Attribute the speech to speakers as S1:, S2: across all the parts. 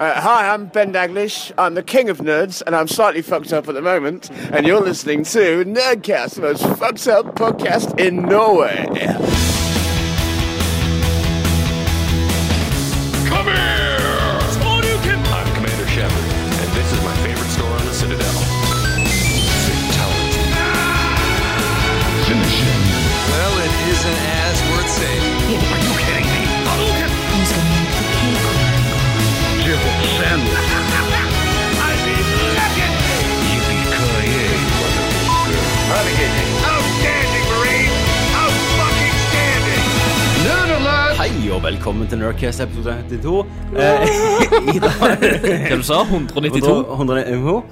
S1: Uh, hi, I'm Ben Daglish. I'm the king of nerds, and I'm slightly fucked up at the moment. And you're listening to Nerdcast, the most fucked up podcast in Norway.
S2: Come here! Spawnukin! I'm Commander Shepard, and this is my favorite store on the Citadel. Fatality.
S3: Well, it isn't as worth saying.
S2: Are you kidding me? Hadouken! I mean, legendary! Yippee-ki-yay, motherfucker. Renegade. Outstanding, Marine! Out-fucking standing!
S4: Hei og velkommen til Nerdcast episode 92. Eh, I dag
S5: Hva du sa 192?
S4: 192.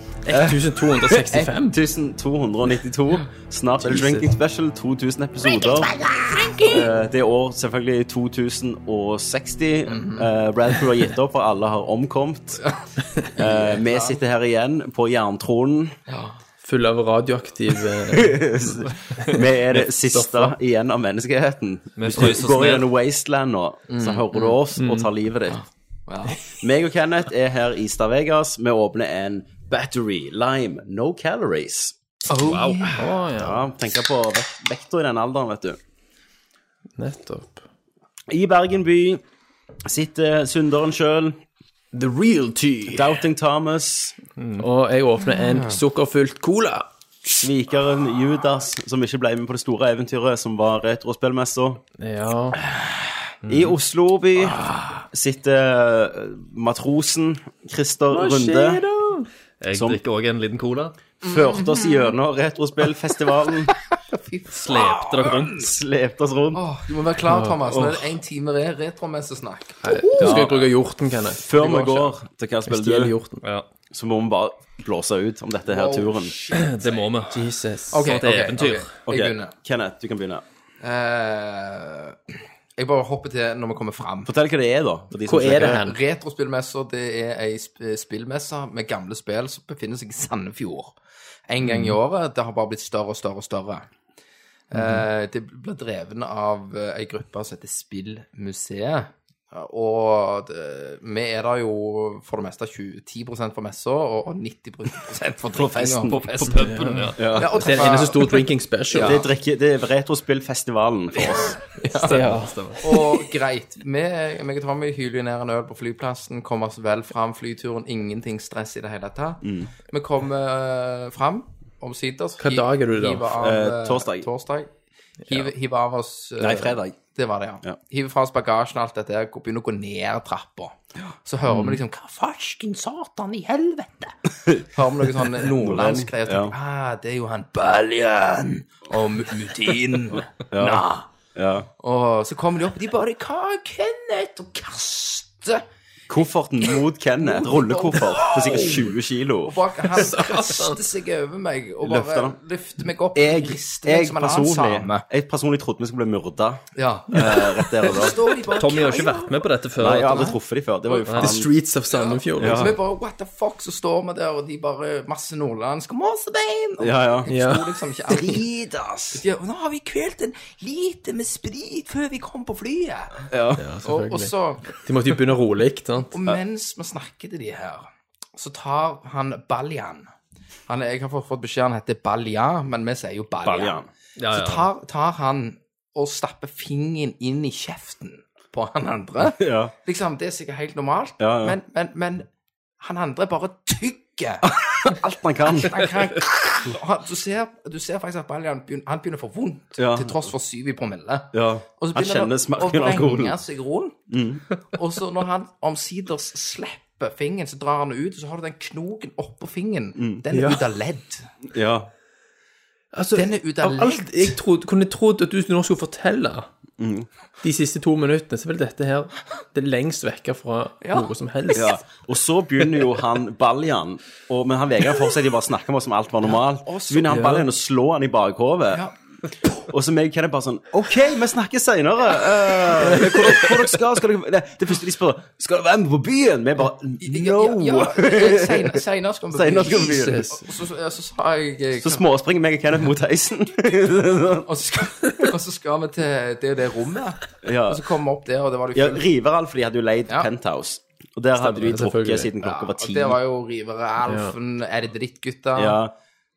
S5: 1265?
S4: 1292. Snart er det Drinking Special. 2000 episoder. Eh, det er år selvfølgelig 2060. Eh, Brad Crew har gitt opp, og alle har omkommet. Eh, vi sitter her igjen på jerntronen.
S5: Full av radioaktiv eh,
S4: Vi er det siste igjen av menneskeheten. Hvis du
S5: fryser
S4: går
S5: ned. Mm.
S4: gjennom Wasteland nå, så hører du oss og tar livet ditt. Meg og Kenneth er her i Stavegas. Vi åpner en battery lime, no calories.
S5: Wow. Oh. Å, ja.
S4: Ja, tenker på vek- vekta i den alderen, vet du.
S5: Nettopp.
S4: I Bergen by sitter synderen sjøl,
S5: The real tea.
S4: Doubting Thomas,
S5: Og jeg åpner en sukkerfylt cola.
S4: svikeren Judas, som ikke ble med på det store eventyret som var retrospillmessa.
S5: Ja.
S4: I Oslo by sitter eh, matrosen Christer Runde.
S6: Jeg
S4: Som-
S6: drikker òg en liten cola.
S4: Førte oss gjennom retrospillfestivalen,
S6: Slepte dere rundt?
S4: slepte oss rundt.
S7: Åh, Du må være klar, Thomas. Nå er det en time re retromessesnakk.
S5: Du Ah! skal jeg bruke hjorten, Kenneth.
S4: Før vi går til hva
S5: Jeg
S4: spiller
S5: stjeler
S4: du,
S5: hjorten.
S6: Ja,
S4: så må vi bare blåse ut om dette her turen.
S6: det må vi.
S5: Jesus.
S7: Ok,
S6: Sånn at det er
S7: ok,
S6: eventyr.
S7: ok.
S4: Ok,
S7: Jeg begynner.
S4: Kenneth, du kan begynne.
S7: Eh, jeg bare hopper til når vi kommer fram.
S4: Fortell hva det er, da. For de som
S5: Hvor er
S4: ikke-
S5: det hen?
S7: Retrospillmesser det er ei sp spillmesse med gamle spill som befinner seg i Sandefjord. En gang i året. Det har bare blitt større og større og større. Eh, det blir drevet av eh, ei gruppe som heter Spillmuseet. Og det, vi er der jo for det meste 20, 10 for messa og og 90 for drikkinga på
S6: På
S7: festen.
S6: puben, ja.
S7: Ja, og
S5: Det er
S7: treffe-
S5: en eneste stor drinking special.
S4: Det er, drikke, det er retrospillfestivalen for oss.
S7: Og greit. Vi, meg og Tommy hyler jo ned en øl på flyplassen, kommer oss vel fram flyturen, ingenting stress i det hele tatt.
S4: Mm.
S7: Vi kommer uh, fram omsider. så
S5: Hva
S7: hi-
S5: dag er du da?
S7: hiver av,
S4: Eh,
S7: eh,
S4: torsdag.
S7: torsdag. Hiver, hiver av oss eh,
S4: Nei, fredag.
S7: Det var det, ja.
S4: Ja.
S7: Hiver fra oss bagasjen og alt dette, og begynner å gå ned trappa. Så hører
S4: Mm.
S7: vi liksom Hva farsken satan i helvete? hører vi noe sånn nordlandsk greier.
S4: Ja.
S7: Ja. Ah, det er jo han Baljan og Mu- Mutin. Nah.
S4: Ja.
S7: Og så kommer de opp, og de bare Hva, Kenneth? Og kaster
S4: Kofferten mot Kenneth. Rullekoffert på sikkert 20 kilo.
S7: bak Han kaster seg over meg og
S4: Løfter
S7: bare
S4: han.
S7: løfter meg opp.
S4: Jeg,
S7: rister meg
S4: jeg,
S7: som en annen
S4: personlig,
S7: same.
S4: jeg personlig trodde vi skulle bli myrda
S7: Ja.
S4: eh, rett der og da.
S7: Står de bare
S6: Tommy har jo ikke
S7: «Hva?»
S6: vært med på dette før.
S4: Nei, jeg har aldri truffet dem før. Det var jo
S5: The
S4: faen
S5: streets of Sandefjord. liksom.
S7: Så vi bare What the fuck? Så står vi der, og de bare Masse nordlandsk Måsebein! Og
S4: Ja, ja.
S7: jeg forsto liksom ikke alt.
S4: Drit, ass.
S7: Ja, og nå har vi kvelt en liter med sprit før vi kom på flyet. og, og
S5: selvfølgelig.
S7: så
S5: De måtte jo begynne rolig, sant?
S7: Og mens vi snakker til de her, så tar han Baljan. Han, jeg har fått fått beskjed han heter Balja, men vi sier jo Baljan.
S4: Baljan.
S6: Ja,
S7: Så
S6: ja.
S7: tar, tar han og stapper fingeren inn i kjeften på han andre.
S4: Ja.
S7: Liksom, det er sikkert helt normalt,
S4: Ja, ja.
S7: Men, men, men han andre bare tygger.
S4: Alt man kan.
S7: Han kan, han, du, ser, du ser faktisk at Baljan begynner, han begynner å få vondt,
S4: Ja.
S7: til tross for syv i promille.
S4: Ja.
S7: Og så
S4: Han
S7: begynner
S4: kjenner
S7: han å
S4: smaken av alkoholen. Mm.
S7: vrenge seg rundt. og så når han omsider slipper fingeren, så drar han ut, og så har du den knoken oppå fingeren.
S4: Mm.
S7: Den er ut av ledd.
S4: Ja.
S5: Altså,
S7: Den er ut av
S5: alt
S7: ledd.
S5: jeg trodde, kunne trodd at du nå skulle fortelle
S4: Mm.
S5: de siste to minuttene, så vil dette her det er lengst vekke fra
S7: Ja.
S5: noe som helst.
S4: ja. Og så begynner jo han Baljan og, Men han Vegard fortsetter jo bare å snakke om oss som alt var normalt.
S7: og
S4: Så
S7: så-
S4: begynner han Baljan å slå han i bakhovet.
S7: Ja.
S4: Og så meg og Kenneth bare sånn OK, vi snakkes seinere. hvor, dere- hvor dere skal, skal dere Det, det første de spør, skal dere være med på byen? Vi bare No!
S7: Ja, ja, senere, senere skal vi
S4: Senere skal vi begynne.
S7: Jesus. Og så, så, så sa jeg eh,
S4: Så småspringer meg og Kenneth mot heisen.
S7: og, så skal, og så skal vi til det og det rommet.
S4: ja.
S7: Og så kommer vi opp der, og det var det
S4: ja
S7: jo fullt.
S4: Riveralf, de hadde jo leid
S7: Ja.
S4: penthouse. Og der hadde de
S5: det,
S4: drukket
S5: selvfølgelig.
S4: siden klokka var
S7: Og
S4: ti.
S7: det var jo Rivere Alfen, Er det drittgutta?
S4: Ja,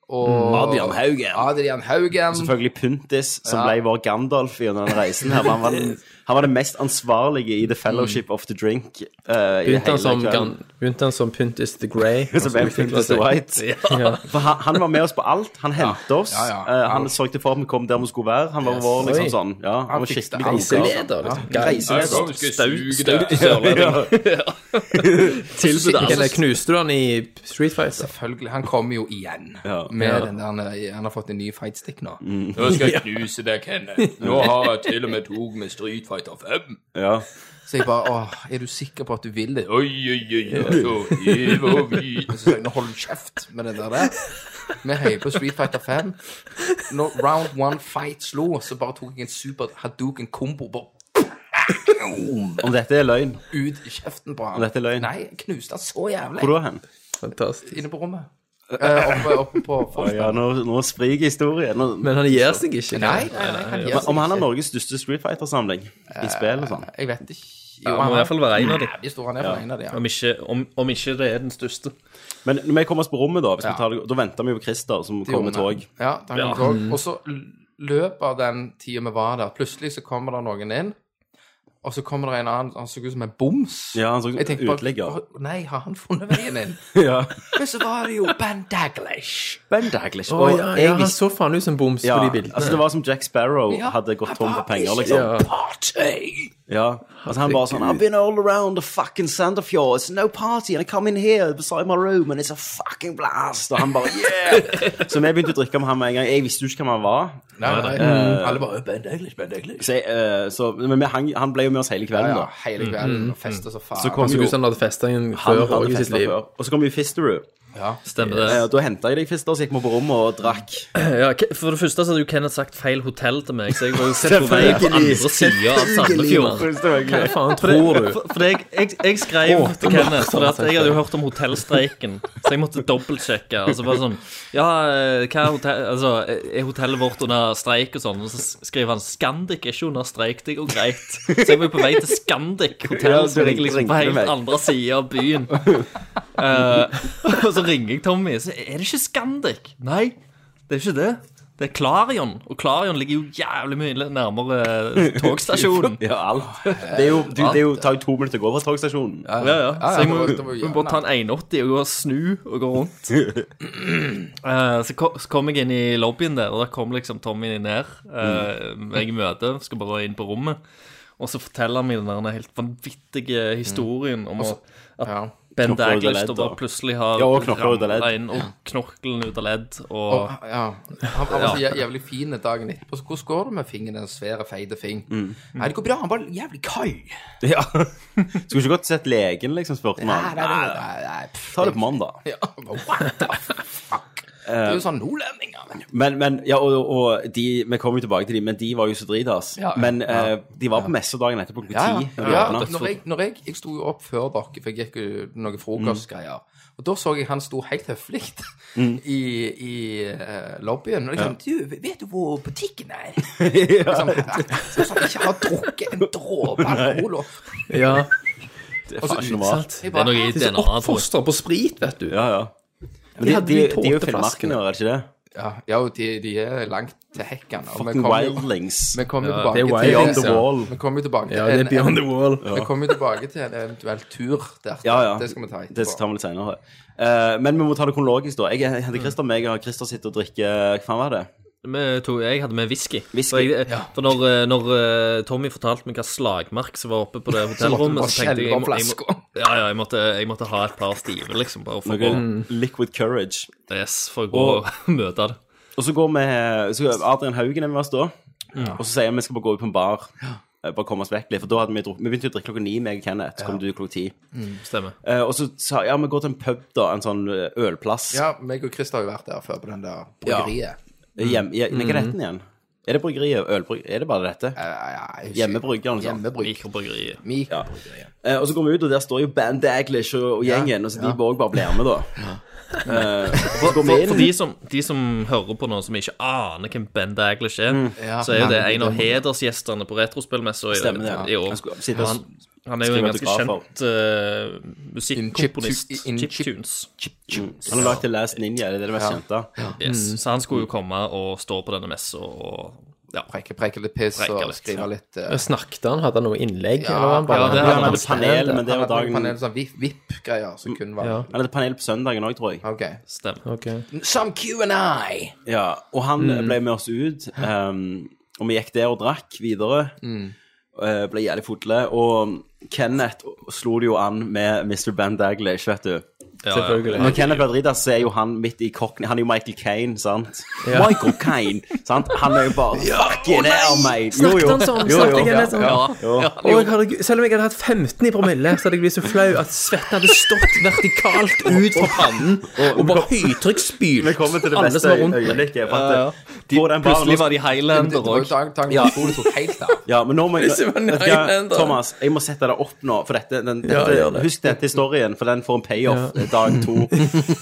S7: Og
S4: Mm. Adrian Haugen.
S7: Adrian Haugen.
S4: Selvfølgelig Puntis, som ble vår Gandalf gjennom den reisen. her. Han var, den, han var den mest ansvarlige i The Fellowship of the Drink. eh, i
S5: Begynte han
S4: hele
S5: som,
S4: kvelden.
S5: gan- begynte han som Pyntis the Grey. Altså,
S4: Så ble han Puntis the White. For han, han var med oss på alt. Han hentet oss.
S7: Ja, ja, ja.
S4: eh, han sørgte for at vi kom der vi skulle være. Han var vår liksom
S5: Oi.
S4: sånn ja, Han var
S7: fikste
S4: skikkelig
S7: alt.
S4: god.
S5: Reiseleder, liksom.
S4: Reiseleder.
S5: Eller knuste du han i Street Fighter?
S7: Selvfølgelig. Han kommer jo igjen.
S4: Ja. Mm.
S7: Med
S5: Ja.
S7: den der, han, er- han har fått en ny fightstick nå.
S2: Nå skal jeg knuse deg, Kenneth. Nå har jeg til og med tog med Street Fighter 5.
S4: Ja.
S7: Så jeg bare Åh, er du sikker på at du vil det?
S2: Oi, oi, oi, oi, så evig og vid.
S7: Og så sa jeg, nå holder du kjeft med det der der. Vi heier på Street Fighter 5. Når round one fight slo, så bare tok jeg en super Hadouken kombo bare
S4: Om dette er løgn.
S7: ut i kjeften på han.
S4: Og dette er løgn.
S7: Nei, jeg knuste han så jævlig.
S4: Hvor da hen?
S5: Fantastisk.
S7: Inne på rommet. Eh, oppe, oppe på
S4: Å
S7: Forsberg.
S4: Ja, nå, nå spriker historien. Nå,
S5: Men han gir seg ikke.
S7: Nei, nei, nei, han gir
S4: Men
S7: seg
S4: Om han har
S7: ikke.
S4: Norges største Street Fighter-samling i spill og sånn.
S7: Jeg vet ikke. Jo,
S6: Ja, han må i hvert fall være en av dem.
S7: de store han er på en av de, ja.
S6: Om ikke, om, om ikke det er den største.
S4: Men når vi kom oss på rommet, da hvis
S7: Ja.
S4: vi tar det, da venta vi jo på Christer, som kom med tog. Mm.
S7: Ja, da kom tog. Og så løper den tida vi var der. Plutselig så kommer det noen inn, og så kommer det en annen Han så ut som en boms.
S4: Ja, han så
S7: Jeg tenkte bare
S4: uteligger.
S7: «Å, Nei, har han funnet veien inn?
S4: Ja.
S7: Men så var det jo Ben Daglish.
S4: Ben Daglish.
S5: Å,
S4: Og
S5: ja,
S4: jeg
S5: ja, han
S4: visste
S5: så faen ut som boms
S4: ja,
S5: på de bildene.
S4: altså Det var som Jack Sparrow
S7: Ja,
S4: hadde gått
S7: han
S4: tom
S7: var
S4: for penger,
S7: ikke
S4: liksom.
S5: Ja.
S7: Party!
S4: Ja. Altså Han bare sånn I've been all around the fucking Sandefjord. It's no party. And I come in here beside my room, and it's a fucking blast. Og han bare Yeah! Så vi begynte å drikke med han med en gang. Jeg visste jo ikke hvem han var.
S7: Nei, nei, nei. Mm.
S4: Eh.
S7: Alle bare Ben Daglish, Ben Daglish.
S4: Så, jeg, eh, så, men vi hang, han ble jo med oss hele kvelden,
S7: Ja,
S4: da.
S7: hele kvelden og festa så faen.
S4: Mm, Så kom
S5: Han så
S4: jo
S5: ut som han hadde festa en
S4: han
S5: før
S4: hadde
S5: også i sitt
S4: festet
S5: liv.
S4: før. Og så kom jo Fisterud.
S6: Stemmer det.
S4: Eh, Da henta jeg deg, Fister, så gikk vi på rommet og drakk.
S6: Ja, Ke- for det første så hadde jo Kenneth sagt feil hotell til meg, så jeg var jo sett på vei på andre sida av Sandefjord.
S5: Hva faen
S6: For det-
S5: tror du?
S6: For, for det jeg, jeg, jeg skrev til Kenneth for det at jeg hadde jo hørt om hotellstreiken, så jeg måtte dobbeltsjekke. Og så var det sånn Ja, eh, hva er, hotell, altså, eh, er hotellet vårt under streik og sånn? Og så s- skriver han Scandic er ikke under streik, det går greit. Så jeg var jo på vei til Scandic hotell,
S4: Ja, du
S6: som
S4: ringte-
S6: ligger liksom på
S4: ringte meg.
S6: helt andre sida av byen. Eh, og så ringer jeg Tommy, så er det ikke Scandic. Nei, det er ikke det. Det er Klarion, og Klarion ligger jo jævlig mye nærmere eh, togstasjonen.
S4: Ja, alt. Det, er jo, du, det er jo, tar jo to minutter å gå fra togstasjonen.
S6: Ja, ja. Så jeg må,
S7: det var- det var jo
S6: må bare ta en 180 og gå og snu og gå rundt. Eh, så, ko- så kom jeg inn i lobbyen der, og da kom liksom Tommy ned. eh, meg i møte, skal bare inn på rommet. Og så forteller han meg den der helt vanvittige historien om at
S7: Ja.
S4: Knokler
S6: Ben
S4: ut av
S6: Daglish
S4: ledd,
S6: da bare
S4: og-
S6: plutselig har
S4: Ja, og knokler ut av ledd.
S6: ramlet inn, og knokkelen ut av ledd, og
S7: Og, Ah, ja. Han var så jæ- jævlig fin dagen etterpå. Så hvordan går det med fingeren, den svære, feite fing? Nei, det går bra. Han var jævlig køy.
S4: Ja. Skulle ikke godt sett legen, liksom,
S7: Nei,
S4: spurte man.
S7: nei, nei, nei, nei. pff,
S4: Ta det på mandag.
S7: Ja, men what the fuck? Det er jo sånn nordlendinger. men.
S4: Men, men, ja, og, og de, vi kommer jo tilbake til de, men de var jo så dritas.
S7: Ja, ja.
S4: Men eh, de var på messe dagen etter klokka
S7: Ja,
S4: ti.
S7: ja. ja når jeg, når jeg, jeg sto jo opp før dere, for jeg gikk jo noen frokostgreier. Og da så jeg han sto helt høflig i, i eh, lobbyen. Og liksom Du, vet du hvor butikken er? liksom, sånn som ikke har drukket en dråpe alkohol. Og,
S5: Ja,
S4: Det var ikke noe rart.
S7: jeg
S6: Det er
S7: bare,
S6: noe i
S5: De er så
S6: DNA, tror jeg.
S5: oppfostra på sprit, vet du.
S4: Ja, ja. Men de,
S5: hadde
S4: de,
S5: de
S4: de, er jo
S5: tåteflaskene.
S4: filmarkene, er det ikke det?
S7: ja, ja, og de, de er langt til hekken. Og vi
S4: Fucking
S7: kom jo-
S4: Wildlings.
S7: vi kom jo
S5: det er
S7: tilbake til
S4: Beyond
S5: Wildings,
S4: the
S5: ja.
S4: Wall.
S7: Vi kom jo tilbake til
S5: Ja, det er
S7: en,
S5: Beyond
S7: en,
S5: the Wall.
S7: vi kom jo tilbake til en eventuell tur der.
S4: Ja, ja.
S7: Det skal vi ta
S4: Det
S7: etterpå.
S4: skal vi litt senere. Eh, men vi må ta det kronologisk, da. Jeg
S7: Mm.
S4: henter Christer meg, og Christer sitter og drikker Hva faen var det?
S6: Vi tok, jeg hadde med whisky.
S4: Whisky,
S6: For, jeg, for når, eh, når eh, Tommy fortalte meg hva slagmark som var oppe på det hotellrommet,
S7: bare
S6: så, tenkte jeg jeg,
S7: skjelve
S6: må- jeg, må-
S7: flasker.
S6: ja, ja, jeg, måtte, jeg måtte ha et par stive, liksom, bare for
S4: Noe
S6: å
S4: Liquid Courage.
S6: yes, for å gå og, møte det.
S4: Og så går vi så Adrian Haugen er med oss da. Og så sier vi vi skal bare gå ut på en bar. Eh, Bare komme oss vekk litt. For da hadde vi, drukket- vi begynte å drikke klokka ni, meg og Kenneth. Så kom du klokka ti.
S6: Stemmer.
S4: Eh, og så sa ja, vi går til en pub, da. En sånn eh, ølplass.
S7: Ja, meg og Chris har jo vært der før på den der bryggeriet.
S4: Hjem, ja, nei, hva er dette igjen? Er det bryggeriet? Ølbrygg? Er det bare dette?
S7: Ja, ja, jeg husker-
S4: Hjemmebryggeren, sånn.
S7: Hjemmebrygg.
S6: Mikrobryggeriet.
S7: Mik. Ja.
S4: Eh, og så går vi ut, og der står jo Band Daglish og, og gjengen. Og så de òg bare blir med, da. Eh, og så går vi
S6: For, for de,
S4: inn.
S6: som, de som hører på nå, som ikke aner hvem Ben Daglish er,
S7: Ja,
S6: så er jo det
S7: nei,
S6: en av hedersgjestene på Retrospillmessa i,
S4: Stemmer det.
S6: i
S4: ja.
S6: år.
S4: Han skulle sitte og
S6: Han, Han er jo en ganske
S4: Cinematografer.
S6: kjent uh, musikkomponist.
S7: In chip- in chip-
S6: Chiptunes.
S4: Han har lagd The Last Ninja, det er det mest kjente.
S6: Yes. Så han skulle jo komme og stå på denne messa og ja.
S7: Preike, preike litt piss
S6: Preike
S7: og
S6: litt,
S7: skrive
S6: ja.
S7: litt eh,
S5: Jeg Snakket han? Hadde han noe innlegg?
S7: Ja,
S5: eller var han bare
S6: ja, det
S4: Han
S6: hadde
S4: hadde panel, men
S7: Han
S4: det var
S7: hadde noen panel
S4: dagen
S7: sånn vip- VIP-greier som kun var
S5: Ja.
S4: Han hadde panel på søndagen òg, tror jeg.
S7: OK.
S6: Stemmer.
S5: Ok.
S7: Some Q&I!
S4: Ja, og han
S5: Mm.
S4: ble med oss ut, ehm, og vi gikk der og drakk videre.
S5: Mm.
S4: Eh, ble jævlig fulle. Og Kenneth slo det jo an med Mr. Van Daglish, vet du.
S6: Ja,
S5: Selvfølgelig.
S4: Når Kenneth blir drita, så er jo han midt i kokken. Han er jo Michael Kane, sant? Michael Kane, sant? Han er jo bare fucking hell, mate. Jo,
S5: Snakket
S4: jo.
S5: han sånn?
S4: Jo,
S5: Snakket
S4: jo.
S5: jeg litt sånn? Og jeg hadde, selv om jeg hadde hatt 15 i promille, så hadde jeg blitt så flau at svetten hadde stått vertikalt ut fra pannen og bare høytrykksspylt
S4: Vi kommer til det
S5: alle som
S4: beste
S5: var rundt meg.
S4: øyeblikket. For at, på den baren
S6: Plutselig var de
S7: Det det
S6: highlander
S7: var jo
S6: òg.
S7: dagen dagen ja. skolen tok helt av.
S4: Ja, men nå må jeg
S5: Plutselig var den
S4: Vet du hva,
S5: Highlander.
S4: Thomas, jeg må sette det opp nå, for dette, den, dette
S5: gjør det.
S4: Husk dette historien, for den får en payoff eh, dag to.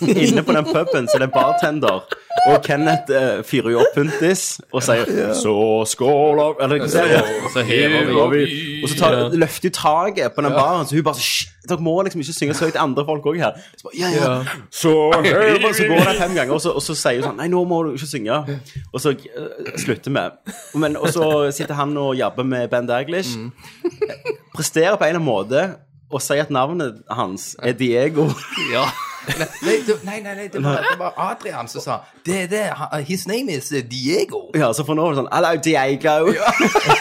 S4: Inne på den puben så er det en bartender, og Kenneth eh, fyrer jo opp puntis og sier Så skål av Eller så,
S6: Så hever vi.
S4: Og så tar, løfter hun taket på den baren, så hun bare «Hysj, Dere må liksom ikke synge så høyt til andre folk òg her. Så bare, ja, ja. Så, hører vi», så går det fem ganger, og så, og så sier hun sånn Nei, nå må du ikke synge. Og så eh, slutter vi. Men, og så sitter han og jabber med Ben Daglish. Presterer på en eller annen måte og sier at navnet hans er Diego.
S6: Ja.
S7: Nei, det, nei, nei, nei det, var, det var Adrian som sa Det er det. han- His name is eh, Diego.
S4: Ja, så for nå er det sånn Hello, Diego.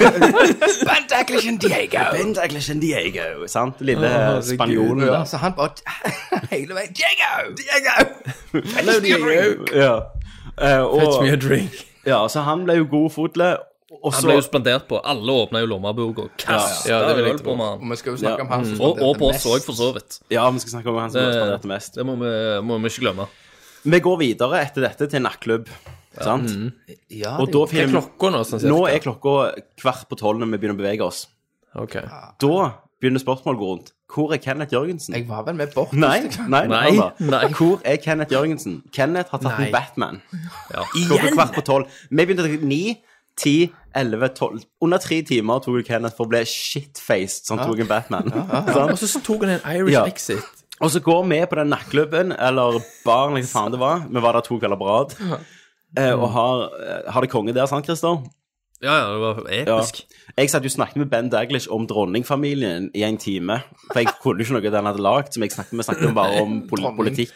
S7: Ben Daglish and Diego.
S4: Ben Daglish and Diego. Sant? Lille
S5: herregud.
S4: spanjolen
S7: Ja,
S4: der.
S7: så han bare hele veien Diego! Diego! Hello, Diego.
S4: Ja. Eh,
S5: Fetch me a
S4: og,
S5: drink.
S4: ja, så han ble jo god fotle. Og
S6: Han
S4: så
S6: ble jo spandert på. Alle åpna jo lommeburger og kasta
S5: Ja, ja, det vil jeg
S6: øl
S5: tro.
S6: på mannen.
S7: Og vi skal jo snakke om han som
S6: Og, og på oss
S7: mest.
S6: òg, for så vidt.
S4: Ja, vi skal snakke om han som ekspanderte mest.
S6: Det må vi, må vi ikke glemme.
S4: Vi går videre etter dette til en nattklubb. Sant?
S6: Mm.
S7: Ja,
S4: Og da
S5: Hva er
S4: finner vi
S5: klokka nå, sånn
S4: Nå
S5: cirka?
S4: er klokka kvart på tolv når vi begynner å bevege oss.
S5: Ok.
S4: Da begynner spørsmålet å gå rundt. Hvor er Kenneth Jørgensen?
S7: Jeg var vel med bort.
S4: Nei, nei,
S6: Nei,
S4: Anna.
S6: nei.
S4: Hvor er Kenneth Jørgensen? Kenneth har tatt en Batman.
S6: Ja.
S4: Klokka kvart på tolv. Vi begynte å ni, ti, elleve, tolv. Under tre timer tok jo Kenneth for å bli shitfaced som tok en Batman.
S5: Og
S4: Sant?
S5: så tok han en Irish
S4: Ja.
S5: exit.
S4: Og så går vi på den nattklubben, eller baren, eller hva faen det var. Vi var der to kvelder på rad. eh, Og har, eh, har det konge der, sant, Christer?
S6: Ja, ja, det var episk.
S4: Jeg satt jo og snakket med Ben Daglish om dronningfamilien i en time. For jeg kunne jo ikke noe av det han hadde lagd, som jeg snakket med, snakket jo bare om pol politikk.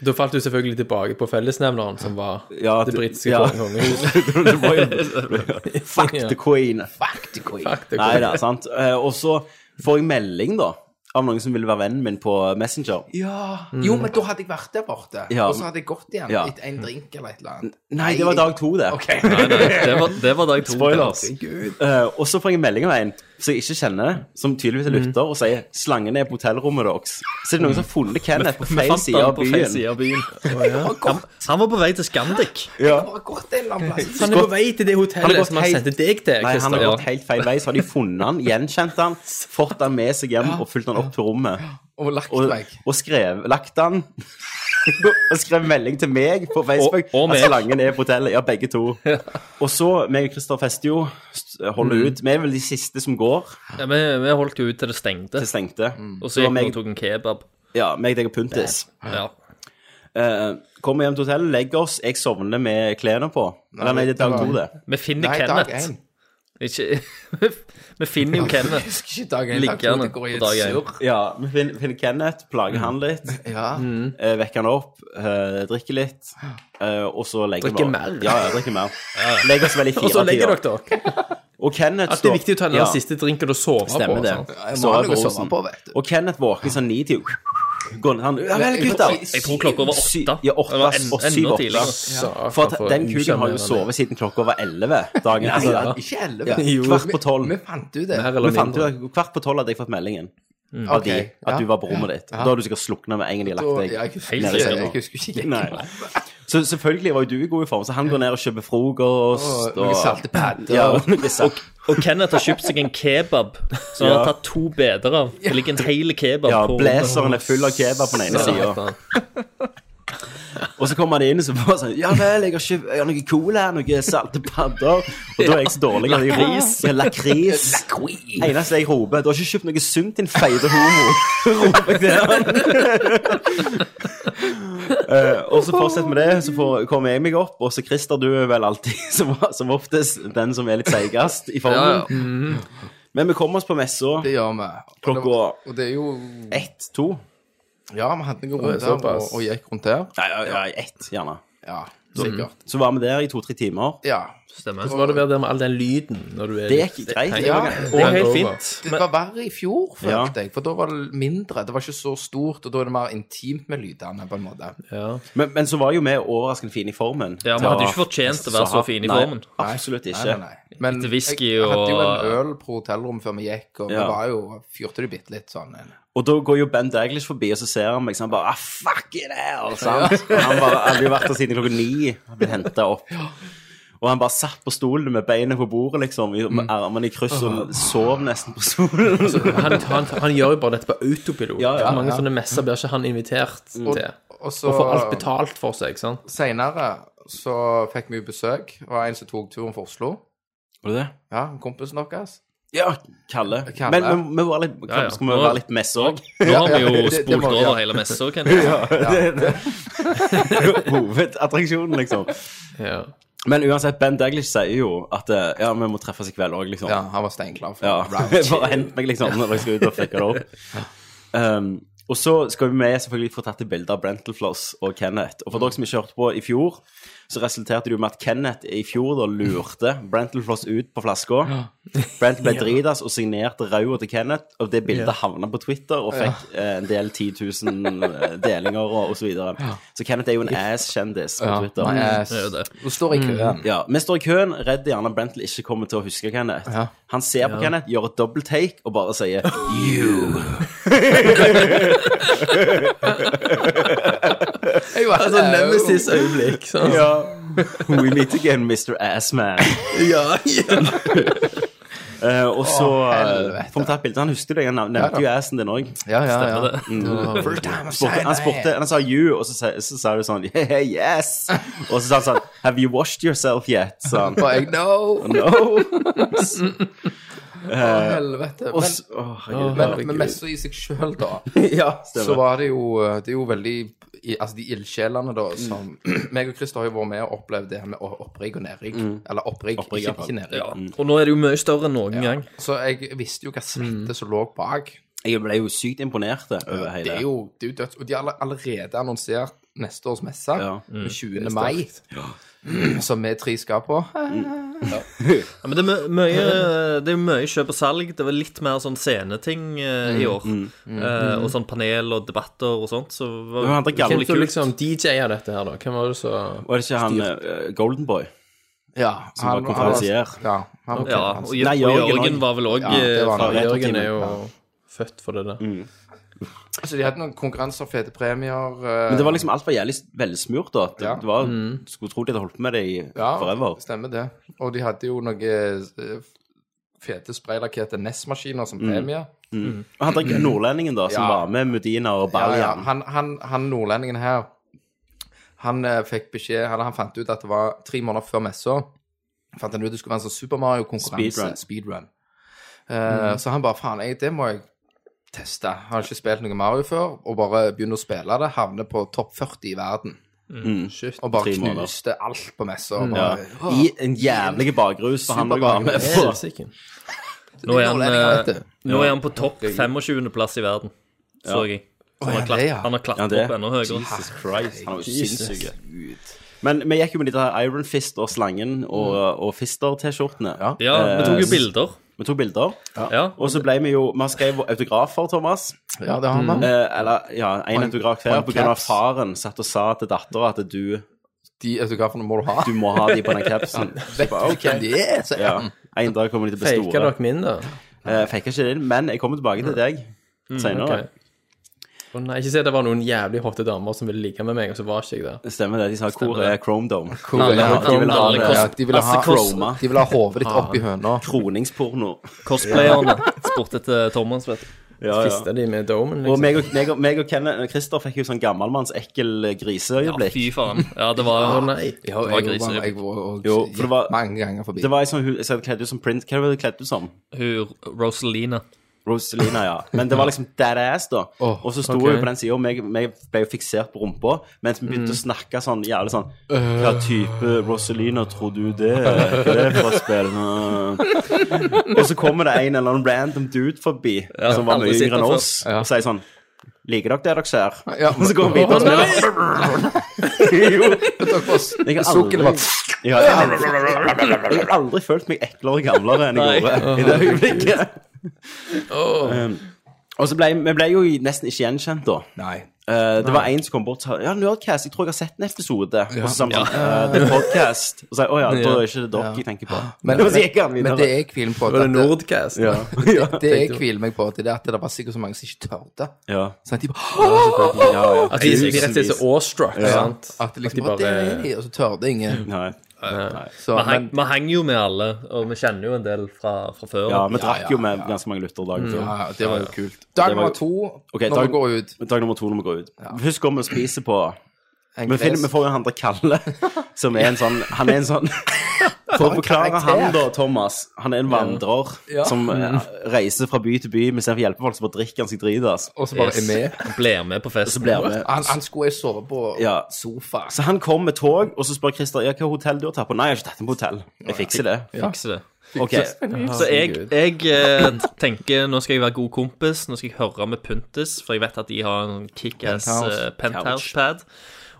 S5: Da falt du selvfølgelig tilbake på fellesnevneren, som var
S4: Ja,
S5: det
S4: det-
S5: britiske
S4: ja.
S5: kongehuset.
S4: Det var jo- Fuck the queen.
S7: Fuck the queen.
S5: Fuck, det går.
S4: Nei da, sant. Eh, Og så får jeg melding, da, av noen som ville være vennen min på Messenger.
S7: Ja. Jo, men da hadde jeg vært der borte.
S4: Ja.
S7: Og så hadde jeg gått igjen
S4: Ja.
S7: etter en drink eller et eller annet.
S4: Nei, det var dag to, det.
S7: Ok.
S6: Det var, det var dag to.
S4: Spoilers. Eh, og så får jeg en melding av en som jeg ikke kjenner, som tydeligvis
S6: Mm.
S4: er lytter, og sier 'slangen er på hotellrommet deres'. Så det er noen som har funnet Kenneth på
S6: Vi
S4: feil
S6: fant
S4: side
S6: han
S4: av
S6: på feil
S4: byen.
S6: side av byen.
S7: Han har gått,
S6: Han var på vei til Scandic.
S7: han har gått en eller annen plass.
S5: Han er på vei til det
S4: Han har
S5: hotellet
S4: gått
S5: som han
S4: helt-
S5: sendte deg til,
S4: Nei, han har
S5: Christer.
S4: gått helt feil vei, så har de funnet han, gjenkjent han, fått han med seg hjem og fulgt han opp til rommet.
S7: Og lagt
S4: Og,
S7: meg.
S4: og skrev, lagt han og skrev melding til meg på Facebook
S6: Og- og meg.
S4: at slangen er på hotellet. Ja, begge to. Og så, meg og Christer fester jo, st-
S6: Mm.
S4: holder ut. Vi er vel de siste som går.
S6: Ja, vi, vi holdt jo ut til det stengte.
S4: Det stengte.
S6: Og så gikk vi
S4: meg-
S6: og tok en kebab.
S4: Ja, meg, deg og Puntis.
S6: Ja.
S4: Eh, kommer hjem til hotellet, legger oss. Jeg sovner med klærne på. Eller nei, det er dag to, det.
S6: Vi finner
S7: Nei, dag
S6: Kenneth.
S7: én.
S6: Ikke, vi finner jo
S7: Jeg
S6: Kenneth.
S7: husker ikke dag én. Dag to.
S6: Liggende
S7: Det går i
S6: på dag
S7: et
S6: én.
S7: surr.
S4: Ja, vi finner, finner Kenneth, plager han litt,
S7: Ja.
S4: eh, vekker han opp, eh, drikker litt, eh, og så legger
S5: Drikker
S4: vi
S5: mer.
S4: Ja, ja, drikker mer. Legger oss vel i
S5: Og så
S4: fire
S5: legger
S4: tider.
S5: dere dere.
S4: Og Kenneth
S5: At det
S4: står-
S5: er viktig å ta den
S4: Ja,
S5: der siste drinken og sove
S4: Stemmer
S5: på.
S4: det.
S5: sant?
S7: Jeg må
S4: Sover
S7: ha
S4: på
S7: noe å sove
S4: Osen.
S7: på, vet du.
S4: Og Kenneth våkner sånn ni til Går han Ja vel,
S7: Jeg
S4: gutter.
S7: tror-
S6: Jeg tror klokka var
S4: Sy-
S6: åtte.
S4: Ja, åtte
S6: Eller
S4: og
S6: en- enda
S4: syv-åtte.
S6: tidligere.
S5: Saker
S4: For at den kuken har jo
S5: usjarmerende.
S4: sovet siden klokka var elleve dagen. Altså,
S7: Ja, Ikke elleve.
S4: Ja,
S5: Jo.
S4: Kvart på tolv.
S7: Vi fant ut det.
S5: Mer
S4: Vi
S5: eller
S4: fant ut
S5: mindre.
S4: at Kvart på tolv hadde jeg fått meldingen av
S7: Ok,
S4: de, at
S7: ja.
S4: du var på rommet ditt. Da hadde du sikkert slukna med en gang de
S7: Og,
S4: lagt
S7: ja, jeg,
S4: deg.
S7: husker,
S6: Helt
S7: ikke-
S4: sikkert.
S7: jeg husker ikke.
S4: Nei. Så selvfølgelig var jo du i god form, så han går ned og kjøper
S7: Og
S4: frokost
S7: noen salte padder.
S4: ja, og noe salt.
S6: Og Kenneth har kjøpt seg en kebab som han har
S4: Ja.
S6: tatt to beder av. Det ligger en hel kebab
S4: Ja,
S6: på
S4: blazeren er full av kebab på den ene sida.
S5: Satan.
S4: Og så kommer han inn og så bare sånn Ja vel, jeg har, ikke, jeg har noe cola, noe salte padder. Og da er jeg så dårlig at jeg Lakris. Ja, lakris. Eneste jeg roper, du har ikke kjøpt noe sunt, din feite homo. roper jeg til han. Eh, og så fortsetter vi det, så får, kommer jeg meg opp, og så Christer, du er vel alltid som, som oftest den som er litt seigest i formen. Mm.
S7: Ja, ja.
S4: Men vi kommer oss på messa
S7: Det gjør vi. Og
S4: Klokka-
S7: det- Og det er jo
S4: ett, to.
S7: Ja, vi hadde noen runder og, og,
S8: såpass.
S7: gikk rundt der.
S4: Nei, ja, ja, ett, gjerne.
S7: Ja,
S4: Mm.
S7: sikkert.
S4: Så var vi der i to-tre timer.
S7: Ja.
S6: Stemmer.
S5: Så var det vel der med all den lyden når du er
S4: Det gikk greit.
S7: ja.
S6: Det er helt
S8: over.
S6: fint.
S7: Det
S6: Men
S7: var verre i fjor,
S4: Ja.
S7: følte jeg. For da var det mindre. Det var ikke så stort, og da er det mer intimt med lydene, på en måte.
S4: Men, men så var jo vi overraskende fine i formen.
S6: ja, vi hadde jo ikke fortjent å være så fine i
S4: Nei,
S6: formen.
S4: Absolutt ikke.
S7: Nei, nei, nei. Men
S6: Litt whisky
S7: jeg, jeg hadde jo
S6: og-
S7: en øl på hotellrommet før vi gikk, og
S4: Ja.
S7: vi var jo, fyrte det bitte litt sånn. en-
S4: Og da går jo Ben Daglish forbi, og så ser han meg sånn bare ah, Fuck it hell! Sant? Og Han bare, hadde jo vært der siden klokka ni og blitt henta opp. Og han bare satt på stolen med beinet på bordet, liksom, i- med armene i kryss, og sov nesten på stolen.
S5: han, han, han gjør jo bare dette på autopilot.
S4: Ja, ja, Mm.
S5: Mange
S7: ja.
S5: sånne messer blir ikke han invitert til.
S7: Og så
S5: Og får alt betalt for seg, ikke sant?
S7: senere så fikk vi jo besøk av en som tok turen fra Oslo.
S4: Var det det?
S7: Ja, kompisen deres.
S4: Ja, Kalle.
S7: Kalle.
S4: Men men vi var litt,
S6: Ja, ja.
S4: skal vi være litt messe òg?
S6: nå har
S7: ja,
S6: vi jo
S7: det- det
S6: spolt
S7: må vi, ja.
S6: over hele messa, Kenneth.
S4: Hovedattraksjonen, liksom.
S5: Ja.
S4: Men uansett, Ben Daglish sier jo at eh, ja, vi må treffes i kveld òg, liksom.
S7: Ja, han var steinklar. for
S4: Ja,
S7: round.
S4: bare hent meg liksom når jeg skal ut og fucke det opp. Um, og så skal vi med selvfølgelig få tatt et bilde av Brentelfloss og Kenneth. Og for dere som ikke hørte på i fjor, så resulterte det jo med at Kenneth i fjor da lurte Brentelfloss ut på flaska. Brent ble dritas og signerte rauda til Kenneth, og det bildet havna på Twitter og fikk eh, en del 10 000 delinger og, og så videre. Så Kenneth er jo en ass-kjendis på
S7: Ja,
S4: Twitter.
S7: nei, jeg-
S6: Det er jo det.
S7: Nå står jeg i køen.
S4: Ja, Vi står i køen, redd gjerne Brentel ikke kommer til å huske Kenneth.
S7: Ja.
S4: Han ser på Kenneth, gjør et double take og bare sier you.
S7: Jeg var-
S5: Altså, Nemesis-øyeblikk. sånn.
S4: We meet again, Mr. Assman.
S5: Ja, ja.
S4: Eh, og så eh,
S7: helvete.
S4: får vi tatt bilde. Han husker det, han nevnte jo assen din òg.
S7: Ja, ja, ja.
S4: First time I spurte, han spurte, han sa you, og så, sa- så sa du sånn yeah, yes. Og så sa han sånn Have you washed yourself yet? Sa han.
S7: Bare jeg, no!
S4: No.
S7: Å, helvete.
S4: Og
S7: Men,
S4: så- Å, herregud.
S7: men, men mest så i seg sjøl, da.
S4: ja,
S7: så
S4: stemmer.
S7: var det jo eh, Det er jo veldig i- Altså, de ildsjelene,
S4: Mm.
S7: da, som Meg og Christer har jo vært med og opplevd det her med å- opprigg og nedrigg. Eller opprigg,
S4: Mm. Opprigg,
S7: ikke, ikke
S4: ja. Mm.
S7: nedrigg.
S6: Og nå er det jo mye større enn noen gang.
S7: Så jeg visste jo hva svette som lå bak.
S4: Jeg ble jo sykt imponert over hele
S7: Det er jo, det er jo døds... Og de har alle- allerede annonsert neste års messe,
S4: Ja.
S7: den 20. mai, som vi tre skal på.
S6: Ja, men det er mø- mye, det er mye kjøp og salg. Det var litt mer sånn sceneting eh, i år. Eh, og sånn panel og debatter og sånt. Så var
S4: Men han der gamle
S5: Hvem
S6: utrolig
S5: tror
S6: kult.
S5: liksom DJ-a dette her, da? Hvem var det som
S4: Var det ikke han eh, Golden Boy?
S7: Ja,
S4: var konferansier.
S7: Ja, han var
S6: Ja, og,
S7: konferansier.
S6: Jør-
S4: Nei,
S6: og
S4: Jørgen
S6: Jørgen
S4: også.
S6: var vel òg
S7: Ja, det var han.
S5: Jørgen er jo født for det der.
S4: Mm.
S7: Så de hadde noen konkurranser, fete premier eh,
S4: Men det var liksom alt var jævlig velsmurt, da. Det,
S7: Ja. Mm.
S4: det var, Skulle tro de hadde holdt på med det i
S7: ja,
S4: forever.
S7: Stemmer det. Og de hadde jo noen eh, fete spraylakkerte NES-maskiner som
S4: Mm.
S7: premie.
S4: Og han der nordlendingen, da, som
S7: Ja.
S4: var med Medina og
S7: Ja, ja.
S4: Baljan.
S7: Han, han, han nordlendingen her, han eh, fikk beskjed Eller han fant ut at det var tre måneder før messa. Fant han ut det skulle være en sånn Super Mario-konkurranse.
S4: Speedrun.
S7: Speedrun.
S4: Mm.
S7: Eh, Så han bare faen, jeg, det må jeg teste. Han har ikke spilt noe Mario før, og bare begynner å spille det. Havner på topp 40 i verden. Shit, og bare
S4: Mm. Tre måneder. Mm.
S7: knuste alt på messa. og
S4: Ja.
S7: bare,
S4: I en jævlig bakgrus for han å være med på.
S5: Helsike.
S6: Nå er han,
S7: Nordlendinger, vet
S6: eh,
S7: du.
S6: nå er han på topp 25.-plass i verden, så jeg. Så han
S7: ja,
S6: har
S7: det,
S6: klatra
S7: ja.
S6: han har
S4: Ja,
S6: klatret
S4: det.
S6: opp enda høyere.
S4: Jesus Christ. Han var jo sinnssyk. Men vi gikk jo med de der Iron Fist og Slangen
S7: Mm.
S4: og, eh, og Fister-T-skjortene.
S6: Ja, vi tok jo
S4: Eh,
S6: bilder.
S4: Vi tok bilder.
S6: Ja.
S4: Og så ble vi jo Vi har skrevet autografer, Thomas.
S7: Ja, det
S6: Mm.
S7: har man.
S4: Eh, eller ja,
S7: Og
S4: én
S7: en-
S4: autograf
S7: og
S4: hver
S7: en
S4: på grunn av
S7: caps.
S4: faren satt og sa til dattera at du,
S7: De autografene må du ha.
S4: du må ha de på den capsen.
S7: vet du hvem de er, mm. sier
S4: Ja.
S7: han.
S4: En dag kommer de til å bli
S5: Faker
S4: store.
S5: dere min, da?
S4: Uh, Fikk ikke det inn, men jeg kommer tilbake til deg senere.
S5: Ok. Å nei, ikke si at det var noen jævlig hotte damer som ville ligge med meg, og så var ikke jeg der.
S4: Det Stemmer det. De sa hvor er Chrome Dome?
S7: Hvor vil ha
S4: de vil ha
S7: Chrome?
S4: det.
S7: Ja, de vil ha
S4: Altså, Chrome.
S7: De vil ha hodet ditt oppi høna.
S4: Kroningsporno.
S6: Cosplayerne spurte etter Thomas, vet du.
S4: Ja, ja.
S5: Fista de med domen,
S4: Og
S5: liksom.
S4: meg og, meg og, meg og Ken, Christer fikk jo sånn gammelmanns-ekkel griseøyeblikk.
S6: Fy faen. Ja, det var
S5: Å nei.
S7: Jeg har
S6: Det var
S7: jeg,
S6: griser.
S7: jeg, jeg, og,
S4: Jo, for det var-
S7: mange ganger forbi.
S4: Det var ei sånn hun så kledde ut som print... Hva var det hun kledde ut som?
S6: hun Rosalina.
S4: Rosalina, ja. Men det var liksom dead ass, da.
S7: Åh,
S4: og så sto
S5: ok.
S4: hun på den sida, og meg, meg ble jo fiksert på rumpa, mens vi begynte å snakke sånn jævlig sånn Hva type Rosalina tror du det er? Hva er det for spill? Nå. og så kommer det en eller annen random dude forbi som var
S5: aldri
S4: mye
S5: sett
S4: yngre
S5: han
S4: enn
S5: før.
S4: oss, og sier sånn Liker dere det dere ser?
S7: Ja,
S4: og så går han videre og spiller. jo. Jeg har
S7: Sukken var
S4: aldri, ja, jeg har aldri, jeg har aldri følt meg eklere og gamlere enn jeg gjorde i det øyeblikket. Um, og så ble vi ble jo nesten ikke gjenkjent, da.
S7: Nei.
S4: Eh, det var en som kom bort og sa Ja, Nerdcast, jeg tror jeg har sett en episode. Og så sa han sånn «Eh, Det er podcast. Og så sa jeg å ja, da er ikke det dere jeg tenker på.
S7: Men,
S4: og så gikk han
S7: men, men det
S4: videre.
S7: jeg hviler på,
S5: Var det
S7: at det,
S5: Nordcast? Ja.
S7: det, det jeg hviler meg på, det er at det var sikkert så mange som ikke tørte.
S4: Ja.
S7: Sånn at de bare
S4: Ja, ja.
S5: At de, de Altså, rett og slett er så awestruck, sant?
S7: At det liksom
S5: At
S7: bare,
S5: de
S7: Der
S5: bare-
S7: er de, og så tørde ingen.
S4: Nei.
S7: Så,
S6: Vi heng-
S7: men,
S6: vi henger jo med alle, og vi kjenner jo en del fra, fra før.
S4: Ja, vi drakk jo med ganske mange lutter dagen før.
S7: ja, det var jo kult. Dag
S4: Det var jo-
S7: nummer to
S4: Ok,
S7: når vi går ut.
S4: dag nummer to når vi går ut. Først går vi og spiser på
S7: En
S4: Vi, finner, vi
S7: gress.
S4: får jo han der Kalle, som er en sånn Han er en sånn For å forklare han da, Thomas Han er en vandrer som
S7: Mm.
S4: eh, reiser fra by til by, men istedenfor å hjelpe folk, så bare drikker han seg dritas.
S7: Og så bare er med.
S6: Han blir med på festen.
S4: Så blir vi
S7: Han, han skulle jeg sove på
S4: Ja.
S7: sofa.
S4: Så han kom med tog, og så spør Christer ja, hva hotell du har tatt på. Nei, jeg har ikke tatt den på hotell. Jeg fikser det.
S6: Fikser det.
S4: Ok,
S6: Så jeg, jeg eh, tenker nå skal jeg være god kompis, nå skal jeg høre med Puntis, for jeg vet at de har en kickass
S7: Penthouse.
S6: eh, penthouse-pad,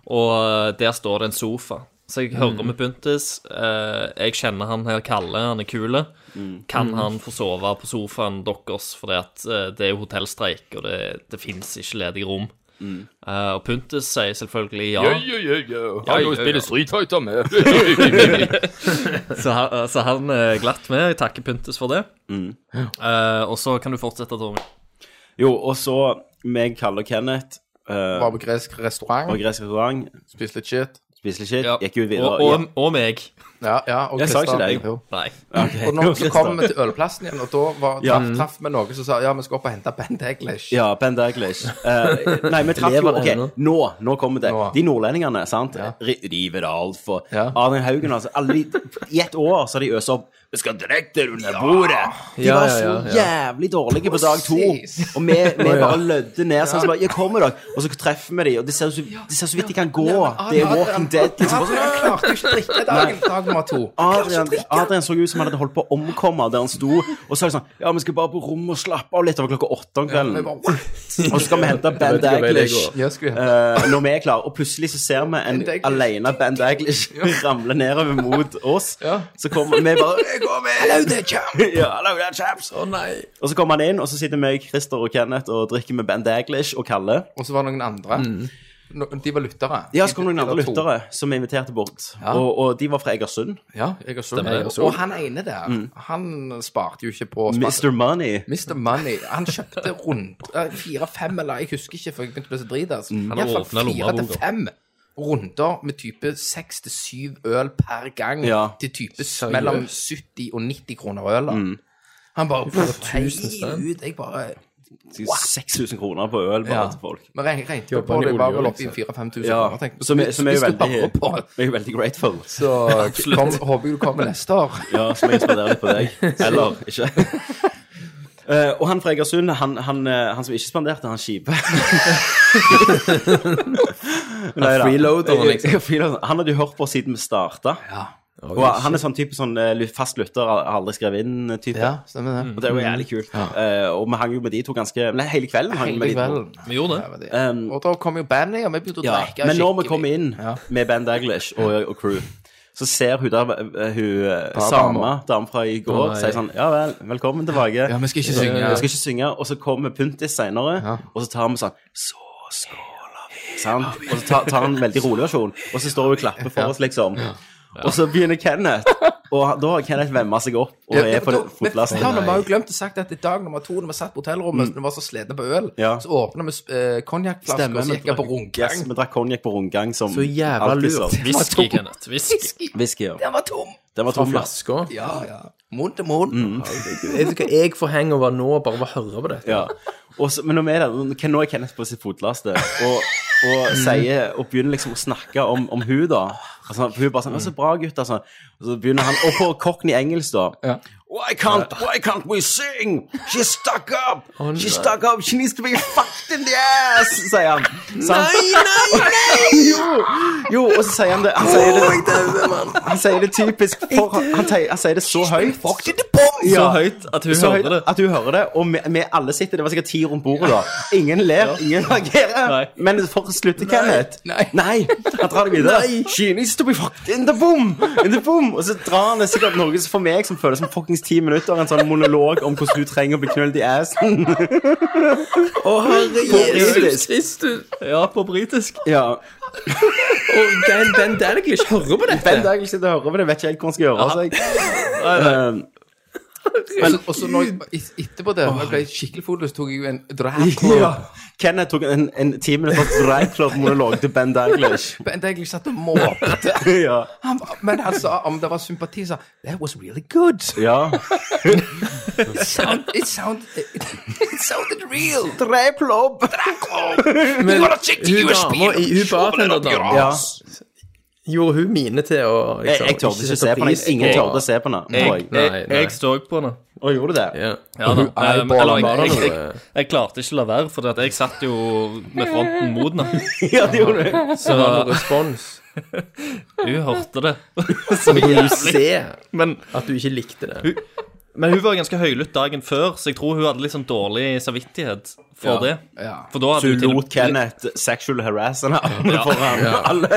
S6: og eh, der står det en sofa. Så jeg
S4: Mm.
S6: hører med Puntis. eh, jeg kjenner han her Kalle, han er kule.
S4: Mm.
S6: Kan han få sove på sofaen deres, fordi at eh, det er jo hotellstreik, og det, det fins ikke ledige rom.
S4: Mm.
S6: Eh, og Puntis sier selvfølgelig ja.
S8: Jeg jo spiller Street Fighter med.
S6: Så han, så han er glatt med. Jeg takker Puntis for det.
S4: Mm.
S6: Eh, og så kan du fortsette, Tommy.
S4: Jo, og så meg, Kalle og Kenneth eh,
S7: Var på gresk
S4: på
S7: restaurant,
S4: gresk restaurant,
S7: spiste litt shit.
S4: spiser litt shit,
S6: Ja.
S4: gikk jo videre.
S6: Og, og, og meg.
S7: Ja, ja, og
S4: Jeg sa ikke
S7: Christer-
S4: deg.
S7: Jo.
S6: Nei.
S4: Ok.
S7: Og når, så kom vi til ølplassen igjen, og da var,
S4: Ja.
S7: traff, traff vi noen som sa ja, vi skal opp og hente Ben Daglish.
S4: Ja, Ben Daglish. Eh, nei, vi traff jo
S5: Lever det
S4: Ok,
S5: ennå?
S4: nå, nå kommer det.
S7: Nå.
S4: De nordlendingene, sant. Ri- River alt for
S7: Ja.
S4: Adrian Haugen, altså. Alle de, I et år så har de øst opp Vi skal direkte under bordet. De
S5: Ja, ja,
S4: var
S5: ja,
S4: så jævlig dårlige på dag to.
S7: Precis.
S4: Og vi, vi bare lødde ned sånn. Så bare, ja, kommer dere? Og så treffer vi dem, og det ser, ut som- det ser så vidt de kan gå. Det er Walking Dead. liksom.
S7: Han klarte jo ikke å drikke sånn, dagen, dag nummer to.
S4: Adrian, Adrian så ut som han hadde holdt på å omkomme der han sto. Og så er det sånn Ja, vi skal bare på rommet og slappe av litt over klokka åtte om kvelden.
S7: Vi bare,
S4: Og så skal vi hente
S5: ikke
S4: Ben
S5: hva vei det
S4: Daglish
S5: går.
S7: Ja, skal vi
S4: eh, når vi er klare. Og plutselig så ser vi en
S7: Daglish.
S4: alene Ben Daglish ramle nedover mot oss.
S7: Ja.
S4: Så kommer vi bare
S7: Jeg går med. Hello there, champ.
S4: ja, hello there, chaps.
S7: Å nei.
S4: Og så kommer han inn, og så sitter vi, Christer og Kenneth og drikker med Ben Daglish og Kalle.
S7: Og så var det noen andre. No, de var lyttere.
S4: Mm. Ja, så kom det
S7: De-
S4: noen andre
S7: de var to.
S4: lyttere som vi inviterte bort. Og, og de var fra Egersund.
S7: Ja, jeg har sett det. Og han ene der,
S4: Mm.
S7: han sparte jo ikke på å spare-
S4: Mr. Money.
S7: Mr. Money. Han kjøpte rundt fire-fem, eller jeg husker ikke, for jeg begynte å bli så dritas.
S4: Mm.
S6: Han
S7: I hvert fall fire
S6: åpnet
S7: til
S6: lommeboka.
S7: fem runder med type seks til syv øl per gang
S4: Ja.
S7: til type s- mellom 70 og 90 kroner øl.
S4: Mm.
S7: Han bare Hei ut, jeg bare
S4: 6000 kroner på øl bare
S7: Ja.
S4: til folk.
S7: Vi regn- regnet jo
S5: Jobber
S7: på
S5: han i
S7: det var
S5: olje,
S7: vel oppe i
S5: liksom?
S7: 4000-5000
S4: Ja,
S7: kroner. tenkte jeg.
S4: som er, som er jo
S7: Hvis du
S4: veldig,
S7: sparer på-
S4: jeg er jo veldig grateful.
S7: Så kom, håper jeg du kommer neste år.
S4: Ja, som jeg spenderer litt på deg. Eller ikke. Eh, og han fra Egersund, han, han, eh, han som ikke spanderte, han kjipe. Nei da.
S5: freeloaderen, liksom.
S4: Ja, freeloaderen. Han hadde jo hørt på oss siden vi starta. Og han er sånn type sånn eh, ly- fast lytter, har aldri skrevet inn-type.
S7: Ja, stemmer det.
S4: Og det var jævlig kult. Eh, og vi hang jo med de to ganske Nei, hele kvelden hang vi med de
S7: Hele
S4: to.
S7: kvelden.
S6: Vi gjorde det.
S4: Um,
S7: Og da kom jo bandet, og vi begynte å
S4: Ja,
S7: drikke.
S4: men når vi
S7: skikkelig.
S4: kommer inn
S7: Ja.
S4: med Ben Daglish og, og crew, så ser hun der eh, hun eh, samme dame fra i går
S5: nei.
S4: sier sånn Ja vel, velkommen tilbake.
S7: Ja, vi skal ikke synge.
S4: Jeg skal ikke synge. Og så kommer Puntis seinere, og så tar vi sånn Så skåler vi. Sant? Og så tar, tar han en veldig rolig versjon, og så står hun og klapper for oss, liksom. Og så begynner Kenneth, og han- da har Kenneth vemma seg opp og
S7: Ja,
S4: er på
S7: men
S4: det
S7: da- Men
S4: fotlastet.
S7: faen, vi har jo glemt å sagt at i dag nummer to, når vi satt på hotellrommet, mm. vi var så slitne på øl,
S4: Ja.
S7: så åpna vi eh, konjakkflasker og så gikk jeg på
S4: yes,
S7: rundgang.
S4: vi drakk konjakk på rundgang som
S5: Så jævla
S4: alkiser.
S5: lurt.
S6: Whisky, Kenneth. Whisky.
S4: Whisky, ja.
S7: Den var tom!
S4: Den var trufla.
S5: Flaska.
S7: Ja, ja. Munn til munn.
S5: Vet du hva, jeg får hangover nå bare ved å høre på dette.
S4: Ja. Og så- men nå er, det, Ken- nå er Kenneth på sitt fotlaste og, og, sier, og begynner liksom å snakke om, om hun da. Altså, for hun bare sånn «Å, 'Så bra, gutt', altså. Og så begynner han Og på kokken i engelsk, da. Why can't, why can't we sing? She's stuck up! She's stuck up! She needs to be fucked in the ass! Sier han. Nei, nei, nei! jo, jo, og så sier han det. Han sier det, han sier det typisk for, han, han, sier- han sier det så høyt. Fucked in the bomb!
S6: Så høyt at hun
S4: Så høyt
S6: hører det.
S4: at hun hører det, og vi, vi alle sitter, det var sikkert ti rundt bordet da. Ingen ler, ingen reagerer.
S6: Nei.
S4: Men for å slutte, Kenneth. Nei. Han drar det videre. She needs to be fucked in the boom! In the boom! Og så drar han det sikkert noe som for meg som føles som fuckings ti minutter, en sånn monolog om hvordan du trenger å bli knullet i assen.
S5: Å, herre Jesus
S4: Jesus
S5: Kristus.
S6: Ja, på britisk.
S4: Ja.
S5: Og Ben, ben Daglish hører på dette.
S4: Den dagen jeg sitter og hører på det, vet ikke helt hva han skal gjøre. Um, Altså, jeg,
S7: Men også når et- etterpå der, når jeg ble skikkelig fotløs, tok jeg jo en drap.
S4: ja. Kenneth tok en, en ti minutter dragclub-monolog til Ben Daglish.
S7: Men jeg satt og måpte.
S4: Ja.
S7: Han ba- Men han sa om det var sympati, sa han, That was really good.
S4: ja.
S7: Sound, it, sound, it, it sounded real.
S4: Dragclub!
S5: Men hun dama i hun bartenderdama
S4: Ja.
S5: gjorde hun mine til å liksom,
S4: Jeg, jeg torde ikke se på den. Ingen torde å se på den. tror jeg.
S5: Nei,
S6: Jeg,
S5: nei.
S6: jeg så på henne.
S4: Og gjorde det.
S5: Ja.
S6: Ja, da. Eh, men- eller, jeg, jeg, jeg,
S5: noe.
S6: jeg klarte ikke å la være, for jeg satt jo med fronten mot henne.
S4: Ja, det gjorde du.
S6: Så
S5: Var det respons?
S6: hun hørte det.
S5: Men kunne du se
S6: Men
S5: at du ikke likte det?
S6: Men hun var ganske høylytt dagen før, så jeg tror hun hadde litt sånn dårlig samvittighet for det.
S7: Ja.
S6: For da
S4: Du
S6: hadde hun til
S4: lot Kenneth sexual harass henne foran alle.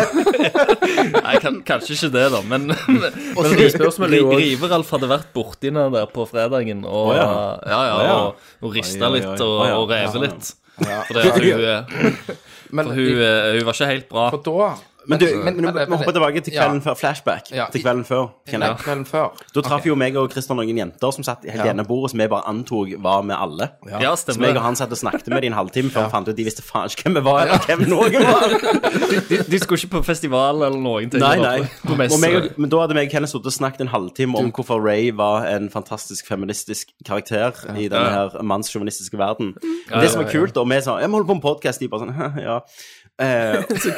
S6: Nei, kan, kanskje ikke det, da, men, men
S5: Men spørsmålet er jo
S6: Ri-
S5: også-
S6: Riveralf hadde vært borti henne der på fredagen og
S4: Å,
S6: ja.
S4: ja.
S6: Ja,
S4: Å, ja.
S6: og, og
S4: Oi,
S6: rista
S4: oi, oi.
S6: litt og,
S4: Å, ja.
S6: og reve litt. For det at hun, eh,
S7: Men,
S6: for hun, eh, hun var ikke helt bra.
S7: for da
S4: Men du, men, men, vi hopper tilbake til kvelden
S7: Ja.
S4: før. Flashback
S7: Ja.
S4: til kvelden før. Kenneth.
S7: Nei, kvelden før.
S4: Da traff jo meg og Christer noen jenter som satt helt i ene bordet, som jeg bare antok var med alle.
S6: Ja,
S4: Så jeg
S6: stemmer
S4: og
S6: det.
S4: han satt og snakket med dem en halvtime før vi fant ut de visste faen ikke hvem vi var, eller hvem noen var.
S6: De, de skulle ikke på festival eller noen ting.
S4: Nei,
S6: de var
S4: nei.
S6: På, på messe.
S4: Og meg, og- men da hadde meg og Kenneth sittet og snakket en halvtime om hvorfor Ray var en fantastisk feministisk karakter i denne her mannssjåvinistiske verden. Men det som var kult, da, vi sa Jeg må holde på med podkast, de bare sånn «Hæ, Ja. Eh, og så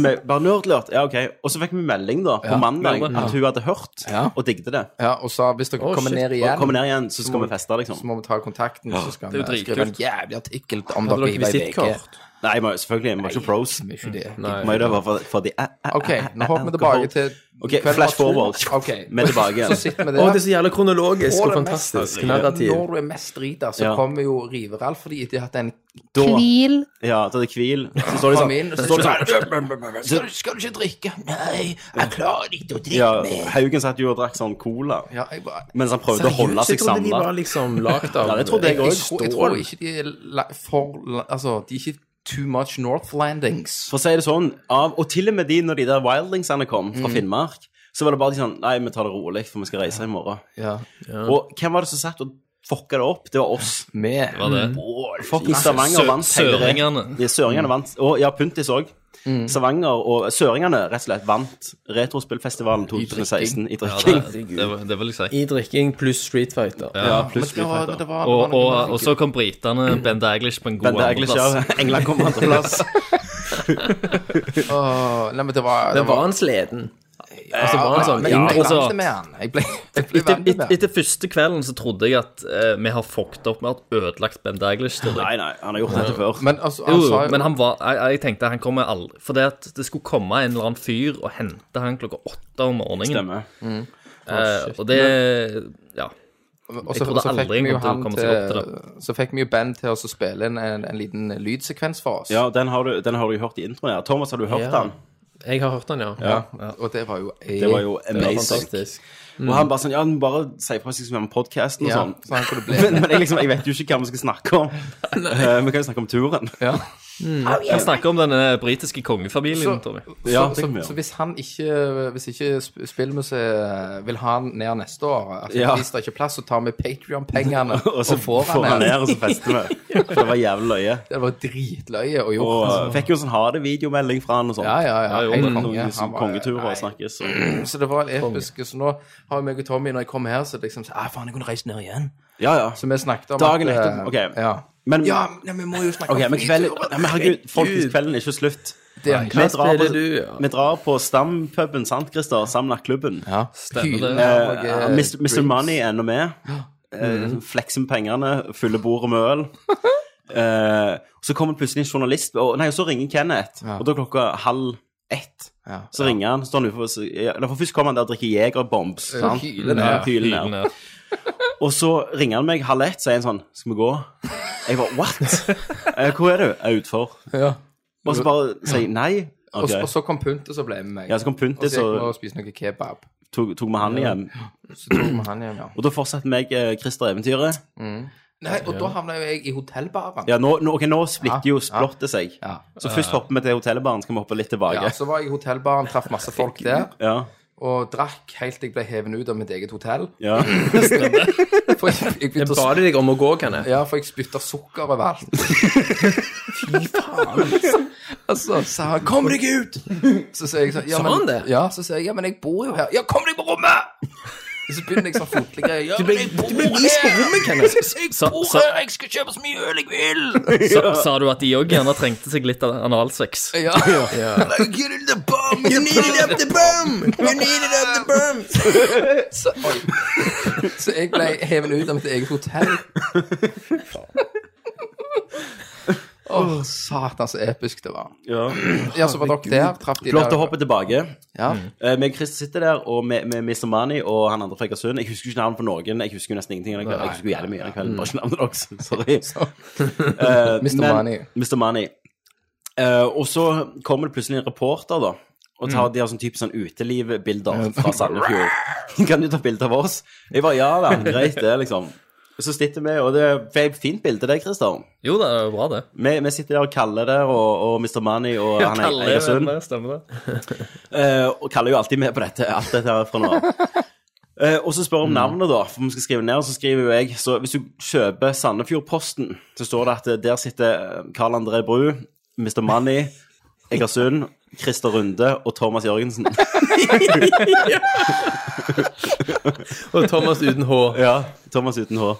S4: vi bare nerdlert. Ja, OK. Og så fikk vi melding da på mandag
S6: mandag.
S4: at hun hadde hørt og digget det.
S7: Ja, og sa hvis dere kommer
S5: shit.
S7: ned
S4: Og
S7: igjen,
S4: kommer ned igjen, så skal
S7: må-
S4: vi feste,
S7: så
S4: liksom.
S7: må vi ta kontakten, så skal
S6: det er jo
S7: vi skrive en
S6: dritkult.
S7: jævlig artikkel om
S5: Hadde
S7: dere i
S5: dere
S7: VG.
S5: visittkort?
S4: Nei, men selvfølgelig. Vi var ikke pros.
S7: Mm, Nei, ikke det.
S4: Vi var jo der bare for, for de eh, eh,
S7: OK,
S4: eh,
S7: nå
S4: eh,
S7: hopper vi
S4: alkohol.
S7: tilbake til
S4: Ok,
S7: kvelden var
S4: flash
S7: to.
S4: forward.
S7: Ok.
S4: Vi er tilbake igjen.
S7: Så sitter vi
S5: Å, det er
S7: der.
S5: så jævla kronologisk
S7: Og
S5: og
S7: det
S5: fantastisk
S7: mest-
S5: narrativ.
S7: Når du er mest drita, så
S4: Ja.
S7: kommer jo Riveralf fordi de har hatt en
S4: Da-
S9: Hvil.
S4: Ja, da er det hvil. Så står de
S7: Kom inn,
S4: sånn.
S7: og
S4: Så
S7: så-
S4: står de sånn
S7: skal, du- skal du ikke drikke? Nei, jeg klarer ikke å drikke
S4: Ja,
S7: mer.
S4: Haugen satt jo og drakk sånn cola
S7: Ja, jeg, bare,
S4: mens han prøvde å holde
S5: Jeg
S4: seg
S5: trodde de
S4: samla.
S5: var liksom lagd av
S4: Ja, det trodde jeg
S7: jeg,
S4: òg.
S7: tror, jeg tror ikke de er la- for la- Altså, de er ikke too much Northlandings.
S4: For å si det sånn, av, og til og med de når de der wildlingsene kom fra Finnmark, så var det bare de sånn Nei, vi tar det rolig, for vi skal reise i morgen.
S7: Ja.
S4: Og hvem var det som satt og fucka det opp? Det var oss.
S7: Med
S6: var det.
S4: Mm. Fucking Stavanger
S6: Sø-
S4: vant hele
S6: Søringene.
S4: Ja, Søringene vant. Og ja, Puntis òg. Stavanger og eh, Søringene rett og slett vant Retrospillfestivalen 2016 i
S6: Ja,
S4: drikking.
S6: det, det, vil- det vil jeg si.
S5: i drikking pluss Street Fighter.
S4: Ja,
S7: Men
S4: pluss
S7: det var, men det var, det var
S6: Og,
S7: noe
S6: og,
S7: med-
S6: og så kom britene, Ben Daglish, på en god
S4: Ben Daglish,
S6: andreplass.
S4: ja. England kom på andreplass.
S7: Åh, Nei, men det var
S5: Den var han sleden. Altså, var han sånn
S7: ja, jeg
S5: intro
S7: ble
S6: altså.
S7: venn med han. Jeg ble, jeg ble
S6: Etter,
S7: venn
S6: et,
S7: med han.
S6: etter første kvelden så trodde jeg at eh, vi har fucked opp med at ødelagt Ben Daglish. til det.
S4: Nei, nei, han har gjort dette før.
S7: Men altså,
S6: Jo,
S7: han sa
S6: jo,
S7: jo
S6: men han var, jeg, jeg tenkte han kommer aldri For det at det skulle komme en eller annen fyr og hente han klokka åtte om morgenen.
S4: Stemmer.
S7: Ah,
S6: Eh, og det Ja.
S7: og så,
S6: jeg trodde
S7: så fikk
S6: aldri
S7: vi jo
S6: han kom
S7: han
S6: til å komme
S7: til,
S6: seg opp
S7: Så fikk vi jo band til oss å spille inn en, en liten lydsekvens for oss.
S4: Ja, den har, du, den har du jo hørt i introen her. Thomas, har du hørt
S5: Ja.
S4: den?
S5: Jeg har hørt den, ja.
S7: Og det var jo
S4: Det var jo amazing.
S5: Fantastisk.
S4: Og han bare sånn, ja, men bare si fra seg som en podcast og
S7: Mm. ja,
S4: sånn.
S7: sånn kunne det bli.
S4: Men, men jeg, liksom, jeg vet jo ikke hva vi skal snakke om. Eh, vi kan jo snakke om turen.
S7: Ja.
S6: Han snakker om den eh, britiske kongefamilien, Tommy.
S7: så,
S4: Ja, det kan vi
S7: så,
S4: gjøre.
S7: så hvis han ikke, hvis ikke sp- spillmuseet vil ha han ned neste år altså,
S4: Ja.
S7: Hvis det ikke er plass, så tar vi Patrion-pengene og,
S4: Og så
S7: får han, ned.
S4: ned, og så fester vi. For det var jævlig løye.
S7: Det var dritløye å gjøre.
S4: Og
S7: altså.
S4: eh, fikk jo sånn ha det-videomelding fra han og sånn.
S7: Ja, ja, ja.
S6: jo,
S7: helt
S6: men
S7: konge.
S4: Noen
S7: Han
S4: liksom,
S7: var-
S4: kongeturer
S7: nei.
S4: og snakkes. Og...
S7: Så det var episk. Så nå har jo meg og Tommy, når jeg kom her, så liksom så, ah, faen, jeg kunne reist ned igjen.
S4: Ja, ja.
S7: Så vi snakket om
S4: Dagen
S7: at,
S4: etter,
S7: eh,
S4: ok.
S7: Ja.
S4: Men,
S7: ja, nei, vi må jo snakke
S4: ok,
S7: om
S4: men kvelden
S7: flyturer.
S4: ja, Men herregud, folkens, kvelden er ikke slutt.
S7: Det er
S4: Vi
S7: klart.
S4: drar på,
S5: spiller du, ja?
S4: vi drar på stampuben, sant, Christer? Samnattklubben.
S7: Ja,
S6: Stemmer det.
S7: Hylen og,
S4: Ja,
S7: eh,
S4: Mr. Mr.
S7: drinks. Mhm.
S4: Money er nå med. Eh, Flekser med pengene, fyller bordet med øl. Eh, så kommer plutselig en journalist, og nei, så ringer Kenneth. Og da er klokka halv ett.
S7: Ja.
S4: Så ringer han, står han utenfor så- ja, eller for Først kommer han der og drikker Jegerbombs. sant?
S7: hyler
S4: Ja,
S7: ned.
S4: hyler ned.
S6: Hylen er-
S4: Og så ringer han meg halv ett, sier han sånn Skal vi gå? Jeg bare What? Eh, Hvor er du? Jeg er utfor.
S7: Ja.
S4: Og så bare sier jeg nei.
S7: Og, så-
S4: Ok.
S7: og så kom Puntis og ble med meg.
S4: Ja, så kom
S7: og
S4: Puntis
S7: så gikk vi og
S4: og
S7: spiste noe kebab.
S4: tok, tok med han hjem.
S7: Så tok vi han hjem, ja.
S4: Og da fortsatte meg eh, Christer Eventyret.
S7: Nei, og da havna jo jeg i hotellbaren.
S4: Ja, nå, nå, ok, nå splitter
S7: Ja,
S4: jo
S7: ja.
S4: splottet seg.
S7: Ja.
S4: Så først hopper vi til hotellbaren, så kan vi hoppe litt tilbake.
S7: Ja, så var jeg i hotellbaren, traff masse folk der,
S4: Ja,
S7: og drakk helt til jeg ble hevet ut av mitt eget hotell.
S4: ja.
S7: For jeg, jeg begynte å
S5: Ba de deg om å gå, Kenneth?
S7: Ja, for jeg spytta sukker overalt. Fy faen. Altså, sa han 'kom deg ut'! Så sier jeg sånn ja,
S5: Sa
S7: men-
S5: han det?
S7: Ja, så sier jeg 'ja, men jeg bor jo her'. 'Ja, kom deg på rommet!' Så begynner jeg sånn fotlig greie. Ja,
S5: Du ble,
S7: men jeg
S5: du ble vist på rommet, Kenneth.
S6: Sa, sa,
S7: bor her, jeg skal kjøpe så mye øl jeg vil!
S6: sa, sa du at de òg gjerne trengte seg litt av analsex?
S7: Ja. Like, Get in the bum! You need it up the bum! You need it up the bum! Så, oi. så jeg ble hevet ut av mitt eget hotell. Å, satan, så episk det var.
S4: ja.
S7: Ja, så var dere der, traff de
S4: Flott å
S7: der.
S4: hoppe tilbake.
S7: Ja.
S4: Eh, meg og Christer sitter der, og med, med Mr. Mani og han andre fra Egersund. Jeg husker ikke navnet på noen. Jeg husker jo nesten ingenting. av den kvelden. Jeg husker jo jævlig mye av den kvelden, bare ikke navnet deres. Sorry. Eh,
S7: Mr.
S4: men-
S7: Mani.
S4: Mr. Mani. Eh, og så kommer det plutselig en reporter, da. Og tar de har sånn type sånn utelivbilder fra Sandefjord. kan du ta bilde av oss? Jeg bare ja vel, greit det, liksom. Så sitter vi, og det er et fint bilde det, Christer.
S6: Jo, det er jo bra, det.
S4: Vi, vi sitter der og kaller der, og, og Mr. Money og han er
S6: Kalle,
S4: Egersund.
S6: men det stemmer det.
S4: Eh, og kaller jo alltid med på dette, alt dette her fra nå av. Eh, og så spør om navnet, da, for vi skal skrive ned, og så skriver jo jeg Så hvis du kjøper Sandefjordposten, så står det at eh, der sitter eh, Karl André Bru, Mr. Money, Egersund, Christer Runde og Thomas Jørgensen.
S5: Og Thomas uten hår.
S4: Ja, Thomas uten hår.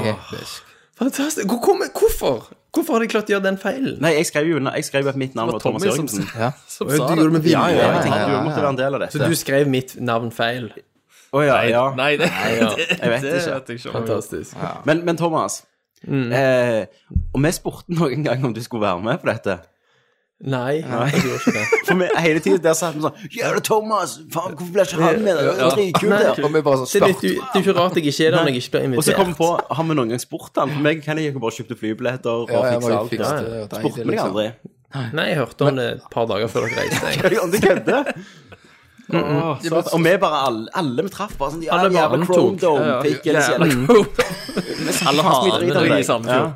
S7: Episk.
S5: Fantastisk. Hvor, kommer- hvorfor? Hvorfor har de klart å gjøre den feilen?
S4: Nei, jeg skrev jo, jeg skrev jo at mitt navn var Thomas
S5: Tommy som
S4: Jørgensen.
S5: Som sa det. Med
S4: Ja, ja, jeg
S7: ja,
S4: tenkte
S7: ja,
S4: du måtte være en del av dette.
S5: Så du skrev mitt navn feil.
S4: Å ja, ja.
S6: Nei, det,
S4: Jeg vet
S6: det
S4: ikke.
S6: vet jeg ikke. om jeg gjorde.
S5: Fantastisk.
S4: Men, men Thomas, eh, og vi spurte noen gang om du skulle være med på dette.
S5: Nei, jeg gjorde ikke det.
S4: For vi, hele tiden der satt vi sånn Jævla Thomas! Faen, hvorfor ble ikke han med? Det var dritkult,
S5: Nei.
S4: det.
S7: Og vi bare sånn
S5: Det er, litt,
S7: spurte
S5: u- det er jo ikke rart jeg ikke er der når jeg ikke blir
S4: Og så kom
S5: invitert.
S4: vi på Har vi noen gang spurt han? For meg kan jeg jo bare kjøpte flybilletter og
S7: Ja, jeg
S4: fiksa
S7: var jo
S4: alt.
S7: fikst,
S5: Ja, ja.
S7: eh, og deilig,
S4: Spurte vi deg
S7: liksom.
S4: aldri?
S5: Nei, jeg hørte om det et par dager før dere reiste. Jeg.
S4: Om du kødder? Åh, satan. Og vi bare alle, alle vi traff, bare sånn Ja,
S5: Alle bare
S4: jævla
S5: antok.
S4: Chrome Dome, pickens, jævla
S6: Alle hanene i Sandefjord.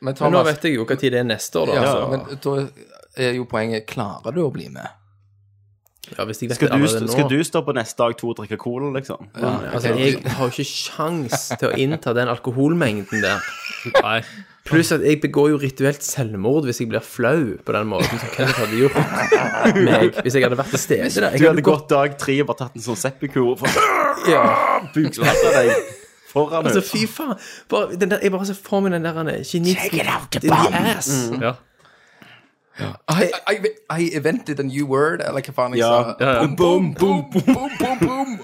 S7: Men
S5: Men nå
S7: Thomas,
S5: vet jeg jo hva tid det er neste år, da. altså.
S7: ja,
S5: så-
S7: men da er jo poenget Klarer du å bli med?
S5: Ja, hvis jeg vet
S4: Skal
S5: det
S4: du,
S5: allerede nå.
S4: skal du stå på neste dag to og drikke cola, liksom?
S5: Altså, jeg har jo ikke sjans til å innta den alkoholmengden der.
S6: Nei.
S5: Pluss at jeg begår jo rituelt selvmord hvis jeg blir flau på den måten som Kenneth hadde gjort meg, hvis jeg hadde vært til stede der.
S4: Du
S5: Jeg
S4: hadde gått dag tre og bare tatt en sånn seppikur og buksplatta deg foran
S5: Altså,
S4: henne.
S5: fy faen. Bare, den der, jeg bare ser for meg den der eh, han er kinesisk in the ass.
S6: Ja.
S7: I, I, I invented a new word, eller hva faen jeg
S4: Ja.
S7: sa.
S6: ja.
S7: Boom, boom, boom, boom, boom, boom.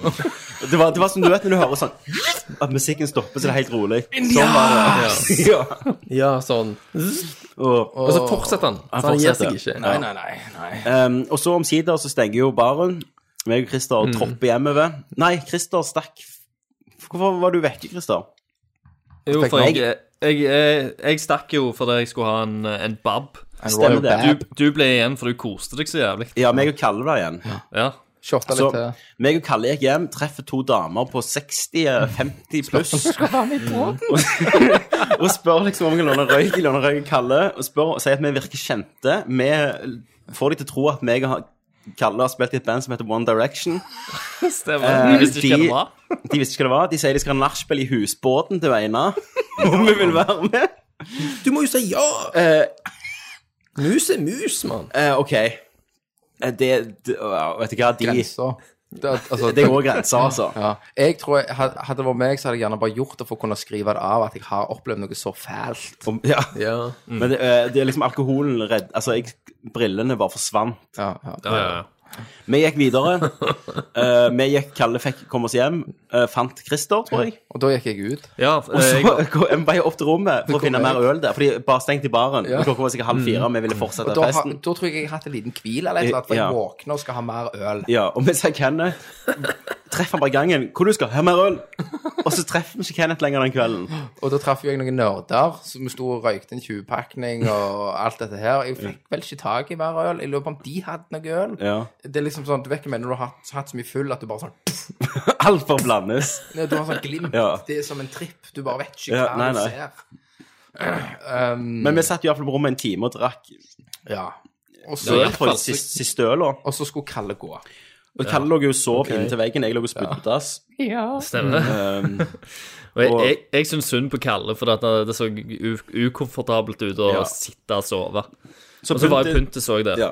S4: Det var, det var som du vet når du hører sånn At musikken stopper, så det er helt rolig. Sånn var det. Ja.
S5: Ja, sånn.
S4: Og,
S5: Og så fortsetter han. Så han gir seg ikke.
S4: Nei, nei, Um, og så omsider så stenger jo baren. Meg og Christer tropper hjemover. Nei, Christer stakk. Hvorfor var du vekke, Christer?
S6: Jo, for jeg, jeg, jeg, jeg stakk jo fordi jeg skulle ha en, en bab.
S7: En
S4: Stemmer
S7: royal
S4: det.
S7: bab.
S6: Du, du ble igjen, for du koste deg så jævlig.
S4: Ja, meg og Kalle var igjen.
S6: Ja.
S7: Shotta
S4: Så
S7: litt til.
S4: meg og Kalle gikk hjem, treffer to damer på 60-50 pluss. og, og spør liksom om vi kan låne røyk. De låner røyk av Kalle og spør, og sier at vi virker kjente. Vi får de til å tro at meg og han- Kalle har spilt i et band som heter One Direction.
S6: Stemmer.
S4: Eh,
S6: Hvis du ikke
S4: de-
S6: det var.
S4: De visste ikke hva det var. De sier de skal ha nachspiel i husbåten til Veina. Om vi vil være med.
S5: Du må jo si ja!
S4: Eh,
S5: Mus er mus, mann.
S4: eh, OK. Eh, Det, det wow, Vet du hva, de
S7: Grensa. Det, altså,
S4: Det går grenser, altså.
S7: Ja. Jeg tror jeg, had- Hadde det vært meg, så hadde jeg gjerne bare gjort det for å kunne skrive det av at jeg har opplevd noe så fælt.
S4: Om- Ja.
S5: Ja.
S7: Mm.
S4: Men det, eh, det er liksom alkoholen redd Altså, jeg, brillene bare forsvant.
S7: Ja, ja.
S6: Ja, ja.
S4: Vi gikk videre. Eh, vi gikk, Kalle fikk komme oss hjem. eh, fant Christer, tror jeg.
S7: Og da gikk jeg ut.
S6: ja
S4: Og så
S6: eh, jeg,
S4: kom vi bare opp til rommet for å
S7: kom
S4: finne
S7: jeg.
S4: mer øl der. For de bare stengte i baren.
S7: Ja. Mm.
S4: Og Klokka var sikkert halv fire, og vi ville
S7: Og
S4: fortsette
S7: da, har,
S4: festen.
S7: da tror jeg jeg har hatt en liten hvil eller et eller annet, for
S4: Ja.
S7: jeg våkner og skal ha mer øl.
S4: Ja, og mens jeg Kenneth treffer han bare i gangen. 'Hvor du skal? Her mer øl?' Og så treffer vi ikke Kenneth lenger den kvelden.
S7: Og da traff jo jeg noen nerder som sto og røykte en 20-pakning og alt dette her. Jeg fikk vel ikke tak i mer øl. Jeg lurer på om de hadde noe øl.
S4: Ja.
S7: Det er liksom sånn, Du vet ikke når du har hatt, hatt så mye full at du bare sånn
S4: Alt bare blandes.
S7: Nei, Du har sånn glimt.
S4: Ja.
S7: Det er som en tripp. Du bare vet ikke
S4: Ja,
S7: hva
S4: nei,
S7: du
S4: nei.
S7: ser.
S4: Men vi satt i hvert fall på rommet en time og drakk
S7: Mm. Ja. Og
S4: øl
S7: så,
S6: hvert fall
S4: for siste, siste øl. da.
S7: og så skulle Kalle gå.
S4: Og Kalle lå jo og sov inntil veggen. Jeg lå og spydde på dass.
S6: stemmer.
S4: Um,
S6: Og jeg, jeg, jeg syns synd på Kalle, for at det så u- ukomfortabelt ut å
S4: Ja.
S6: sitte og sove. Og så var jo Puntis òg der.
S4: Ja.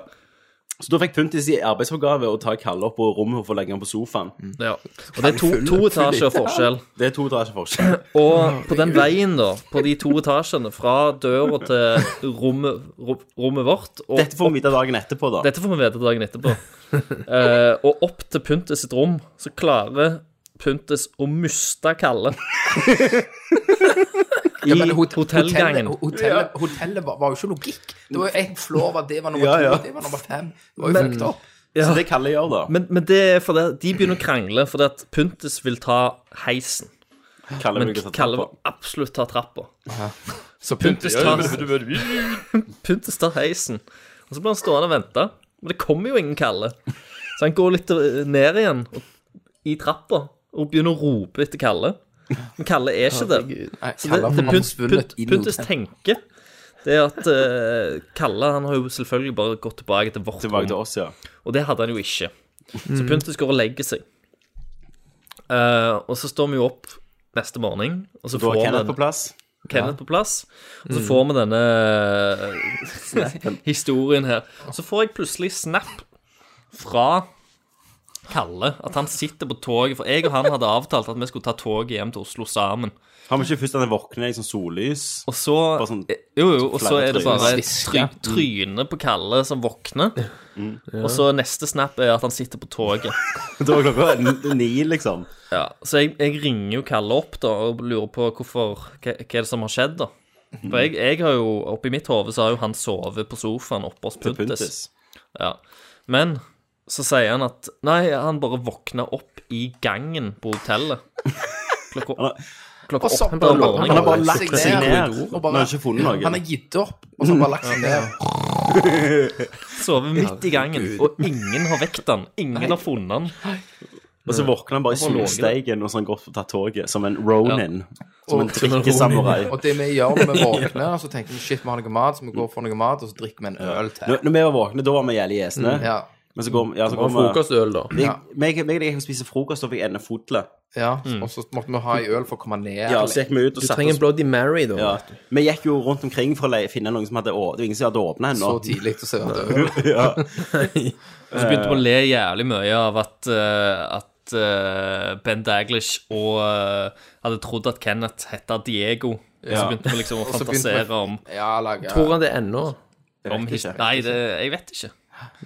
S4: Så da fikk Puntis i arbeidsforgave å ta Kalle opp på rommet og få legge ham på sofaen.
S6: Ja. Og det er to, to etasjer forskjell.
S4: Det er to etasjer forskjell.
S6: Og på den veien, da, på de to etasjene, fra døra til rommet, rom- rommet vårt og
S4: Dette får vi vite dagen etterpå, da.
S6: Dette får vi vite dagen etterpå. Eh, og opp til Puntes sitt rom, så klarer Puntes å miste Kalle.
S7: Ja, men hot-
S6: hotellgangen.
S7: Hotellet, hotellet, hotellet var, var jo ikke logikk. Det var én floor, det var nummer
S4: Ja, ja.
S7: to, det var nummer fem. Det var jo fucked opp.
S4: Så det Kalle gjør, da.
S6: Men, men det er fordi at de begynner å krangle fordi at Puntes vil ta heisen.
S4: Kalle
S6: Men
S4: vil ikke ta
S6: Kalle
S4: trappa.
S6: vil absolutt ta trappa.
S7: Så
S6: Puntes
S8: Ja,
S6: tar,
S8: men- men- men- men-
S6: Puntes tar heisen, og så blir han stående og vente. Men det kommer jo ingen Kalle. Så han går litt eh, ned igjen og, i trappa og begynner å rope etter Kalle. Men Kalle er ikke der. Så det, det Punt, Punt, Puntes tenke det er at eh, Kalle han har jo selvfølgelig bare gått tilbake til vårt
S4: Tilbake til
S6: rom,
S4: oss, ja.
S6: og det hadde han jo ikke. Så Puntes går og legger seg. Eh, og så står vi jo opp neste morgen, og så
S4: Da
S6: får
S4: er
S6: vi
S4: Kenneth på
S6: denne-
S4: plass.
S6: Kenneth på plass. Og så
S4: Mm.
S6: får vi denne eh, historien her. Så får jeg plutselig snap fra Kalle, at han sitter på toget. For jeg og han hadde avtalt at vi skulle ta toget hjem til Oslo sammen.
S4: Har vi ikke først denne våkne i sånn sollys?
S6: Og så eh,
S4: Bare sånn-
S6: Jo, jo, og så
S4: flere
S6: er det
S4: tryner.
S6: bare et try, tryne på Kalle som våkner.
S4: Mm.
S6: Og så neste snap er at han sitter på toget.
S4: Da var klokka n- ni, liksom.
S6: Ja, så jeg, jeg ringer jo Kalle opp da og lurer på hvorfor, hva, hva er det som har skjedd, da. For jeg, jeg har jo, oppi mitt hode så har jo han sovet på sofaen oppe hos
S4: Til
S6: Puntis.
S4: Puntis.
S6: Ja. Men så sier han at Nei, han bare våkna opp i gangen på hotellet. Klokka, klokka
S7: så-
S6: åtte om
S4: Han har
S6: morgenen.
S4: bare lagt seg
S7: og
S4: ned. Han
S7: bare-
S4: har ikke funnet
S7: Han
S4: noe.
S7: har gitt opp, og så har han bare lagt seg ned.
S6: Sovet midt i gangen, og ingen har vekt han. Ingen har funnet han.
S4: Og så våkner han bare i
S6: Han bare
S4: solsteigen og så har han gått og tatt toget, som en ronin. Som en
S7: Og-
S4: trikkesamurai.
S7: Og det vi gjør når vi våkner, så tenker vi shit, vi har noe mat, så vi går og får noe mat, og så drikker vi en øl til.
S4: Når, når vi var våkne, da var vi jævlig
S6: Mm,
S4: gjesne.
S7: Ja.
S4: Men så kom, ja, så
S5: Og
S4: kom vi
S5: frokostøl, da.
S4: Jeg- Meg meg og deg gikk og spiste frokost, og fikk endefotle.
S7: ja. Og så måtte vi ha en øl for å komme ned.
S4: Mm. Ja, så gikk vi ut og
S5: Du
S4: satte
S5: trenger
S4: oss
S5: en Bloody Mary, da.
S4: Ja. Vi gikk jo rundt omkring for å le- finne noen som hadde å, Det var ingen som hadde åpna ennå.
S7: så tidlig til å se at øl.
S6: Og så begynte vi å le jævlig mye av at, eh, at eh, Ben Daglish og eh, hadde trodd at Kenneth hette Diego. Og så
S4: Ja.
S6: begynte vi liksom å
S7: så begynte vi-
S6: fantasere om,
S7: Ja, lage
S5: Tror han det ennå?
S6: om his- Nei, det, jeg vet ikke.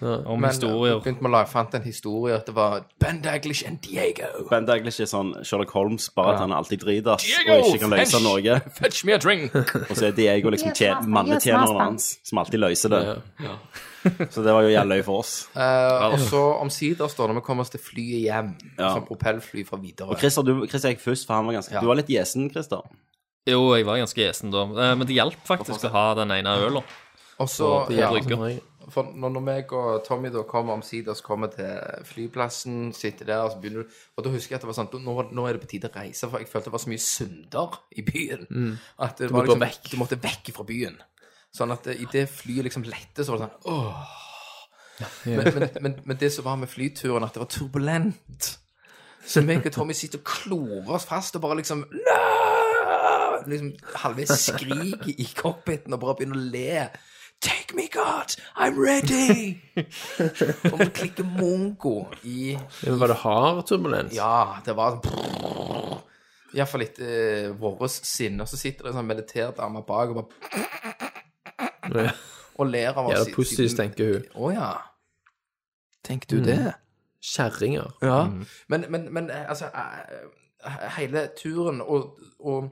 S6: Om
S7: Men
S6: historier.
S7: begynte vi å lage, fant en historie at det var Ben Daglish and Diego.
S4: Ben Daglish er sånn Sherlock Holmes, bare at han alltid driter ass, og ikke kan løse noe.
S8: Fetch me a drink.
S4: Og så er Diego liksom tje- mannetjeneren hans, som alltid løser det. Så det var jo jævlig løy for oss.
S7: Eh, og så omsider står det når vi kommer oss til flyet hjem,
S4: Ja.
S7: som propellfly fra Widerøe.
S4: Christer, du, Christer gikk først, for han var ganske Du var litt gjesen, Christer.
S6: Jo, jeg var ganske gjesen da. Eh, Men det hjalp faktisk å ha den ene øla.
S7: Og så
S6: på
S7: ja,
S6: brygga.
S5: Nei.
S7: for når, når meg og Tommy da kommer omsider så kommer til flyplassen, sitter der og så begynner du Og da husker jeg at det var sånn nå, nå er det på tide å reise, for jeg følte det var så mye synder i byen. At det var
S5: Mm. måtte
S7: liksom,
S5: vekk.
S7: du måtte vekk fra byen. Sånn at eh, i det flyet liksom lette, så var det sånn åh. Men, men, men, men det som var med flyturen, at det var turbulent. Så meg og Tommy sitter og klorer oss fast og bare liksom «Nå!» Liksom halvveis skriker i cockpiten og bare begynner å le. Take me, God! I'm ready! og vi klikker mongo i
S5: Men Var det hard turbulens?
S7: Ja, det var sånn Iallfall litt eh, vårt sinne. Og så sitter det en sånn meditert dame bak og bare
S5: Ja.
S7: og ler av
S5: Ja, det er pussys, tenker hun. Mm.
S7: Å ja. Tenker du det?
S5: Kjerringer.
S7: Ja. Men, men, men eh, altså eh, Hele turen og, og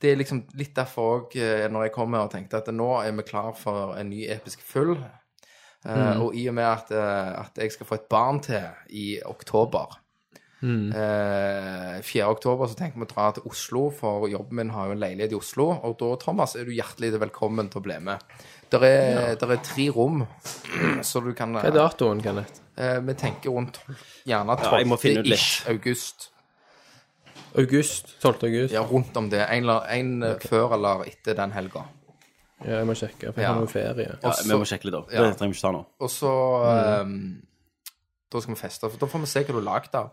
S7: det er liksom litt derfor òg, når jeg kom her og tenkte at nå er vi klar for en ny episk full.
S5: Mm.
S7: Eh, Og i og med at, eh, at jeg skal få et barn til i oktober
S5: Mm.
S7: eh, 4. oktober så tenker vi å dra til Oslo, for jobben min har jo en leilighet i Oslo. Og da, Thomas, er du hjertelig velkommen til å bli med. Der er, der er tre rom, så du kan
S5: Hva er datoen, Kenneth?
S7: Eh, vi tenker rundt tolv- gjerne 12.
S4: jeg må finne ut litt.
S7: ish august.
S5: August. 12. august.
S7: Ja, rundt om det. En, eller- en eh, før eller etter den helga.
S5: Ja, jeg må sjekke, for jeg
S7: Ja.
S5: har noe ferie.
S4: Ja,
S7: Også-
S4: vi må sjekke litt opp.
S7: Ja.
S4: Det trenger vi ikke ta nå.
S7: Og så
S4: Mm.
S7: eh, Da skal vi feste. For da får vi se hva du er lagd av.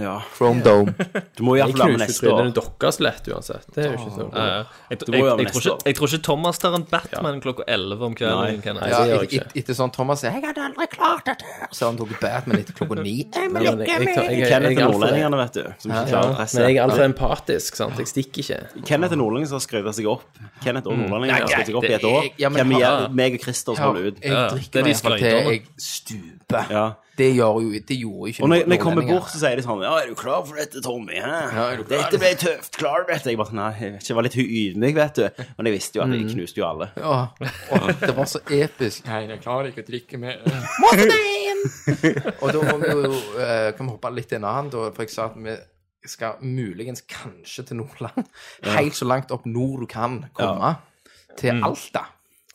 S4: Ja.
S7: Chrome Dome.
S4: Du må
S5: Jeg
S4: iallfall være med
S5: knuser
S4: neste år.
S5: trynet deres lett uansett. Det er jo ikke sånn.
S6: Ja, ja. Eh, Jeg,
S4: Du må
S6: jeg,
S4: gjøre det
S6: jeg,
S4: neste
S6: tror ikke,
S4: år.
S6: jeg tror ikke Thomas tar en Batman klokka 11 om kvelden. Kenneth.
S5: Nei,
S7: Ja,
S5: det gjør
S7: et,
S5: jeg ikke.
S7: et, etter sånn Thomas sier 'Jeg hadde aldri klart dette', så har han tatt Batman etter klokka
S5: Men
S7: ni.
S5: jeg, jeg, tar- jeg, jeg, jeg, er
S4: Kenneth er
S5: alt for-
S4: nordlendingene, vet du. Som ikke klarer
S5: men jeg
S4: presset.
S5: er altfor empatisk, sant. Jeg stikker ikke.
S4: Kenneth er nordlending som har skrevet seg opp. Kenneth
S7: Mm.
S4: og nordlendinger har skrevet seg opp i et år.
S7: Ja, men han-
S4: Hvem gjør meg og Christer som holder
S7: jeg
S4: ut?
S6: det er
S7: drikker
S6: de
S7: meg iallfall til
S6: sprøytene.
S7: jeg stuper.
S4: Ja.
S7: Det gjør jo det gjorde jo ikke
S4: Og når, når jeg kommer
S7: nordlendinger.
S4: bort, så sier de sånn Ja, er du klar for dette, Tommy? Hæ?
S7: Ja, er du klar?
S4: dette ble tøft. Klarer du dette? Jeg bare sånn, Nei, jeg vet ikke. Jeg var litt ydmyk, vet du. Men jeg visste jo at jeg knuste jo alle.
S7: Mm. Ja, og det var så episk.
S8: Nei, jeg klarer ikke å drikke mer.
S7: Og da må vi jo eh, kan vi hoppe litt i en annen, da, for jeg sa at vi skal muligens kanskje til Nordland. Helt så langt opp nord du kan komme. Til Alta.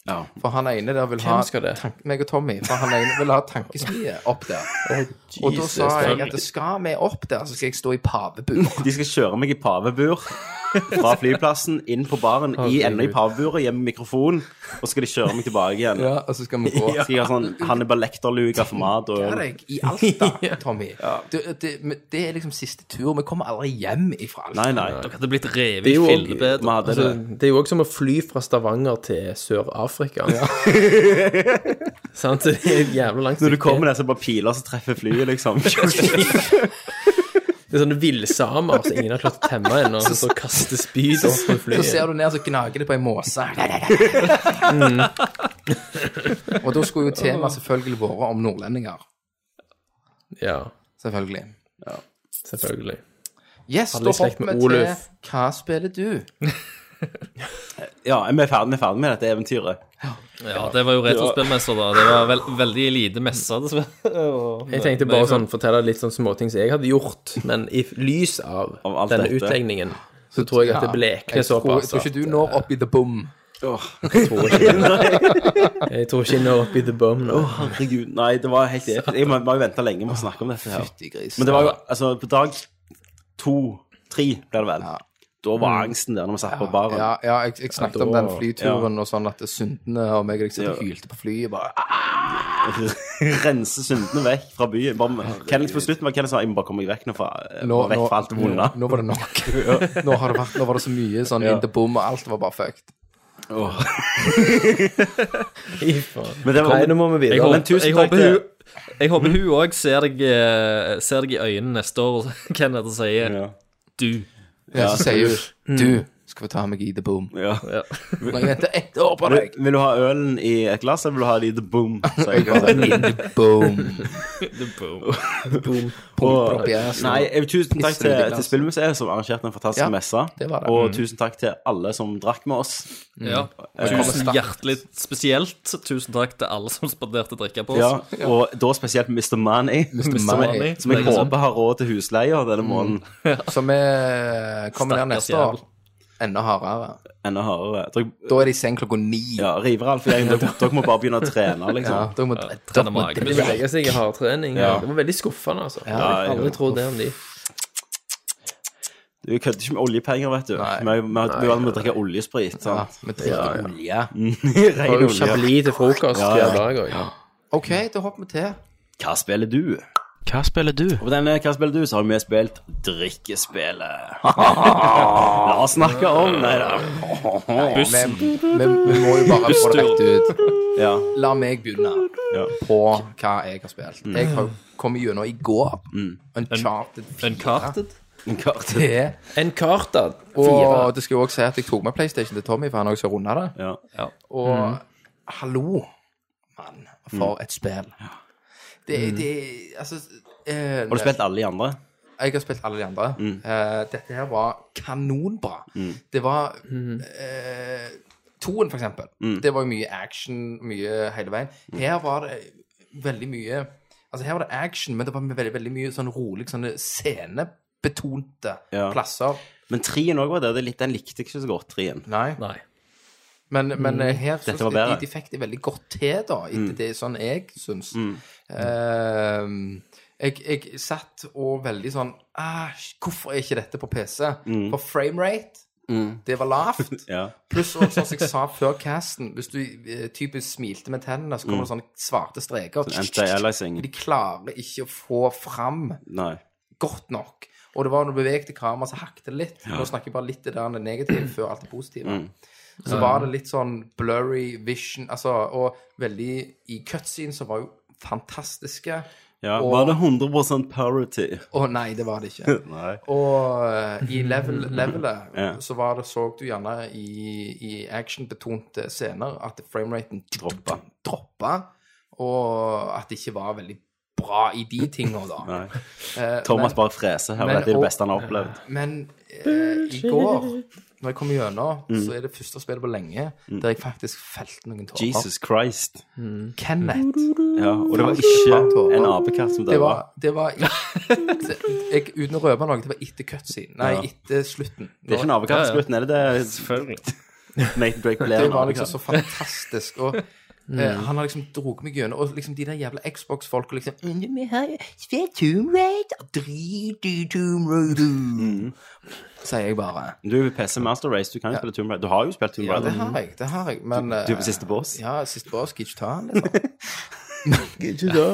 S4: Ja.
S7: For han ene der vil ha
S5: skal det?
S7: tank- Meg og Tommy. For han ene vil ha tankesmie opp der. og da sa jeg at skal vi opp der, så skal jeg stå i pavebur.
S4: De skal kjøre meg i pavebur fra flyplassen, inn på baren, i enda i paveburet, hjem med mikrofon, og så skal de kjøre meg tilbake igjen.
S7: Ja, og så skal vi gå.
S4: Skal jeg ha sånn Hannibal Lecter-luke for mat og
S7: Hva er deg i Alta, Tommy? Du, det, men det er liksom siste tur. Vi kommer aldri hjem ifra Alta.
S4: Nei, nei.
S6: Dere hadde blitt revet
S5: Det
S6: i
S5: er jo også-
S6: fillebed.
S4: Vi hadde
S5: Altså,
S4: det.
S5: det er jo òg som å fly fra Stavanger til Sør-Afrika. Sant? Det er et jævla langt
S4: Når du
S5: stykke.
S4: kommer der, så bare piler som treffer flyet, liksom.
S5: Det er sånne villsamer som ingen har klart å temme ennå, som står og kaster spyd opp på
S7: Så
S5: flyet.
S7: ser du ned, så gnager det på en måse. Og da skulle jo temaet selvfølgelig vært om nordlendinger.
S5: Ja,
S7: Selvfølgelig.
S5: selvfølgelig.
S7: Yes,
S5: Han er
S7: da
S5: i slekt
S7: hopper
S5: med
S7: vi til
S5: Oluf.
S7: Hva spiller du?
S4: Ja, vi er ferdig, vi er ferdig med dette eventyret.
S6: Ja, det var jo retrospillmesser, da. Det var vel, veldig lite messer, dessverre.
S5: Jeg tenkte bare sånn, fortelle litt sånn småting som jeg hadde gjort, men i lys av,
S4: Av alt
S5: denne
S4: dette.
S5: utlegningen, så tror jeg at det blekner
S7: Jeg tror, jeg
S5: såpass.
S7: tror ikke du når opp i the boom.
S5: Jeg tror ikke jeg når opp i the bum nå.
S4: Å, herregud. Nei, det var helt episk. Jeg må- må jo vente lenge med å snakke om dette her.
S7: Fytti gris.
S4: Men det var jo Altså, på dag to, tre, blir det vel. Da
S6: Mm.
S4: var angsten der når vi satt på baren.
S7: ja, ja, jeg, jeg snakket om
S5: da-
S7: den flyturen og sånn at syndene og meg og deg sitter og hylte på flyet bare ah,
S4: Rense syndene vekk fra byen. Bare, Kenneth på slutten var Kenneth sa jeg må bare komme meg vekk nå fra,
S7: nå,
S4: vekk
S7: nå,
S4: fra alt det vonde.
S7: nå, nå var det nok. Nå, har det vært, nå var det så mye sånn in the boom, og alt var bare fucked.
S5: Fy faen.
S4: Men det var-
S5: Nei, nå må vi
S6: Jeg
S5: videre.
S4: men
S6: håper,
S4: tusen
S6: jeg
S4: takk
S6: håper
S4: til-
S6: hun jeg håper hun òg ser, deg, eh, ser deg i øynene neste år, Kenneth, og sier
S4: Ja.
S6: du.
S7: Ja, så sier hun Du, skal vi ta meg i the boom?
S4: Ja.
S7: Nå har jeg venter ett år på deg.
S4: Vil, vil du ha ølen i et glass, eller vil du ha det i the boom? Så jeg bare,
S7: Boom.
S4: og,
S7: opp i assen.
S4: nei, jeg, tusen takk
S7: Pisser ut i
S4: til,
S7: glass.
S4: til Spillmuseet, som arrangerte en fantastisk
S7: Ja,
S4: messe.
S7: det var det.
S4: Og tusen takk til alle som drakk med oss. Eh,
S6: Ja. Tusen hjertelig spesielt tusen takk til alle som spanderte drikke på
S4: Ja,
S6: oss.
S4: og da spesielt Mr. Manny,
S7: Money.
S4: som
S7: Mm.
S4: jeg håper har råd til husleie denne måneden.
S7: Så vi kommer ned
S6: Stakkars
S7: neste år. Enda hardere.
S4: Enda hardere. Dere,
S7: Da er de i seng klokka ni.
S4: ja, Riveralf-gjengen, dere, dere må bare begynne å trene,
S7: Ja,
S4: liksom.
S7: da må
S6: trene
S7: må-
S6: magen.
S5: De veier seg i hardtrening.
S4: Ja.
S5: Det var veldig skuffende, altså. Jeg
S4: Ja,
S5: har
S4: jo.
S5: aldri trodd det om de.
S4: Du kødder ikke med oljepenger, vet du.
S7: Nei.
S4: Vi vi- vi må drikke oljesprit.
S7: Ja,
S4: sant?
S7: vi drikker olje.
S4: Ren
S5: Og
S4: olje.
S5: Chablis til frokost
S4: Ja, ja.
S5: hver dag òg.
S7: OK, da hopper vi til.
S4: Hva spiller du?
S9: Hva spiller du?
S4: Og på denne Hva spiller du? så har vi spilt Drikkespillet. La oss snakke om Nei da.
S7: Vi, vi, vi må jo bare få det rett ut.
S4: Ja.
S7: La meg begynne
S4: Ja.
S7: på hva jeg har spilt. Jeg har kommet gjennom i går.
S4: Mm.
S7: Uncharted 4.
S6: Uncharted?
S4: Kart.
S7: Det.
S5: Encarta. Fire.
S7: Og det skal jo også si at jeg tok med PlayStation til Tommy, for han også runda det.
S4: Ja.
S7: Og
S4: Mm.
S7: hallo, mann, for et spill. Det, det Altså eh,
S4: Mm. Har du spilt Mm. alle de andre?
S7: Jeg har spilt alle de andre. Eh, dette her var kanonbra.
S4: Mm.
S7: Det var eh, Toen, for eksempel.
S4: Mm.
S7: Det var jo mye action mye hele veien. Her var det eh, veldig mye Altså, her var det action, men det var veldig, veldig mye sånn rolig, sånne scenebetonte
S4: Ja.
S7: plasser.
S4: Men trien òg var det. det er litt, den likte jeg ikke så godt, trien.
S7: Nei.
S6: Nei.
S7: Men, men eh, her synes
S4: Mm.
S7: jeg
S4: var
S7: de,
S4: bedre. Mm.
S7: de fikk det veldig godt til, da, etter det sånn jeg syns. Eh, jeg, jeg satt og veldig sånn ah, Hvorfor er ikke dette på PC? For framerate, det var lavt.
S4: Mm. Ja.
S7: Pluss også, sånn som jeg sa før casten, hvis du eh, typisk smilte med tennene, så kommer det sånne svarte streker.
S4: Mm. Sånn anti-aliasing.
S7: De klarer ikke å få fram
S4: Nei.
S7: godt nok. Og det var når du bevegte kameraet, så hakket det litt. Nå snakker jeg bare litt det der det negative før alt det positive.
S4: Mm.
S7: Så var det litt sånn blurry vision, altså, og veldig I cutscenes så var jo fantastiske.
S4: Ja,
S7: Og-
S4: Var det 100 parity?
S7: Å nei, det var det ikke.
S4: Nei.
S7: Og eh, i level, levelet
S4: Ja.
S7: så var det, så du gjerne i, i actionbetonte scener at frameraten
S4: Droppa.
S7: droppa, og at det ikke var veldig bra i de tinga, da.
S4: Nei.
S7: Eh,
S4: Thomas
S7: men-
S4: bare freser her. og
S7: men-
S4: Dette er
S7: og-
S4: det beste han har opplevd.
S7: Men eh, i går, når jeg kom gjennom,
S4: Mm.
S7: så er det første spillet på lenge der jeg faktisk felte noen tårer. Mm.
S4: Jesus Christ.
S7: Kenneth.
S4: Ja, og det var ikke en apekatt som
S7: Det
S4: døde.
S7: var, det var i- det- jeg, Uten å røpe noe, det var etter cutscene. Nei,
S4: Ja.
S7: etter slutten.
S4: Det er ikke en apekatt i slutten, er det det? Selvfølgelig. Nathan Drake ble
S7: Det
S4: en
S7: var liksom så
S4: apekatt.
S7: fantastisk. Og
S4: Mm.
S7: eh, han har liksom drog meg gjennom. Og liksom de der jævla Xbox-folka liksom «Mm, vi har spilt Tomb Raider, drit i Tomb Raider»,
S4: Mm.
S7: Sier jeg bare.
S4: Du er jo PC Master Race, du kan jo spille Tomb Raider. Du har jo spilt Tomb
S7: Ja, det
S4: Raider.
S7: har jeg. det har jeg, Men
S4: Mm. Du er
S7: eh,
S4: på siste boss?
S7: Ja, siste boss skal jeg ikke ta han, liksom.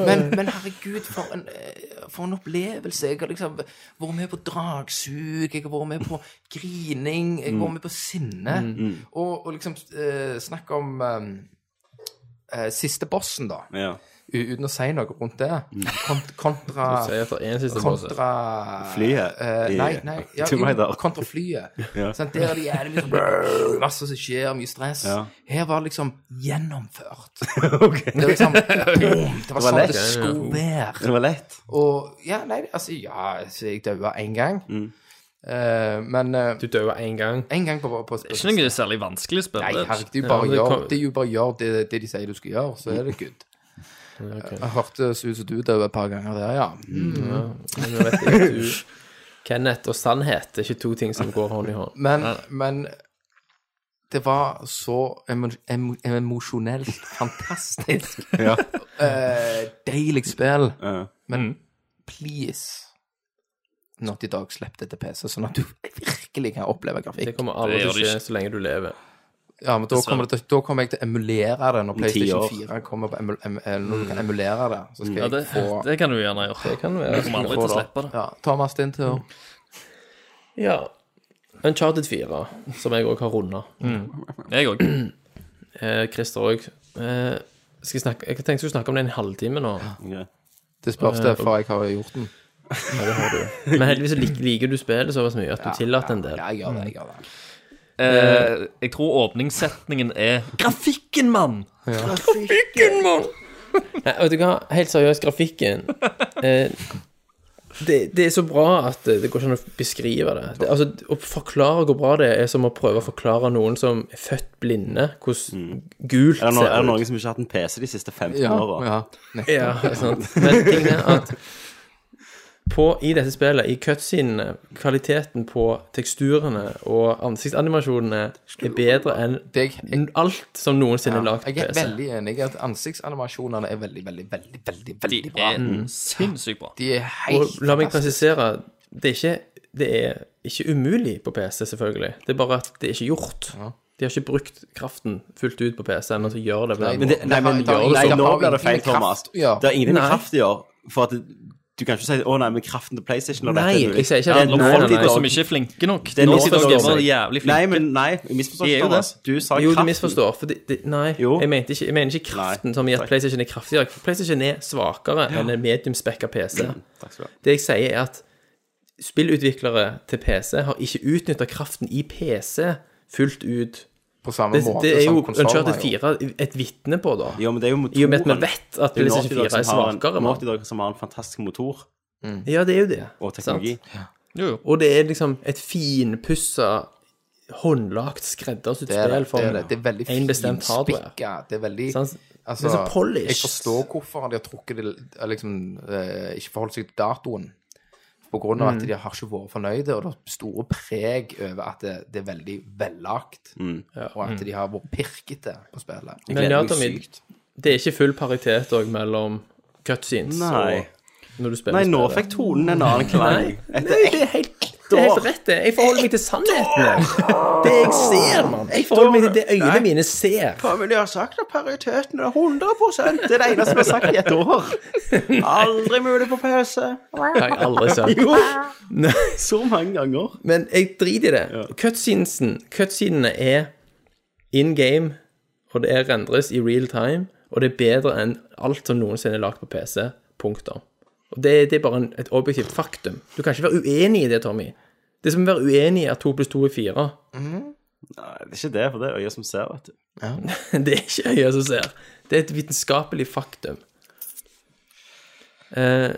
S7: men, men herregud, for en, eh, for en opplevelse. Jeg har liksom vært med på dragsug, jeg har vært med på grining, jeg
S4: Mm.
S7: har vært med på sinne. Og, og liksom eh, snakk om eh, eh, siste bossen, da,
S4: Ja.
S7: u- uten å si noe rundt det,
S4: Mm.
S7: kont kontra
S5: Sier at det er en siste pause.
S7: Ah, Kontra
S4: Flyet
S7: Eh,
S4: i-
S7: nei, nei. Ja,
S4: Tomb Raider.
S7: jo, kontra flyet.
S4: Ja.
S7: Sant, der er det jævlig mye sånn Masse som skjer, mye stress.
S4: Ja.
S7: Her var det liksom gjennomført. Det var liksom boom, Det var sånn
S4: lett.
S7: det skulle være.
S4: Det var lett.
S7: Og ja, nei, altså Ja, så jeg daua én gang.
S4: Mm.
S7: Eh, men
S5: Du dør én gang.
S7: én gang på, på, på, på
S6: Ikke noe særlig vanskelig spill.
S7: Nei,
S6: det.
S7: herregud, du
S5: Ja,
S7: bare
S5: men det
S7: gjør
S5: kan-
S7: det, er jo bare gjør det, det de sier du skal gjøre, så er det good. Jeg hørtes ut som du døde et par ganger der, ja.
S5: Mm. Men nå vet jeg at du Kenneth og sannhet det er ikke to ting som går hånd i hånd.
S7: Men, men det var så emo emo emosjonelt fantastisk.
S4: Ja.
S7: Eh, deilig spill.
S4: Ja.
S7: Men please Naughty Dog, slipp det til PC, sånn at du virkelig kan oppleve
S5: Det
S7: grafikk.
S5: kommer aldri
S6: Det gjør
S5: til å
S6: det
S5: skje så lenge du lever.
S7: Ja, men da kommer, det, til- da kommer jeg til å emulere det når
S4: ti
S7: PlayStation
S4: år.
S7: 4 kommer på emul em eh, Når du kan emulere det, så skal
S6: Ja, det,
S7: jeg få
S6: det kan du gjerne gjøre.
S5: Det kan være.
S6: Jeg kommer aldri
S7: få
S6: til å slippe det.
S7: Ja, Thomas, din tur.
S5: Ja. Uncharted 4, som jeg òg har runda.
S6: Jeg òg.
S5: Eh, Christer òg. Eh, skal jeg, snakke, jeg tenkte jeg skulle snakke om det en halvtime nå.
S4: Ok.
S7: Det spørs det, for jeg har jo gjort den.
S5: Men heldigvis så lik, liker du spillet såpass mye at du tillater en del.
S7: Ja, jeg gjør det. jeg gjør det
S6: Eh, jeg tror åpningssetningen er Grafikken, mann!
S5: Nei, vet du hva, helt seriøst, grafikken eh, det, det er så bra at det, det går ikke an å beskrive det. det. Altså, Å forklare hvor bra det er, er som å prøve å forklare noen som er født blinde, hvordan gult
S4: Mm. Er det, no er det
S5: ser ut.
S4: noen som ikke har hatt en PC de siste 15
S7: Ja,
S5: Eh,
S4: åra?
S7: ja.
S5: Ja, sant. Men tingen er at på, i dette spillet, i cutscenene, kvaliteten på teksturene og ansiktsanimasjonene er bedre enn
S7: Det jeg- jeg-
S5: alt som noensinne er lagd
S7: Jeg
S5: på
S7: er
S5: PC.
S7: veldig enig i at ansiktsanimasjonene er veldig, veldig, veldig veldig,
S6: De
S7: veldig bra. Mm.
S6: er sinnssykt bra.
S7: De er helt
S5: Og la
S4: altså.
S5: meg
S7: fantastiske.
S5: presisere, det er ikke, det er ikke umulig på PC, selvfølgelig. Det er bare at det er ikke gjort. De har ikke brukt kraften fullt ut på PC ennå til å gjøre det. på den
S4: Men det,
S5: måten.
S7: Det
S4: nei,
S7: har-
S4: men
S7: det har-
S4: nei,
S7: det har
S4: nå
S7: ingenting
S4: blir det feil,
S7: med kraft
S4: Thomas.
S7: å gjøre.
S4: Det har ingenting med
S5: Nei.
S4: kraft å gjøre. For at det, du kan ikke si 'Å nei, men kraften til PlayStation' og dette
S5: Nei,
S4: er mulig».
S5: jeg sier ikke
S4: Det er
S5: det. Nei,
S4: noe folk
S5: nei, nei.
S4: i dag-
S6: Som ikke er flinke nok.
S4: Det er
S6: Nå
S4: noe
S6: sitter
S4: folk i
S6: de
S4: dag-
S6: bare
S4: Nei,
S6: jævlig flinke.
S4: men nei, jeg misforstår
S6: De er
S4: ikke,
S6: jo
S4: Thomas. Du sa
S5: Jo, du
S4: kraften.
S5: misforstår. For det, det, nei,
S4: Jo.
S5: jeg mente ikke, jeg mener ikke kraften
S4: Nei,
S5: som i at
S4: takk.
S5: PlayStation er kraftigere. For PlayStation er svakere enn en mediumspekka PC.
S4: Mm, Takk skal du ha.
S5: Det jeg sier, er at spillutviklere til PC har ikke utnytta kraften i PC fullt ut.
S7: på samme
S5: Det,
S7: måte
S5: det er jo
S7: som konsoler
S5: Uncharted
S7: har gjort.
S5: 4 et vitne på, da.
S4: Jo, men det er jo motoren.
S5: I og med at vi vet at
S4: Det er jo
S5: PlayStation
S4: Naughty Dog
S5: 4 er
S4: som har en-
S5: svakere.
S4: Naughty
S5: mann.
S4: Dog som har en fantastisk motor
S5: Ja, det er jo det.
S4: og teknologi.
S5: Sant? Og det er liksom et finpussa, håndlagt, skreddersydd
S7: Det er
S5: spill
S7: det, det er det.
S5: for
S7: Det er veldig
S5: liksom en bestemt hardware.
S7: finspikka. Det er veldig
S5: Sant?
S7: altså,
S5: Det er så polished.
S7: Jeg forstår hvorfor de har trukket det eller liksom eh, Ikke forholdt seg til datoen. På grunn
S5: Mm.
S7: av at de har ikke vært fornøyde, og det er store preg over at det, det er veldig vellagt. Og at de har vært pirkete på spillet.
S5: Mm. Men ja, Tommy, det er ikke full paritet òg mellom cutscenes
S4: Nei.
S5: og når du spiller
S4: Nei, nå
S5: spillet.
S4: fikk tonen en annen klang. Etter
S5: Nei, det er helt, det er helt rett, det. Jeg forholder meg til sannheten. jeg. Det jeg ser, mann. Jeg forholder meg til det øynene mine ser.
S4: Hva vil jeg ha sagt? at Pariteten er 100 Det er det eneste vi har sagt i et år. Aldri mulig på pause.
S5: Det har jeg aldri sagt.
S4: Jo, så mange ganger.
S5: Men jeg driter i det. Cutscenesen- Cutscenene er in game, og det er rendres i real time, og det er bedre enn alt som noensinne er lagd på PC. Punktum. Og det, det er bare en, et objektivt faktum. Du kan ikke være uenig i det, Tommy. Det er som å være uenig i at to pluss to er fire.
S4: Nei, det er ikke det, for det er øyet som ser, vet du.
S5: Det er ikke øyet som ser. Det er et vitenskapelig faktum. Eh,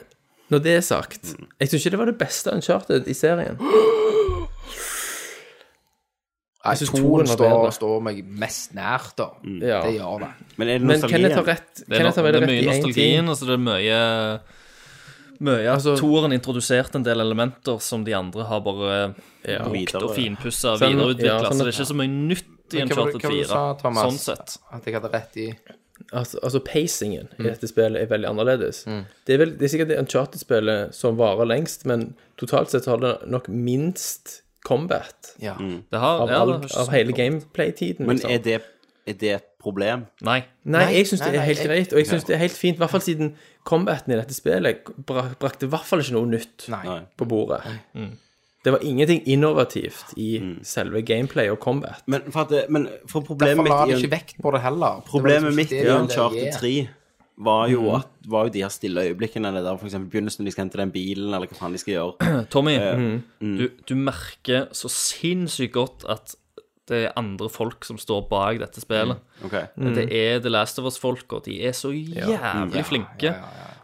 S5: når det er sagt Jeg syns ikke det var det beste Uncharted i serien.
S7: Nei,
S5: synes toen
S7: toen
S5: var
S7: står,
S5: bedre.
S7: står meg mest nært, da.
S5: Ja.
S7: Det gjør det.
S4: Men er det
S5: Men
S4: nostalgien?
S5: Kenneth har rett.
S6: Det er,
S5: Kenneth har veldig
S6: det er
S5: rett
S6: mye
S5: i én ting.
S6: nostalgien, og så det er mye Mye altså, Toren introduserte en del elementer som de andre har bare
S5: Ja.
S6: brukt og
S4: Videre.
S6: finpussa og
S5: Sånn-
S6: videreutvikla.
S5: ja, sånn
S6: så
S5: at-
S6: det er ikke så mye nytt i
S7: Men
S6: en
S7: hva var det- hva
S6: Charter
S7: var det du
S6: 4.
S7: sa, Thomas?
S6: sånn sett.
S7: At jeg hadde rett i
S5: Altså, altså pacingen
S7: Mm.
S5: i dette spillet er veldig annerledes. Det, er vel, det er sikkert det Uncharted-spillet som varer lengst, men totalt sett har det nok minst combat
S7: Ja.
S6: Det har,
S5: av,
S6: ja, det
S5: all,
S6: har ikke
S5: av
S6: så-
S5: hele gameplay-tiden.
S4: Men
S5: liksom.
S4: er det, er det et problem?
S6: Nei.
S5: Nei, jeg syns
S7: nei,
S5: det er
S7: nei,
S5: helt
S7: jeg-
S5: greit, og jeg syns det er helt fint, i hvert fall siden combaten i dette spillet bra, brakte i hvert fall ikke noe nytt
S7: Nei.
S5: på bordet. Mm. Det var ingenting innovativt i
S4: Mm.
S5: selve gameplay og combat.
S4: Men for, at, det- men for problemet
S7: Derfor la de
S4: mitt i
S7: ikke vekt på det liksom heller.
S4: Problemet mitt i Uncharted
S7: Charter
S4: 3 var jo, at, var jo de her stille øyeblikkene det der for eksempel begynnelsen når de skal hente den bilen, eller hva faen de skal gjøre.
S6: Tommy,
S7: Eh, mm.
S6: Du, du merker så sinnssykt godt at det er andre folk som står bak dette spillet.
S4: Ok.
S6: Det er The Last of Us-folk, og de er så jævlig flinke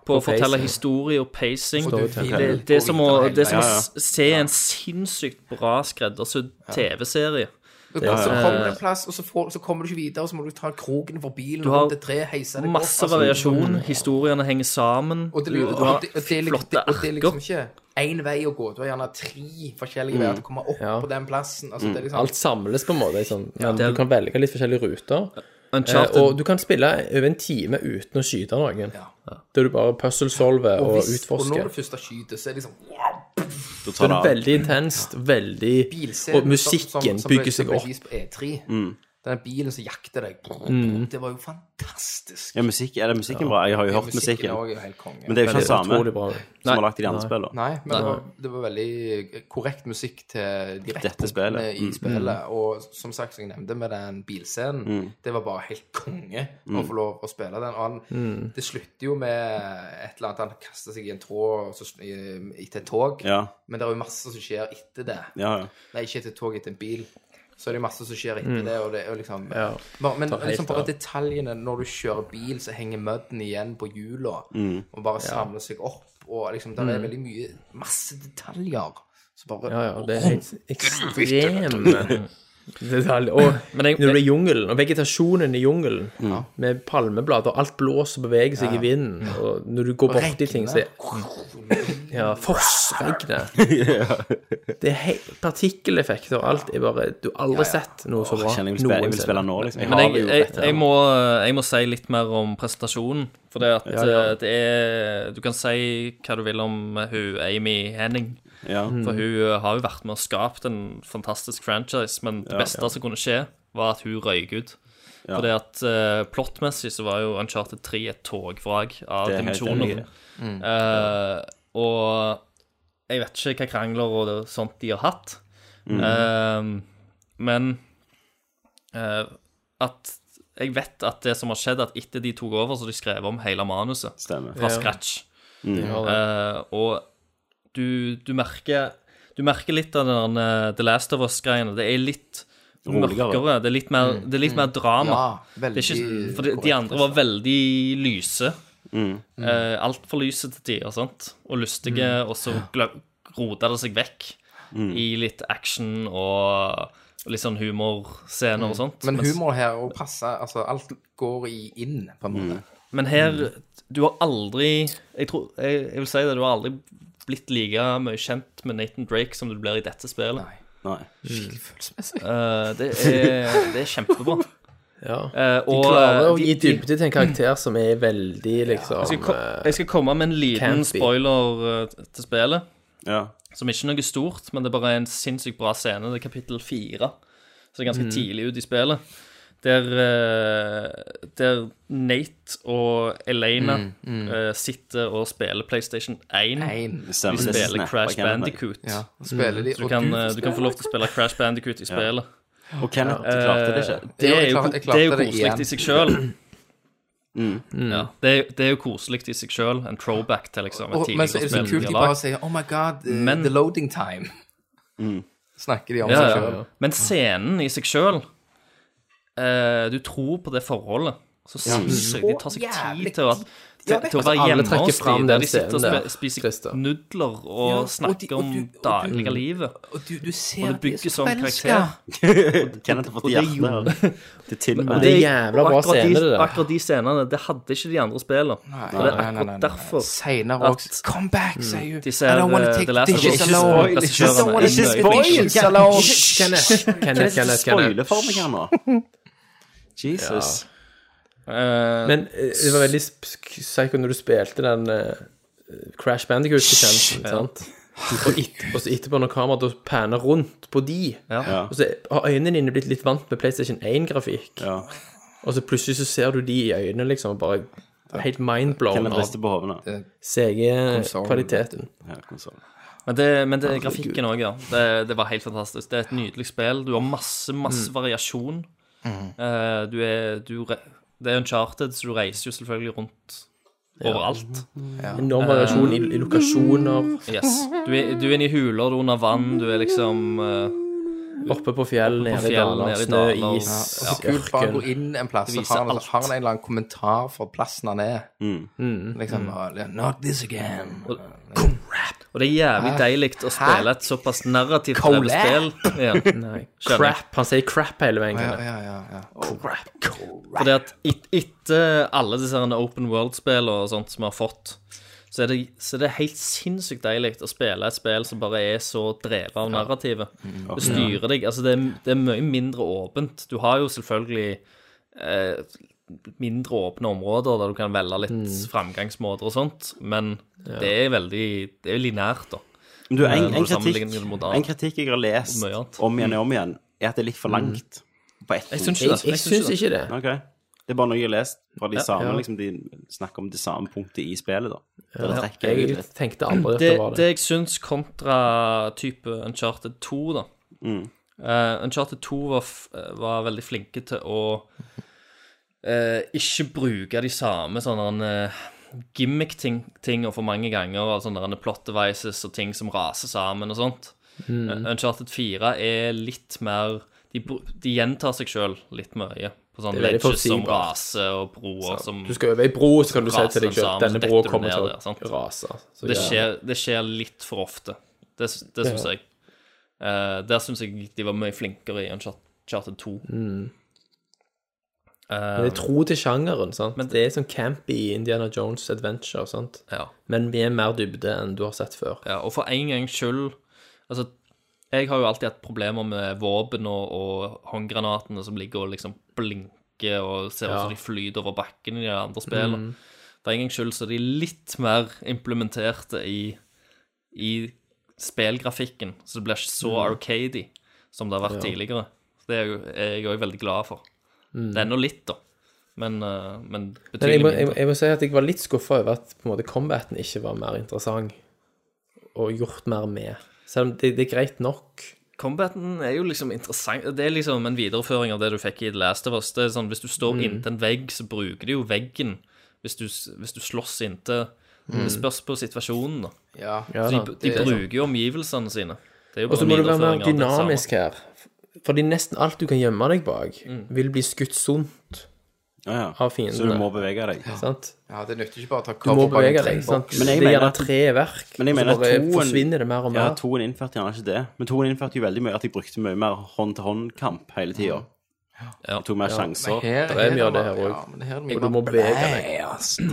S6: på å
S5: På
S6: fortelle
S5: pacing.
S6: historie og pacing.
S7: Og du
S6: Det,
S7: vil
S6: det er som å,
S7: gå videre
S6: det er som å
S4: Ja, ja.
S6: s- se en sinnssykt bra skreddersydd TV-serie.
S7: Du kan, så kommer du en plass, og så, får, så kommer du ikke videre, og så må du ta kroken for bilen,
S6: Du har
S7: og det tre, heise deg
S6: Masse
S7: opp, altså.
S6: variasjon, historiene henger sammen.
S7: Og det,
S6: du,
S7: og,
S6: du har
S7: det, og, det, er liksom-
S6: flotte
S7: og det er liksom
S6: erker.
S7: ikke én vei å gå. Du har gjerne tre forskjellige veier til å komme opp
S5: Ja.
S7: på den plassen. Altså, det er liksom,
S5: Alt samles på en måte, liksom. men
S6: det er-
S5: du kan velge litt forskjellige ruter. Eh,
S6: Uncharted,
S5: og du kan spille over en time uten å skyte noen.
S7: Ja.
S5: Da du bare puzzle-solver og,
S7: hvis- og
S5: utforsker.
S7: når du først har skyter, så er det liksom
S4: Da
S5: Så
S4: tar
S5: er
S4: det
S5: det
S4: av.
S5: veldig intenst, veldig
S7: bilscenen
S5: Og musikken
S7: ble-
S5: bygger seg
S7: ble
S5: opp.
S7: vist på E3.
S4: Mm.
S7: Den bilen som jakter deg. Det var jo fantastisk.
S4: Ja, musikk, er det musikken bra? Jeg har jo hørt musikken.
S7: også er jo helt konge.
S4: Men det er jo ikke den samme
S5: Utrolig bra.
S4: som har lagt i de andre spillene.
S7: Nei, men Det, var, det var veldig korrekt musikk til de rette
S4: Dette
S7: punktene
S4: spillet. Mm.
S7: i spillet. Og som sagt, som jeg nevnte, med den bilscenen,
S4: Mm.
S7: det var bare helt konge å få lov å spille den. Og han,
S4: Mm.
S7: det slutter jo med et eller annet Han kaster seg i en tråd og så, sn- i- etter et tog.
S4: Ja,
S7: Men det er jo masse som skjer etter det.
S4: ja, ja.
S7: Nei, ikke etter et tog, etter en bil. Så er det jo masse som skjer
S6: Mm.
S7: etter det, og det er jo liksom
S5: Ja,
S7: bare, Men
S5: tar helt
S7: liksom bare
S5: av.
S7: detaljene når du kjører bil, så henger mudden igjen på hjula, og bare samler seg opp, og liksom der
S6: Mm.
S7: er veldig mye Masse detaljer. Så bare
S5: Ja, ja, det er helt ekstreme detalj. Og
S6: Men
S5: når
S6: jeg,
S5: du er i jungelen, og vegetasjonen i jungelen,
S4: Mm.
S5: med palmeblader, og alt blåser og beveger seg i vinden, og når du går borti ting, så Ja, fossregnet. Det er hei- partikkeleffekter og alt er bare Du har aldri sett noe så bra.
S4: Jeg kjenner jeg vil spille, jeg vil spille nå, liksom. Jeg
S6: men
S4: har
S6: jeg,
S4: jo
S6: jeg,
S4: dette
S6: jeg,
S4: her.
S6: må, jeg må si litt mer om presentasjonen. For det at eh, det er Du kan si hva du vil om eh, hun Amy Henning.
S4: Ja.
S6: For hun eh, har jo vært med og skapt en fantastisk franchise, men det
S4: Ja,
S6: beste
S4: ja.
S6: som kunne skje, var at hun røyk ut. For det at eh, plottmessig så var jo Uncharted 3 et togvrak av
S4: Det er helt enig i.
S6: dimensjoner. Eh, og jeg vet ikke hva krangler og det- sånt de har hatt.
S4: Mm.
S6: Eh, men eh, at jeg vet at det som har skjedd, at etter de tok over, så har de skrev om hele manuset
S4: Stemmer.
S6: fra scratch. Eh, og du, du merker Du merker litt av den eh, The Last of Us-greiene. Det er litt
S4: Roligere.
S6: mørkere. Det er litt mer, det er litt mer drama.
S7: Ja,
S6: det er ikke, sånn,
S7: veldig
S6: for de, de
S7: altså.
S6: andre var veldig lyse. Eh, Altfor lyse til tider, sant? Og lystige, og så glem- rota det seg vekk i litt action og og litt sånn humorscener og sånt.
S7: Men
S6: Mens-
S7: humor her og passe Altså, alt går i inn, på en måte.
S6: Men her
S5: Mm.
S6: Du har aldri jeg, tror, jeg, jeg vil si det, du har aldri blitt like mye kjent med Nathan Drake som du blir i dette spillet.
S4: Nei.
S6: Eh, det, er, det er kjempebra.
S5: Ja.
S6: Eh,
S5: De
S6: og,
S5: klarer å
S6: eh,
S5: gi
S6: de- de-
S5: dybde til en karakter som er veldig,
S6: Jeg skal,
S5: liksom
S6: ko- jeg skal komme med en liten
S5: Campy.
S6: spoiler eh, til spillet,
S4: Ja.
S6: som ikke er noe stort, men det er bare en sinnssykt bra scene. Det er kapittel fire, så det er
S5: Mm.
S6: ganske tidlig ut i spillet. Der, eh, der Nate og Elena
S5: Mm,
S6: eh, sitter og spiller PlayStation 1.
S7: Én.
S4: Stemmer.
S6: Vi
S4: det
S6: spiller
S4: snapper
S6: Crash
S4: Kenneth.
S6: Bandicoot.
S7: Ja, og spiller de,
S6: Så Mm. du
S7: og
S6: kan, eh,
S7: du
S6: du kan få lov til å spille Crash Bandicoot i spillet.
S4: Og Kenneth, du klarte det ikke.
S6: Det er
S7: jeg
S6: jo,
S7: klarte- jeg
S6: det
S7: klarte
S6: er jo
S7: det
S6: koselig
S7: igjen.
S6: i seg sjøl. Ja, det, er- det er jo koselig i seg sjøl. En throwback til liksom et
S7: Og, men så er
S6: tidligere
S7: det så
S6: spill
S7: kult
S6: de
S7: de
S6: har
S7: bare
S6: lagd.
S7: sier Oh my god, eh,
S6: Men-
S7: the loading time. Snakker de om
S6: Ja,
S7: seg
S6: ja.
S7: selv
S6: Men scenen i seg sjøl eh, Du tror på det forholdet. Så sinnssykt. De tar seg tid til å, til, til å være
S5: alle
S6: hjemme
S5: trekker
S6: hos
S5: fram
S6: dem.
S5: den
S6: De sitter og
S5: scenen der,
S6: spe- spiser
S5: Christer.
S6: nudler og
S7: Ja, og de-
S6: snakker
S7: og
S6: om
S7: du- og du-
S6: daglige livet.
S7: Og du, du ser
S6: Og det
S7: at de er
S6: bygges
S7: så
S6: om
S7: forelsket.
S6: karakter.
S4: Kenneth har fått
S6: Og det
S4: hjerte
S6: gjorde-
S4: her. Det tilmer.
S5: Det er
S6: Og
S5: jævla bra
S6: akkurat
S5: scene,
S6: de,
S5: det der.
S6: Akkurat de scenene, det hadde ikke de andre spillene.
S7: Nei,
S6: Og det er
S7: nei, nei, nei, nei.
S6: akkurat derfor
S7: Senere
S6: at-
S7: også. Come back, sier hun.
S6: de ser eh, The Last of Us
S7: dishes alone.
S6: eh, regissørene
S7: Ikke
S6: inn i
S7: spoil!
S6: fengsel.
S7: Ikke
S5: Kenneth, Kenneth, Kenneth, Kenneth, Kenneth.
S4: Spoile for meg her nå. Jesus.
S6: Eh,
S5: Men eh, det var veldig sp- sk- psycho når du spilte den eh, Crash Bandicoot-sekvensen, sant? Og, et, og så etterpå når kameraet da panner rundt på de,
S6: Ja.
S5: og så har øynene dine blitt litt vant med PlayStation 1-grafikk,
S4: Ja.
S5: og så plutselig så ser du de i øynene liksom, og bare helt mindblown
S4: Kenneth
S5: av
S4: rister på hodet nå.
S5: CG-kvaliteten.
S4: Ja, konsolen.
S6: Men det, men det er grafikken òg, ja. Det, det var helt fantastisk. Det er et nydelig spill. Du har masse,
S5: Mm.
S6: masse variasjon. Eh, du er du re Det er uncharted, så du reiser jo selvfølgelig rundt overalt.
S5: Enorm variasjon
S6: Mm.
S5: i, i lokasjoner,
S6: Yes. Du er, du er inne i huler, du er under vann, du er liksom eh,
S5: oppe på fjell, nede i
S6: fjell,
S5: daler,
S6: nede i
S5: snø,
S6: daler.
S5: is,
S7: Så kult bare gå
S5: ørken.
S7: inn en plass,
S6: Det
S7: så
S6: viser
S7: har han,
S6: alt.
S7: har han en eller annen kommentar for plassen han er. Liksom mm. Not this again.
S6: Og det er jævlig
S5: Ah.
S6: deilig å spille et såpass narrativt drevet spill. Ja.
S5: Nei,
S6: Skjønner.
S5: crap, han sier crap hele veien,
S7: Ja,
S5: Kenneth.
S7: ja, ja. ja.
S6: Fordi at et, etter alle disse her open world-spillene og sånt som vi har fått, så er det, så er det helt sinnssykt deilig å spille et spill som bare er så drevet av narrativet.
S4: Mm.
S6: Det styrer deg. Altså, det er, det er mye mindre åpent. Du har jo selvfølgelig eh, mindre åpne områder der du kan velge litt framgangsmåter og sånt, men det er veldig Det er jo linært, da.
S4: Men du, en,
S6: Når du
S4: en,
S6: sammenligner det
S4: kritikk,
S6: mot annet.
S4: en kritikk jeg har lest
S6: Mye annet.
S4: om igjen og om igjen, er at det er litt for langt. På ett
S6: Mm. Jeg
S4: punkt.
S6: syns ikke
S5: Jeg,
S6: det.
S5: jeg syns ikke det.
S4: Ok. Det er bare noe jeg har lest fra de samme,
S5: ja.
S4: liksom, de snakker om det samme punktet i spillet, da. Der det trekker ut
S5: Jeg
S4: litt.
S5: tenkte aldri at
S6: det,
S5: det var
S6: det
S5: det.
S6: jeg syns kontra type Uncharted 2, da Eh, Uncharted 2 var, f eh, var veldig flinke til å eh, ikke bruke de samme sånne uh, gimmick-tinga for mange ganger. og Sånne der plot devices og ting som raser sammen og sånt.
S5: Mm.
S6: Eh, Uncharted 4 er litt mer De, br- de gjentar seg sjøl litt mye. På sånne
S5: Det er veldig
S6: ledges som
S5: forutsigbart.
S6: raser og broer som
S5: Du skal over ei bro, så kan du si
S6: Raser
S5: til deg selv
S6: sammen,
S5: denne
S6: så detter
S5: broa
S6: du
S5: kommer
S6: ned
S5: til
S6: der, sant?
S5: å rase. Så
S6: Det
S5: ja.
S6: skjer, det skjer litt for ofte. Det, det syns jeg. Eh, der syns jeg de var mye flinkere i Uncharted Eh, Charter 2.
S5: Det er tro til sjangeren, sant.
S6: Men-
S5: det er sånn campy Indiana Jones adventure, sant.
S6: Ja.
S5: Men med mer dybde enn du har sett før.
S6: Ja, og for en gangs skyld Altså, jeg har jo alltid hatt problemer med våpen og, og håndgranatene som ligger og liksom blinker og ser ut som
S5: Ja. Mm.
S6: de flyter over bakken i de andre spillene. For en gangs skyld så er de litt mer implementerte i, i spillgrafikken, så det blir ikke så
S5: Mm.
S6: arcady som det har vært tidligere. Så det er, jo, er jeg òg veldig glad for. Det er nå litt, da. Men, eh, men
S5: Mm. Men
S6: betydelig
S5: jeg må, jeg,
S6: mindre.
S5: jeg må si at jeg var litt skuffa over at på en måte combaten ikke var mer interessant og gjort mer med. Selv om det, det er greit nok.
S6: Combaten er jo liksom interessant. Det er liksom en videreføring av det du fikk i The Last of Us. Det er sånn, hvis du
S5: Mm.
S6: står inntil en vegg, så bruker du jo veggen. Hvis du, hvis du slåss inntil Det spørs på situasjonen, da.
S7: Ja.
S5: Mm. Ja,
S6: De,
S5: da.
S6: de
S7: er
S6: bruker jo omgivelsene sine. Det er jo
S5: Og så må du være mer
S6: det samme.
S5: dynamisk her. Fordi nesten alt du kan gjemme deg bak,
S6: Mm.
S5: vil bli skutt sunt
S4: Ja, ja.
S5: av fiendene.
S4: Så du må bevege deg.
S5: sant?
S7: ja, det nytter ikke bare å ta
S5: Du må
S7: cover bak
S5: bevege
S7: en
S5: deg. sant?
S7: treboks.
S4: Men jeg
S5: det
S4: mener
S5: gjerne
S4: at-
S5: tre verk,
S4: Men jeg
S5: og så
S4: mener
S5: bare
S4: toen-
S5: forsvinner det mer og
S4: Ja,
S5: mer.
S4: toen innførte gjerne ikke det. Men toen innførte jo veldig mye at jeg brukte mye mer hånd-til-hånd-kamp hele tida. Jeg tok mer sjanser.
S7: Her
S5: Det er mye av det
S7: bare-
S5: her også.
S7: Ja, men her er det
S5: Og
S7: mye
S5: du må
S7: mer
S5: bevege deg.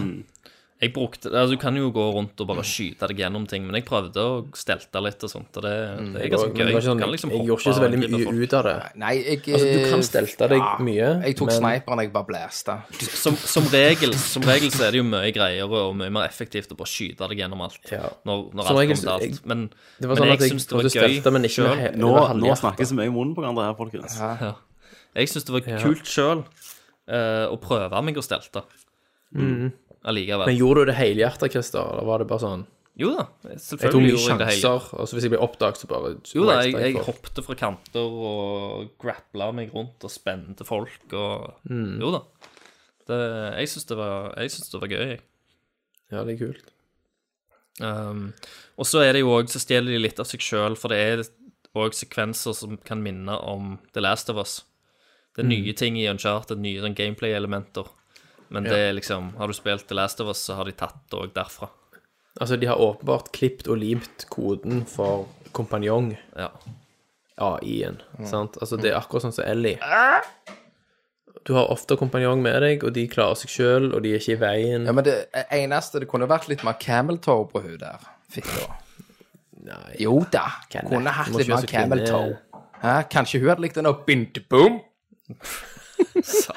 S6: Jeg brukte det, altså Du kan jo gå rundt
S5: Mm.
S6: og bare skyte deg gjennom ting, men jeg prøvde å stelte litt og sånt, og det, det er
S5: Men Mm.
S6: ganske
S5: det
S6: gøy.
S5: var ikke
S6: Du
S5: sånn,
S6: kan liksom
S5: jeg
S6: hoppe
S5: gjorde ikke så
S6: og
S5: veldig
S6: angripe folk.
S5: mye ut av det.
S7: Nei, jeg
S5: Altså, du kan stelte deg mye,
S7: Jeg tok
S5: men-
S7: sniperen, jeg bare blæsta.
S6: som, som, regel, som regel så er det jo mye greier og mye mer effektivt å bare skyte deg gjennom alt.
S5: Ja.
S6: Når, når
S5: Som
S6: alt
S5: regel
S6: kommer til
S5: så-
S6: alt.
S5: jeg-
S6: Men,
S5: Det var
S6: men
S5: sånn
S6: jeg
S5: at jeg
S6: syns det
S5: måtte
S6: var
S5: stelte, men
S6: gøy
S5: ikke med
S6: sjøl.
S5: he-
S4: Nå,
S5: det var halvhjertet.
S4: nå snakkes vi mye i munnen på hverandre her, folkens.
S6: Jeg syns det var kult sjøl å prøve meg å stelte.
S5: Men
S6: Allikevel.
S5: gjorde du det helhjertet, Christer? Eller var det bare sånn
S6: Jo da,
S5: Jeg tok
S6: selvfølgelig
S5: mye
S6: gjorde jeg det hele.
S5: sjanser, og så hvis jeg ble oppdaget, så bare
S6: Jo da, jeg, jeg hoppte fra kanter og grappla meg rundt og spente folk og Jo da. Det, jeg syns det, var- jeg syns det var gøy, jeg.
S5: Ja, det er kult.
S6: Um, og så er det jo også, så stjeler de litt av seg sjøl, for det er òg sekvenser som kan minne om The Last of Us. Det er nye ting i Uncharted, nye sånn gameplay-elementer. Men det er liksom, har du spilt The Last of Us, så har de tatt det òg derfra.
S5: Altså, de har åpenbart klippt og limt koden for kompanjong,
S6: Ja.
S5: AI-en.
S7: Mm.
S5: Sant? Altså, det er akkurat sånn som Ellie. Du har ofte kompanjong med deg, og de klarer seg sjøl, og de er ikke i veien.
S7: Ja, men det eneste Det kunne vært litt mer camel toe på hun der. Fitta.
S5: Nei.
S7: Jo da.
S5: Kenneth,
S7: Kunne hatt
S5: du må
S7: litt
S5: ikke
S7: mer
S5: være så
S7: camel
S5: kvinne-
S7: toe. Hæ? Kanskje hun hadde likt den og binte-boom?
S5: Så.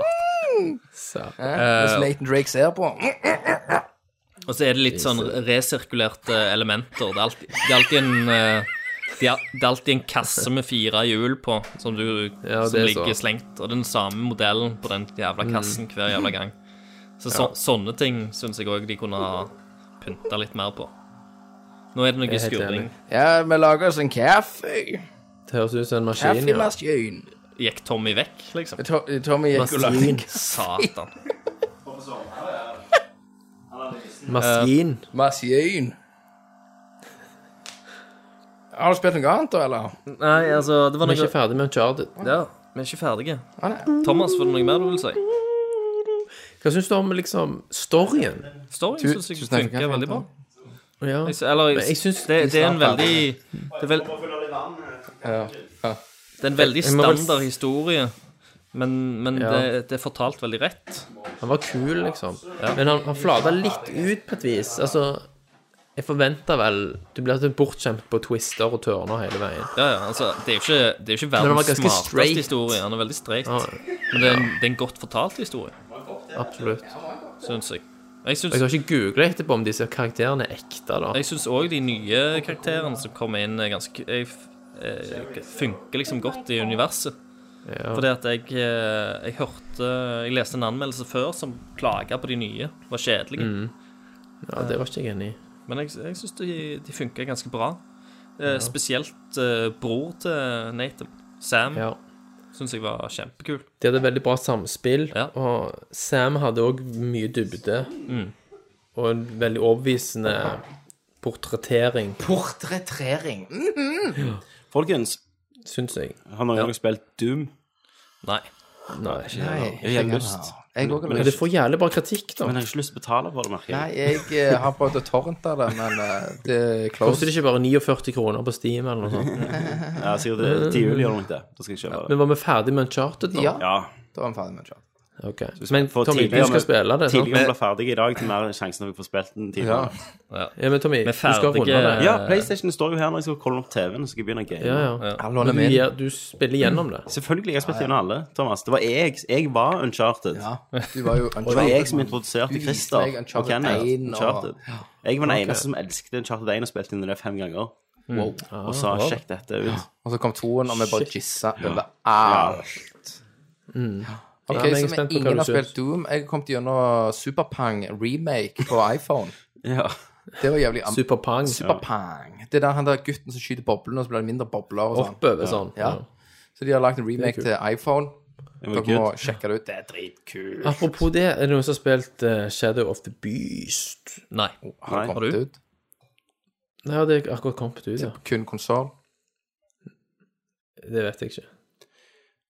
S7: Hvis Nathan Drake ser på.
S6: Og så er det litt sånn resirkulerte elementer. Det er alltid, det er alltid en eh, det er det er alltid en kasse med fire hjul på som, du,
S5: Ja, det
S6: som
S5: er
S6: ligger
S5: så.
S6: slengt. Og den samme modellen på den jævla kassen hver jævla gang. Så, så sånne ting syns jeg òg de kunne ha pynta litt mer på. Nå er
S5: Jeg
S6: det noe
S5: er helt enig.
S6: skurring.
S7: Ja, vi lager oss en kaffe.
S5: Det høres ut som en maskin. Ja.
S7: Kaffemaskin.
S6: Gikk Tommy vekk, liksom?
S7: To- Tommy gikk og lagde en
S6: Satan.
S5: Maskin.
S7: Eh, maskin. Har du spilt noe annet, da, eller?
S6: Nei, altså, det var
S5: Vi er
S6: noe
S5: ikke ferdig med Uncharted.
S6: Ja, vi er ikke ferdige.
S7: Ah, nei.
S6: Thomas, var det noe mer du ville si?
S5: Hva syns du om liksom storyen?
S6: Storyen syns jeg
S7: tusen takk.
S6: funker veldig bra.
S5: Ja.
S6: Jeg sy- Eller
S5: Men jeg syns
S6: det, det er en
S7: snart
S6: veldig det er, vel, det
S7: Ja. ja.
S6: er en veldig
S5: Jeg må vel s-
S6: standard historie, men, men
S5: Ja.
S6: det, det er fortalt veldig rett.
S5: Han var kul, liksom. Men han, han flata litt ut på et vis. Altså, jeg forventer vel Du blir alltid bortskjemt på twister og tørner hele veien.
S6: Ja, ja, altså, det er jo ikke, det er jo
S5: den
S6: ikke
S5: var
S6: verdens
S5: ganske
S6: smarteste
S5: straight.
S6: historie. Han er veldig streit.
S5: Ja.
S6: Men det er, en, det er en godt fortalt historie,
S5: Absolutt.
S6: syns jeg. Jeg
S5: Og jeg
S6: syns-
S5: har ikke googla etterpå om disse karakterene er ekte, da.
S6: jeg syns òg de nye karakterene som kommer inn, er ganske jeg, f- eh, funker liksom godt i universet.
S5: Ja.
S6: Fordi at jeg, eh, jeg hørte Jeg leste en anmeldelse før som klaga på de nye. Var kjedelige.
S5: Mm. Ja, det var ikke jeg enig i.
S6: Men jeg, jeg syns de, de funker ganske bra. Eh, Spesielt eh, bror til Nathan, Sam,
S5: Ja.
S6: syns jeg var kjempekul.
S5: De hadde veldig bra samspill,
S6: Ja. Mm.
S5: og Sam hadde òg mye dybde. Og en veldig overbevisende portrettering,
S7: Portrettering. Mm.
S4: Folkens,
S5: syns jeg.
S4: har noen gang spilt Doom?
S6: Nei.
S5: Nei.
S4: Jeg har lyst.
S7: Mm, Jeg òg har
S5: Men det får jævlig bare kritikk, da.
S4: Men eh, jeg har ikke lyst til å betale for det, merker
S7: Nei,
S4: jeg.
S7: jeg eh, har prøvd å torrente det, men eh, det er close.
S5: Koster det ikke bare 49 kroner på Steam eller noe sånt?
S4: Ja, sikkert det- til jul gjør det nok det. Da skal jeg kjøpe det.
S5: Men var vi ferdig med Uncharted nå?
S7: Ja,
S4: Ja.
S7: da var vi ferdig med det.
S5: Ok. Men
S4: For
S5: Tommy, du
S4: tidligere-
S5: skal spille det, sant?
S4: Tidligere vi ble ferdig i dag, til mer sjansen at vi får spilt den tidligere.
S5: Ja, men Tommy, du skal
S6: ferdige-
S5: runde det.
S4: Ja, PlayStation står jo her når jeg skal kolle opp TV-en, så skal jeg begynne å game.
S5: Eh, Ja, ja.
S7: Han
S5: Men
S7: låner
S5: du,
S7: min.
S5: gir- du spiller gjennom det.
S4: Selvfølgelig, jeg har spilt gjennom alle, Thomas. Det var jeg. Jeg var uncharted.
S7: Ja, du var jo
S4: Og det var jeg som introduserte
S7: Du viste
S4: Christer
S7: meg
S4: og
S7: Uncharted 1
S4: Kenneth.
S7: og-
S4: Uncharted. Jeg var den eneste som elsket Uncharted 1 og spilte inn det fem ganger.
S5: Mm. Ah,
S4: Og sa 'sjekk dette ut'.
S7: Og så kom toen, og vi bare jissa over alt. Ok,
S5: Mm. Ja, men jeg er
S7: så
S5: spent på
S7: vi
S5: hva du
S7: ingen har
S5: synes.
S7: spilt Doom. Jeg kom til gjennom Superpang remake på iPhone.
S4: Ja.
S7: Det var jævlig am-
S5: Superpang.
S7: Superpang. Det er der han der gutten som skyter boblene, og så blir det mindre bobler og sånn.
S5: Oppover sånn.
S7: Ja. Så de har lagd en remake til iPhone.
S4: var
S7: Dere må sjekke det ut. Det er dritkult.
S5: Apropos det, er det noen som har spilt eh, Shadow of the Beast?
S6: Nei.
S7: Har det
S4: Nei.
S7: kommet
S6: Har du?
S7: ut?
S5: Ja, det er akkurat kommet ut, ja.
S7: Kun konsoll?
S5: Det vet jeg ikke.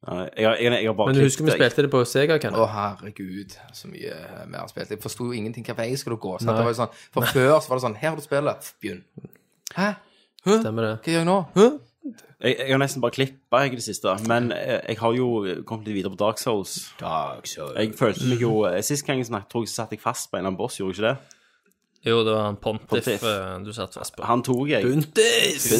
S4: Nei, Jeg, har- jeg, jeg har bare
S5: Men du husker vi
S4: klippet, jeg.
S5: spilte det på Sega, Ken?
S7: Å, herregud, så mye vi har spilt. Jeg forsto jo ingenting. Hvilken vei skulle du gå? Sant?
S5: Nei.
S7: Det var jo sånn, for før så var det sånn Her har du spillet. Begynn. Hæ? Hæ? Hva
S5: Stemmer det.
S7: gjør jeg nå? Hæ?
S4: Jeg, jeg har nesten bare klippa i det siste. Men eh, jeg, jeg har jo kommet litt videre på Dark Souls. Jeg følte meg jo Sist gang jeg snakket, tror jeg så satt jeg fast på en eller annen boss, gjorde jeg ikke det?
S6: Jo, det var han Pontiff,
S4: Pontiff. Ah,
S6: eh, du satt fast på.
S4: Han tok jeg. Buntes!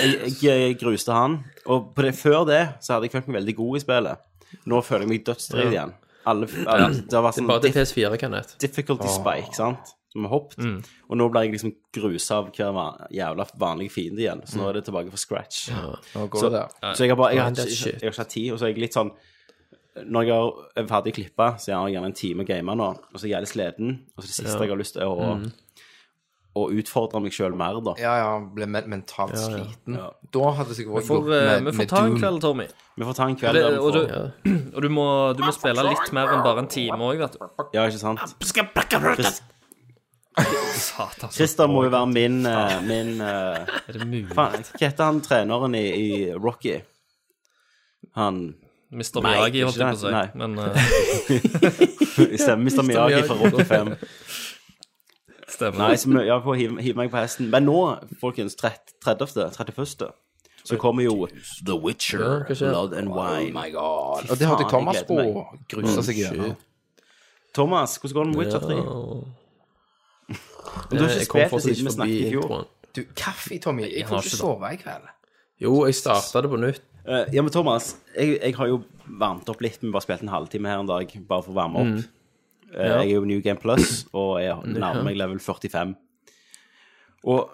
S4: Jeg, jeg gruste han. Og på det, før det så hadde jeg følt meg veldig god i spillet. Nå føler jeg meg dødsdriv igjen. Alle, alle, det har vært sånn
S5: Bare til PS4, Kenneth.
S4: difficulty spike, sant? Som har hoppet. Og nå ble jeg liksom grusa av hver va- jævla vanlige fiende igjen. Så nå er det tilbake fra scratch.
S7: Nå går
S4: Så,
S7: det der.
S4: så jeg har bare jeg har,
S5: Grind that
S4: ikke- jeg,
S5: shit.
S4: har ikke hatt tid, og så er jeg litt sånn Når jeg har- er ferdig klippa, så jeg har jeg gjerne en time å game nå, og så er jeg jævlig sliten. Og så det siste jeg har lyst til, er å, å utfordre meg sjøl mer, da.
S7: Ja, ja, han ble men mentalt sliten. Da hadde det sikkert vært
S6: For, eh, vi får ta en
S7: Doom.
S6: kveld, Tommy.
S4: Vi får ta en kveld
S6: Det,
S4: der vi
S6: og du,
S4: får
S6: og du, må, du må spille litt mer enn bare en time òg, vet du.
S4: Ja, ikke sant? Chris- Christer må jo være min, eh, min eh,
S6: Er det mulig?
S4: Faen, hva heter han treneren i, i Rocky? Han
S6: Mr.
S4: Nei,
S6: Miyagi, holdt jeg på å si.
S4: nei.
S6: Men eh,
S4: Stemmer, Mr. Miyagi fra Rocky 5.
S6: stemmer.
S4: Nei, så må- jeg får hive, hive meg på hesten. Men nå, folkens, 30, 30. 31. Så kommer jo The
S5: Ja,
S4: Witcher,
S5: hva skjer?
S4: Blood and Wine.
S7: Og det hørte
S4: Faen,
S7: jeg Thomas
S4: jeg
S7: på.
S4: gleder
S7: Grusa seg gjennom.
S4: Thomas, hvordan går det med Witcher 3? Men du har
S5: Jeg kom
S4: ikke spilt det
S5: fortsatt ikke
S4: siden vi
S5: forbi
S4: snakket i fjor.
S5: introen.
S7: Du, kaffe, Tommy. Jeg får ikke sove i kveld.
S5: Jo, jeg starta det på nytt.
S4: Eh, ja, men Thomas, jeg, jeg har jo varmt opp litt, men bare spilt en halvtime her en dag, bare for å varme opp. Eh, Jeg er jo New Game Plus, og jeg nærmer meg level 45. Og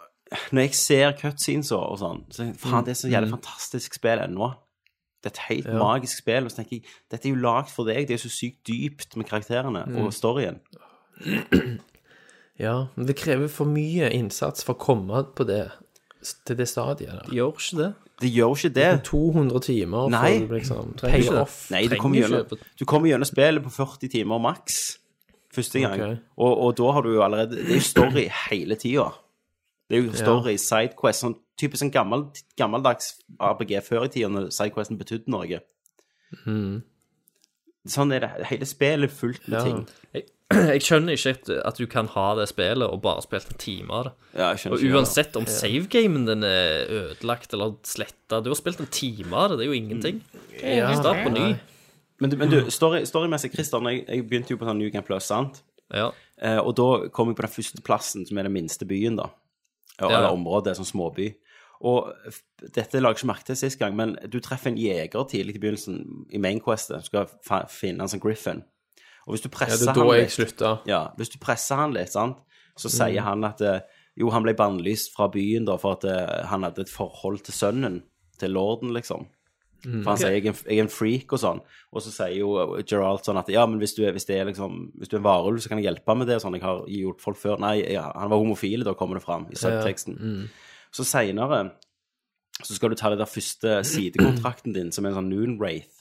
S4: når jeg ser cutscenes og, og sånn, så tenker jeg, faen, det er så jævlig fantastisk spill ennå. Det er et helt magisk spill, og så tenker jeg, dette er jo lagd for deg, det er jo så sykt dypt med karakterene og storyen.
S5: Ja, men det krever for mye innsats for å komme på det, til det stadiet der.
S6: Gjør ikke det.
S4: Det gjør jo ikke det.
S5: 200 timer
S4: Nei.
S5: for å liksom
S6: Trenger ikke
S5: pay
S6: det.
S5: off.
S4: Nei, du
S6: Trenger
S4: kommer,
S6: ikke-
S4: gjennom, du kommer gjennom spillet på 40 timer maks første gang.
S5: Ok.
S4: Og, og da har du jo allerede Det er jo story hele tida. Det er jo story, sidequest sånn, Typisk en gammel, gammeldags RPG før i tida, når sidequesten betydde noe.
S6: Mm.
S4: Sånn er det. Hele spillet er fullt med
S5: Ja.
S4: ting.
S6: Jeg skjønner ikke at- at du kan ha det spillet og bare spille en time av det.
S4: Ja, jeg skjønner
S6: Og
S4: ikke det.
S6: uansett om savegamen din er ødelagt eller sletta Du har spilt en time av det, det er jo ingenting.
S4: Mm.
S5: Ja,
S6: Start på ny.
S4: Men, du- men du, story- storymessig, story Christer, når jeg, jeg begynte jo på sånn New Game Plus, sant?
S6: Ja.
S4: Eh, og da kom jeg på den første plassen, som er den minste byen, da. Eller
S6: Ja.
S4: området, sånn småby. Og f- dette la jeg ikke merke til sist gang, men du treffer en jeger tidlig i begynnelsen i mainquestet. Du skal fa finne han som Griffin. Og hvis du
S5: Ja,
S4: presser
S5: det er da
S4: han
S5: jeg slutta.
S4: ja, hvis du presser han litt, sant, så
S7: Mm.
S4: sier han at eh, jo, han ble bannlyst fra byen da, for at eh, han hadde et forhold til sønnen, til lorden, liksom.
S7: Mm.
S4: For han sier jeg er, en, 'jeg er en freak' og sånn. Og så sier jo Gerald sånn at 'ja, men hvis du er, hvis det er, liksom, hvis du er en varulv, så kan jeg hjelpe med det', og sånn. 'Jeg har hjulpet folk før'. Nei, ja, han var homofil, da kommer det fram i subteksten.
S7: Mm.
S4: Så seinere så skal du ta den der første sidekontrakten din, som er en sånn Noon Wraith.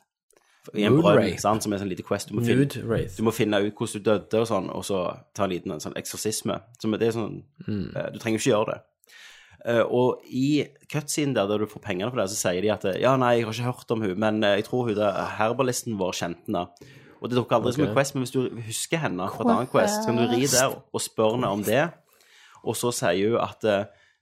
S4: I en
S7: Noon
S4: brønn,
S7: Wraith?
S4: sant, som er en sånn liten quest du må finne
S5: Nude Wraith.
S4: du må finne ut hvordan du døde og sånn, og så ta en liten en sånn eksorsisme. Som det er sånn, eh, Du trenger jo ikke gjøre det. Eh, og i cutscenen der, der du får pengene for det, så sier de at eh, ja, nei, jeg har ikke hørt om hun, men eh, jeg tror hun der herbalisten vår eh, kjente henne. Og det dukker aldri som en quest, men hvis du husker henne fra et annet quest, så kan du ri der og spørre henne om det. Og så sier hun at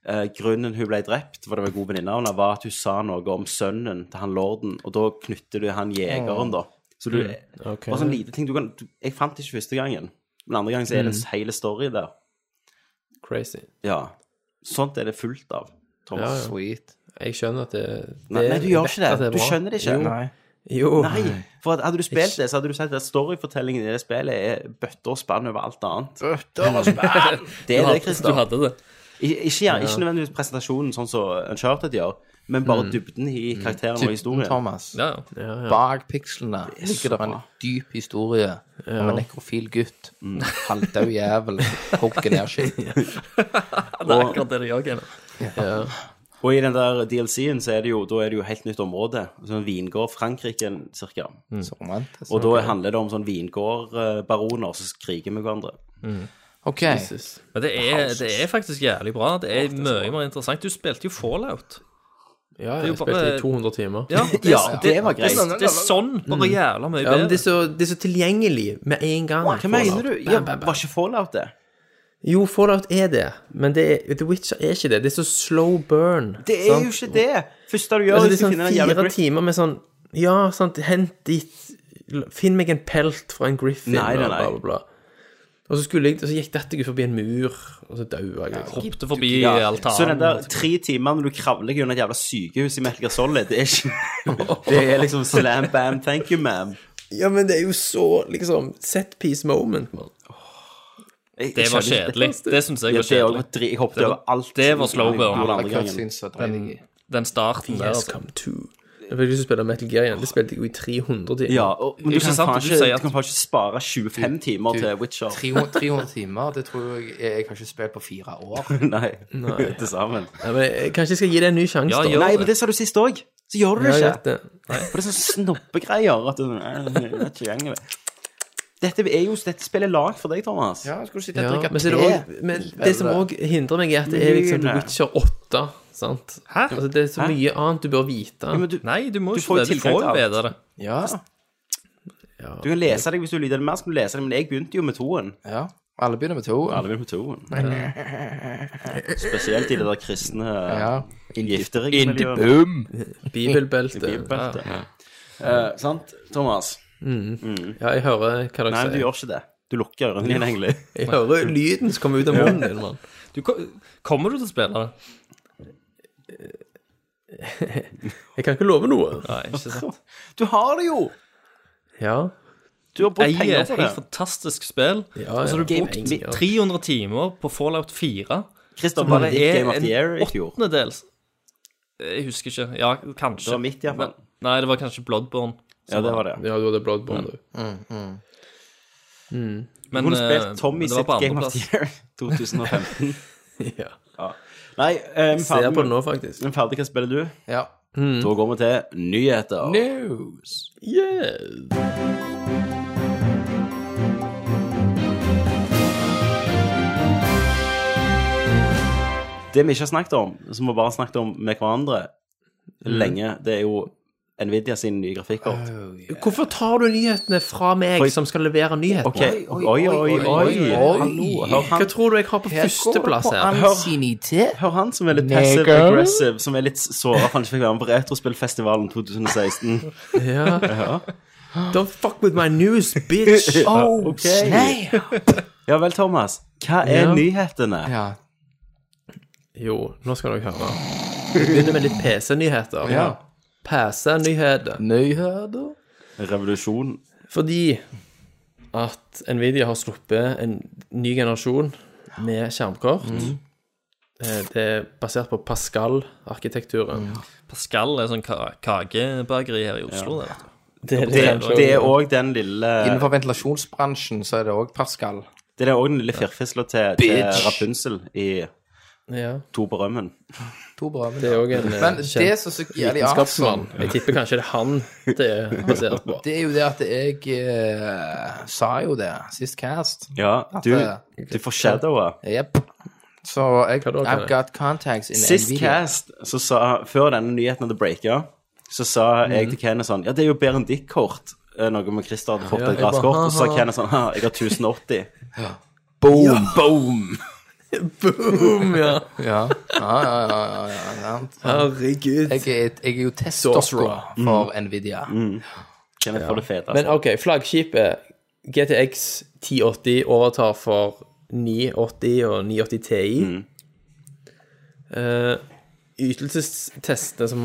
S4: eh, grunnen hun ble drept, for det var en god venninne av henne, var at hun sa noe om sønnen til han lorden, og da knytter du han jegeren, da. Så du
S5: ok.
S4: Bare sånn lite ting du kan du, Jeg fant det ikke første gangen, men andre gangen så er det en
S5: Mm.
S4: hele story der.
S5: Crazy.
S4: Ja. Sånt er det fullt av, Thomas.
S7: Sweet.
S5: Jeg skjønner at det, det
S4: Nei, nei, du gjør
S5: jeg
S4: ikke
S5: vet at
S4: det.
S5: er
S4: Du
S5: bra.
S4: skjønner det ikke.
S5: Jo. Jo.
S4: Nei, for at hadde du spilt det, så hadde du sett at storyfortellingen i det spillet er bøtter og spann over alt annet.
S1: Bøtter og spann!
S4: Det er det,
S5: Du
S4: Christer.
S5: hadde det.
S4: Ik- Ikke, gjerne- ikke nødvendigvis presentasjonen sånn som Uncharted gjør, men bare
S5: Mm.
S4: dybden i karakteren og
S7: Dybden,
S4: historien.
S7: Thomas.
S6: Ja, ja.
S7: Bak pikslene ligger det en dyp historie om en nekrofil gutt. Halvdau jævel. Hogger ned skitt.
S6: Det er akkurat det det gjør, Kenneth.
S4: Og i den der DLC-en så er det jo, da er det jo helt nytt område. Sånn vingård Frankrike, cirka.
S5: Mm.
S7: Så altså. romantisk.
S4: Og da handler det om sånn vingårdbaroner som kriger med hverandre.
S7: OK.
S6: Men det er, det er faktisk jævlig bra. Det er mye mer interessant. Du spilte jo Fallout.
S5: Ja,
S6: er jo
S5: jeg spilte
S6: bare-
S5: i 200 timer.
S6: Ja, det,
S4: Ja, det var
S6: det,
S4: greit. Mm.
S6: det er sånn bare jævla mye
S5: Ja, men det
S6: bedre.
S5: er, så, det er så tilgjengelig med en gang.
S4: Hva mener
S5: Fallout.
S4: du?
S5: Bam,
S4: Ja,
S5: bam, bam.
S4: var ikke Fallout det?
S5: Jo, Fallout er det, men det er, The Witcher er ikke det. Det er så slow burn.
S4: Det er jo ikke det! Første du gjør,
S5: altså,
S4: er
S5: Det
S4: å
S5: er sånn
S4: finne den jævla
S5: fire
S4: grip.
S5: timer med sånn Ja, sant, hent dit Finn meg en pelt fra en griffin
S4: Nei, nei,
S5: og
S4: nei.
S5: bla, bla, bla. Og så skulle jeg, og så gikk dette jeg forbi en mur, og så daua jeg. liksom.
S6: Hoppte forbi
S4: Så den
S6: altanen.
S4: der tre timer når du kravler gjennom et jævla sykehus i Metal Gear Solid, det er ikke Det er liksom slam bam, thank you, ma'am.
S5: Ja, men det er jo så liksom set piece moment, mann.
S4: Jeg- jeg
S6: Det var
S4: skjønner ikke-
S6: kjedelig. Det syns
S4: Ja,
S6: jeg var
S4: det var
S6: kjedelig.
S4: dri- Jeg hoppet
S6: Det var-
S4: over alt.
S6: det var slow
S4: Den
S6: burn.
S7: Alle
S4: andre gangen.
S7: cutscenes er deilige.
S6: Den starten der.
S5: Yes,
S6: Altså.
S5: come to. Jeg fikk lyst til å spille Metal Gear igjen. Det spilte jeg jo i 300 timer.
S4: Ja, og, men du
S6: Ikke
S4: kan,
S6: sant,
S4: faen
S6: du
S4: ikke,
S6: sier
S4: du
S6: at-
S4: kan faen ikke spare 25 timer til Witcher.
S7: 300, 300 timer, det tror jeg jeg har ikke spilt på fire år.
S4: Nei, til sammen.
S5: Ja, men jeg, kanskje jeg skal gi det en ny sjanse,
S6: Ja,
S5: da.
S6: gjør
S4: Nei, men
S6: det.
S4: det sa du sist òg. Så gjør du
S5: Ja,
S4: det
S5: jeg
S4: ikke.
S5: vet det.
S4: For det er sånn snobbegreier at du Nei, jeg vet ikke gjengen. Dette er jo Dette spillet er lagd for deg, Thomas.
S7: Ja, skulle sitte
S5: Ja, men, så er det, også, men det som òg hindrer meg, er at det er liksom The
S4: Myrene.
S5: Witcher 8. Sant? Hæ? Altså, det er så
S4: Hæ?
S5: mye annet du bør vite.
S4: Men du,
S6: Nei, du må
S4: Du
S6: jo
S4: får jo
S6: ikke det. Du
S4: tilgang
S6: får
S4: til
S6: jo
S4: alt.
S6: bedre det.
S7: Ja,
S4: du kan lese deg hvis du lyder det mer, så kan du lese det, men jeg begynte jo med toen.
S7: ja. Alle begynner med to.
S4: Alle vil på toen. Spesielt i det der kristne
S7: Ja.
S4: gifteringsmiljøet.
S8: Boom.
S5: Bibelbelte.
S4: Bibelbeltet. Eh, sant, Thomas?
S5: Ja, jeg hører hva dere
S4: Nei, men
S5: sier.
S4: du gjør ikke det. Du lukker ørene dine, egentlig.
S5: Jeg hører lyden som kommer ut av munnen din, mann.
S6: Du, ko- kommer du til å spille det?
S5: Jeg kan ikke love noe.
S6: Nei, ikke sant.
S4: Du har det jo!
S5: Ja.
S4: Du har brukt
S6: Eier
S4: penger
S6: et
S4: på
S6: helt
S4: det.
S6: fantastisk spill.
S5: ja,
S6: Og så har du
S5: ja.
S6: brukt 300 timer på Fallout 4.
S4: Christer, var det ditt
S6: er
S4: Game of the Year
S6: en
S4: i fjor?
S6: åttendedels Jeg husker ikke. Ja, kanskje.
S4: Det var mitt, i hvert fall.
S6: Nei, det var kanskje Bloodborne.
S4: Ja, det var det.
S5: Ja, du hadde Bloodborne, du.
S6: Men,
S4: Hun
S6: eh,
S4: spilte Tommy
S6: men det var
S4: sitt
S6: på
S4: Game of
S6: andreplass.
S4: the Year 2015.
S5: Ja.
S4: Nei, eh, vi er
S5: Ser på
S4: ferdig
S5: det nå, faktisk.
S4: med- vi er ferdig. Hva spiller du?
S7: Ja.
S4: Da går vi til nyheter.
S7: News.
S5: Yeah.
S4: Det vi ikke har snakket om, som vi bare har snakket om med hverandre lenge, det er jo Nvidia sin nye grafikkort.
S7: Eh,
S5: Hvorfor tar du nyhetene fra meg
S4: Oi.
S5: som skal levere nyhetene?
S4: Ok, oi, oi, oi, oi, Hallo, hør
S5: Hva
S4: han,
S5: tror du jeg har på førsteplass her?
S7: Ansiennitet.
S4: hør han som er litt passive aggressive, som er litt såra for han ikke fikk være med på Retrospillfestivalen 2016.
S5: Ja. Don't fuck with my news, bitch!
S7: Oh,
S4: Ok. Ja vel, Thomas. Hva er
S5: Ja.
S4: nyhetene?
S7: Ja.
S5: Jo, nå skal dere høre. Vi begynner med litt PC-nyheter.
S7: ja.
S5: PC-nyheter.
S7: Nyheter.
S4: Revolusjon.
S5: Fordi at Nvidia har sluppet en ny generasjon med skjermkort. Eh, Det er basert på Pascal-arkitekturen.
S6: Pascal er sånn ka- kakebakeri her i Oslo. det, vet du.
S5: Det,
S4: Det,
S5: kanskje-
S4: det er òg den lille
S7: Innenfor ventilasjonsbransjen så er det òg Pascal.
S4: Det er òg den lille firfisla til, til Rapunzel i
S5: ja,
S4: To på rømmen.
S7: To bra. Men
S5: det er òg en eh,
S7: Men det
S5: kjent
S7: som så jævlig
S5: vitenskapsmann.
S7: awesome,
S5: Jeg tipper kanskje det er han det er basert på.
S7: det er jo det at jeg eh, sa jo det sist cast.
S4: Ja, du,
S5: eh,
S4: du får shadowa.
S7: Jepp. Så jeg,
S5: da,
S7: I've
S5: Kenneth?
S7: got contacts in
S4: Sist
S7: Nvidia.
S4: cast, så
S5: Mhm.
S4: sa, før denne nyheten hadde breaka, så sa jeg til Kenneth sånn Ja, det er jo bedre enn ditt kort. eh, noe med Christer hadde fått
S5: Ja,
S4: et
S5: jeg bare,
S4: glasskort, og så sa
S5: haha.
S4: Kenneth sånn «Haha, Jeg har 1080.
S7: Boom! Boom!
S5: Boom, ja.
S7: Ja, ja, ja. ja, ja, ja.
S5: Herregud.
S7: Jeg, er, jeg er jo testosteron
S5: Mm.
S7: for Nvidia.
S4: Kenneth får det fete.
S5: Men
S4: Altså.
S5: OK, flaggskipet GTX 1080 overtar for 980 og 980 Ti.
S7: Mm.
S5: Eh, ytelsestestene som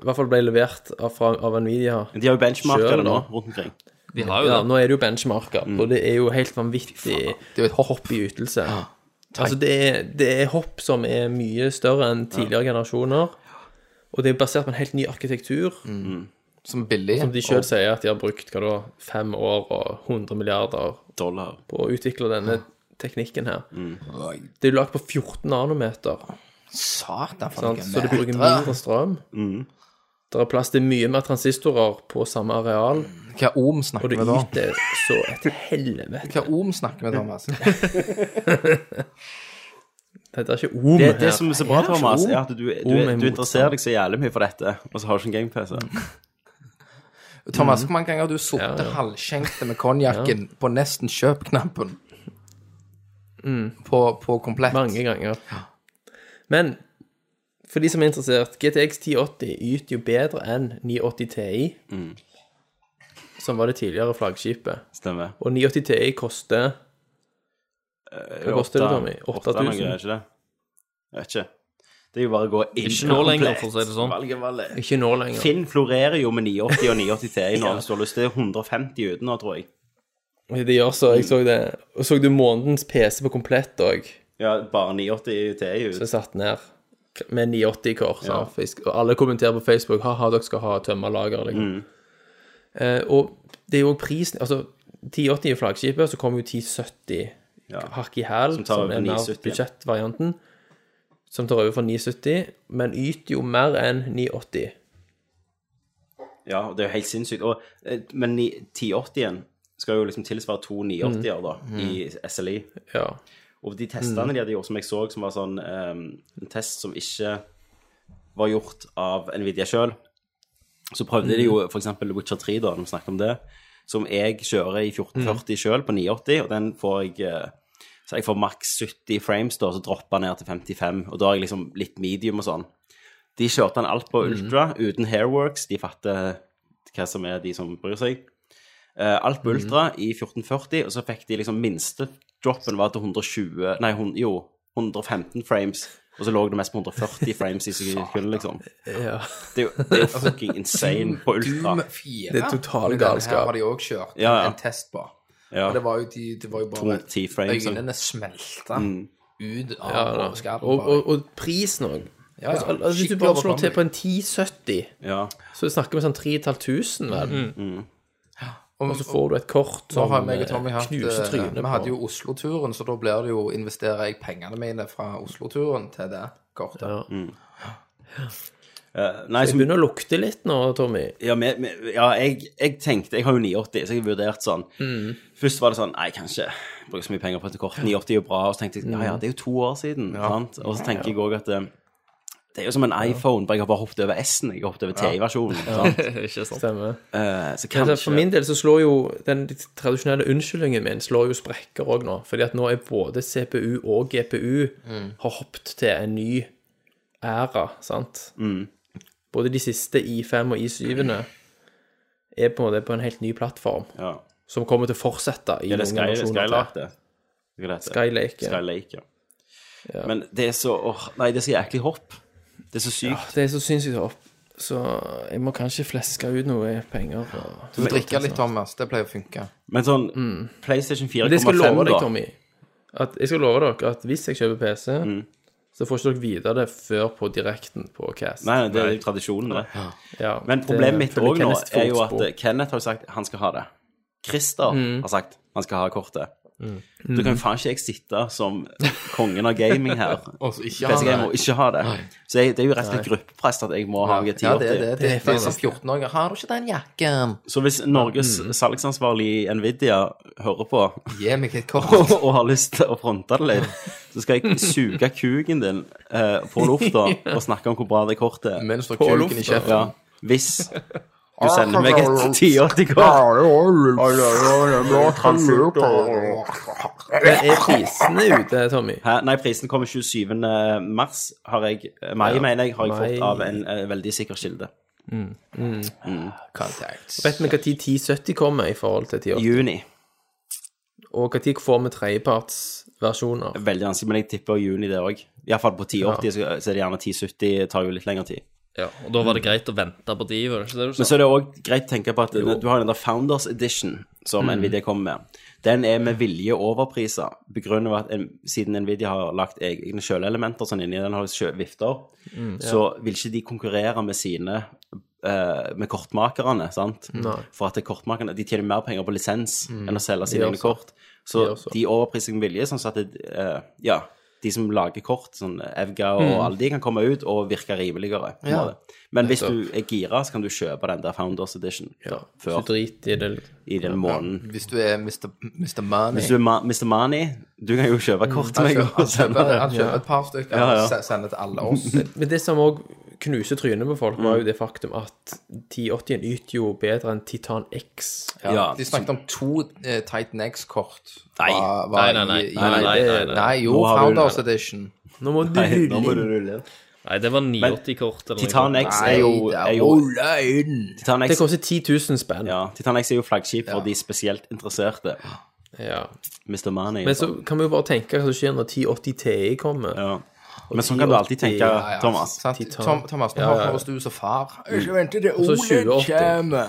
S5: i hvert fall ble levert av, fra, av Nvidia
S4: De har jo benchmarka
S5: Kjører
S4: det nå
S5: nå.
S4: rundt omkring.
S6: De har jo
S5: ja,
S6: det.
S5: Nå er det jo benchmarker, og det er jo helt vanvittig
S7: Mm. Det er jo et hopp.
S5: hopp i ytelse. Altså, det er, det er hopp som er mye større enn tidligere generasjoner. Og det er basert på en helt ny arkitektur.
S7: Mm. Som billig.
S5: Som de sjøl sier at de har brukt hva da, fem år og 100 milliarder
S4: Dollar.
S5: på å utvikle denne teknikken her.
S7: Oi,
S5: Det er jo lagt på 14 nanometer,
S7: Satan, for
S5: sant?
S7: noen
S5: så det bruker
S7: meter.
S5: mindre strøm. Det er plass til mye mer transistorer på samme areal,
S7: Hva om
S5: og
S7: snakker
S5: det
S7: vi da?
S5: yter så et helvete.
S7: Hva om snakker vi, Thomas?
S5: Dette er ikke om
S4: Det, det
S5: her.
S4: som er så bra, Thomas, er at du, du,
S5: Om er
S4: du
S5: motstand.
S4: interesserer deg så jævlig mye for dette, og så har du ikke en game-PC.
S7: Thomas, hvor mange ganger har du sittet
S5: Ja, ja.
S7: halvskjenkte med konjakken på nesten kjøp-knappen? På, på komplett.
S5: Mm. Mange ganger. Men for de som er interessert, GTX 1080 yter jo bedre enn 980 Ti, som var det tidligere flaggskipet.
S4: Stemmer.
S5: Og 980 Ti koster Hva koster det, Tommy?
S4: 8000?
S5: 8000?
S4: Ikke det? Jeg vet ikke. Det er jo bare å gå inn
S6: Ikke nå lenger,
S4: komplett.
S6: for å si det sånn.
S4: Valget var lett.
S5: ikke nå lenger.
S4: Finn florerer jo med 980 og 980 Ti nå, hvis du har lyst til 150 uten nå, tror jeg.
S5: Det gjør så, jeg så det. Og så du månedens PC på komplett òg,
S4: Ja, bare 980 Ti ut.
S5: som er satt ned med 980-kår. Og alle kommenterer på Facebook ha-ha, dere skal ha tømma lager, liksom.
S4: Mm.
S5: Eh, og det er jo prisen Altså, 1080 er flaggskipet, så kommer jo 1070
S4: Ja.
S5: hakk i hæl, som,
S4: Som tar over
S5: er mer
S4: 970.
S5: budsjettvarianten, som tar over for 970, men yter jo mer enn 980.
S4: Ja, og det er jo helt sinnssykt. Og, eh, men 1080-en skal jo liksom tilsvare to 980-er da,
S6: Mm.
S4: i SLI.
S5: Ja.
S4: Og de testene de hadde gjort, som jeg så, som var sånn eh, en test som ikke var gjort av Nvidia sjøl, så prøvde de jo f.eks. Witcher 3, da, når vi snakket om det, som jeg kjører i 1440 sjøl på 980, og den får jeg eh, så jeg får maks 70 frames, da, så dropper jeg ned til 55, og da er jeg liksom litt medium og sånn. De kjørte han alt på ultra, uten hairworks, de fatter hva som er de som bryr seg. Eh, alt på ultra i 1440, og så fikk de liksom minste droppen var til 120, nei, hun, jo, 115 frames, og så lå det mest på 140 frames i sekundet, liksom.
S5: ja.
S4: Det er jo, det er jo fucking insane på ultra.
S7: Fire.
S5: Det er total
S7: Men denne
S5: galskap.
S7: Her har de òg kjørt
S4: Ja, ja.
S7: en test på.
S4: Ja.
S7: Og det var jo, de, det var jo bare
S4: 210 frames, sånn.
S7: Øynene smelta ut av
S5: Mm. Ja, da.
S7: overskapet.
S5: og,
S7: bare.
S5: og, og prisen òg.
S7: Ja, ja.
S5: Altså, al- altså, hvis du
S7: Skikkelig
S5: bare slår til
S7: overkommelig.
S5: på en 1070,
S4: Ja.
S5: så snakker vi sånn 3500, vel. Og så får du et kort
S7: Mm. Nå
S5: som
S7: har meg og Tommy
S5: eh,
S7: hatt
S5: knuser
S7: eh,
S5: trynet
S7: Vi
S5: på.
S7: hadde jo Oslo-turen, så da blir det jo investerer jeg pengene mine fra Oslo-turen til det kortet.
S5: ja.
S4: Eh, nei,
S5: Det
S4: som
S5: begynner å lukte litt nå, Tommy.
S4: Ja, men- men- ja jeg, jeg tenkte Jeg har jo 980, så jeg har vurdert sånn. Først var det sånn Nei, jeg kan ikke bruke så mye penger på dette kortet. 980 er jo bra. Og så tenkte jeg ja, ja, det er jo to år siden. Sant? Og så tenker jeg òg at eh, det er jo som en iPhone, bare jeg har bare hoppet over S-en. Jeg har hoppet over TI-versjonen. sant?
S6: Ikke sant.
S5: Stemmer.
S4: Eh, Så
S5: Altså, for
S4: kanskje
S5: min del så slår jo den tradisjonelle unnskyldningen min slår jo sprekker òg nå. Fordi at nå er både CPU og GPU
S7: Mm.
S5: har hoppet til en ny æra, sant. Både de siste I5 og I7-ene er på en måte på en helt ny plattform,
S4: ja.
S5: som kommer til å fortsette i
S4: Er
S5: noen
S4: det Sky,
S5: generasjoner
S4: Skylake,
S5: til.
S4: det? Hva er det?
S5: Skylake, ja.
S4: Skylake, ja. Men det er så åh, Nei, det er så jæklig hopp. Det er så sykt.
S5: Det er så sinnssykt hopp. Så jeg må kanskje fleske ut noe penger. og-
S7: Du drikker litt, Thomas. Det pleier å funke.
S4: Men sånn PlayStation 4,5,
S5: Men det skal jeg love deg,
S4: da.
S5: Tommy. At jeg skal love dere at hvis jeg kjøper PC, så får ikke dere vite det før på direkten på Cast.
S4: Nei, det er jo tradisjonen, det.
S5: Ja,
S4: Men
S5: det
S4: problemet mitt
S5: følger
S4: òg nå
S5: Kenneths
S4: er jo at
S5: fotspor.
S4: eh, Kenneth har jo sagt han skal ha det. Christer har sagt han skal ha kortet. Da kan jo faen ikke jeg sitte som kongen av gaming her
S7: Og så ikke
S4: PC
S7: ha det.
S4: Gamer og ikke ha det. Så jeg, det er jo rett og slett gruppepress at jeg må ha en
S7: Ja, det er det. Det,
S4: 1080.
S7: det, er som 14-åringer. Har du ikke den jakken?
S4: Så hvis Norges salgsansvarlig i Nvidia hører på
S7: Gi meg et kort.
S4: og har lyst til å fronte det litt, så skal jeg suge kuken din eh, på lufta og snakke om hvor bra det kortet er.
S7: Mens du har kuken i
S5: lufta.
S7: kjeften.
S4: Ja, hvis Du sender meg et tiårtikår.
S5: Men er prisene ute, Tommy?
S4: Hæ? Nei, prisen kommer 27. mars, har jeg, eh, mai, mener jeg, har jeg
S5: Mai.
S4: fått av en eh, veldig sikker kilde.
S7: Contacts.
S5: Vet vi når 1070 kommer i forhold til 1080?
S4: Juni.
S5: Og når får vi tredjepartsversjoner?
S4: Veldig vanskelig, men jeg tipper juni det òg. Iallfall på 1080, så så er det gjerne 1070 tar jo litt lengre tid.
S6: Ja, og da var det greit å vente på de, var det ikke det du
S4: Men
S6: sa?
S4: så er det òg greit å tenke på at du har den der Founders Edition som
S6: Mm.
S4: Nvidia kommer med. Den er med vilje overprisa, begrunnet ved at en, siden Nvidia har lagt egne kjøleelementer sånn inni den, har de kjø- vifter,
S6: Mm.
S4: så vil ikke de konkurrere med sine eh, med kortmakerne, sant? For at det er kortmakerne de tjener mer penger på lisens
S6: Mm.
S4: enn å selge sine
S5: gjør
S4: egne
S5: så.
S4: kort. Så
S5: gjør så.
S4: de overpriser med vilje, sånn at det, eh, ja, de som lager kort, sånn Evga og alle de, kan komme ut og virke rimeligere. på en måte. Men hvis du er gira, så kan du kjøpe den der Founders Edition da,
S5: Så
S4: før
S5: drit i det.
S4: i den måneden.
S7: Hvis du er Mr. Mr. Money
S4: Hvis du er ma Mr. Mani, du kan jo kjøpe kort til
S7: Han
S4: meg.
S7: kjøper,
S4: og
S7: han
S4: sende
S7: kjøper,
S4: det.
S7: han kjøper et par stykker
S4: Ja, ja.
S7: og se- sender til alle oss.
S5: Men det som òg knuser trynet på folk, var jo det faktum at 1080-en yter jo bedre enn Titan X.
S4: Ja.
S7: De snakket om to eh, Titan X-kort.
S4: Nei.
S7: Var- var
S6: Nei, nei, nei.
S7: i- i-
S6: Nei, nei, nei, nei, nei.
S7: Nei, jo,
S4: Nå har du-
S7: Founders Edition.
S5: Nå må du
S4: Nei, nå må
S5: rulle
S4: du
S5: inn.
S4: rulle.
S6: Nei, det var 980-kort.
S4: Titan X er jo, er jo
S7: Olein!
S4: Titan
S5: Det
S4: X,
S5: koster 10 000 spenn.
S4: ja, Titan X er jo flaggskip for de spesielt interesserte.
S5: Ja.
S4: Mr. Mani.
S5: Men så kan vi jo bare tenke hva som skjer når 1080 TI kommer.
S4: ja. Men sånn kan du alltid tenke,
S5: Ja,
S4: Thomas.
S5: Titan.
S7: Tom, Thomas, nå høres du som far. Ikke vente til
S5: så 2080.
S7: kommer.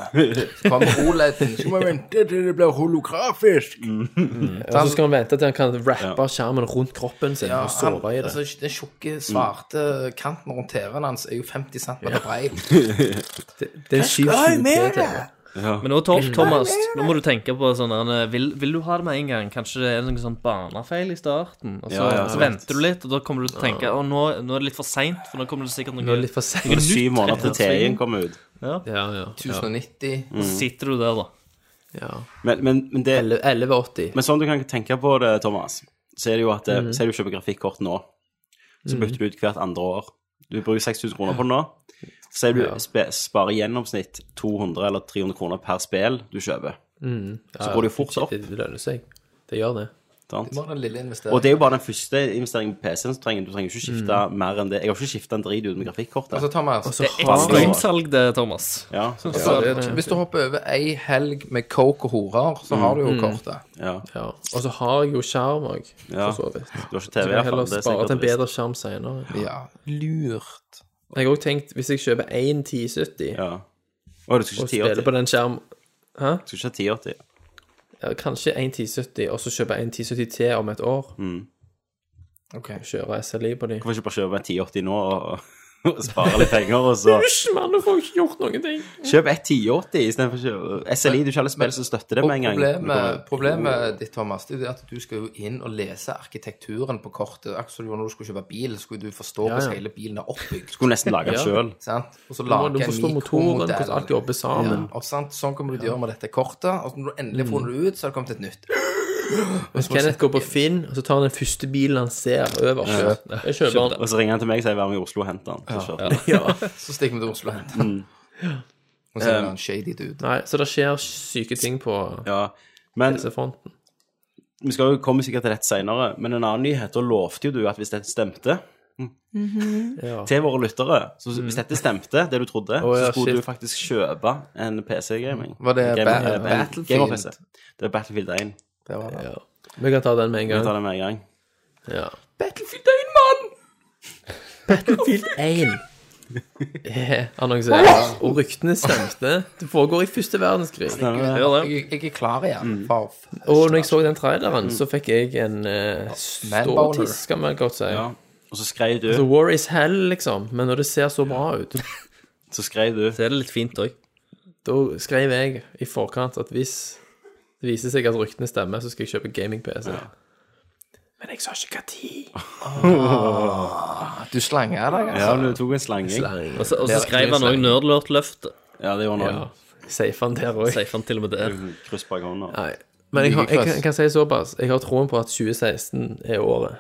S7: Så kommer OLED-en. Så må vi vente til det blir holografisk.
S5: Og så skal han vente til han kan rappe skjermen rundt kroppen sin og sove i det.
S7: Altså, den tjukke, svarte kanten rundt TV-en hans er jo 50 cm brei.
S5: Det er 720
S7: med
S5: TI.
S6: Men nå, Tom, Thomas, nå må du tenke på sånn eh, vil, vil du ha det med en gang? Kanskje det er noen sånn barnefeil i starten? Og så,
S4: Ja, ja,
S6: så
S4: sant.
S6: venter du litt, og da kommer du til å tenke Å, nå, nå er det litt for seint, for nå kommer det sikkert noe
S5: Nå er det litt for sent.
S4: Det er syv måneder til TI-en kommer ut.
S5: Ja, ja.
S7: 1090.
S6: Så sitter du der, da.
S5: ja.
S4: Men, men, men det
S5: 11- 1180.
S4: Men sånn du kan tenke på det, Thomas, så er det jo at
S5: Mhm.
S4: mm. Se du kjøper grafikkort nå, så bytter du ut hvert andre år. Du bruker 6000 kroner på det nå. Så er du spe, sparer i gjennomsnitt 200 eller 300 kroner per spill du kjøper.
S5: Mhm.
S4: Så går det jo fort opp.
S5: Det det lønner seg. Det gjør det.
S4: Sant?
S7: Bare den lille investeringen.
S4: Og det er jo bare den første investeringen på PC-en. så trenger Du trenger ikke skifte
S5: Mhm.
S4: mer enn det. Jeg har ikke skifta en drit uten grafikkortet.
S7: Altså, Thomas,
S5: Så har
S4: Bare-
S6: Ekstremsalg, det, Thomas.
S4: ja,
S7: altså, hvis du hopper over ei helg med coke og horer, så har du
S4: Mm.
S7: jo kortet.
S4: ja,
S5: ja. Og så har jeg jo skjerm òg,
S4: Ja.
S5: for så vidt.
S4: Du har ikke
S5: Så
S4: TV,
S5: kan jeg
S4: iallfall.
S5: heller
S4: Det er
S5: spare til en
S4: sikkert trist.
S5: bedre skjerm senere.
S7: Ja, lurt.
S5: Jeg har òg tenkt, hvis jeg kjøper én 1070
S4: Ja. Å, du
S5: og
S4: skal ikke
S5: spiller på
S4: 1080?
S5: den skjerm
S4: Du skal ikke ha 1080?
S5: ja, Kanskje én 1070, og så kjøper jeg en 1070 til om et år.
S7: Ok.
S5: Kjører SLI på de.
S4: Hvorfor ikke bare kjøpe en 1080 nå og, og spare litt penger, og så
S5: Hysj, mann, nå får jeg ikke gjort noen ting.
S4: Kjøp et 1080 istedenfor å kjøpe SLI. Du ikke alle spill som støtter det
S7: Og
S4: med en gang.
S7: Problemet, problemet ditt, Thomas, det er jo det at du skal jo inn og lese arkitekturen på kortet. Akkurat som du gjorde når du skulle kjøpe bil, skulle du
S5: Ja,
S7: forstå
S5: ja.
S7: hvordan hele bilen er oppbygd.
S4: Skulle nesten lage den sjøl.
S7: Sant? Og så
S5: Du må-
S7: lage
S5: Du må
S7: en
S5: forstå motoren,
S7: mikromodell.
S5: hvordan alt jobber sammen.
S7: Og sant? Sånn kommer du til å gjøre med dette kortet. Og når du endelig
S4: Mm.
S7: får det ut, så har det kommet et nytt.
S5: Hvis Kenneth går på Finn, og så tar han den første bilen han ser øverst. Jeg kjøper den.
S4: Og så ringer han til meg og sier 'vær med i Oslo og hent den'. Så kjøper vi.
S7: Så stikker vi til Oslo og henter
S4: Mm.
S7: den. Og så er
S4: Um,
S7: det en shady dude.
S5: Nei, så det skjer syke ting på
S4: Ja. Men
S5: PC-fronten.
S4: vi skal jo komme sikkert til dette seinere. Men en annen nyhet, da lovte jo du at hvis dette stemte
S5: Ja.
S4: Til våre lyttere. Så
S7: Mhm.
S4: hvis dette stemte, det du trodde,
S5: ja,
S4: så skulle
S5: shit.
S4: du faktisk kjøpe en PC-gaming.
S7: Var det
S4: Gamer-
S7: Ba-
S4: eh, en
S7: Battlefield?
S4: gamer-PC. Det er Battlefield 1.
S7: Det var det.
S5: Ja. Vi kan ta den med en
S4: Vi tar
S5: gang.
S4: det med en gang.
S5: Ja.
S7: Battlefield 1, mann!
S5: Battlefield 1. Eh, Annonseres. Og ryktene stemte. Det foregår i første verdenskrig.
S4: Stemmer det?
S6: Gjør det.
S7: Jeg, jeg er klar igjen.
S4: Mm.
S7: For f-
S5: Og når jeg så den traileren, så fikk jeg en uh,
S7: Manboner.
S5: ståtiss, kan man godt si.
S4: Ja. Og så skrev du
S5: The war is hell, liksom. Men når det ser så bra ut,
S4: Så skrev du
S6: Det er litt fint òg.
S5: da skrev jeg i forkant at hvis det viser seg at ryktene stemmer, så skal jeg kjøpe gaming-PC. Men jeg sa ikke hva tid.
S7: du slanger deg, altså.
S4: Ja, du tok en slanging.
S6: Og så, og så skrev han òg Nerdlurt-løftet.
S4: Ja, det gjorde
S5: Ja.
S4: han òg.
S5: Safe han der òg.
S6: Sier han til og med det.
S4: Kryss bak hånda.
S5: Nei. Men jeg, har, jeg, kan-
S7: Like
S5: jeg kan si såpass. Jeg har troen på at 2016 er året.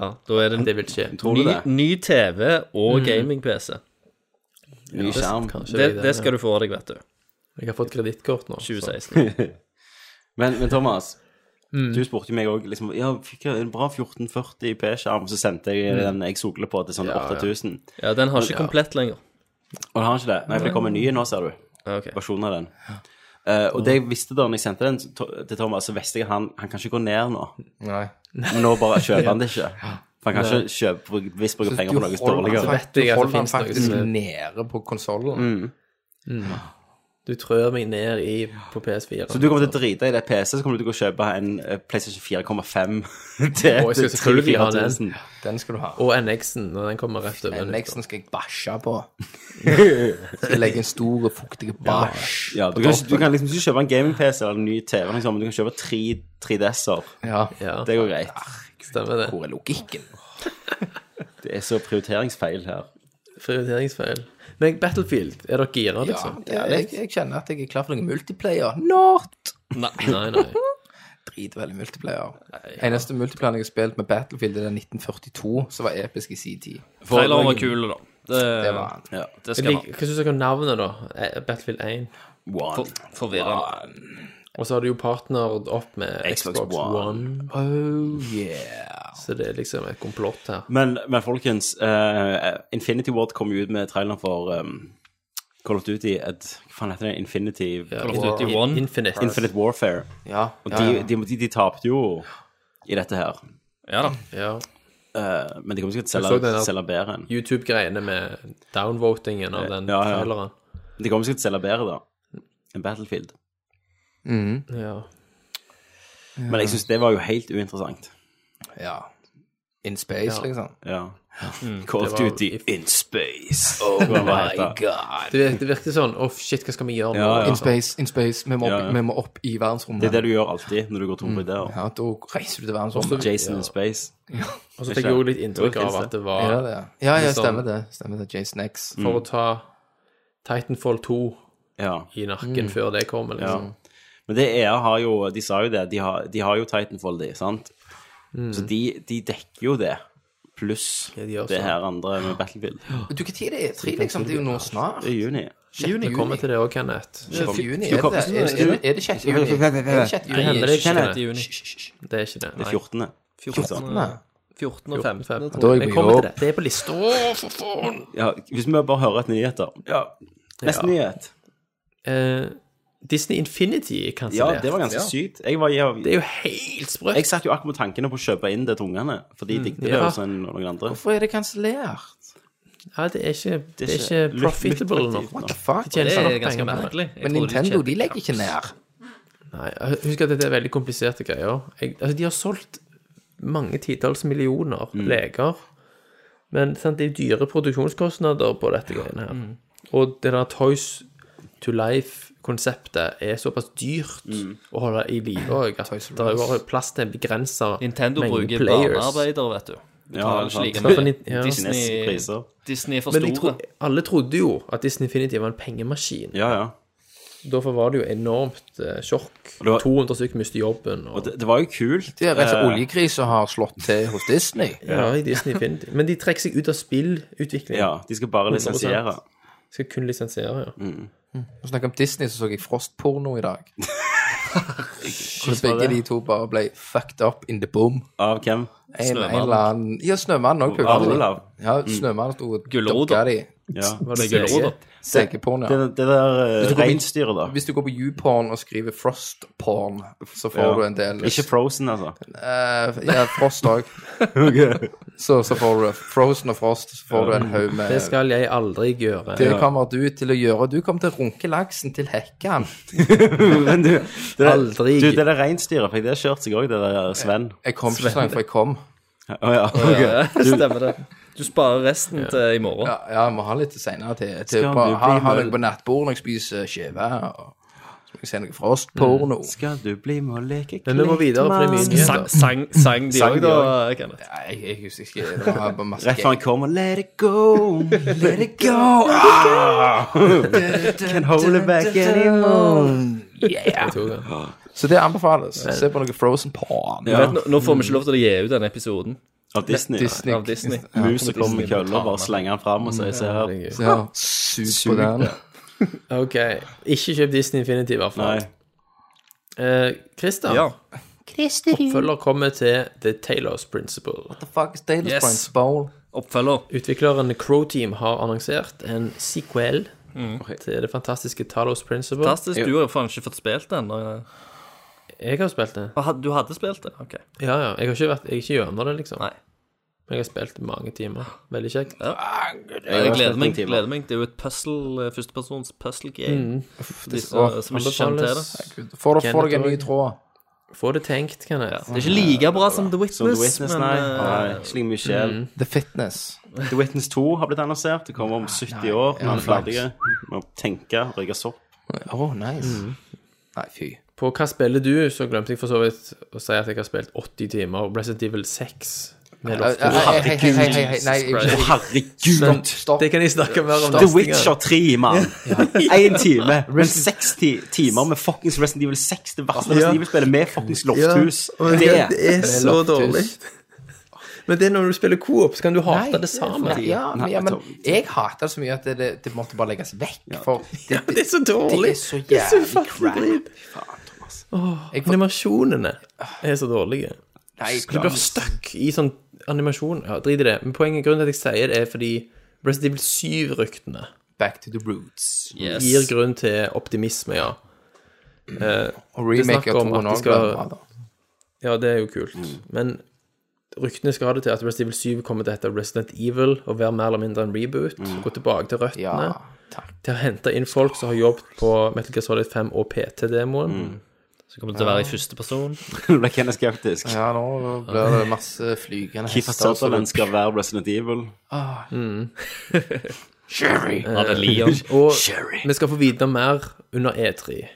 S6: Ja, da er det
S5: Det vil skje.
S4: Tror du
S6: ny,
S4: det?
S6: ny TV og gaming-PC.
S4: Ny skjerm.
S5: Kanskje
S6: Det,
S5: jeg-
S6: det skal du få av deg, vet du.
S5: Jeg har fått kredittkort nå. så-
S6: 2016.
S4: Men, men Thomas, du spurte jo meg òg liksom, Ja, fikk jeg en bra 1440 P-skjerm, så sendte jeg den jeg sogler på, til sånn 8000.
S6: Ja, den har ikke komplett lenger.
S4: Og den har ikke det? Nei, for det kommer en ny nå, ser du.
S6: Ja, ok.
S4: Versjonen av den. Eh, og det jeg visste da når jeg sendte den to- til Thomas, så visste jeg han, han kan ikke gå ned nå.
S7: Nei.
S4: Men nå bare kjøper han det ikke. For han kan ikke kjøpe, hvis bruke penger på noe dårligere. Mm.
S5: vet jeg at det
S7: Du holder han
S5: finnes noe
S7: faktisk
S5: som er-
S7: nede på konsollen.
S5: Du trør meg ned i, på PS4.
S4: Så du kommer til å drite i det PC, så kommer du til å gå og kjøpe en eh, PlayStation 4,5 til
S5: Å, jeg skal selvfølgelig ha den.
S4: 4000.
S7: Den skal du ha.
S5: Og NX-en, når den kommer rett over.
S7: NX-en skal jeg bæsje på. Skal jeg legge en stor, fuktig bæsj
S4: Ja,
S7: på
S4: du kan, ikke-
S7: toppen.
S4: du kan liksom ikke kjøpe en gaming-PC eller en ny TV, liksom, men du kan kjøpe tre 3DS-er.
S7: Ja.
S5: Ja,
S4: Det går greit.
S5: stemmer det.
S7: Hvor er logikken?
S4: Det er så prioriteringsfeil her.
S5: Prioriteringsfeil. Men Battlefield, er dere gira,
S7: Ja,
S5: liksom?
S7: det, jeg, jeg kjenner at jeg er klar for noen multiplayer. Not!
S5: Nei, nei.
S7: Dritveldig multiplayer. Eneste multiplayeren jeg har spilt med Battlefield, er den 1942, som var episk i sin tid.
S6: Traileren var kul, da. Det,
S7: Det var han.
S4: Ja.
S6: det
S5: Jeg
S6: skal
S5: liker,
S6: han.
S5: hva syns dere om navnet, da? Eh, Battlefield 1.
S4: One.
S6: For, forvirrende.
S5: Og så har du jo partnerd opp med
S4: Xbox
S5: Xbox,
S4: One.
S5: One.
S7: Oh yeah.
S5: så det er liksom et komplott her.
S4: Men, men folkens, eh, Infinity Ward kom jo ut med traileren for um, Call of Duty et, Hva faen heter det? Infinity
S6: Call of Duty One.
S5: Infinite.
S4: Infinite Warfare.
S7: Ja,
S4: Og
S7: ja, ja.
S4: de, de, de, de tapte jo i dette her.
S6: Ja da.
S5: Ja.
S4: Eh, men de kommer sikkert til å
S5: Jeg så den
S4: selge,
S5: her.
S4: selge bedre enn
S5: YouTube-greiene med downvotingen av den
S4: Ja, ja.
S5: traileren.
S4: De kommer sikkert til å selge bedre, da. Enn Battlefield.
S5: Ja.
S4: Men jeg syns det var jo helt uinteressant.
S7: ja. In space, liksom.
S4: Ja. Call of
S5: Det var-
S4: Duty in space. Oh my
S7: God.
S5: Det, vir- det virker sånn Å, shit, hva skal vi gjøre nå?
S4: Ja, ja.
S7: In space, in space. Vi må opp,
S4: Ja, ja.
S7: Vi må opp i verdensrommet.
S4: Det er det du gjør alltid når du går tom for ideer.
S7: Ja, da reiser du til verdensrommet.
S4: Jason in space.
S5: Og så fikk jeg òg litt inntrykk av at det var
S7: Ja, det. ja, ja,
S5: Litt
S4: Liksom-
S5: sånn-
S7: stemmer det. Stemmer det. Jason X.
S4: Mm.
S5: for å ta Titanfall 2
S4: Ja.
S5: i nakken før det kommer,
S4: ja.
S5: liksom.
S4: Men det EA har jo De sa jo det. De har, de har jo Titanfall, de, sant? Så de, de dekker jo det. Pluss
S5: Ja, de gjør
S4: det
S5: sånn.
S4: her andre med Battlefield.
S7: Du, hva tid er det? Tre, liksom? Det er jo nå snart.
S4: Det er juni.
S5: Vi kommer til det òg, Kenneth.
S7: Sjette juni,
S4: Du
S7: er
S4: kom-
S7: det det? Er det- Er det sjette juni? Er det sjette
S5: Det hender det
S7: juni?
S5: ikke.
S6: I
S5: Det.
S6: juni.
S5: det er ikke det.
S4: Det er 14.
S6: 14.
S7: Nei.
S6: 14 og 15. tror jeg.
S7: Da er jeg
S5: Men
S7: på
S5: kommer til
S7: jobb.
S5: det. Det er på lista.
S4: Ja, hvis vi bare hører et nyheter. Ja. Neste nyhet.
S5: Eh, Disney Infinity er
S4: Ja,
S5: kansellert.
S4: det var ganske sykt. Jeg, var, jeg,
S5: det er jo helt sprøtt.
S4: jeg satt jo akkurat med tankene på å kjøpe inn det til ungene, for de digget det
S5: ja.
S4: jo sånn noen andre.
S7: Hvorfor er det kansellert?
S5: Ja, det er ikke, det er ikke profitable nok.
S7: What the fuck?
S5: Tjener
S6: Det
S5: ikke
S6: er
S5: nok
S6: ganske
S5: penger på det.
S6: merkelig. Jeg
S7: Men
S6: trodde
S7: Nintendo
S6: tjente
S7: de legger ikke ned.
S5: Nei, husk at dette er veldig kompliserte greier. Jeg, altså, de har solgt mange titalls millioner
S4: Mm.
S5: leger, men sant, det er dyre produksjonskostnader på dette greiene her.
S4: Mm.
S5: Og det der Toys to Life-konseptet er såpass dyrt
S4: Mm.
S5: å holde i live òg, at det er jo bare plass til en begrensa
S6: Nintendo bruker barnearbeidere, vet du.
S4: Ja,
S6: Betaler
S4: det
S6: ikke
S4: er
S6: like
S4: sant.
S5: Sånn for
S6: mye.
S5: Nin- ja.
S4: Kinesiske
S6: Disney,
S4: priser.
S6: Disney er for
S5: Men jeg tror,
S6: store.
S5: alle trodde jo at Disney Infinity var en pengemaskin.
S4: Ja, ja.
S5: Derfor var det jo enormt eh, sjokk.
S4: det var-
S5: 200 stykker mister jobben. Og,
S4: Og det, det var jo kult.
S7: Det er rett og slett
S4: eh,
S7: oljekrisen har slått til hos Disney.
S5: ja, i Disney Infinity. Men de trekker seg ut av spillutvikling.
S4: Ja, Mm. de skal bare lisensiere.
S5: Skal kun lisensiere, ja.
S7: Når vi snakker om Disney, så så jeg frostporno i dag. Hvor begge de to bare ble fucked up in the boom.
S4: Av hvem?
S7: En, en
S6: Snømannen.
S7: eller annen Ja, Snømannen òg
S4: Av Olav.
S7: Ja, Snømannen sto og
S6: Gulrot,
S7: dukka
S6: da.
S7: de.
S4: Ja.
S5: Var det
S6: Gulrot, da.
S7: Segeporn,
S4: Det,
S7: ja.
S4: det der
S7: du går
S4: uh,
S7: på-
S4: reinsdyret, da.
S7: Hvis du går på YouPorn og skriver frostporn, så får
S4: Ja.
S7: du en del
S4: Ikke Frozen, altså.
S7: Eh, Ja, frost òg. så, så får du Frozen og Frost, så får du en haug med
S5: Det skal jeg aldri gjøre.
S7: Det kommer du til å gjøre. Du kommer til å runke laksen til hekken.
S4: Men du, det der,
S5: Aldri.
S4: du, det der reinsdyret, fikk det kjørt seg òg, det der Sven?
S7: Jeg kom ikke så langt, for jeg kom.
S4: Å ja. ok.
S6: Stemmer det. Du sparer resten til i morgen.
S7: Ja, ja, jeg må ha litt senere til, til
S4: Skal
S7: på,
S4: du
S7: ha,
S4: bli
S7: ha
S4: møll?
S7: noe på nattbordet når jeg spiser skive. og Så må jeg se noe frostporno.
S4: Skal du bli med og leke
S5: Men vi må videre, for det er mye
S6: Sang,
S5: nyheter.
S6: sang, sang de
S4: Sang
S6: òg,
S4: de
S6: da, Kenneth?
S7: Nei, jeg, jeg husker ikke. Det var bare masse
S4: Rett før han kommer Let it go, let it go Ah! Can hold it back anymore
S7: Yeah. Så det anbefales. Se på noe frozen porn.
S6: Du vet, nå, nå får vi ikke lov til å gi ut denne episoden.
S4: Av Disney. ja.
S7: Disney.
S6: Av Disney.
S4: Musa kommer med kølla og bare slenger den fram og sier se her.
S5: Herregud.
S7: Ja, sug på den.
S5: Ok, ikke kjøp Disney Infinity i hvert fall.
S4: Nei.
S5: Eh, Christer,
S6: Ja.
S5: oppfølger kommer til The Taylors Principle.
S7: The fuck is Dales
S6: Yes.
S7: Points Bowl?
S6: Oppfølger.
S5: Utvikleren Crow Team har annonsert en sequel til det fantastiske Talos Principle.
S6: Fantastisk. Du har jo faen ikke fått spilt den. og-
S5: Jeg har spilt det.
S6: Ah, Du hadde spilt det? OK.
S5: Ja, ja. Jeg har ikke vært Jeg er ikke gjennom det, liksom.
S6: Nei.
S5: Men jeg har spilt mange timer. Veldig kjekt.
S6: Jeg gleder meg.
S4: timer.
S6: gleder meg Det er jo et puzzle, eh, førstepersons puzzle game. De
S7: åh,
S6: som, som ikke kjenner til det.
S5: Anbefales.
S7: Får du- får deg en
S5: Kenneth
S7: ny tråd?
S5: Få det tenkt, kan jeg.
S6: Ja. Det er ikke like bra som The Witness,
S4: Som The Witness,
S6: men
S4: nei.
S6: eh,
S4: nei. Slik mye sjel.
S7: The Fitness.
S4: The Witness 2 har blitt annonsert. Det kommer om 70 år. Når den er ferdig. Må tenke, røyke sopp.
S7: Oh, nice.
S5: Mm.
S7: Nei, fy.
S5: På hva spiller du, så glemte jeg for så vidt å si at jeg har spilt 80 timer. Resident Evil 6. Med
S7: Hei,
S5: Lost
S7: hei, hei, hei, hei, hei. Nei,
S4: Å,
S7: ikke
S4: herregud!
S7: Stopp, stopp.
S5: Det kan jeg snakke mer om neste
S4: The
S5: gang.
S4: Witcher 3, mann. Én time. Men 60 timer med fuckings Resident Evil 6. Det verste Resident Evil-spillet med fuckings lofthus. Det er
S5: er så dårlig. Men det er når du spiller coop, så kan du
S7: Nei,
S5: hate det samme.
S7: Nei, ja, men, ja, men jeg hater det så mye at det, det måtte bare legges vekk. For det,
S5: Det er så dårlig.
S7: Det er så
S5: Det er så
S7: jævlig
S5: fucking
S7: crap.
S5: dritt.
S7: jeg, får-
S5: Animasjonene er så dårlige.
S7: nei, jeg
S5: Du blir stuck i sånn animasjon. Ja, drit i det. Men poenget grunnen til at jeg sier det, er fordi Resident Evil 7-ryktene
S7: Back to the roots.
S5: gir grunn til optimisme, ja.
S7: Og
S5: Det
S7: remake
S5: snakker
S7: av
S5: om at
S7: Tone
S5: de
S7: også.
S5: skal-
S7: blir bra, da.
S5: Ja, det er jo kult.
S7: Mm.
S5: Men ryktene skal ha det til at Resident Evil 7 kommer til å hete Resident Evil og være mer eller mindre en reboot. Gå tilbake til røttene.
S7: Mm. Ja, takk.
S5: Til å hente inn folk som har jobbet på Metal Gear Solid 5 og PT-demoen.
S7: Mm.
S6: så kommer det til å være i første person.
S4: Det ble Kenneth Skeptisk.
S7: Ja, nå blir det masse flygende
S4: Kiefer
S7: hester. og så-
S4: Sutherland skal være Resident Evil.
S7: Sherry!
S6: Av det Leon.
S5: Og
S7: Sherry.
S5: vi skal få vite mer under E3.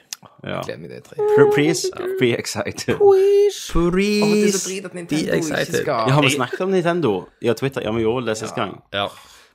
S4: Ja.
S7: Gleder meg til det tre.
S4: Pre- Please be excited.
S7: Åh, det er
S5: Please
S7: så drit at
S5: be
S7: Nintendo ikke
S5: excited.
S7: skal
S4: Ja, har vi snakket om Nintendo? Ja, Twitter. Ja, vi gjorde det sist gang.
S6: Ja.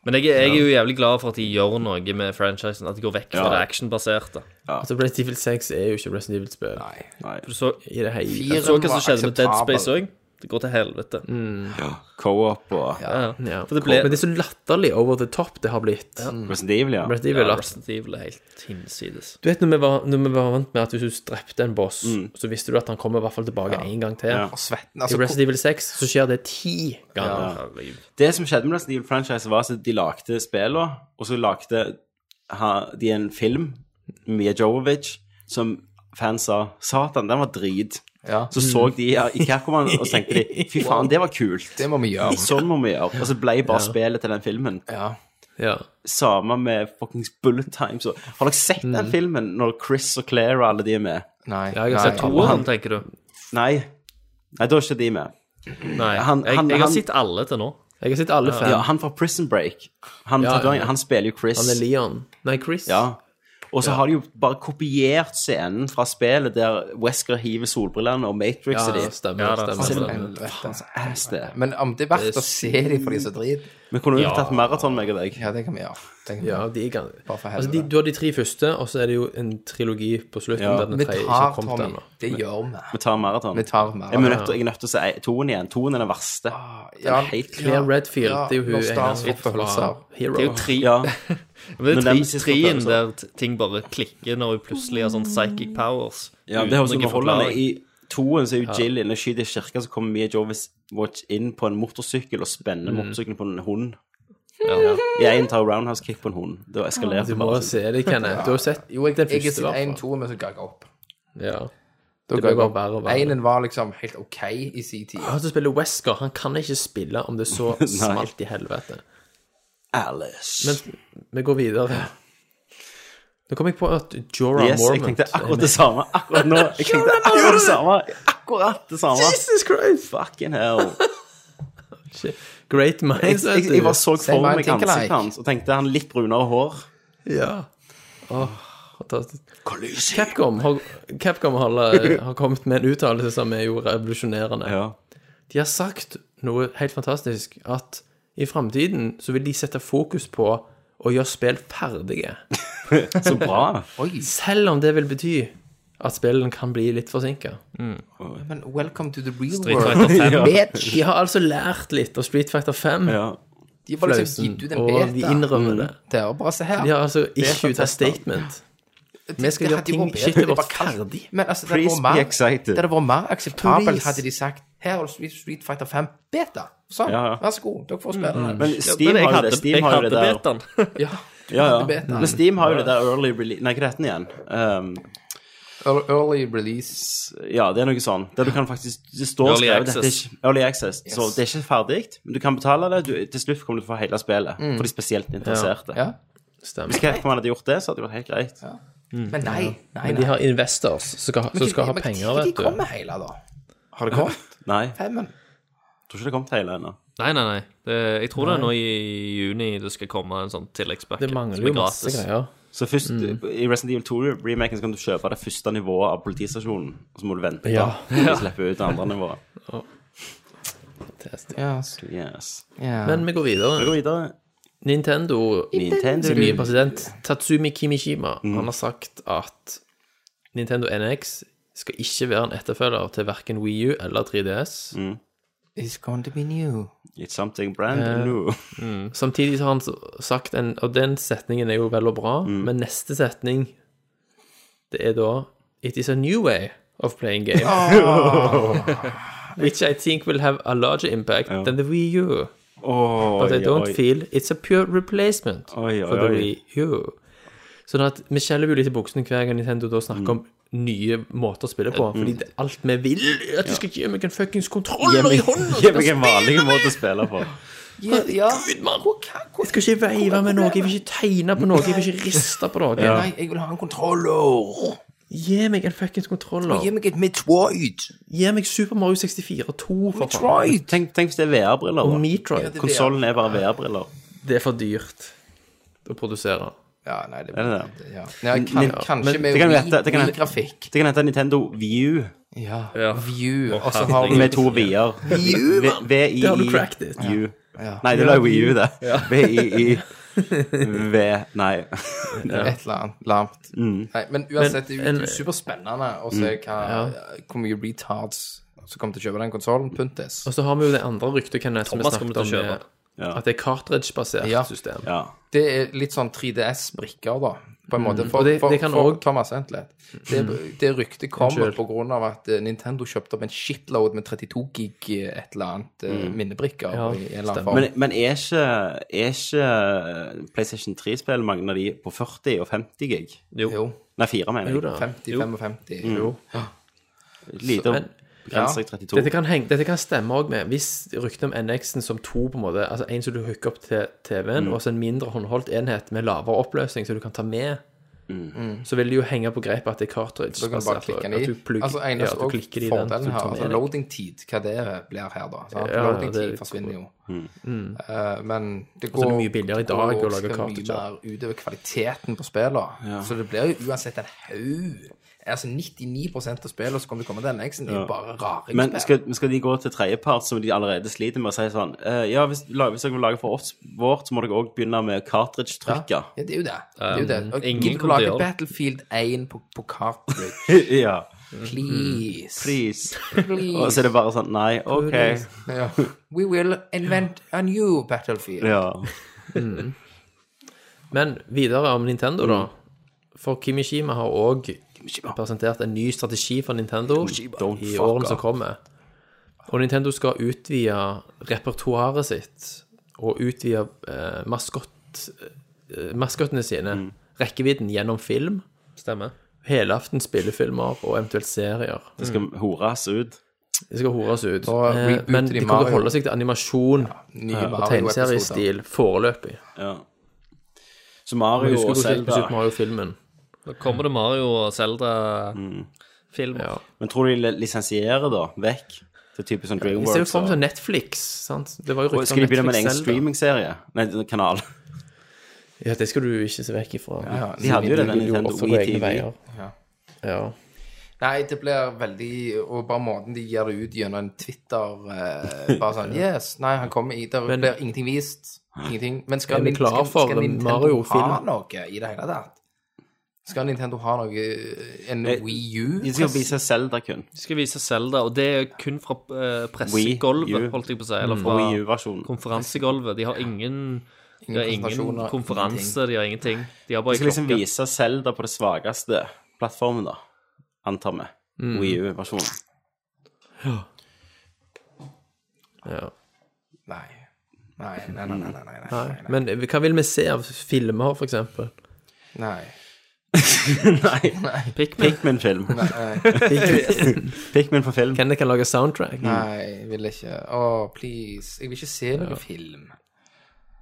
S6: Men jeg, jeg er jo jævlig glad for at de gjør noe med franchisen. At de går vekk fra
S4: Ja.
S6: det actionbaserte.
S5: Altså, Resident Evil 6 er jo ikke Resident Evil-spill
S4: Nei.
S6: Du så,
S5: i det hele
S6: du
S7: Fireren
S6: så hva som
S7: var
S6: skjedde med Dead
S7: akseptabel.
S6: Space òg? Det går til helvete.
S4: Co-op og
S6: Ja, ja.
S5: Ja.
S6: For det ble
S5: Men det er så latterlig over the top det har blitt.
S4: Resident Evil, ja.
S5: Resident Evil,
S6: ja,
S5: at-
S6: Resident Evil er helt hinsides.
S5: Du vet når vi, var, når vi var vant med at hvis du drepte en boss, så visste du at han kommer i hvert fall tilbake en gang til.
S4: Ja.
S7: Og
S5: I
S7: svetten, altså
S5: Resident Evil 6 så skjer det ti ganger.
S6: Herregud.
S4: Det som skjedde med Resident Evil franchise, var at de lagde spillene, og så lagde ha- de en film med Jovovic som fans sa Satan, den var drit.
S7: Ja.
S4: Så så de ja, i Capcom og så tenkte de fy faen, det var kult.
S7: Det må vi gjøre.
S4: Sånn må vi gjøre. Og så ble bare spillet til den filmen.
S7: Ja.
S5: Ja.
S4: Samme med fuckings Bullet Time. Så har dere sett
S7: Mm.
S4: den filmen når Chris og Claire og alle de er med?
S7: Nei.
S5: Ja, jeg har sett
S7: nei.
S5: to.
S6: Toeren, tenker du?
S4: Nei. Nei, da er ikke de med.
S6: Nei.
S4: Han-
S6: jeg,
S4: han-
S6: jeg har
S4: han-
S6: sett alle til nå.
S5: Jeg har sett alle fem.
S4: Ja, han fra Prison Break. Han,
S5: Ja,
S4: tatoverer-
S5: ja.
S4: han spiller jo Chris.
S5: Han er Leon. Nei, Chris.
S4: Ja. Og så har de jo bare kopiert scenen fra spillet der Wesker hiver solbrillene og Matrix
S5: Ja,
S4: er de.
S5: stemmer.
S6: Ja, da,
S5: stemmer,
S6: altså,
S5: stemmer.
S7: Helvete, altså.
S4: Ass, det.
S7: Men om det er verdt å se dem for de som driter,
S4: Vi kunne jo tatt maraton, meg og deg.
S7: ja, det kan vi gjøre. Det kan vi
S5: Ja,
S7: gjøre.
S5: de er gang...
S7: Bare for
S5: altså,
S7: helvete.
S5: de, du har de tre første, og så er det jo en trilogi på slutten.
S4: Ja.
S5: der Den
S7: Vi
S5: tredje ikke
S7: tar
S5: har kommet
S7: Tommy.
S5: ennå.
S7: Det gjør vi.
S4: Vi tar maraton.
S7: Vi tar
S4: Jeg er
S7: mer.
S4: nødt til, jeg er nødt til å si toen igjen. Toen er den verste.
S5: Ah,
S4: Den
S7: ja.
S4: er helt
S5: Claire Redfield,
S7: Ja,
S5: det er jo hun
S7: Lost
S5: ene
S7: Stars
S5: fra
S7: oppfølgelser.
S5: Hero.
S6: Det er jo tre.
S4: Ja.
S6: Men
S4: Men
S6: det er
S4: den
S6: tre,
S4: siste
S6: treen
S4: opplevelsen.
S6: der t- ting bare klikker når hun plutselig har sånn psychic powers.
S4: ja, det er også underholdende. I toen så er jo Jill inne og skyter i kirka, så kommer Mia Jovis Watch inn på en motorsykkel og spenner
S5: Mm.
S4: motorsykkelen på en hund. Ja. I én tar roundhouse kick på en hund. Det eskalerer
S5: Du
S4: det
S5: må
S4: bare.
S5: se det, Kenneth. Du har sett
S7: Jo, jeg,
S5: den
S7: jeg
S5: første,
S7: er
S5: i
S7: en
S5: hvert fall.
S7: toer, men så ga jeg opp.
S5: Ja.
S7: Da
S5: Det
S7: ga
S5: ble
S7: jeg
S5: bare
S7: opp.
S5: verre og verre. Ah.
S7: Einen var liksom helt OK i sin tid.
S5: Han som spiller Wesker, han kan ikke spille om det så smalt i helvete.
S4: Alice.
S5: Men vi går videre. Nå kom jeg på at Jorah
S4: Yes, jeg
S5: Mormont
S4: tenkte akkurat det samme akkurat nå. Jeg tenkte akkurat det samme. Akkurat det samme.
S5: Jesus Christ!
S4: Fucking hell.
S5: Shit. Great
S4: Jeg,
S5: minds,
S4: jeg, jeg bare så
S7: Same
S4: for meg
S7: mind, think alike.
S4: ansiktet hans og tenkte han litt brunere hår.
S5: Ja. Åh, fantastisk. Capcom har, Capcom har, har kommet med en uttalelse som er jo revolusjonerende.
S4: Ja.
S5: De har sagt noe helt fantastisk, at i framtiden så vil de sette fokus på å gjøre spill ferdige.
S4: Så bra.
S5: Selv om det vil bety at spillene kan bli litt forsinka.
S7: Men welcome to the real
S6: Street
S7: world.
S6: Fighter 5.
S7: Bitch!
S5: De har altså lært litt av Street Fighter 5,
S4: Ja.
S7: De har bare liksom gitt ut en
S5: og de
S7: beta. Mm.
S5: innrømmer det.
S7: Der, bare se her.
S5: De har altså ikke
S7: Beta-tester.
S5: ut et statement.
S7: Vi
S5: skal gjøre ting- shit, det var ferdig.
S7: Men altså, det
S4: Please
S7: var
S4: be
S7: mer,
S4: excited.
S7: det hadde vært mer akseptabelt
S5: Please.
S7: hadde de sagt Her har du Street- Street Fighter 5 beta. Sånn,
S4: Ja, ja.
S7: vær så god. Dere får spille.
S5: Mm.
S7: det.
S4: Men Steam
S6: jeg
S4: har jo
S6: hadde,
S4: det.
S6: jeg
S4: Steam har jo
S6: hadde
S4: det der.
S6: betaen.
S7: Ja.
S4: Ja,
S7: hadde
S4: ja.
S7: beta.
S4: Men Steam har jo det der early release Nei, hva heter den igjen? Um,
S7: Ear- Early release.
S4: Ja, det er noe sånn. Der du kan faktisk Det står
S6: Early
S4: skrevet dette er
S6: access.
S4: ikke- Early access. Så det er ikke ferdig, men du kan betale det. Du, til slutt kommer du til å få hele spillet for de spesielt interesserte.
S7: Ja.
S5: Stemmer.
S4: Hvis Capcom hadde gjort det, så hadde det vært helt greit.
S7: Men nei. nei,
S5: Men
S7: nei.
S5: de har investors som skal, som skal ha penger,
S7: Men
S5: vet
S7: de
S5: du.
S7: kommer hele, da. Har det kommet?
S4: Nei, jeg
S7: Femmen?
S4: tror ikke det kom til hele ennå.
S6: Nei, nei, nei. Det, jeg tror det er nå i juni det skal komme en sånn tilleggspakke.
S5: Det
S6: som
S5: mangler
S6: er
S5: jo masse
S6: gratis.
S5: greier.
S4: Så først,
S5: Mm.
S4: i Resident Evil 2-remaken kan du kjøpe det første nivået av politistasjonen, og så må du vente
S5: Ja.
S4: da, til de slipper ut det andre nivået.
S5: Test.
S7: Ja.
S4: Yes.
S7: ja.
S5: Men vi går
S4: Vi
S5: videre.
S4: går videre.
S5: Nintendo
S4: Nintendo.
S5: sin nye president, Tatsumi Kimishima, han har sagt at Nintendo NX skal ikke være en etterfølger til verken Wii U eller 3DS.
S7: It's going to be new.
S4: It's something brand new.
S5: Samtidig så har han s- sagt en Og den setningen er jo vel og bra, men neste setning Det er da It is a new way of playing games. Which I think will have a larger impact than the Wii U.
S4: Oi,
S5: But I don't
S4: oi.
S5: feel it's a pure replacement
S4: Oi, oi,
S5: for the
S4: oi.
S5: Wii U. Sånn at vi skjelver jo litt i buksene hver gang Nintendo da snakker om nye måter å spille på. Fordi det, alt vi vil, er at de skal gi meg en fuckings kontroller i hånda!
S4: Gi meg en vanlig måte å spille på.
S7: Ja, ja.
S5: Jeg skal ikke veive med noe, jeg vil ikke tegne på noe, jeg vil ikke riste på noe.
S7: Nei, jeg vil ha en kontroller.
S5: Gi meg en fuckings kontroller.
S7: Gi meg et Metroid.
S5: Gi meg Super Mario 64 og 2, for faen.
S7: Metroid.
S4: Tenk, tenk hvis det er VR-briller,
S5: Og
S4: da.
S5: Metroid.
S4: Konsollen er bare VR-briller.
S5: Det er for dyrt å produsere.
S7: Ja, nei, det
S4: Er
S7: blir
S4: det det?
S7: ja. ja, kan, Kanskje med
S4: det kan hete- det kan hete-
S7: Wii-grafikk.
S4: Det kan hete Nintendo View
S7: Ja.
S6: Ja.
S7: View. Og så
S6: herregud.
S7: har vi
S4: med to V-er. V- V-I-I
S5: Det har du cracked it.
S4: U. Nei, det var Wii U, det. V-I-I V Nei.
S7: et eller annet lamt. Nei, men uansett, det er jo- det er jo superspennende å se hva, hvor mye retards som kommer til å kjøpe den konsollen. Puntes.
S5: Og så har vi jo det andre ryktet Kenneth, som vi
S6: Thomas kommer
S5: snakket om,
S6: til å
S5: med,
S6: kjøpe.
S4: Ja.
S5: at det er cartridge-basert
S7: Ja.
S5: system.
S4: Ja.
S7: Det er litt sånn 3DS-brikker, da. På en måte.
S5: Mm.
S7: For,
S5: Og det-
S7: for,
S5: det kan
S7: for
S5: også- Mm.
S7: Thomas, vent litt. Det, det ryktet kommer på grunn av at eh, Nintendo kjøpte opp en shitload med 32 gig eh, et eller annet eh, minnebrikker.
S5: Mm. Ja,
S7: i en eller annen
S5: stemmer.
S7: form.
S4: Men, men er ikke, er ikke eh, PlayStation 3-spill mange av de på 40 og 50 gig?
S7: jo.
S4: Nei, 4 mener
S5: Jo Mm.
S4: jeg.
S5: da.
S7: 50-55. Jo.
S4: Lite å
S5: Men-
S4: begrense seg
S5: Dette
S4: 32.
S5: kan, heng, dette kan stemme òg med hvis ryktet om NX-en som to, på en måte, altså en som du hooker opp til
S7: Mm.
S5: TV-en, og så en mindre håndholdt enhet med lavere oppløsning som du kan ta med, så vil det jo henge på grepet at det er cartridge.
S7: Så Mm. kan du bare klikke den i.
S5: At du, plugger-
S7: altså,
S5: ja,
S7: eneste
S5: at du
S7: og
S5: klikker i den. så
S7: fordelen
S5: du
S7: her,
S5: tar
S7: altså
S5: med deg.
S7: loading-tid, hva det blir her, da. sant?
S5: Ja, ja, det er
S7: loading-tid
S5: litt-
S7: forsvinner jo. Eh, men det går
S5: er det mye billigere i dag å
S7: går også
S5: lage
S7: mye
S5: cartridger.
S7: mer utover kvaliteten på spillene. Så det blir jo uansett en haug Altså 99 av spillene som kommer til å komme til NX-en, er jo bare rare
S4: Men
S7: spill.
S4: skal, men skal de gå til tredjepart, som de allerede sliter med, og si sånn eh, Ja, hvis, la- hvis dere vil lage for oss vårt, så må dere òg begynne med cartridge-trykket.
S7: Ja, det er jo det. det, er jo
S5: Um,
S7: det. Og
S6: ingen
S7: Gidder du
S6: kommer til
S7: lage
S6: å gjøre det.
S7: Battlefield 1 på, på cartridge?
S4: Ja.
S5: Mm.
S7: Please.
S4: Please.
S7: Please.
S4: Og så er det bare sånn Nei, OK.
S7: Ja. We will invent a new Battlefield.
S4: Ja.
S5: Men videre om Nintendo, da.
S4: Mm.
S5: For Kimishima har òg presentert en ny strategi for Nintendo
S4: Don't
S5: i
S4: fuck
S5: årene
S4: up.
S5: som kommer. Og Nintendo skal utvide repertoaret sitt og utvide eh, maskott, eh, maskottene sine,
S4: Mm.
S5: rekkevidden, gjennom film.
S6: Stemmer.
S5: Helaften spillefilmer og eventuelt serier.
S4: Det skal hores ut.
S5: De skal hores ut.
S7: Og
S5: Eh,
S7: rebooter
S5: Men
S7: de
S5: de kommer til
S7: Mario.
S5: å holde seg til animasjon
S7: Nye
S5: og
S7: Mario-episoder.
S5: tegneseriestil foreløpig.
S4: Ja. Så Mario
S5: Husker
S4: og
S5: du hvordan
S4: Zelda
S5: Super Mario-filmen?
S6: Nå kommer det Mario og Zelda-film.
S4: Mm.
S5: Ja.
S4: Men tror du de lisensierer, da? Vekk? Til type sånn
S5: De ser jo
S4: Dreamworks?
S5: fram til
S4: og-
S5: Netflix. sant? Det var jo
S4: og
S5: rykter
S4: skal
S5: om
S4: de begynne med en
S5: Netflix
S4: egen
S5: selv, da.
S4: streamingserie? Nei, en kanal.
S5: Ja, det skal du ikke se vekk ifra.
S7: Ja,
S4: De hadde jo det, den
S5: Du gjorde
S4: Nintendo E
S5: også på
S4: Wii
S5: egne
S4: TV.
S5: veier. Ja.
S7: Nei, det blir veldig Og bare måten de gir det ut gjennom en Twitter eh, Bare sånn Yes, nei, han kommer i Det blir ingenting vist. Ingenting. Men skal,
S5: Er vi
S7: Nin-
S5: klar
S7: skal,
S5: for
S7: skal Nintendo
S5: Mario-film?
S7: ha noe i det hele tatt? Skal Nintendo ha noe eh, En
S4: Jeg-
S7: Wii U?
S4: De skal vise Zelda kun.
S6: De skal vise Zelda, og det er kun fra eh,
S4: Wii U.
S6: pressegolvet, holdt jeg på å si.
S5: Mm.
S6: Eller fra
S4: Wii U-versjonen.
S6: konferansegolvet. De har ingen, de har ingen
S7: presentasjoner,
S6: konferanse, de har ingenting. De har
S4: De
S6: bare
S4: skal liksom
S6: klokke.
S4: vise Zelda på det svakeste plattformen, da. Antar vi.
S5: Mm.
S4: Wii U-versjonen.
S5: Ja.
S7: Nei. Nei, nei, nei, nei, nei, nei, nei,
S5: Nei. Men hva vil vi se av filmer, for eksempel?
S7: nei.
S4: Nei.
S6: Pikmin.
S4: Pikmin-film.
S5: Kenneth
S4: Pikmin på film.
S5: kan lage soundtrack.
S7: Nei, jeg vil ikke. Å, please. Jeg vil ikke se noe film.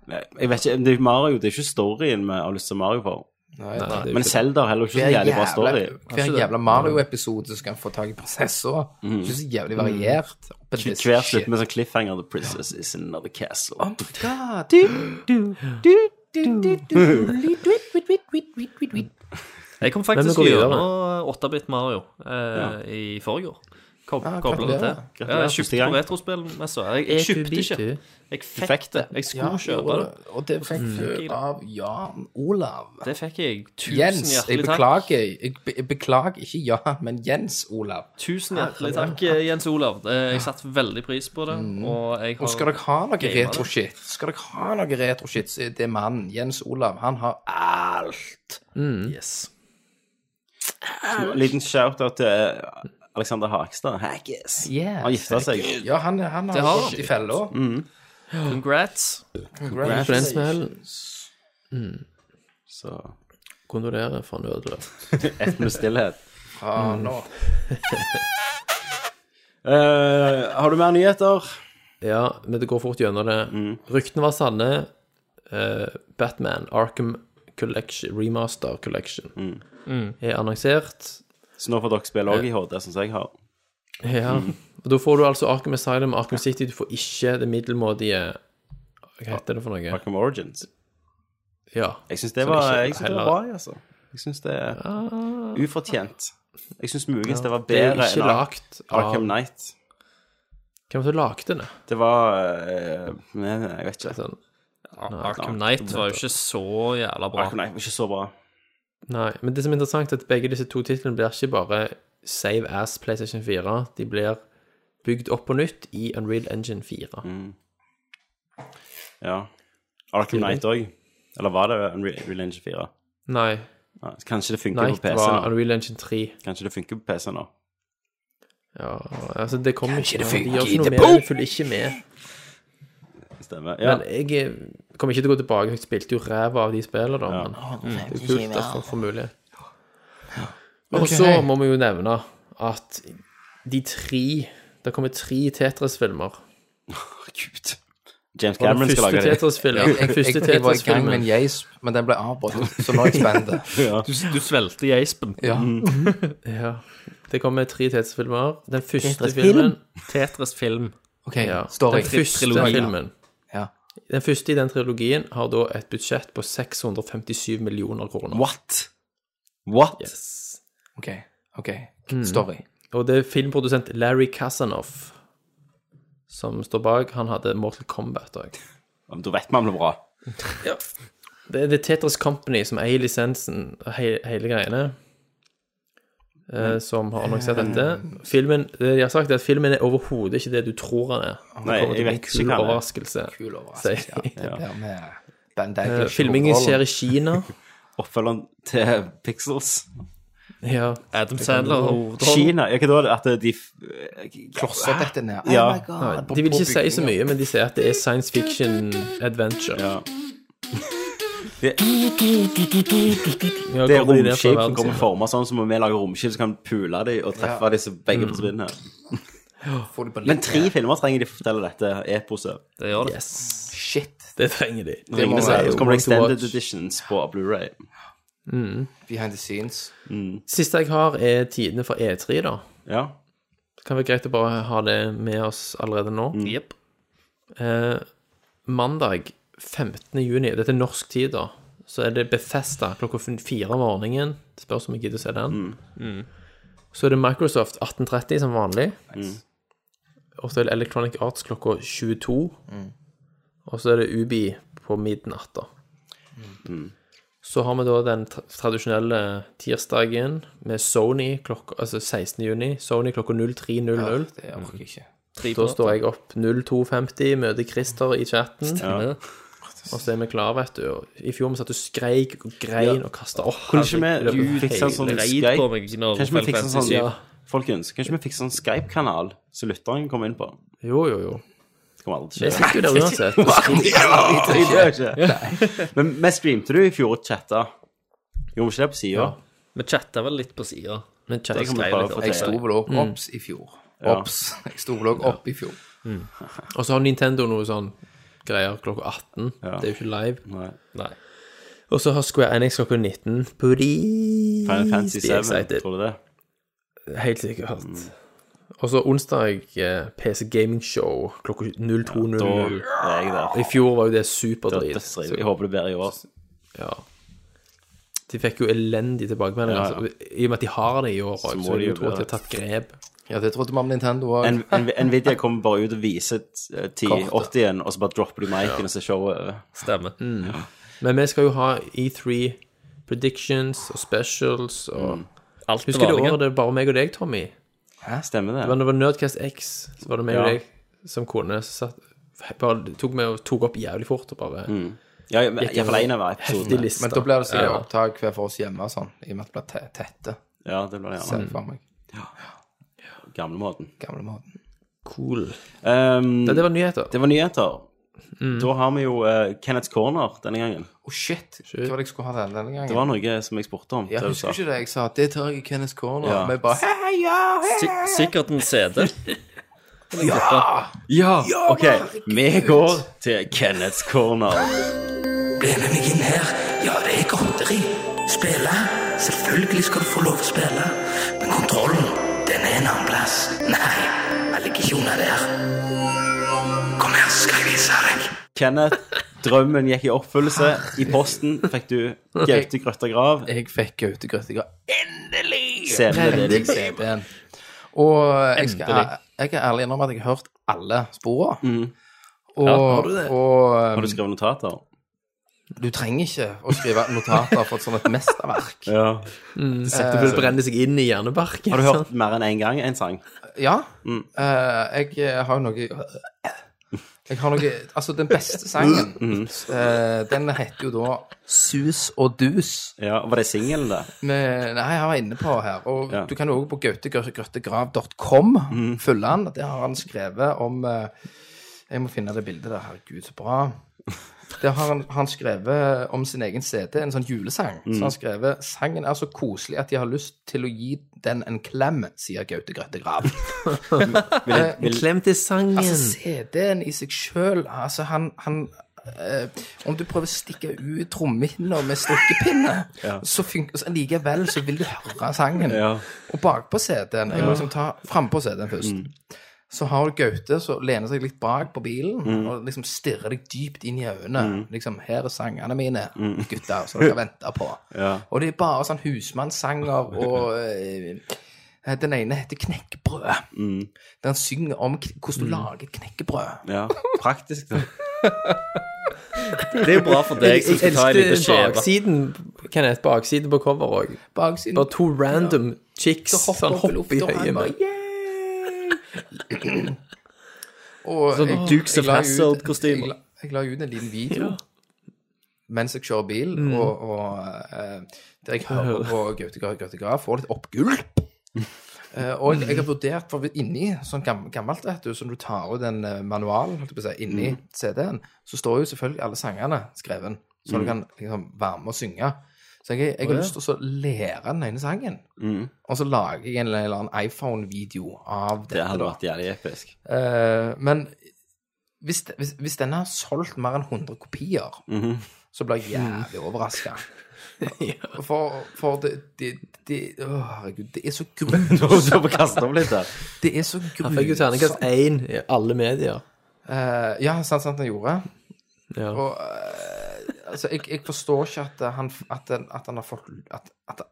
S4: Nei, Jeg vet ikke, det er Mario, det er ikke storyen vi har lyst til Mario for.
S7: Nei, nei.
S4: Men Zelda har heller ikke så jævlig bra story. Mm.
S7: Hver jævla Mario-episode så skal han få tak i prinsessa. Ikke så jævlig variert.
S4: Hver Mm. slutt med sånn cliffhanger The princess is in another castle.
S6: Jeg kom
S5: Men vi
S6: faktisk
S5: går videre.
S6: gjennom 8-bit Mario eh, i forrige år. Kom,
S5: Ah,
S7: Ja,
S6: koblet det til.
S7: gratulerer.
S6: Ja, jeg
S4: Første
S6: kjøpte
S4: gang.
S6: på retrospillmessa. Jeg, jeg kjøpte ikke. Jeg fikk det. Jeg skulle kjøpe det.
S7: Og det fikk
S6: Mm.
S7: du av Jan Olav.
S6: Det fikk jeg. Tusen
S7: Jens, jeg
S6: hjertelig takk.
S7: beklager. Jeg, be jeg beklager ikke Jan, men Jens Olav.
S6: Tusen hjertelig takk, eh, Jens Olav. Eh, Jeg satte veldig pris på det. Og jeg
S7: Og skal dere ha
S6: har
S7: noe
S6: Gamer.
S7: retro-shit, skal dere ha noe retro-shit, så er det mannen, Jens Olav, han har alt.
S6: Yes.
S4: Liten shout-out til eh, Alexander Hakstad. Hackis.
S7: Yes.
S4: Han gifta seg.
S7: Ja, han, han
S6: Det har
S7: har gått
S6: han.
S7: i fella.
S4: Mm.
S6: Congrats.
S5: På den smellen
S4: Så
S5: kondolerer for en ødelagt.
S4: ett med stillhet.
S7: Ja, nå.
S4: Eh, har du mer nyheter?
S5: Ja, men det går fort gjennom det.
S4: Mm.
S5: Ryktene var sanne. Eh, Batman Arkham Collection, Remaster Collection
S4: Mm.
S5: er annonsert.
S4: Så nå får dere spille òg i HD, sånn som jeg har.
S5: Ja.
S4: Mm.
S5: Og da får du altså Arkham Asylum og Arkham City. Du får ikke det middelmådige Hva heter det for noe?
S4: Arkham Origins.
S5: Ja.
S4: Jeg syns det,
S5: Som
S4: var-
S5: ikke
S4: jeg synes det var
S5: heller- Ah.
S4: bra, jeg, altså. Jeg syns det er ufortjent. Jeg syns muligens det var
S5: Det er
S4: bedre
S5: jo ikke
S4: enn Ar-
S5: lagt av
S4: Arkham Knight.
S5: Hvem som lagde den?
S4: Det var eh, Nei, nei, jeg vet ikke.
S5: Sånn.
S6: Arkham Knight var jo ikke så jævla bra.
S4: Arkham Knight var ikke så bra.
S5: Nei. Men det som er interessant, er at begge disse to titlene blir ikke bare Save As PlayStation 4. De blir bygd opp på nytt i Unreal Engine
S4: Mm.
S5: 4.
S4: Ja. Arkham Knight òg. Eller var det Unreal Engine 4?
S5: Nei,
S4: Nei, Kanskje det funker
S5: Night
S4: på PC
S5: var
S4: nå.
S5: Unreal Engine 3.
S4: Kanskje det funker på PC nå.
S5: Ja, altså det kommer ikke
S7: det
S5: ja,
S7: funker
S5: De gjør
S7: i
S5: ikke noe
S7: det
S5: med det, de følger ikke med.
S4: Stemmer. Ja.
S5: Men jeg eh, kommer ikke til å gå tilbake. Jeg spilte jo ræva av de spillene, da. Men mm, det er kult at folk får mulighet. Og så må vi jo nevne at de tre Det kommer tre Tetris-filmer.
S4: Gud. James
S5: Og den
S4: Cameron skal
S5: første
S4: lage
S5: Tetris-filmen
S7: Jeg,
S4: det.
S7: jeg,
S5: første
S7: jeg, var i gang med en
S5: Tetris-filmen-
S7: geisp, men den ble avbrutt, så nå er jeg spent.
S6: Du, du svelgte geispen.
S7: Ja.
S5: Mm. ja, Det kommer tre Tetris-filmer. Den første filmen
S6: Tetris film.
S7: OK,
S5: ja,
S7: story.
S5: Den første
S6: trilogien.
S5: filmen.
S7: Ja.
S5: Den første i den trilogien har da et budsjett på 657 millioner kroner.
S4: What? What?
S5: Yes.
S7: OK. ok,
S5: Mm.
S7: Story.
S5: Og det er filmprodusent Larry Kasanoff som står bak. Han hadde Mortal Kombat òg.
S4: Ja, men Da vet man det blir bra.
S5: Det er The Tetris Company som eier lisensen og he hele greiene. eh, Som har annonsert dette. Filmen, det de har sagt, er at filmen er overhodet ikke det du tror han er. Det
S4: Nei,
S5: kommer
S4: jeg
S5: til å bli
S4: vet
S5: en
S4: ikke
S5: kul
S4: hva han er.
S5: overraskelse.
S7: Kul overraskelse.
S5: sier de.
S7: Ja. Det der med Bandai
S5: Eh, Filmingen skjer i Kina.
S4: Oppfølgeren til Pixels.
S5: Ja.
S6: Adam Sandler og hovedrollen.
S4: Kina. Ja, hva da? er det? At de
S7: Klosser dette ned.
S4: Ja.
S7: Oh my god.
S5: De vil
S7: på
S5: ikke si så
S7: bygninger.
S5: mye, men de sier at det er science fiction adventure.
S4: Ja.
S5: Ja,
S4: Det er
S5: kommer de der fra
S4: romskip som
S5: verden
S4: kommer
S5: sin?
S4: forma sånn som om vi lager romskip, så kan vi pule dem og treffe dem så begge forsvinner.
S7: Får du på
S4: Men
S7: litt
S4: tre filmer trenger de for å fortelle dette eposet.
S6: Det gjør det.
S7: Shit.
S5: Det trenger de.
S7: må
S4: Ringene
S7: være
S4: sier. Så kommer det
S5: Worth to
S4: extended
S5: watch.
S4: editions på Blu-ray
S7: Behind the scenes.
S5: Siste jeg har, er tidene fra E3, da.
S4: Ja.
S5: Det kan være greit å bare ha det med oss allerede nå.
S6: Jepp.
S5: Eh, mandag 15. juni, dette er norsk tid, da, så er det Bethesda klokka f- fire om morgenen. Det spørs om jeg gidder å se den. Så er det Microsoft 18.30 som vanlig. Og så er det Electronic Arts klokka 22. Og så er det Ubi på midnatt, da. Så har vi da den tra tradisjonelle tirsdagen med Sony klokka, altså 16. juni. Sony klokka 03.00.
S7: Det orker
S5: Mm.
S7: jeg ikke.
S5: da står jeg opp 02.50, møter Christer i chatten. Og så er vi klare, vet du. Og I fjor vi satt og skreik og grein og kasta opp.
S4: Kunne ikke vi
S5: Herregud,
S4: fikse en sånn
S5: hele-
S6: Reid på
S4: Skype?
S6: meg når
S4: Kanskje vi
S6: Final
S4: fikser en
S6: Fantasy
S4: sånn
S5: Ja.
S4: Folkens, kanskje vi fikser en Skype-kanal som lytteren kommer inn på?
S5: Jo, jo, jo.
S4: Det kommer aldri
S5: Vi
S4: til å skje.
S5: sitter jo der uansett. og skriver.
S4: Nei, det gjør ikke. Men vi streamte du i fjor og chatta. Gjorde vi ikke det på sida?
S6: Vi chatta vel litt på sida.
S5: Men chat-
S4: Det kan vi bare
S7: Jeg sto
S4: fortelle.
S7: vel
S5: Mm.
S7: også opps i fjor.
S4: Ja.
S7: Opps. Jeg sto vel også opp i fjor.
S5: Og så har Nintendo noe sånn greier klokka 18.
S4: Ja.
S5: Det er jo ikke live.
S4: Nei.
S6: Nei.
S5: Og så har Square Enix klokka 19. Please
S4: Final Fantasy
S5: be
S4: 7,
S5: excited.
S4: tror Mm. du det?
S5: Helt sikkert. Og så onsdag eh, PC Gaming Show klokka 02.00.
S4: Da er jeg der.
S5: I fjor var jo det
S4: Det var
S5: superdrit.
S4: dødsdritt.
S5: så-
S4: Jeg håper det blir i år.
S5: Ja. De fikk jo elendig tilbakemelding.
S4: Ja, ja.
S5: Altså. I og med at de har det i år også,
S4: må
S5: så vil
S4: de
S5: jeg
S4: jo
S5: jo tro at de har
S4: gjøre
S5: tatt grep.
S7: Ja, det trodde vi om Nintendo òg.
S4: En, en, Nvidia kommer bare ut og viser eh, 1080-en, og så bare dropper de micen, og så er showet over.
S6: Stemmer.
S5: Men vi skal jo ha E3 predictions og specials og
S6: Alt det
S5: Husker du
S6: vanlige.
S5: året det var bare meg og deg, Tommy?
S4: Stemmer det?
S5: Men det var Nerdcast X, så var det meg og
S4: Ja.
S5: deg som kunne så satt bare tok med og tok opp jævlig fort og bare
S4: Ja, men iallfall én av
S5: heftig
S4: episodene.
S5: liste.
S7: Men da blir det sikkert
S5: Ja.
S7: opptak hver for oss hjemme og sånn, i og med at det blir te- tette.
S4: Ja, det blir det
S7: Ser
S4: gjerne.
S5: Mm.
S7: jeg for meg.
S4: Gamlemåten.
S7: Gamle måten.
S5: cool.
S4: Um,
S5: Men det var nyheter.
S4: det var nyheter.
S7: Mm.
S4: Da har vi jo eh, Kenneths Corner denne gangen.
S7: Å, shit! Hva var det jeg skulle ha den denne gangen?
S4: Det var noe som jeg spurte om.
S7: ja,
S4: det du
S7: husker
S4: sa.
S7: ikke det jeg sa? Det tar jeg i Kenneth Corner.
S4: Ja.
S7: Vi bare Hei, hei, ja! Hei.
S6: Si- Sikkert en CD.
S4: Ja, OK. Vi går til Kenneths Corner.
S9: Ble med meg inn her. Ja, det er godteri. Spille? Selvfølgelig skal du få lov å spille. Men kontrollen, den er en annen plass. Nei, jeg ligger ikke under der. Kom her, så skal jeg vise deg.
S4: Kenneth, drømmen gikk i oppfyllelse. I posten fikk du Gaute Grøtta Grav.
S7: Jeg fikk Gautegrøt i går.
S4: Scenen din.
S7: CD-en. Og jeg, skal, jeg kan ærlig innrømme at jeg har hørt alle sporene. Og, og
S4: Har du skrevet notater?
S7: du trenger ikke å skrive notater for et sånt et mesterverk.
S4: Ja.
S5: Det vil brenne seg inn i hjernebarken. sånn.
S4: Har du
S5: sant?
S4: hørt mer enn én gang en sang?
S7: Ja. eh, jeg eh, har jo noe Jeg har noe Altså, den beste sangen, eh, den heter jo da Sus og dus.
S4: Ja, Var det singelen, det?
S7: Med, nei, han var inne på her. Og
S4: Ja.
S7: du kan jo også på gautegrøttegrav.com følge han. Der har han skrevet om eh, Jeg må finne det bildet der. Herregud, så bra. Der har han, han skrevet om sin egen CD, en sånn julesang. Så han skrevet 'Sangen er så koselig at jeg har lyst til å gi den en klem', sier Gaute Grøttegrav.
S5: En klem til sangen.
S7: Altså, CD-en i seg sjøl Altså, han, han eh, Om du prøver å stikke ut trommehinna med strikkepinne, så funker så Likevel så vil du høre sangen.
S4: Ja.
S7: Og bakpå CD-en Jeg må liksom ta frampå CD-en først. Så har du Gaute som lener seg litt bak på bilen og liksom stirrer deg dypt inn i øynene. Liksom 'Her er sangene mine, gutter, som dere venter på'. Og det er bare sånn husmannssanger og eh, Den ene heter 'Knekkebrød' der han synger om kn- hvordan du lager et knekkebrød.
S4: Ja. Praktisk, da.
S6: Det er jo bra for deg som skal ta en liten skjeve.
S5: baksiden, Kenneth, baksiden på cover òg.
S7: Baksiden
S5: Bare to random chicks sånn
S7: hopper opp i
S5: hopper i
S7: lufta, og han
S5: høyet
S7: bare,
S5: med.
S7: Og jeg,
S6: Dukes of
S7: jeg la ut-
S6: Hazzard-kostymer.
S7: Jeg, la- jeg la ut en liten video mens jeg kjører bil, og, og eh, der jeg hører på Gaute Gra- Gaute Graf, får litt oppgulp. Eh, og jeg, jeg har vurdert, for inni sånn gam, gammelt, vet du, som du tar ut en eh, manual holdt jeg på å si, inni CD-en, så står jo selvfølgelig alle sangene skreven, så du kan liksom være med og synge. Så jeg, jeg har lyst til å så lære den ene sangen, og så lager jeg en eller annen iPhone-video av dette.
S4: Det hadde
S7: da.
S4: vært jævlig episk.
S7: Eh, men hvis, hvis, hvis denne har solgt mer enn 100 kopier, så blir jeg jævlig overraska. For, for det, det, det Å, herregud. Det er så
S4: Du
S7: grusomt.
S4: holdt på å kaste opp litt der.
S7: Det er så
S5: Han fikk jo
S7: grusomt.
S5: terningkast én i alle medier.
S7: Eh, ja, sant, sant, han gjorde.
S5: Ja.
S7: Og eh, altså, jeg, jeg forstår ikke at eh, han, at, den- at han har fått At, at,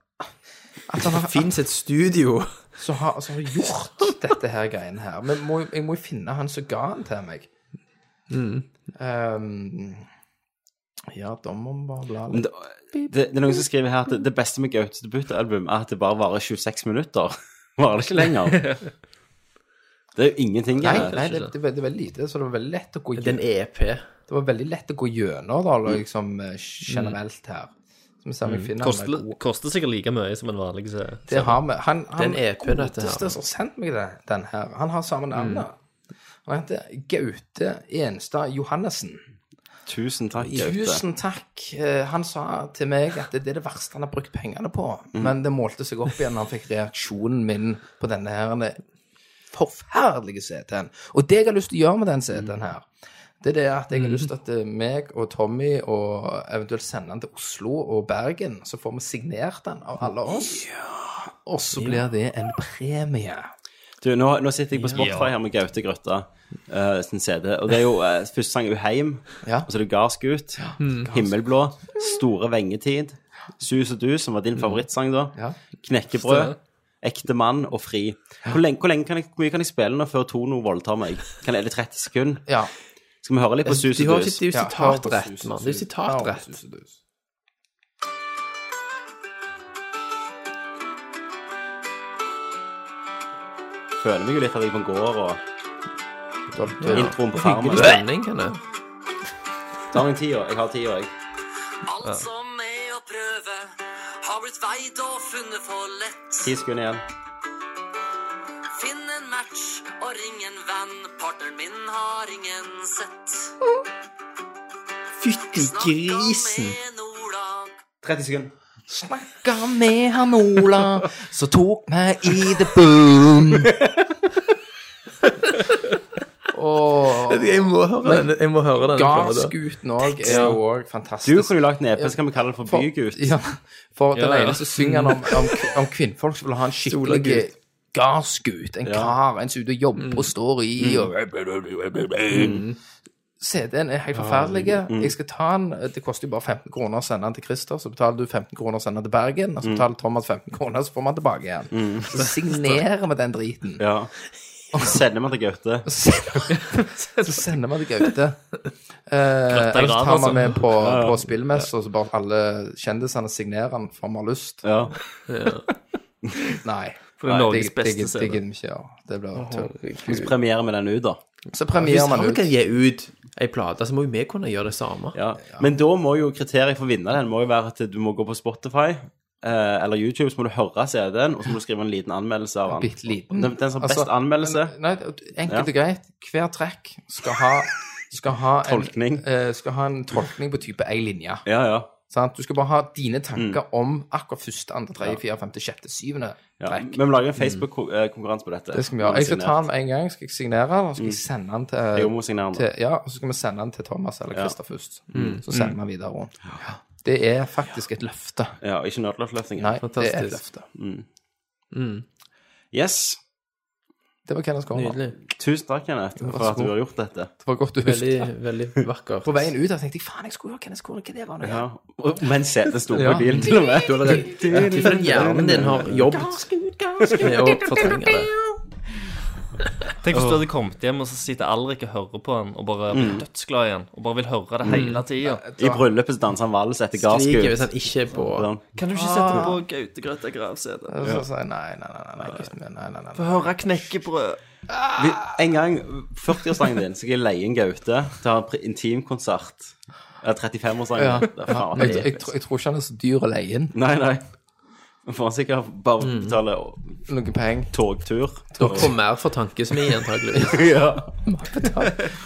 S7: at han har at-
S5: Fins et studio
S7: som har, som har gjort dette her greiene her. Men må, jeg
S5: Mm.
S7: må jo finne han som ga den til meg. Um, Ehm, Ja, dommer bare bla
S4: Men
S7: litt.
S4: Det, det, det er noen som skriver her at det- det beste med Gautes debutalbum er at det bare varer 26 minutter. Varer det ikke lenger? Det er jo ingenting.
S7: Nei,
S4: her.
S7: nei det, det, er veldig- det er veldig lite, så det var veldig lett å gå
S5: Det er en
S7: gjennom.
S5: EP.
S7: Det var veldig lett å gå gjennom, da,
S5: Mm.
S7: liksom eh, generelt her. Så vi ser om vi finner
S6: Koster,
S7: en god-
S6: koster sikkert like mye som en vanlig se-
S7: Det har vi. Han, han
S5: Den EP, dette her. Mm.
S7: godeste som sendte meg den, den her, han har samme navn. da. Han heter Gaute Enstad Johannessen.
S4: Tusen takk, Gaute.
S7: Tusen takk. Eh, Han sa til meg at det er det verste han har brukt pengene på. Men det målte seg opp igjen når han fikk reaksjonen min på denne her forferdelige CD-en. Og det jeg har lyst til å gjøre med den CD-en her, det er det at jeg har lyst til at eh, meg og Tommy og eventuelt sende den til Oslo og Bergen, så får vi signert den av alle oss. Og så blir det en premie.
S4: Du, nå, nå sitter jeg på Spotify her med Gaute Grøtta eh, sin CD. Og det er jo eh, første sang Uheim,
S7: Ja.
S4: og så er det Gardsgut, Himmelblå, Store vengetid, Sus og du, som var din favorittsang da,
S7: Mm. Ja.
S4: Knekkebrød, Ekte mann og Fri. Hvor, lenge, hvor, lenge kan jeg, hvor mye kan jeg spille nå før Tono voldtar meg? Kan jeg, er det 30 sekunder?
S7: Ja.
S4: Skal vi høre litt på
S5: De
S4: Sus
S5: har
S4: og
S5: jo
S4: dus?
S5: sitt- det er jo
S7: Ja,
S5: sitatrett, mann. Det er jo sitatrett.
S4: Føler meg jo litt at jeg er på en gård og introen på farmen.
S5: Hyggelig stemning, kan det.
S4: Ta meg tida. Jeg har tida, jeg.
S9: Alt som er Altså å prøve, har blitt veid og funnet for lett.
S4: Ti sekunder igjen.
S9: Finn en match og ring en venn. Partneren min har ingen sett.
S5: Fytti grisen!
S9: med Ola.
S4: 30 sekunder.
S7: Snakka med han Ola, så tok meg i the boom. Og
S5: Jeg må høre den. Jeg må høre den.
S7: Gardsguten òg er jo òg
S4: Du
S7: fantastisk.
S4: kunne jo lagd en EP, så kan vi kalle det for
S7: For-
S4: Bygut.
S7: Ja, for den
S6: Ja, ja.
S7: ene så synger han om, om, om kvinnfolk som vil ha en skikkelig
S5: Solagutt.
S7: gardsgut. En kar, en som er ute og jobber
S6: Mm.
S7: og står i og CD-en er helt forferdelig.
S6: Mm.
S7: Jeg skal ta den. Det koster jo bare 15 kroner å sende den til Christer. Så betaler du 15 kroner å sende den til Bergen.
S6: Mm.
S7: Og så betaler Thomas 15 kroner, så får man tilbake igjen. Så signerer vi den driten.
S4: Ja. Sender vi til Gaute.
S7: Så sender man det Gaute. Eh,
S6: Grøtta i
S7: Eller så
S6: grav,
S7: tar
S6: altså.
S7: man med på, på spillmesse, og så bare alle kjendisene signerer den for vi har lyst.
S4: Ja.
S7: Nei.
S6: det er Norges
S7: det- det-
S6: beste
S7: Det
S6: scene.
S7: gidder vi ikke gjøre. Det blir tull.
S4: Så premierer vi den ut, da.
S7: Så
S5: Hvis
S7: premierer man
S5: han
S7: ut.
S5: kan gi ut ei plate, så må jo vi kunne gjøre det samme.
S4: Ja. Men da må jo kriteriet for å vinne den må jo være at du må gå på Spotify eh, eller YouTube, så må du høre CD-en, og så må du skrive en liten anmeldelse av den.
S7: Bitte liten.
S4: Den, den som har best
S7: Altså,
S4: anmeldelse
S7: men- Nei, enkelt og greit. Hver trekk skal ha skal ha,
S4: Tolkning.
S7: En, eh, skal ha en tolkning på type én linje.
S4: Ja, Mm. ja.
S7: Sant? Du skal bare ha dine tanker om akkurat første, andre, tredje, fjerde, femte, sjette, syvende
S4: ja.
S7: trekk.
S4: Men vi lager en Facebook-konkurranse på dette.
S7: Det skal vi gjøre. Jeg skal ta den med en gang, skal jeg signere den, og så skal jeg sende den
S4: Mm. Jeg
S7: til,
S4: må signere den.
S7: til
S4: eh,
S7: Ja, og så skal vi sende den til Thomas eller Christer først.
S6: Mm.
S7: Så sender vi den videre rundt. Det er faktisk et løfte.
S4: Ja, ikke nødløftløfting.
S7: Nei, det er et
S5: Fantastisk.
S7: løfte.
S4: Yes.
S7: Det var Kenneth Corner.
S5: Nydelig.
S4: Tusen takk, Kenneth,
S7: Vær så
S4: for at du
S7: god.
S4: har gjort dette.
S7: Det var godt du
S5: Veldig,
S7: husket.
S5: veldig vakkert.
S7: På veien ut der tenkte jeg faen, jeg skulle gjøre Kenneth Corner, hva det var nå?
S4: Ja. Og- Men CD sto på
S7: Ja.
S4: bilen, til og med.
S5: Du har allerede For den hjernen din har jobbet med å fortrenge det.
S6: Tenk hvis du hadde kommet hjem, og så sitter Alrik og hører på den, og bare blir dødsglad igjen, og bare vil høre det hele tida.
S4: I bryllupet så danser han vals etter Sånn.
S5: Skriker hvis
S4: gasskutt.
S5: han ikke er på
S6: Kan du ikke sette på Gautegrøt og gravsete?
S7: Og så sa jeg nei, nei, nei, nei, nei, gutten min, nei, nei, nei, nei.
S6: Få høre knekkebrød.
S4: Vi, en gang, 40-årsdagen din, så skal jeg leie en Gaute til å ha en pri- intimkonsert. Eller 35-årsdagen.
S7: Ja.
S4: Det er faen
S7: Jeg,
S4: det er
S7: jeg, tror- jeg tror ikke han er så dyr å leie inn
S4: Nei, nei. Man får sikkert bare betale
S7: noen penger.
S4: togtur.
S5: Og mer for tankesmi, antageligvis.
S4: Ja.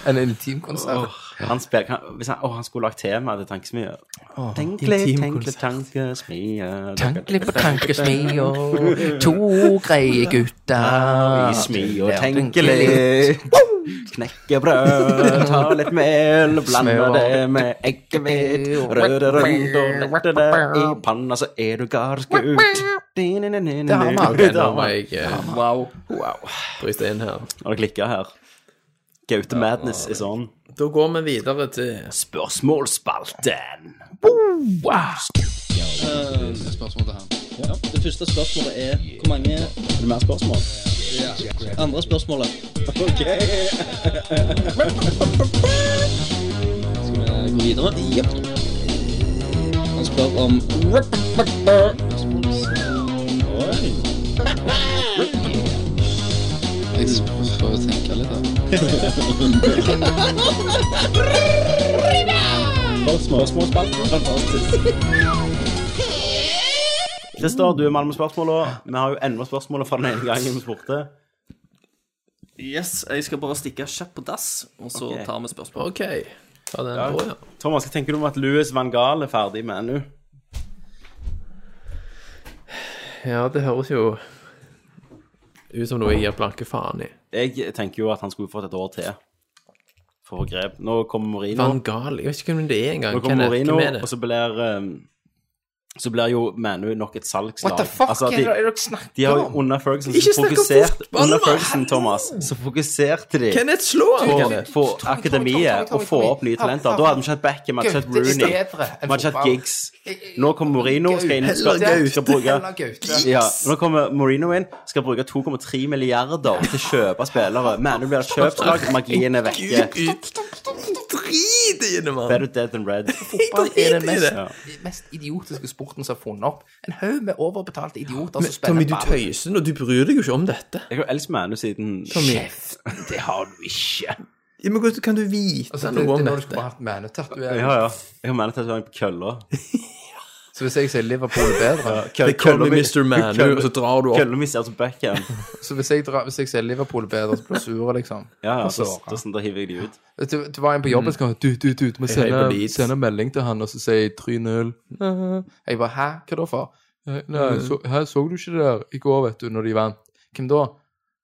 S7: En intimkonsert.
S4: Han spiller, han, hvis han, å, han skulle lagt tema til Tankesmie. Tenk litt, tenk litt Tankesmie.
S7: Tankelig på tankesmi og to greie gutter.
S4: I smi og tenke litt. Knekkebrød, ta litt mel, blande
S7: Smør.
S4: det med eggehvit. Rør det rundt og lette det i panna, så er du gardsgutt. Det
S7: har vi.
S5: Ok, nå må jeg eh,
S7: Wow.
S5: bryte inn her.
S4: Har det klikka her? Gaute Madness is on.
S5: Da går vi videre til
S4: Spørsmålsspalten.
S10: Andre spørsmålet. Ok. Skal vi gå videre? Jepp. spør om
S3: Jeg prøver å tenke litt, da.
S4: Christer, du er mann med spørsmåla. Vi har jo enda spørsmålet fra den ene gangen vi spurte.
S6: Yes, jeg skal bare stikke kjapt på dass, og så
S4: Ok.
S6: tar vi spørsmål.
S5: OK. Ta den på, ja.
S4: Thomas, hva tenker du om at Louis van Gaal er ferdig med NU?
S5: Ja, det høres jo ut som noe jeg gir blanke faen i.
S4: Jeg tenker jo at han skulle fått et år til for å få grep. Nå kommer Mourinho.
S5: Van Gaal, jeg vet ikke hvem det er engang.
S4: Nå
S5: Hvem
S4: kommer
S5: er-
S4: Mourinho,
S5: hvem er det?
S4: og så blir um, så blir jo Manu nok et salgslag.
S7: What the fuck
S4: Altså,
S7: er det
S4: de,
S7: er dere
S4: de har
S7: snakker
S4: jo
S7: om?
S4: under Ferguson
S5: Ikke
S4: så
S5: snakk om
S4: fokusert
S5: fotball,
S4: Under
S5: da!
S4: Ferguson, Thomas, så fokuserte de
S5: Kenneth, slå han!
S4: på,
S5: Kenneth.
S4: på
S7: Tommy, Tommy,
S4: akademiet
S7: Tommy,
S4: og få
S7: Tommy.
S4: opp nye
S7: Ha, ha,
S4: talenter. Da hadde vi ikke hatt Beckham, vi hadde ikke hatt
S7: Gaute er
S4: Rooney,
S7: bedre enn
S4: vi hadde ikke hatt
S7: fotball.
S4: Giggs. Nå kommer Mourinho, skal inn skal,
S7: Gaute.
S4: skal bruke
S7: Heller Gaute.
S4: ja, nå kommer Mourinho inn, skal bruke 2,3 milliarder til å kjøpe spillere. Manu blir et kjøpslag, magien er vekke.
S5: Drit i det, mann!
S4: Better dead than red.
S7: Fotball
S5: Jeg
S7: er
S5: driter
S7: den
S5: i det.
S7: mest, mest idiotiske sporten som er funnet opp. En haug med overbetalte idioter
S5: Men,
S7: som
S5: Tommy,
S7: spiller
S5: du tøyser nå. Du bryr deg jo ikke om dette.
S4: Jeg har elsket Manu siden
S5: Tommy,
S7: Det har du ikke.
S5: ja, men hvordan kan du vite
S7: Altså, det,
S5: noe
S7: det er
S5: om
S7: når du
S5: dette?
S7: skulle hatt manetatovering.
S4: Ja, ja. Jeg har mannetatovering på kølla.
S7: Så hvis jeg sier Liverpool er bedre,
S5: Det kommer Mr. Manu, og så drar du opp.
S4: Kølla altså mi ser ut som Beckham.
S7: så hvis jeg, drar, hvis jeg sier Liverpool er bedre, så blir du sur, liksom.
S4: Ja, ja,
S7: Og
S4: så,
S7: såret.
S4: da, sånn, da hiver jeg de ut.
S7: Det, det var en på jobben som sa du, du, du, du må
S5: heier på
S7: sende,
S5: Leeds.
S7: sende melding til han og så si 3-0. Jeg bare Hæ, hva da for? Nei, Nei, så, hæ, så du ikke det der i går, vet du, når de vant? Hvem da?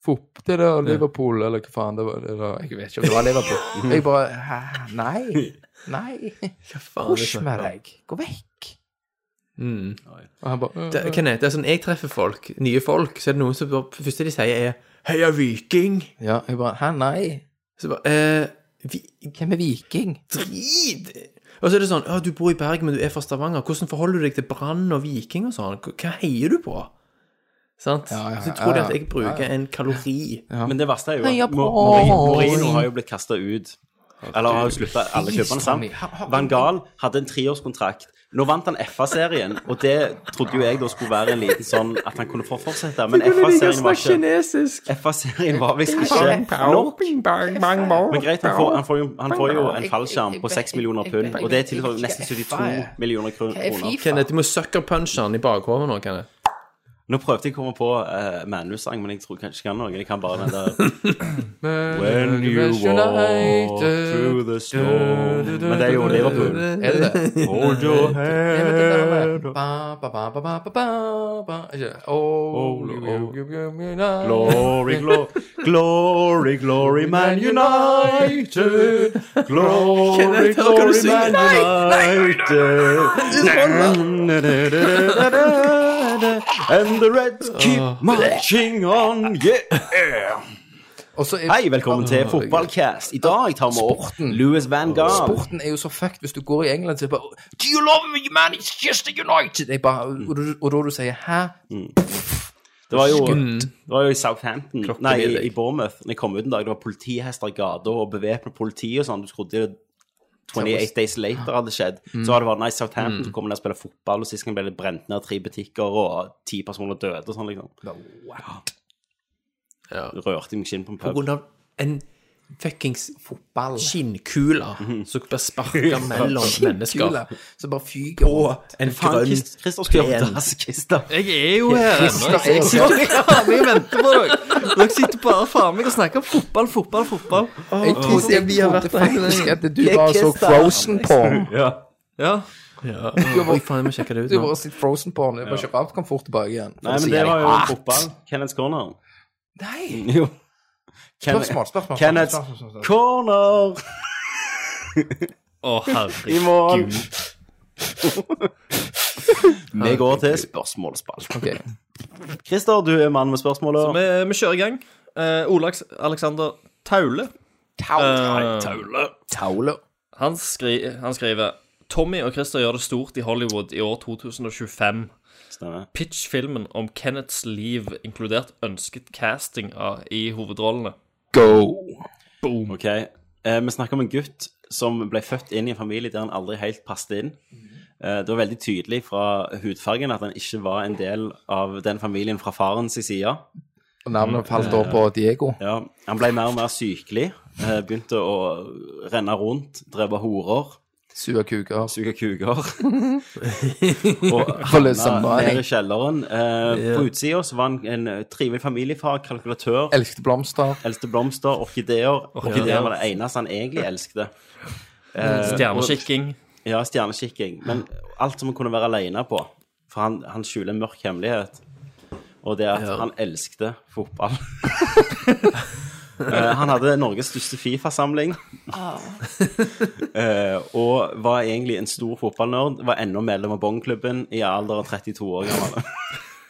S7: Fop, det der Liverpool, eller hva faen det var? Det der, jeg vet ikke om det var Liverpool. Jeg bare Hæ, nei. Nei.
S5: Hva faen er det
S7: Husj
S5: som-
S7: med deg. Gå vekk.
S5: Mm.
S7: Og han bare
S5: Det, Kenneth, det er sånn, jeg treffer folk, nye folk, så er det noen som bare, det første de sier er Heia Viking!
S7: Ja, jeg bare Hæ, nei.
S5: Så bare eh, vi,
S7: Hvem er viking?
S5: Drit! Og så er det sånn Å, du bor i Bergen, men du er fra Stavanger. Hvordan forholder du deg til Brann og Viking og sånn? Hva heier du på? Sant?
S7: Ja, ja,
S5: så tror de
S7: ja,
S5: at
S7: ja.
S5: jeg bruker en kalori.
S4: Men det verste er jo
S7: Heia
S4: at
S7: på
S4: Mo- Mourinho Mourinho har jo blitt kasta ut. Eller har jo slutta alle kjøperne sammen. Van Gaal hadde en treårskontrakt. Nå vant han FA-serien, og det trodde jo jeg da skulle være en liten sånn at han kunne få fortsette, men FA-serien var ikke
S5: kinesisk.
S4: FA-serien var visst ikke nok. Men greit, han får, han får, jo, han får jo en fallskjerm på 6 millioner pund, og det tilsvarer nesten 72 millioner kro-
S7: Hva er
S4: kroner.
S7: Fifa?
S5: Kenneth, du må sucker punche han i bakhodet nå, Kenneth.
S4: Nå prøvde jeg å komme på uh, Manu-sang, men jeg tror kanskje ikke han noe. Jeg kan bare den der When you walk
S5: eh,
S4: through the storm Men det er jo Liverpool.
S7: Er det det?
S4: Hold your hand
S7: Nei, men det der med ba, ba, ba, ba, ba, ba, ba, ba, ikke, oh,
S4: Ole,
S7: you- you- you- you- na-
S4: Glory, glory, glory, glory, Man United. Glory,
S5: Kenneth, hva kan du
S4: glory,
S5: synge?
S4: Man United. And the Reds
S5: Ah.
S4: keep marching on, yeah.
S7: Og så er
S4: Hei, velkommen
S5: Ah,
S4: til Fotballcast. I dag tar vi opp Louis Van Gaal.
S7: sporten er jo så fucked hvis du går i England og bare Do you love me, man? It's just United! Jeg bare, og, du- og da du sier hæ?
S4: Det var jo, det var jo i Southampton, nei, i,
S5: deg.
S4: i Bournemouth, når jeg kom ut en dag, det var politihester i gata og bevæpnet politi og sånn. Du trodde det 28 Days Later hadde skjedd. Så hadde det vært nei, Southampton som kom ned og spilte fotball, og sist gang ble det brent ned tre butikker, og ti personer døde og sånn, liksom.
S5: Ja.
S4: Det Rørte meg skinn på en
S5: På
S4: pub.
S5: grunn av en fuckings
S7: Fotball.
S5: skinnkule
S7: Mhm.
S5: som blir sparka mellom mennesker.
S7: Kule. Så bare fyker
S5: Og en
S4: Faen,
S5: grønn
S4: Christ- Christer skulle gjøre
S5: pen.
S4: dass, Christer.
S6: Jeg er jo her ennå.
S7: Christer er
S6: Jeg sitter her faen meg og venter på dere. Dere sitter bare faen meg og snakker om fotball, fotball, fotball.
S7: Jeg trodde jeg trodde faktisk at du bare så frozen porn.
S6: Ja.
S5: Ja. Oi, faen, jeg må sjekke det ut
S7: Du
S5: nå.
S7: bare sitter frozen porn. Det var ikke rart du kom fort tilbake igjen. For
S4: Nei, men
S7: sier
S4: det
S7: jeg.
S4: var jo
S7: Ah,
S4: fotball. Kenneth Corner.
S7: Nei!
S4: Jo. Kenneth-
S7: Spørsmål, spørsmål.
S4: Kenneth
S7: spørsmål, spørsmål.
S4: Corner
S6: Å,
S4: i
S6: herregud.
S4: mål. Vi går til spørsmålsspalten.
S7: Ok.
S4: Christer, du er mann med spørsmålet.
S6: Vi, vi kjører i gang. Eh, Ole Aks- Alexander Taule. Eh,
S7: Taule.
S6: han, skri han skriver Tommy og Christer gjør det stort i Hollywood i år 2025.
S4: Stemmer.
S6: Pitch filmen om Kenneths liv, inkludert ønsket casting av, i hovedrollene.
S4: Ok. Eh, vi snakker om en gutt som ble født inn i en familie der han aldri helt passet inn. Eh, Det var veldig tydelig fra hudfargen at han ikke var en del av den familien fra farens side.
S7: Og Navnet falt
S4: Eh.
S7: da på Diego.
S4: Ja, han ble mer og mer sykelig. eh, Begynte å renne rundt, drepe horer,
S7: Sua kuker.
S4: suge kuker.
S7: Holde
S4: og havna ned i
S7: samværing.
S4: kjelleren. Eh, På utsida så var han en eh, trivelig familiefar, kalkulatør,
S7: Elsket blomster.
S4: eldste blomster, orkideer. Orkideer var det eneste han egentlig elskte.
S6: Stjernekikking.
S4: Ja, stjernekikking. Men alt som han kunne være alene på. For han, han skjuler en mørk hemmelighet. Og det er at han elskte fotball. Eh, han hadde Norges største Fifa-samling. Eh, og var egentlig en stor fotballnerd. Var ennå medlem av Bongklubben i alder av 32 år gammel.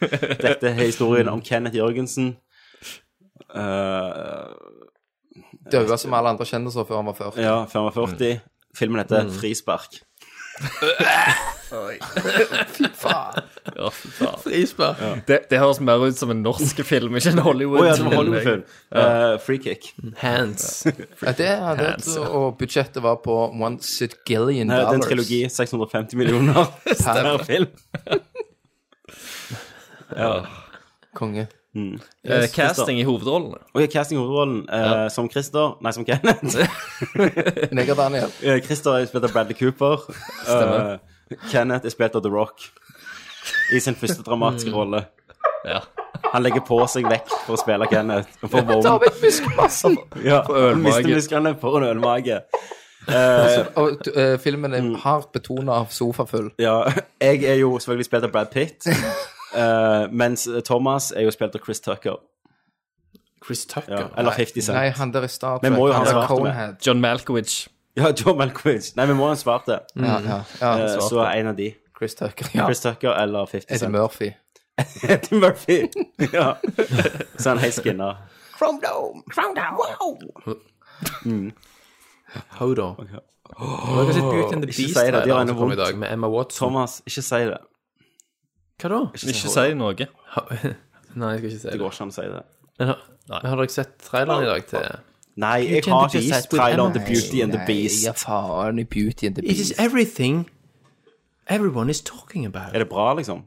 S4: Dette er historien om Kenneth Jørgensen. Eh,
S7: Døde som alle andre kjendiser før han var 40.
S4: ja, 45. Filmen heter Frispark.
S6: Ja, fy faen.
S5: Frispark.
S6: det, det høres mer ut som en norsk film, ikke en
S4: Å ja, det
S6: Hollywood-film.
S4: var Hollywood-film. Eh, free kick.
S5: Hands.
S7: Ja, det er det, og budsjettet var på one sigillion
S4: Nei, det
S7: dollars.
S4: er en trilogi. 650 millioner per film. ja.
S7: Konge.
S6: Eh, casting i hovedrollene.
S4: Og i casting-hovedrollen eh, som Christer Nei, som Kenneth.
S7: Neger Daniel.
S4: Eh, Christer er spilt av Bradley Cooper. Eh, Kenneth er spilt av The Rock i sin første dramatiske rolle.
S6: Ja.
S4: Han legger på seg vekk for å spille Kenneth. Og får vogn. Ja, han mister musklene for en ølmage.
S7: Og eh, filmen
S4: Mm.
S7: er hardt betona av sofa full.
S4: Ja, jeg er jo selvfølgelig spilt av Brad Pitt, eh, mens Thomas er jo spilt av Chris Tucker.
S5: Chris Tucker.
S4: Ja, eller 50 Cent.
S7: Nei, han der i Star Trek.
S4: Vi må jo ha
S7: han der
S4: svarte med.
S7: Conehead.
S6: John Malkowicz.
S4: Ja, John Malkovich. Nei, vi må ha en svart det.
S5: Mm.
S7: Ja, ja, ja.
S4: Eh, Så en av de.
S7: Chris Tucker. Ja.
S4: Chris Tucker eller 50
S7: Eddie
S4: Cent.
S7: Murphy.
S4: Eddie Murphy. ja. Så han helt skinna.
S5: Hold on. Har dere sett Beauty and the
S4: Ikke
S5: Beast?
S4: si det, de har
S5: trailer
S4: ennå
S5: som kom i
S4: vondt.
S5: dag med Emma Watson?
S4: Thomas, ikke si det.
S5: Hva da?
S6: Ikke si noe.
S5: Nei, jeg skal ikke si
S4: Det
S5: det.
S4: går ikke an å si det.
S5: Men har, men har dere sett traileren i dag til
S4: Nei, jeg
S5: Beauty and
S4: har
S5: the Beast
S4: ikke vist
S5: with
S4: traileren
S5: Emma.
S4: til Beauty and the
S7: Ja,
S4: Beast.
S7: faen i Beauty and the
S5: It is
S7: Beast.
S5: everything everyone is talking about.
S4: Er det bra, liksom?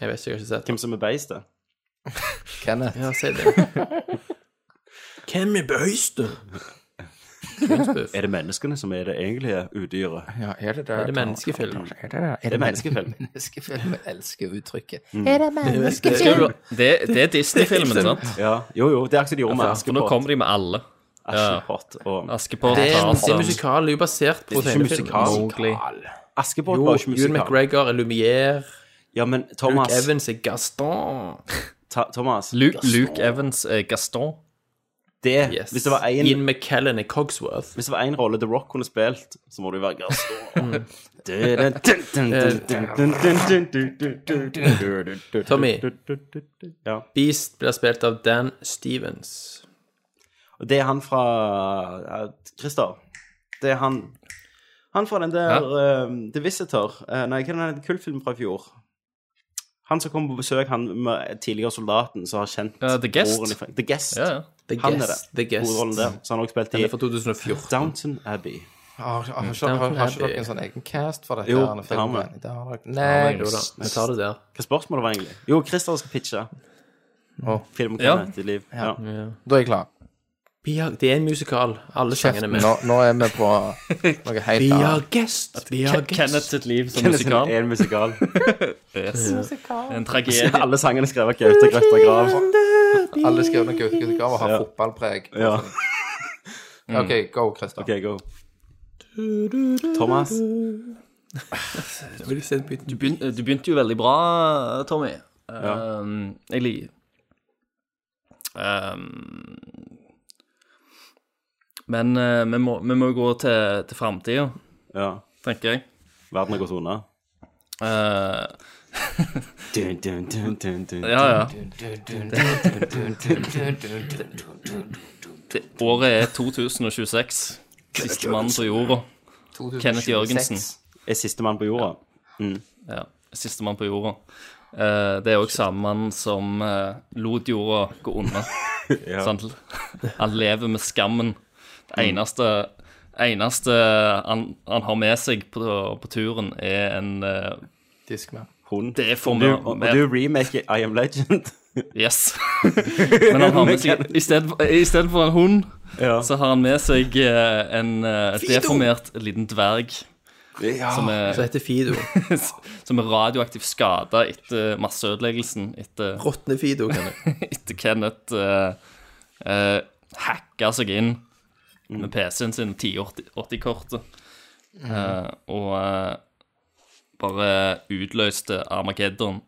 S5: Jeg vet ikke, jeg har ikke sett
S4: Hvem som er beistet?
S7: Kenneth.
S5: Ja, si det. Hvem er bøyste?
S4: Er det menneskene som er det egentlige udyret?
S7: Ja, er det der?
S5: Er det menneskefilm?
S7: Er det der? Er det
S4: menneskefilm?
S7: Menneskefilm. Jeg elsker uttrykket.
S6: Det, det er Disney-filmen, sant?
S4: Ja, jo, jo, det er ikke det de gjorde med
S6: For nå
S4: Askepott.
S6: kommer de med alle.
S4: Askepott og
S6: Askepott,
S5: Det er, det er
S6: Tarzan,
S5: musikal, det er jo basert på
S4: Det er ikke
S5: tegnefilm.
S4: musikal.
S5: Mowgli.
S4: Askepott
S5: Jo,
S4: var ikke
S5: Ewan
S4: musikal.
S5: McGregor er Lumière,
S4: Ja, men
S5: Luke
S4: Thomas,
S5: Evans er Gaston.
S4: ta, Thomas
S6: Luke, Luke Evans, eh, Gaston.
S4: det,
S5: Yes.
S4: hvis det var en
S5: Ian McKellen er Cogsworth.
S4: Hvis det var én rolle The Rock kunne spilt, så må det jo være Gaston.
S5: Tommy.
S4: Ja.
S5: Beast blir spilt av Dan Stevens.
S4: Og det er han fra eh, Christer. Det er han Han fra den der eh, The Visitor. eh, nei, hva er den der kultfilmen fra i fjor? Han som kom på besøk, han med tidligere soldaten som har kjent
S6: Ja, The Guest.
S4: broren i Frank- The Guest.
S6: Ja, ja.
S5: The
S4: Han er det.
S5: Guest. The Guest.
S4: Hovedrollen der. Så han har også spilt
S5: Den er fra
S4: i
S5: 2014.
S4: Downton Abbey.
S7: Har har- har ikke har- har ikke dere en sånn egen cast for dette?
S4: Jo,
S7: her,
S4: det har vi.
S7: filmen? Det har dere.
S5: Jo da,
S7: Next.
S5: vi tar det der.
S4: Hva spørsmålet var egentlig? Jo, Christer skal pitche.
S7: Å.
S4: Film om
S6: Ja.
S4: Kenneth i liv. Ja.
S7: Da er jeg klar.
S5: Vi har- Det er en musikal. Alle
S7: Kjeft,
S5: sangene er med.
S7: nå, nå er vi på noe
S5: Vi
S7: helt
S5: har
S7: annet.
S5: guest. Vi har
S6: Kenneth
S5: guest.
S6: sitt liv som
S4: Kenneth
S6: musikal.
S4: er en musikal.
S6: En tragedie.
S4: Alle sangene skrevet av Gaute Grøtta Grav.
S7: Alle skrev noen guttegraver har
S4: Ja.
S7: fotballpreg.
S4: Ja,
S7: Mm. OK, go, Christer.
S4: OK, go. Thomas.
S5: Nå vil jeg se en bit-
S6: Du, begyn- du begynte jo veldig bra, Tommy. Um, jeg liker um, Men eh, vi, må, vi må gå til, til framtida,
S4: Ja.
S6: tenker jeg.
S4: Verden har gått unna.
S6: Eh,
S4: Dun, dun, dun, dun, dun.
S6: ja, ja. Det, året er 2026. Siste mann på jorda.
S7: 2026.
S6: Kenneth Jørgensen.
S4: Er sistemann på jorda.
S6: Ja, Sistemann på jorda. Eh, det er òg samme mann som eh, lot jorda Mm. gå unna. Sant? Han lever med skammen. Det eneste, eneste han, han har med seg på, på turen, er en eh,
S7: Discman.
S4: Hun.
S6: Det er for
S4: Og du, og
S6: mye.
S4: du remaker I Am Legend.
S6: Yes. Men han har med seg i stedet, I stedet for en hund,
S4: Ja.
S6: så har han med seg eh, en eh, deformert liten dverg. Som,
S5: Så
S6: er,
S5: heter Fido.
S6: som er radioaktivt skada etter masseødeleggelsen etter,
S5: Råtne Fido, kan jeg.
S6: etter Kenneth eh, eh, hacka seg inn med PC-en sin, 1080-kortet, eh, og eh, bare utløste Armageddon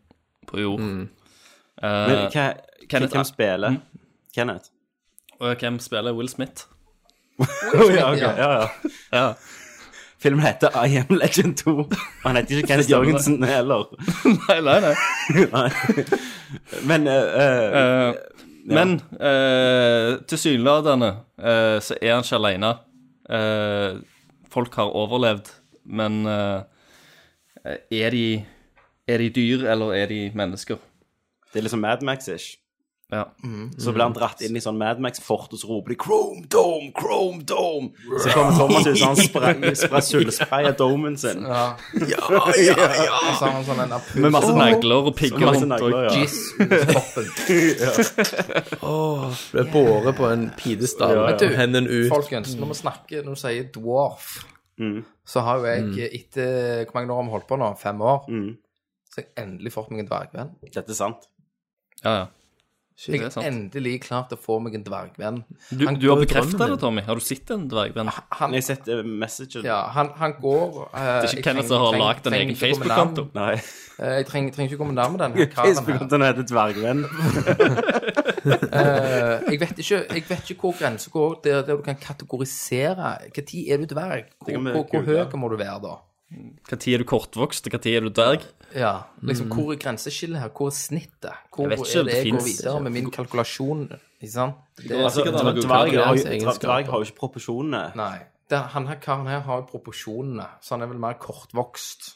S6: på jord.
S4: Men
S6: Eh,
S4: hva,
S6: Kenneth-
S4: hvem spiller? Kenneth?
S6: og hvem spiller Will Smith?
S4: ja, ok, ja, ja. ja. Filmen heter I Am Legend 2. Og han heter ikke Kenneth
S6: Stemmer det.
S4: Jørgensen heller.
S6: Nei, nei, nei.
S4: Nei. Men eh, eh,
S6: Eh, Men eh, tilsynelatende eh, så er han ikke alene. Eh, folk har overlevd, men eh, er, de, er de dyr, eller er de mennesker?
S4: det er liksom Mad Max-ish.
S6: Ja.
S4: Så blir han dratt inn i sånn Mad Max-fort, og så roper de 'Chrome Dome! Chrome Dome!' Så kommer Thomas ut, og han spre- spre- sullesprayer domen sin
S7: Ja. Og så har han sånn en apul-
S4: med masse negler.
S6: Negler og pigger
S4: Masse
S6: rundt.
S4: negler, ja.
S7: Jizz ut toppen.
S5: Ble båret på en pidestall.
S4: Ja, ja.
S5: og Hendene ut.
S7: Folkens, når vi snakker, når du sier dwarf,
S4: Mm.
S7: så har jo jeg eh, etter Hvor mange år har vi holdt på nå? Fem år?
S4: Mm.
S7: Så har jeg endelig fått meg en dvergvenn.
S4: Dette er sant.
S6: Ja, ja.
S7: Jeg
S6: det er sant.
S7: har endelig klart å få meg en dvergvenn.
S6: Du,
S7: Han
S6: du har
S7: går i
S6: bekreftet
S7: drømmen Ah.
S6: det, Tommy. Har du sett en dvergvenn?
S7: Han,
S4: Jeg eh, setter messagen.
S7: ja, han, han går eh, Det
S6: Det er ikke Kenneth som har lagd en egen Facebook-konto.
S4: Nei.
S7: Eh, Jeg trenger, trenger ikke komme nærme denne kraven her.
S4: Facebook-kontoen heter Dvergvenn.
S7: Eh, jeg, vet ikke, jeg vet ikke hvor grensen går der, der du kan kategorisere. Når er du dverg? Hvor,
S4: kan
S7: hvor,
S4: vi
S7: hvor
S4: google.
S7: høy må du være da?
S6: Når er du kortvokst, og når er du dverg?
S7: Ja, liksom Hvor er grenseskillet her? Hvor er snittet? Hvor
S6: Mm. Jeg
S7: er
S6: vet ikke,
S7: det
S6: det
S7: jeg går
S6: finnes-
S7: videre med min kalkulasjon? Ikke sant? Det,
S4: Altså,
S6: sikkert han har
S4: dverg har jo-
S5: egenskaper.
S4: dverg har jo ikke proporsjonene.
S7: nei. Det, han her karen her har jo proporsjonene, så han er vel mer kortvokst.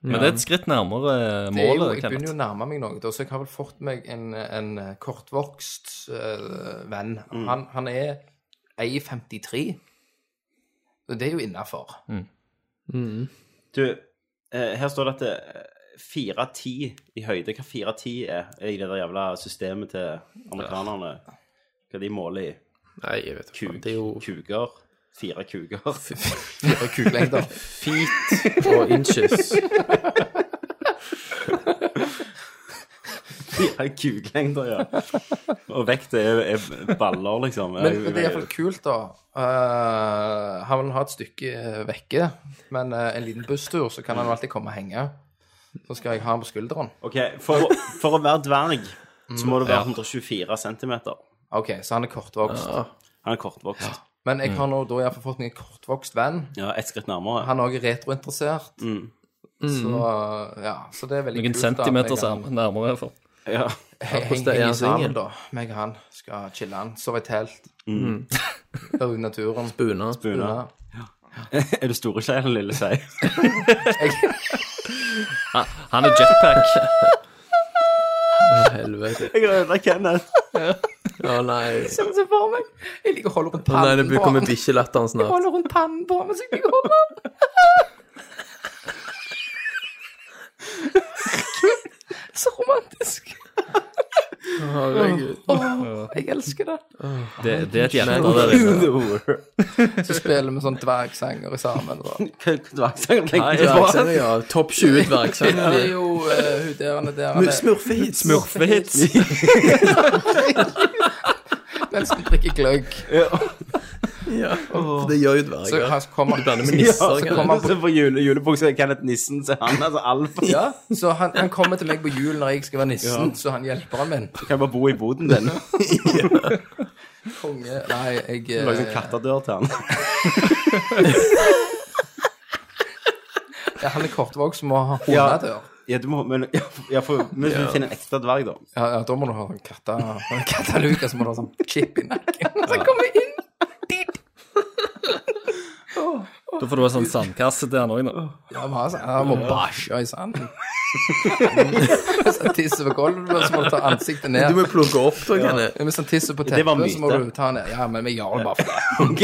S6: Men det er et skritt nærmere eh,
S7: Det er jo,
S6: målet,
S7: jeg begynner jo
S6: Kenneth.
S7: å nærme meg noe, da, så jeg har vel fått meg en, en eh, kortvokst eh, venn.
S6: Mm.
S7: Han, han er 1,53, og det er jo innafor.
S6: Mm.
S4: Du, eh, her står det at det er 410 i høyde. Hva 410 er i det der jævla systemet til amerikanerne? Hva de måler i?
S5: Nei, jeg vet ikke.
S4: Kuk,
S5: Det er jo
S4: Kuger? Fire kuger?
S7: Og kuklengder.
S5: feet og inches.
S4: Fire kuglengder, ja. Og vekt er, er baller, liksom.
S7: Men, men det er iallfall kult, da. Eh, han vil ha et stykke eh, vekke, men eh, en liten busstur, så kan han jo alltid komme og henge. Så skal jeg ha han på skulderen.
S4: Ok, for, å- for å være dverg så må du være 124 cm.
S7: OK, så han er kortvokst.
S4: Han er kortvokst.
S7: Men jeg
S5: Mm.
S7: har nå da iallfall fått meg en kortvokst venn.
S4: Ja, ett skritt nærmere.
S7: Han er også retrointeressert.
S5: Mm.
S7: Så eh, ja, så det er veldig
S6: Mm. Noen
S7: kult.
S6: centimeter
S7: da, at jeg-
S6: sam- nærmere. For.
S4: Ja.
S5: hvordan
S7: Jeg henger
S5: er
S7: henger
S5: han
S7: sammen,
S5: singel?
S7: da. Meg og han skal chille han. Sove i telt.
S5: Mm.
S6: Mm.
S7: Være ute i naturen.
S5: Buna.
S4: Buna.
S7: Ja.
S4: Er du store skei eller lille skei?
S6: Han er jetpack.
S5: Helvete.
S4: Jeg har ødelagt Kenneth.
S5: Å nei.
S7: Jeg ser for meg. Jeg liker å holde rundt
S5: Å nei,
S7: pannen
S5: det
S7: på
S5: kommer
S7: han.
S5: bikkjelatteren snart.
S7: Holde rundt pannen på han mens jeg ligger og holder han. Så romantisk.
S5: Herregud.
S7: Jeg elsker det.
S6: Det, det er et hjerte der inne.
S7: Så spiller vi sånn dvergsanger sammen. Og.
S4: Dvergsanger
S6: Nei,
S4: tenker
S6: det
S4: du?
S6: var-
S5: Dvergsanger, ja. Topp 20
S7: Det
S5: dvergsanger.
S7: er jo eh, hun der han er der han er.
S5: Smurfehits.
S6: Smurfehits.
S7: Den som drikker gløgg.
S5: Ja. Det gjør jo
S7: Så
S5: dverger.
S7: han kommer
S5: blander med nisser,
S7: Ja, så kommer han på
S4: Så på jule, julebuksa er Kenneth Nissen, så han altså alfa.
S7: ja, så han, han kommer til meg på jul når jeg skal være nissen, så han hjelper han min.
S4: Du kan bare bo i boden din.
S7: Konge. Nei, jeg eh,
S4: Lage sånn kattedør til han.
S7: ja, Han er kortvokst, må ha hundedør.
S4: Ja, du må, men ja, for, men hvis vi finner en ekte dverg, da.
S7: Ja, ja, da må du ha sånn katta, kattaluke, så må du ha sånn chip i nakken. Så han kommer inn.
S6: Da får du ha sånn sandkasse til han òg, nå.
S7: Ja, men altså, han må bæsje i sanden. Hvis han tisser på gulvet, så må du ta ansiktet ned.
S5: Du må jo plukke opp, da, Kenneth.
S7: Hvis han tisser på
S4: det var
S7: teppet, så må
S4: myte.
S7: du ta han ned. Ja, men vi gjør det bare for det.
S4: Ok.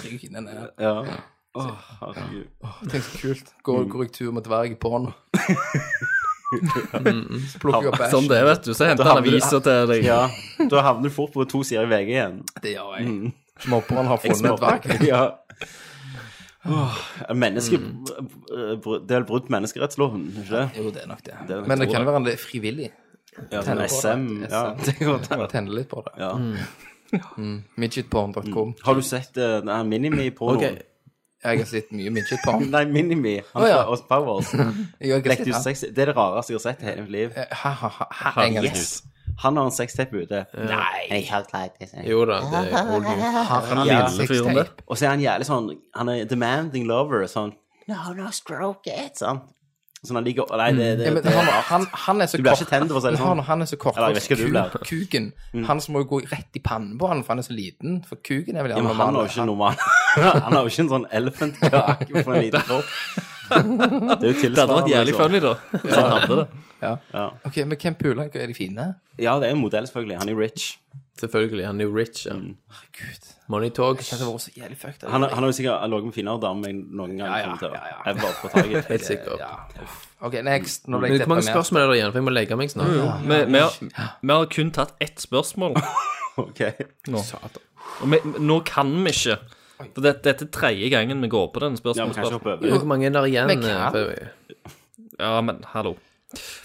S7: trygg inni den. der.
S4: Ja. Åh, herregud.
S7: Tenk så kult. Går, går jeg tur med dverg på hånda. Så plukker jeg opp
S10: Sånn
S7: bæsj.
S10: det, vet du. Så henter
S4: Da
S10: han
S4: har vi det.
S10: aviser til deg.
S4: Ja, da havner du fort på to sider i VG igjen.
S7: Det gjør jeg. Småperen har funnet et verk.
S4: ja. Åh, menneske, eh, br- Det er vel brutt menneskerettsloven, ikke det?
S7: Jo, det er nok det.
S4: er nok
S7: Men det kan være han er frivillig.
S4: Ja, sånn
S7: tenner på
S4: SM.
S7: det.
S4: Ja. det kan godt være.
S7: Tenner litt på det.
S4: Ja.
S7: Midgetporn.com.
S4: Har du sett eh, den her Minimi på noen?
S5: Ok.
S7: Jeg har sett mye midgetporn.
S4: Nei, Minimi. Han
S7: Å,
S4: fra
S7: ja.
S4: Oz Powers.
S7: Jeg har
S4: Lekte
S7: ikke
S4: ut
S7: sett
S4: sex Det er det rareste jeg har sett i hele mitt liv.
S7: han. Eh, Ha, ha, ha, ha, en gang til.
S4: Yes! Han har en sextape ute. Nei.
S5: Jo da, det er old news.
S7: Han
S4: Ja.
S7: lille fyren der.
S4: Og så er han jævlig sånn Han er demanding lover. Sånn No, no, stroke it. Sånn. Sånn han ligger Nei, det, det,
S7: Ja, men
S4: det
S7: han, han, han er så
S4: Du blir
S7: kort
S4: ikke tent, for å si det sånn.
S7: Han, han er så kort
S4: Eller, jeg vet ikke hva du Mm.
S7: kuk- kuken Han som må jo gå rett i pannen på han For han er så liten For kuken er vel
S4: Ja, men han har jo ikke normal Han har jo ikke en sånn elefantkake på en liten kropp. Det er jo tilsvarende.
S6: Det hadde vært jævlig funny, da. Hvis han hadde det.
S7: Ok, men hvem puler han? Er de fine?
S4: Ja, det er en modell, selvfølgelig. Han er rich.
S5: Selvfølgelig. Han er jo rich. Ja. Money talks.
S7: Det var så jævlig fucked
S4: Han, han har jo sikkert ligget med finere damer enn jeg noen gang
S7: Ja, ja,
S4: kommer til å
S7: ja, ja.
S4: ever få tak i.
S5: Helt sikkert.
S7: ja. Ok, next Nå ble
S5: Men
S7: jeg
S5: Hvor mange
S7: deprimert.
S5: spørsmål er det igjen? For jeg må legge meg snart.
S6: Vi, vi, har, vi har kun tatt ett spørsmål.
S4: Ok.
S6: Og vi, nå kan vi ikke. For det, dette er tredje gangen vi går på den
S4: Ja, men kanskje
S6: spørsmålsspørsmålen.
S4: hoppe
S5: Og
S4: over.
S5: Hvor mange er det igjen?
S7: Men hva?
S5: eh, for-
S6: Ja, men hallo.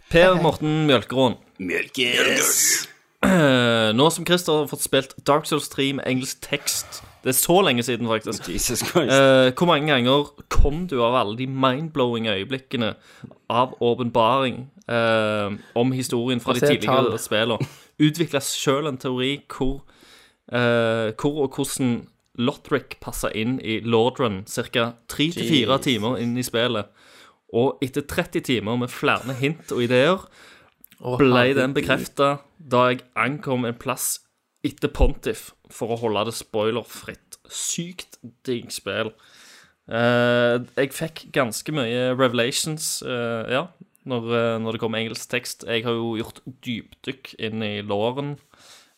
S6: Per Morten Mjølkeråen. Mjølkes. Nå som Christer har fått spilt Dark Souls 3 med engelsk tekst Det er så lenge siden, faktisk.
S4: Jesus Christ.
S6: Eh, hvor mange ganger kom du av alle de mindblowing øyeblikkene av åpenbaring eh, om historien fra de
S5: se et
S6: tidligere
S5: tall.
S6: spillene? Utvikla sjøl en teori hvor, eh, hvor og hvordan Lothric passa inn i Lordrun ca. 3-4 timer inn i spillet. Og etter 30 timer med flere hint og ideer ble den bekrefta da jeg ankom en plass etter Pontiff for å holde det spoilerfritt. Sykt digg spill. Eh, jeg fikk ganske mye revelations, eh, ja, når, eh, når det kom engelsk tekst. Jeg har jo gjort dypdykk inn i låren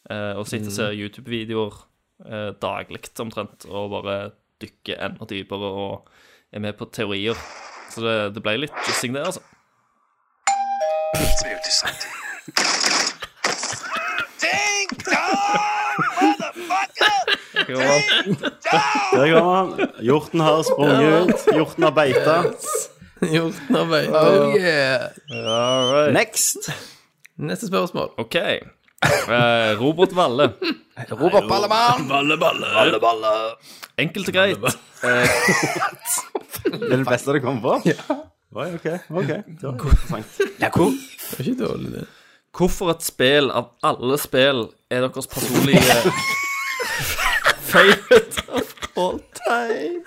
S6: eh, og sitter og ser
S5: Mm.
S6: YouTube-videoer uh, daglig omtrent og bare dykker enda dypere og er med på teorier. Så det, det ble litt jussing, det, altså. Jeg var-
S4: Der kommer han. Hjorten har sprunget ut. Hjorten har beita.
S5: Gjort arbeid.
S7: Oh yeah
S4: Next!
S5: Neste spørsmål.
S6: OK. Eh, Robert Valle.
S7: Robert Ballemann
S6: Enkelt og greit.
S4: Det er det beste det kommer på? Ja. Oi, ok. ok. Det var interessant.
S5: Det var ikke dårlig, det.
S6: Hvorfor et spill av alle spill er deres personlige favorite of all time?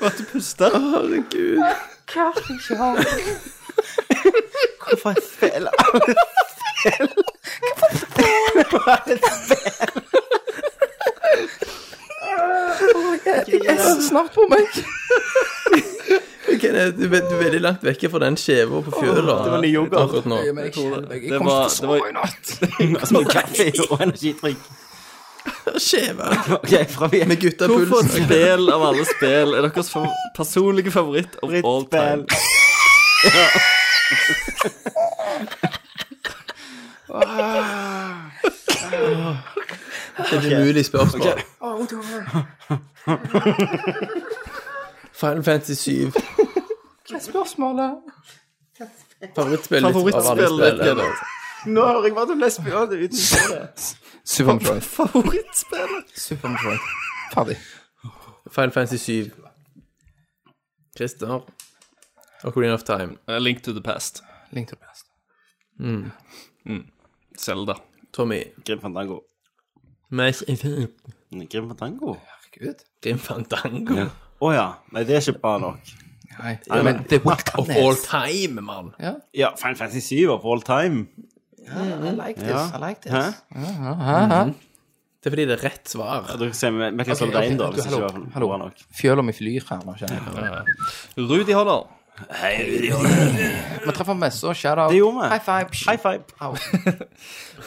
S6: Hva du puster?
S5: Herregud.
S7: Jeg er så snart på meg
S5: Kenneth, du er du er veldig langt vekke fra den skjeva på fjøla.
S4: Det var ny yoghurt.
S5: Akkurat nå.
S7: Ja, men jeg kjenner meg Jeg
S6: Det
S7: kommer
S6: var-
S7: ikke til
S6: det
S7: å
S6: var-
S7: sove i natt
S4: Små kaffe og energidrikk.
S5: Skjeva.
S4: Ok, fra vi
S5: Med
S6: Hvorfor et
S5: guttapulsen.
S6: spill av alle spill er deres fa- personlige favoritt of all time?
S5: Det er umulig spørsmål. Final Fantasy 7. Hva er spørsmålet? Favorittspillet ditt av alle
S6: Favorittspillet ditt,
S5: spill.
S4: Nå hører jeg hva du lesbian uten
S7: Superman
S6: Favorittspillet?
S7: Superman Ferdig
S5: Final Fantasy 7. Christer. Ocarina of Time.
S6: A Eh, Link to the past.
S7: Link til det best
S6: Zelda.
S5: Tommy.
S4: Grim Fandango.
S5: Mass Effect.
S4: Grim Fandango?
S7: Gud
S5: Grim Fandango.
S4: Å ja. Nei, det er ikke bra nok.
S7: Nei Ja, men The
S5: Of all
S7: Wilderness
S5: time, mann.
S4: Ja, Final Fantasy 7 of all time.
S7: I like this I like
S4: Hæ?
S7: this
S5: Det er fordi det er rett svar.
S4: Ja, Dere ser med Metal Solid
S7: ok,
S4: 1, da,
S7: du,
S4: hvis det
S7: hallo,
S4: ikke var bra nok.
S7: Fjøler meg flyr her nå, kjenner jeg
S6: Rudi Holler.
S7: Vi traff han messa, shout-out.
S4: Det gjorde vi.
S7: High five. psh.
S4: High five.
S7: Au.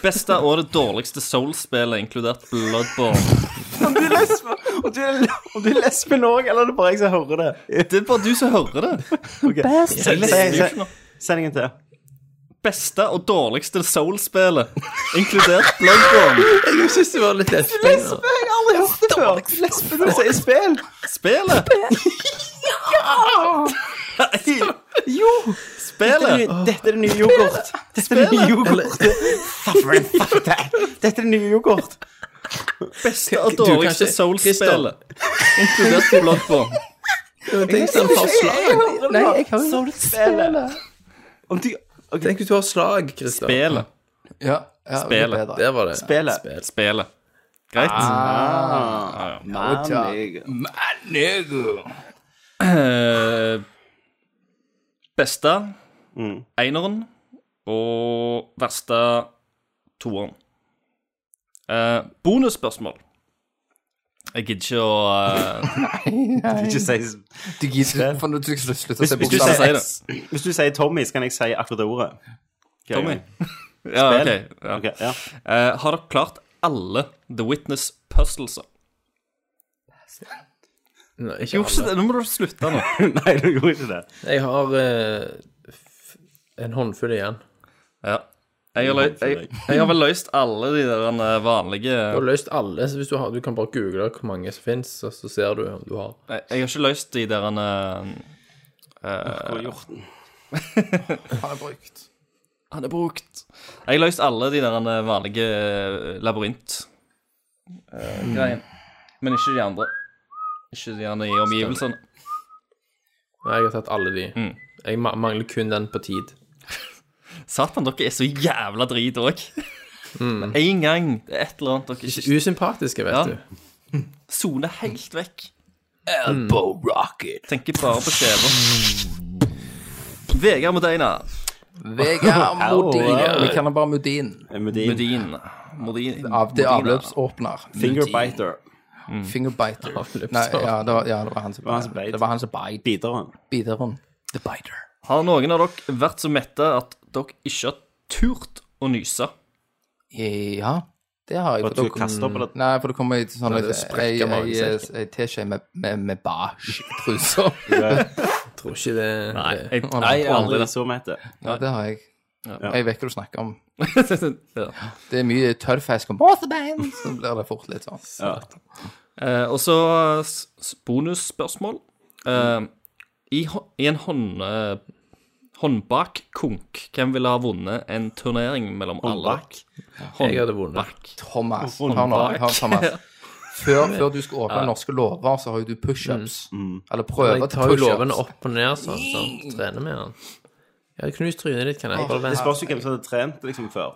S6: Beste og det dårligste Soul-spillet, inkludert Bloodborne.
S4: Om du er lesbe, om du er, om du er lesben òg, eller er det bare jeg som hører det?
S6: Det er bare du som hører det.
S4: Okay. Se- se- se- Sendingen til.
S6: Beste og dårligste Soul-spillet, inkludert Bloodborne.
S5: Jeg syns det var litt lett.
S4: Jeg har aldri hørt det før. Lesbe når du sier spill.
S6: Spillet! Ja!
S4: Jo.
S6: Spillet!
S4: Dette er det nye yoghurt. Dette er det nye yoghurt. Dette er det nye yoghurt.
S6: Beste og
S5: Du,
S6: dårligste
S5: kanskje-
S6: Soul-spillet, inkludert Bloodborne.
S5: Tenk hvis han har slag.
S7: Nei, jeg har jo
S4: Om du
S5: Tenk hvis du har slag, Christer.
S6: Spillet.
S7: ja, ja,
S6: Spillet.
S7: det er bedre.
S5: Der var det.
S4: spiller
S6: Spillet. Greit? Eh, beste Mm. eneren og verste toeren. Eh, bonusspørsmål. Jeg gidder ikke å eh,
S4: Ikke si
S7: Du gidder for nå du skal slutte å
S4: Hvis,
S7: se
S4: hvis, du
S7: bokstaver.
S4: sier,
S6: det.
S4: hvis du sier Tommy, så kan jeg si akkurat det ordet. Ok,
S6: Tommy.
S4: ja.
S6: Ja,
S4: Spill.
S6: ok, ja.
S4: Ok, ja.
S6: Eh, har dere klart alle The Witness-puzzleser?
S5: Nei, ikke
S6: Jo, ikke
S5: alle.
S6: det. Nå må du slutte nå.
S4: Nei, du gjorde ikke det.
S5: Jeg har eh, f- en håndfull igjen.
S6: Ja. Jeg har, lø- jeg, jeg har vel løst alle de der eh, vanlige
S5: Du har løst alle, så hvis du har Du kan bare google hvor mange som fins, så, så ser du om du har.
S6: Jeg, jeg har ikke løst de der eh,
S4: Hvor er hjorten?
S7: Han er brukt.
S6: Han er brukt. Jeg har løst alle de der eh, vanlige eh, labyrint-greiene. Mm. Men ikke de andre. Ikke de andre i omgivelsene.
S5: Nei, jeg har tatt alle de. Jeg ma- mangler kun den på tid.
S6: Satan, dere er så jævla drit òg. Én gang det er et eller annet dere ikke
S5: Usympatiske, vet
S6: Ja.
S5: du.
S6: soner helt vekk. Elbow rocket. Tenker bare på skjeva. Vegard Modena.
S7: Vegard Modin.
S4: au.
S7: Vi kaller han bare Modin.
S4: Medin.
S6: Modin. Modin.
S7: Av det avløpsåpner.
S4: Fingerbiter.
S7: Modin. Fingerbiter.
S5: Avløpsåpner.
S7: Nei, ja, det var, ja, det var han som
S4: var han som beit.
S7: Det var han som beit.
S4: Biteren.
S7: Biter hun. The biter.
S6: Har noen av dere vært så mette at dere ikke har turt å nyse?
S7: Ja, det har jeg.
S4: At
S7: For
S4: du
S7: da kom-
S4: kaster på det.
S7: Nei, for det kommer i sånn
S5: det sprekker magesekken.
S7: ei teskje med, med, med bæsj-truser.
S5: Tror ikke det det-
S6: jeg,
S7: nei,
S4: Jeg har aldri vært så mett.
S7: Ja, det har jeg. Jeg vet hva du snakker om.
S6: ja.
S7: Det er mye tørrfisk om båsebein, så blir det fort litt sånn.
S4: Ja.
S6: Eh, og så s- s- bonusspørsmål. Eh, i, hå- I en hånd, eh, håndbakkonk, hvem ville ha vunnet en turnering mellom
S4: Håndbak?
S6: alle?
S5: Jeg hadde vunnet.
S6: Håndbak.
S7: Thomas, hør nå, hør Thomas. Før, før du skal åpne norske lover, så har jo du pushups.
S4: Mm.
S7: Eller prøver
S5: Jeg tar
S7: til
S5: jo lovene
S7: pushups.
S5: opp og ned, sånn. sant? Trener med den. Jeg har knust trynet ditt, kan jeg bare
S4: Det
S5: vente.
S4: spørs jo hvem som hadde trent liksom før.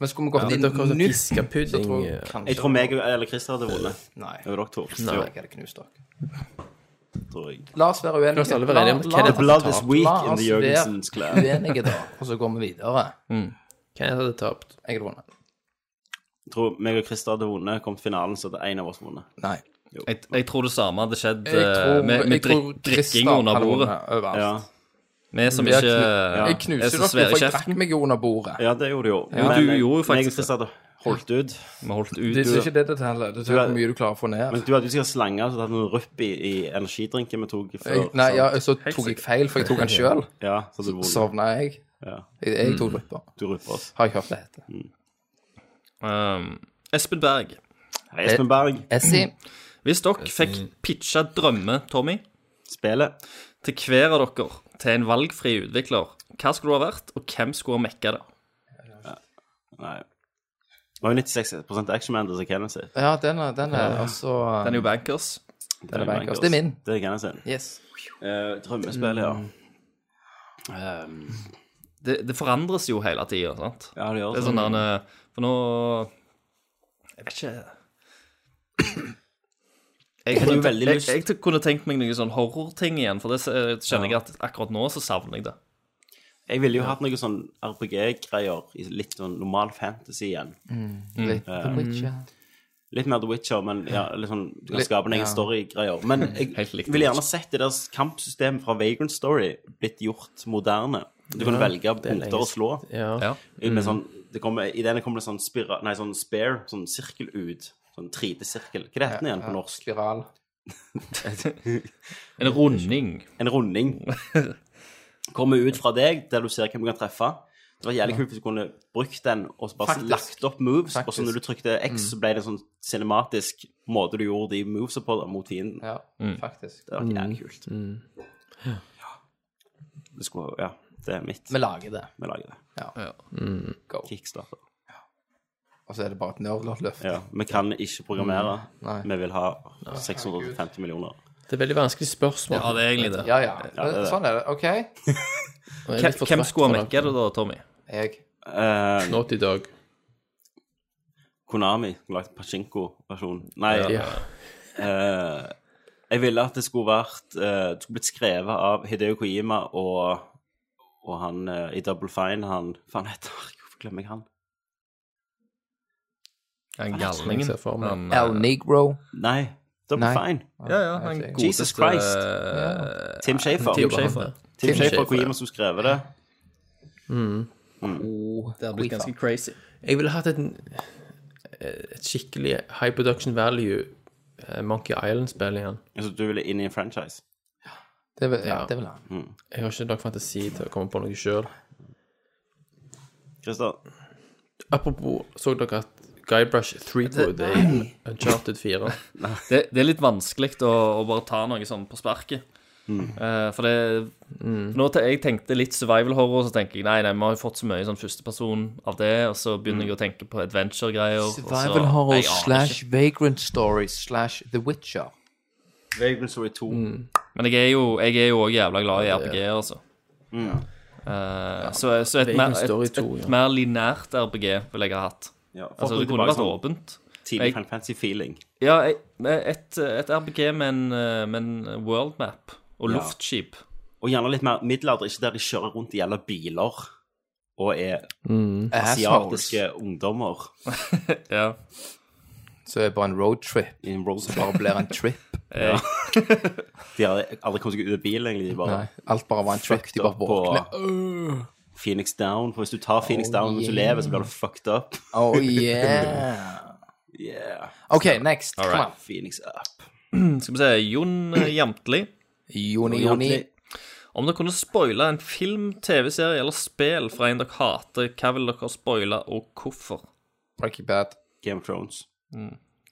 S7: Men skulle vi gått
S5: Men
S7: inn
S5: Dere har sånn
S7: nytt, så
S5: fiskepudding
S7: tror jeg
S5: eh,
S7: kanskje
S4: Jeg tror meg eller Christer hadde vunnet.
S7: Nei.
S4: Over dere to.
S7: Nei,
S4: Jo,
S7: jeg hadde knust dere.
S4: tror jeg.
S7: La oss være uenige.
S5: La oss alle være enige om hva det er
S7: oss-
S5: for
S4: Blood is weak
S7: la
S4: in
S7: oss
S4: the
S7: være
S4: Jørgensens clan.
S7: Uenige, da. Og så går vi videre.
S6: Mm.
S5: Hvem hadde tapt?
S7: Jeg hadde vunnet.
S4: Jeg tror meg og Christer hadde vunnet, kom til finalen, så hadde en av oss vunnet.
S7: Nei.
S6: Jeg, jeg tror det samme hadde skjedd
S7: Jeg tror,
S6: eh, med, med
S7: jeg tror
S6: drikk, drikking
S7: Christer
S6: under
S7: hadde
S6: bordet.
S7: vunnet overalt.
S4: Ja,
S6: Vi som
S7: Vi har
S6: ikke eh,
S7: knu- Jeg
S6: er
S7: knuser
S6: så
S7: dere, for
S6: svære i
S7: jeg trakk
S6: kjeften.
S7: meg jo under bordet.
S4: ja det gjorde du jo.
S6: Ja, du
S4: jeg-
S6: gjorde jo
S4: meg og
S6: faktisk
S4: Christer hadde holdt ut.
S6: Vi holdt ut.
S7: Det er ikke det det teller. Det
S4: Du
S7: teller
S4: er-
S7: hvor mye du klarer å få ned.
S4: Men du hadde jo sikkert slange, så du hadde noen rupp i, i energidrinken vi tok før.
S7: Jeg, Eh, nei,
S4: så-
S7: ja, så tok jeg feil, for jeg tok den sjøl.
S4: ja, så hadde du vunnet.
S7: Sovna jeg.
S4: Ja, Mm.
S7: Jeg, jeg
S6: Mm.
S7: tok ruppa.
S4: du rupper oss.
S7: Har jeg hørt det heter.
S6: Um, Espen Berg,
S4: Hei, Espen Berg.
S7: Essi.
S6: hvis dere fikk pitcha drømme, Tommy,
S4: Spillet.
S6: til hver av dere til en valgfri utvikler, hva skulle du ha vært, og hvem skulle ha mekka det?
S4: Nei. Det var jo 96 action-man til Kenneth sitt.
S7: Ja, den er, den er altså
S6: Den er jo bankers.
S4: Det
S7: er Bankers. Det er min.
S4: Det er Kenneth sin.
S7: Yes.
S4: Eh, drømmespill, ja.
S6: Det, det forandres jo hele tida, sant?
S4: Ja, det gjør
S6: Det er sånn der eh, For nå Jeg vet ikke Jeg
S4: hadde jo
S6: kunne,
S4: veldig
S6: jeg,
S4: lyst-
S6: jeg, kunne tenkt meg noen sånn horrorting igjen, for det eh, kjenner jeg at akkurat nå så savner jeg det.
S4: Jeg ville jo hatt noe sånn
S6: Mm.
S4: RPG-greier i litt sånn normal fantasy igjen.
S7: Litt på Witcher.
S4: Litt mer The Witcher, men ja, litt sånn, du kan
S7: Litt-
S4: skape en egen
S7: ja.
S4: story-greier. Men jeg
S6: Helt likt.
S4: ville gjerne sett det der kampsystemet fra Vagrant Story blitt gjort moderne. Du kan velge punkter å slå.
S5: Ja.
S6: Ja.
S4: Med sånn, det kommer, I denne kommer det sånn, spira, nei, sånn spare, sånn sirkel ut. Sånn 3D-sirkel. Hva heter den igjen på norsk?
S7: Spiral.
S6: En runding.
S4: En runding. Kommer ut fra deg, der du ser hvem du kan treffe. Det var jævlig kult hvis du kunne brukt den og så bare
S7: Faktisk.
S4: lagt opp moves. Og så
S7: Faktisk. Mm.
S4: når du trykte X, så ble det en sånn cinematisk måte du gjorde de movesa på da, mot fienden.
S7: Ja,
S6: Mm.
S7: Mm. faktisk.
S4: Det var jævlig kult. Ja. Det skulle, ja, det er mitt.
S7: Vi lager det.
S4: Vi lager det.
S7: Ja. Go.
S4: Kickstarter.
S7: Og så er det bare et nerdløft.
S4: Ja, vi kan ikke programmere.
S7: Mm. Nei.
S4: Vi vil ha 650 millioner.
S5: Det er veldig vanskelig spørsmål.
S6: Ja, det er egentlig det.
S7: Ja, ja.
S4: det er det.
S7: Sånn er det. OK.
S5: Og jeg er litt for
S6: Hvem
S5: trøtt
S6: skulle ha
S5: for det.
S6: mekka det da, Tommy?
S7: Jeg
S4: Eh,
S5: Naughty Dog.
S4: Konami kunne lagd Pachinko-versjon. Nei,
S5: Ja.
S4: eh, jeg ville at det skulle vært eh, Det skulle blitt skrevet av Hideo Kojima og, og han eh, i Double Fine, han Faen heter han Hvorfor glemmer jeg han?
S6: Han
S5: Jeg
S6: galningen.
S5: ser for meg.
S6: Han, eh,
S7: El Negro.
S4: Nei, Double
S7: Nei.
S4: Fine.
S6: ja, ja, han
S7: Jesus
S6: godeste,
S4: Christ.
S6: eh,
S4: Tim Shafer.
S6: Tim Schafer.
S4: Tim Schafer
S5: Schafer,
S4: og Kojima som skrev det.
S6: Det hadde blitt ganske crazy.
S5: Jeg ville hatt et, et skikkelig high production value eh, Monkey Island-spill igjen.
S4: Altså, du ville inn i en franchise.
S7: Det vil, ja.
S5: Ja.
S7: det vil han.
S5: Jeg har ikke nok fantasi til å komme på noe sjøl.
S4: Christer,
S5: Apropos, så dere at Guybrush Threepwood er i Uncharted 4?
S6: Det, det er litt vanskelig å, å bare ta noe sånn på sparket. Eh, for det for Nå te, jeg tenkte litt survival horror, så tenker jeg nei, nei, vi har jo fått så mye sånn førsteperson av det, og så begynner jeg å tenke på adventure-greier. og så-
S7: Survival horror
S6: Nei, jeg aner ikke. Mm.
S7: slash vagrant story slash The Witcher.
S4: Vagrant Story 2.
S6: Men jeg er jo jeg er jo også jævla glad i RPG-er, altså. Eh, så, så et, mer,
S5: Vagrant
S6: et,
S5: Story
S6: et,
S5: 2, ja.
S6: mer linært RPG vil jeg ha hatt.
S4: Ja, for
S6: Altså,
S4: å
S6: det
S4: gå
S6: kunne
S4: tilbake
S6: vært
S4: sånn
S6: åpent.
S4: Tidlig
S6: Jeg-
S4: Final Fantasy-feeling.
S6: Ja, jeg- et, et RPG med en, eh, med en world map og
S4: Ja.
S6: luftskip.
S4: Og gjerne litt mer middelalder, ikke der de kjører rundt i jævla biler og er
S7: Assholes.
S4: asiatiske ungdommer
S6: Ja.
S7: Så er det bare en roadtrip.
S4: i en Rolls
S7: Bare blir en trip.
S4: De har aldri kommet seg ut av bilen, egentlig. De bare
S7: Nei, alt bare var en trip. De bare
S4: fucked up
S7: våkner.
S4: på Phoenix Down. For hvis du tar Phoenix Down mens du lever, så blir du fucked up.
S7: Oh yeah.
S4: Yeah.
S7: OK, next. Kom an.
S4: Phoenix ah. up.
S6: Skal vi se Jon eh, Jamtli.
S7: Joni, Joni.
S6: Om dere kunne spoile en film, TV-serie eller spill fra en dere hater, hva vil dere spoile, og hvorfor?
S7: Breaking Bad.
S4: Game of Thrones.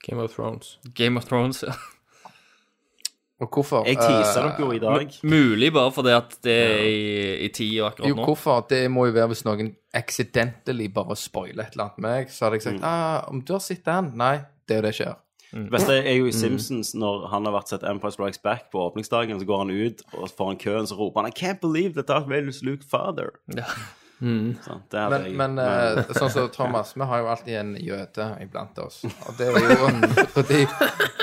S5: Game of Thrones.
S6: Game of Thrones, ja.
S7: Og hvorfor? eh,
S4: Jeg teaser dere jo i dag.
S6: Mulig bare fordi at det er i, i tida
S7: Eh, jo,
S6: akkurat nå.
S7: hvorfor? Det må jo være hvis noen accidentally bare spoiler et eller annet med meg. Så hadde jeg sagt ah, om du har sett den? Nei, det er jo det skjer.
S4: Det beste er
S7: Mm.
S4: jo i Simpsons, når han har vært sett Empire Strikes Back på åpningsdagen, så går han ut, og foran køen så roper han I can't believe that Darth Vader's Luke father.
S6: Ja.
S4: Så, det hadde
S7: Mm. Men,
S4: jeg-
S7: men eh, sånn som Thomas, vi har jo alltid en jøde iblant oss. Og det er jo, og det,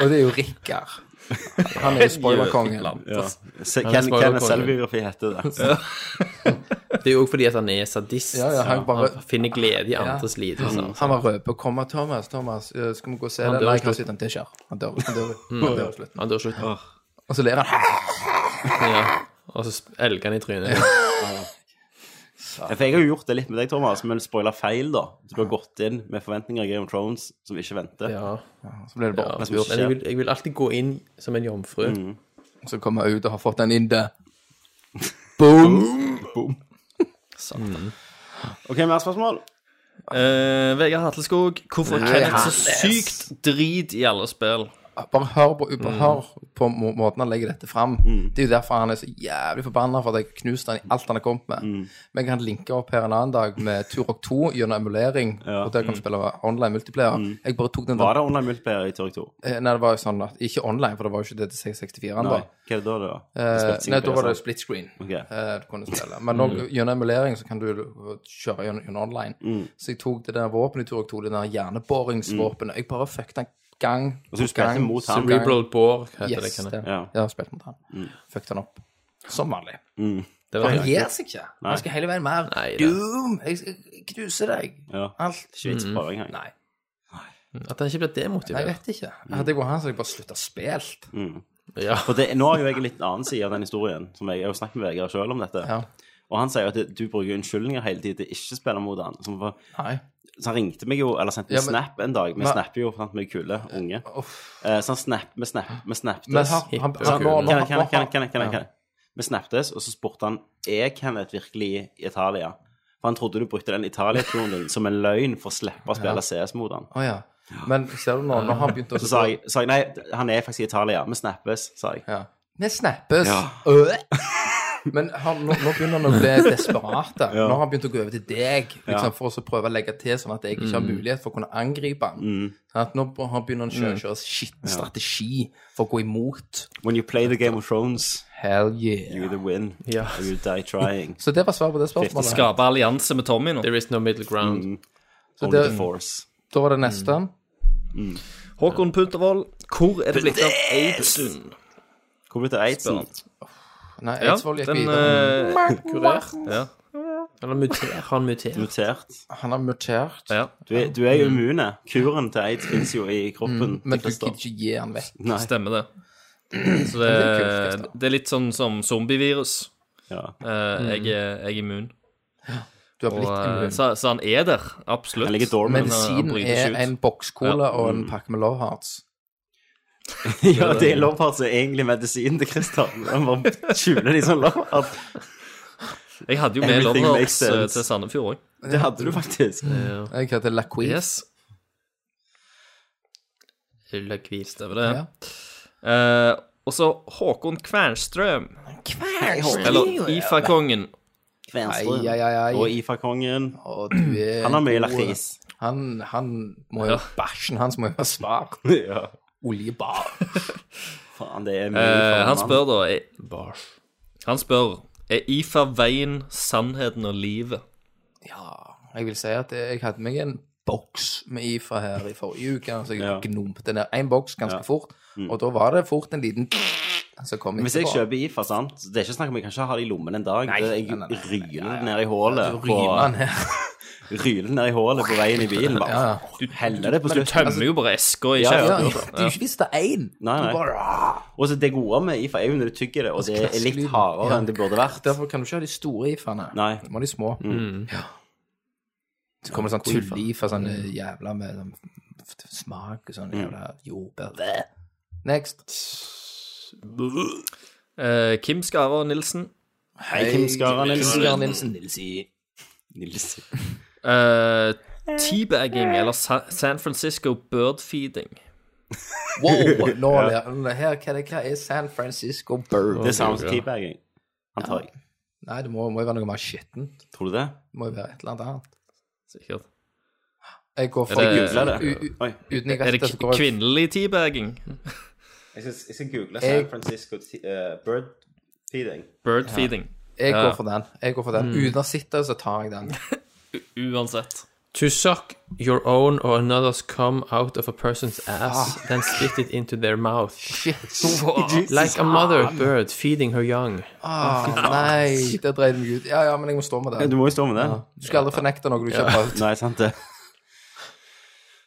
S7: og det er jo Rikard. Han er jo spoilerkongen.
S4: ja. Se-
S5: er
S4: Ken-
S5: spoiler på
S4: Kenneths
S5: det.
S4: selvbiografi heter det.
S5: Det er jo òg fordi at han er sadist.
S7: Ja, ja, han bare-
S5: finner glede i andres lidelser.
S7: Han var rød på å komme. Thomas, Thomas, eh, skal vi gå og se
S5: Han
S7: den?
S5: dør
S7: Nei,
S5: i
S7: jeg har
S5: slutten. Mm.
S7: sett den. Det skjer. Han dør. Han dør, han dør i slutten.
S5: Han dør slutt.
S7: Og så ler han.
S5: Ja. Og så sp- elger han i trynet.
S4: Ja, For jeg har jo gjort det litt med deg, Thomas, men spoiler feil, da. Du har gått inn med forventninger i Game of Thrones som ikke venter.
S5: Ja.
S7: Så blir det bare
S5: Men
S7: oppspurt.
S5: jeg vil, jeg vil alltid gå inn som en jomfru.
S7: Så kommer jeg ut og har fått den inn der. Boom!
S4: OK, mer spørsmål?
S6: Eh, Vegard Hatleskog, hvorfor er Kenneth så sykt drit i alle spill?
S7: Bare hør på,
S4: Mm.
S7: bare hør på må- måten han legger dette fram. Det er jo derfor han er så jævlig forbanna for at jeg knuste han i alt han har kommet med.
S4: Mm.
S7: Men jeg kan linke opp her en annen dag med Turok 2 gjennom emulering. Og der kan du spille online multiplayer. Jeg bare tok den
S4: Mm. Var
S7: der
S4: det online multiplayer i Turk 2?
S7: Eh, Nei, det var jo sånn at Ikke online, for det var jo ikke det til 664-en
S4: Nei.
S7: da.
S4: Hva er det da? det var?
S7: Eh,
S4: Spilt
S7: Nei, da var
S4: singleplayer,
S7: det
S4: sant?
S7: split screen.
S4: Ok. Mm.
S7: eh, du kunne spille. Men nå, gjennom emulering så kan du eh, kjøre gjennom gjennom online. Så jeg tok det der våpenet i Turok 2, det der hjerneboringsvåpenet. Jeg bare fucket den gang
S4: Mm. Og så du spilte mot ham?
S5: Cerebral bore, heter det.
S7: Yes,
S5: Kan jeg.
S7: det.
S4: Ja. Mm.
S7: Jeg har spilt mot han. Fucket han opp. Som vanlig.
S5: det var
S7: Han gir seg ikke. Han skal hele veien mer.
S5: Nei, det-
S7: Doom! Jeg skal knuse deg.
S4: Ja.
S7: Alt.
S4: Ikke vits å prøve engang.
S7: Nei.
S5: At han ikke blir
S7: Jeg
S5: demotivert.
S7: vet ikke.
S4: Mm.
S7: Hadde jeg vært han, så hadde jeg bare slutta spilt.
S5: Ja.
S4: For det, nå har jo jeg en litt annen side av den historien, som jeg, jeg har jo snakket med Vegard sjøl om dette.
S7: Ja.
S4: Og han sier jo at det- du bruker unnskyldninger hele tiden til ikke å spille mot han. Som for,
S7: Nei.
S4: så han ringte meg jo, eller sendte
S7: Ja,
S4: meg
S7: men-
S4: snap en dag. Vi
S7: Men-
S4: snapper jo, sant, vi er kule unge.
S7: Uff.
S4: Eh, så han snap, vi snap, vi snappes.
S7: Men han, han, han,
S5: Hipp og
S7: han,
S5: kul.
S7: nå- nå-
S4: Kan jeg, kan jeg, kan jeg, kan jeg, kan jeg,
S7: Ja.
S4: kan jeg. Vi snappes, og så spurte han Er Kenneth virkelig i Italia. For han trodde du brukte den Italia-turen din som en løgn for å slippe å spille CS mot han.
S7: Å ja. Men ser du nå, nå har han begynt å
S4: Så sa jeg, sa jeg nei, han er faktisk i Italia. Vi snappes, sa jeg.
S7: Ja. Vi snappes.
S4: Ja.
S7: Øh. Men han, nå, nå begynner han å bli desperat. da. Nå har han begynt å gå over til deg
S4: Ja.
S7: liksom, for å så prøve å legge til, sånn at jeg
S6: Mm.
S7: ikke har mulighet for å kunne angripe han. Sånn at nå b- han begynner han
S6: Mm.
S7: selv å kjøre shit-strategi for å gå imot.
S4: When you play the Game of Thrones,
S7: Hell
S4: you
S7: yeah.
S4: either win
S5: Ja.
S4: or you die trying.
S7: Så det var svaret på det spørsmålet.
S6: Skape allianse med Tommy nå.
S5: There is no middle ground.
S4: Only
S7: det-
S4: the force.
S7: Da var det neste.
S6: Mm. Håkon Puntervold, hvor er det blitt av Eidesund?
S4: Hvor ble det Eidsen?
S7: Nei,
S6: Ja,
S7: Eidsvoll gikk
S6: den
S7: videre.
S6: eh,
S5: Kurert.
S6: ja,
S5: Eller muter. Har han mutert?
S4: Mutert.
S7: Han har mutert.
S6: ja.
S4: Du er, du er jo immune. Kuren til aids fins jo i
S7: Mm.
S4: kroppen.
S7: Men du
S4: Christer.
S7: gidder ikke gi han vekk.
S4: Nei.
S6: Stemmer det. Så
S7: Men det er kult,
S6: det,
S7: Christer.
S6: det er litt sånn som zombievirus.
S4: Ja.
S6: Eh, jeg, er- jeg er immun.
S7: Du har
S6: Og,
S7: blitt
S6: eh,
S7: Mm. immun.
S6: så, så han er der, absolutt.
S4: Han ligger dormant.
S6: Men, eh, han
S7: Medisinen
S6: bryter
S7: er
S6: ikke ut.
S7: en bokskola
S6: Ja.
S7: og en pakke med Love Hearts.
S4: Ja, det er lovpart som er egentlig medisinen til Christer. Han bare skjuler de som lovpart.
S6: Jeg hadde jo med
S4: Everything
S6: Lovehurts
S4: makes sense.
S6: til Sandefjord òg.
S4: Det hadde du faktisk.
S7: Jeg heter Laquiz.
S6: Yes. Løkkvil, stemmer det.
S7: Ja.
S6: Eh, og så Håkon Kvernstrøm. Kvernstrøm. Eller Ifa-kongen. Eh,
S7: Ai, ai, ai, ai.
S4: Og Ifa-kongen.
S7: Å, du er
S4: Han har mye
S7: god.
S4: lakris.
S7: Han, han må jo
S6: Ja.
S7: Bæsjen hans må jo være svart.
S4: Ja.
S7: Oljebar.
S4: Faen, det er mye.
S6: Eh,
S4: faen,
S6: han
S4: mann.
S6: spør da er, Han spør Er Ifa veien, sannheten og livet?
S7: Ja, jeg vil si at jeg hadde meg en boks med IFA her i forrige uke. Så jeg
S4: Ja. Mm.
S7: gnompte ned en boks ganske fort, og da var det fort en liten som kom
S4: Hvis jeg
S7: etterpå.
S4: kjøper IFA, sant Det er ikke snakk om jeg kan ikke ha det i lommen en dag. det, jeg
S7: nei, nei, nei,
S4: ryler det ned i hålet.
S7: Du
S4: på-
S7: rimer han her.
S4: Ryler det ned i hålet på veien i bilen. Bare
S7: Ja, ja.
S4: heller det på
S6: Du
S4: slutten.
S6: tømmer Altså, jo bare esker i
S4: Ja,
S7: Ja,
S4: ja.
S6: kjeften.
S7: det er jo ikke visst det er én.
S4: Nei,
S7: Du
S4: nei.
S7: bare, ah.
S4: Og så det gode med IFA er jo når du tygger det, og det er litt
S7: Klaskelyden.
S4: hardere
S7: Altså, Ja.
S4: enn det burde vært.
S7: Derfor kan du ikke ha de store IFA-ene.
S4: Nei. Mm.
S7: Du må ha de små. Ja. Så kommer det sånn tull-IFA, sånn jævla med sånn f- f- smak og
S4: Mm.
S7: sånn jævla jordbær. Bæ. Next.
S6: Eh, Kim Skara og Nilsen.
S4: Hei, Kim Skara Nilsen.
S7: Skara Nilsen.
S4: Nilsi. Nilsi.
S6: Eh, teabagging eller Sa San Francisco birdfeeding.
S7: Wow! Nå ler Her, hva er det- hva er San Francisco Bird?
S4: Det er samme som teabagging, antar jeg.
S7: Nei, det må, må jo være noe mer skittent. Det
S4: Tror du det?
S7: må jo være et eller annet annet.
S6: Sikkert.
S7: Jeg går for
S6: det-
S4: Google det.
S7: u- u-
S4: Oi.
S7: Uten jeg
S6: Er
S7: vet
S6: det
S7: det,
S6: k
S7: så går jeg
S6: kvinnelig teabagging?
S4: Jeg skal, jeg skal google
S7: Jeg-
S4: San Francisco te- eh, bird feeding.
S6: Birdfeeding.
S7: Jeg
S6: Ja.
S7: går for den. Jeg går for
S4: Mm.
S7: den. Uten å sitte, så tar jeg den.
S6: Uansett.
S5: To suck your own or another's come out of a person's ass, then spit it into their mouth.
S7: Shit.
S5: Like a mother bird feeding her young.
S7: Ah, nei, det dreide meg ut. Ja, ja, men jeg må stå med
S4: Du
S7: den.
S4: må jo stå med det.
S7: Du skal aldri fornekte noe du ikke har prøvd.
S4: Nei, sant det.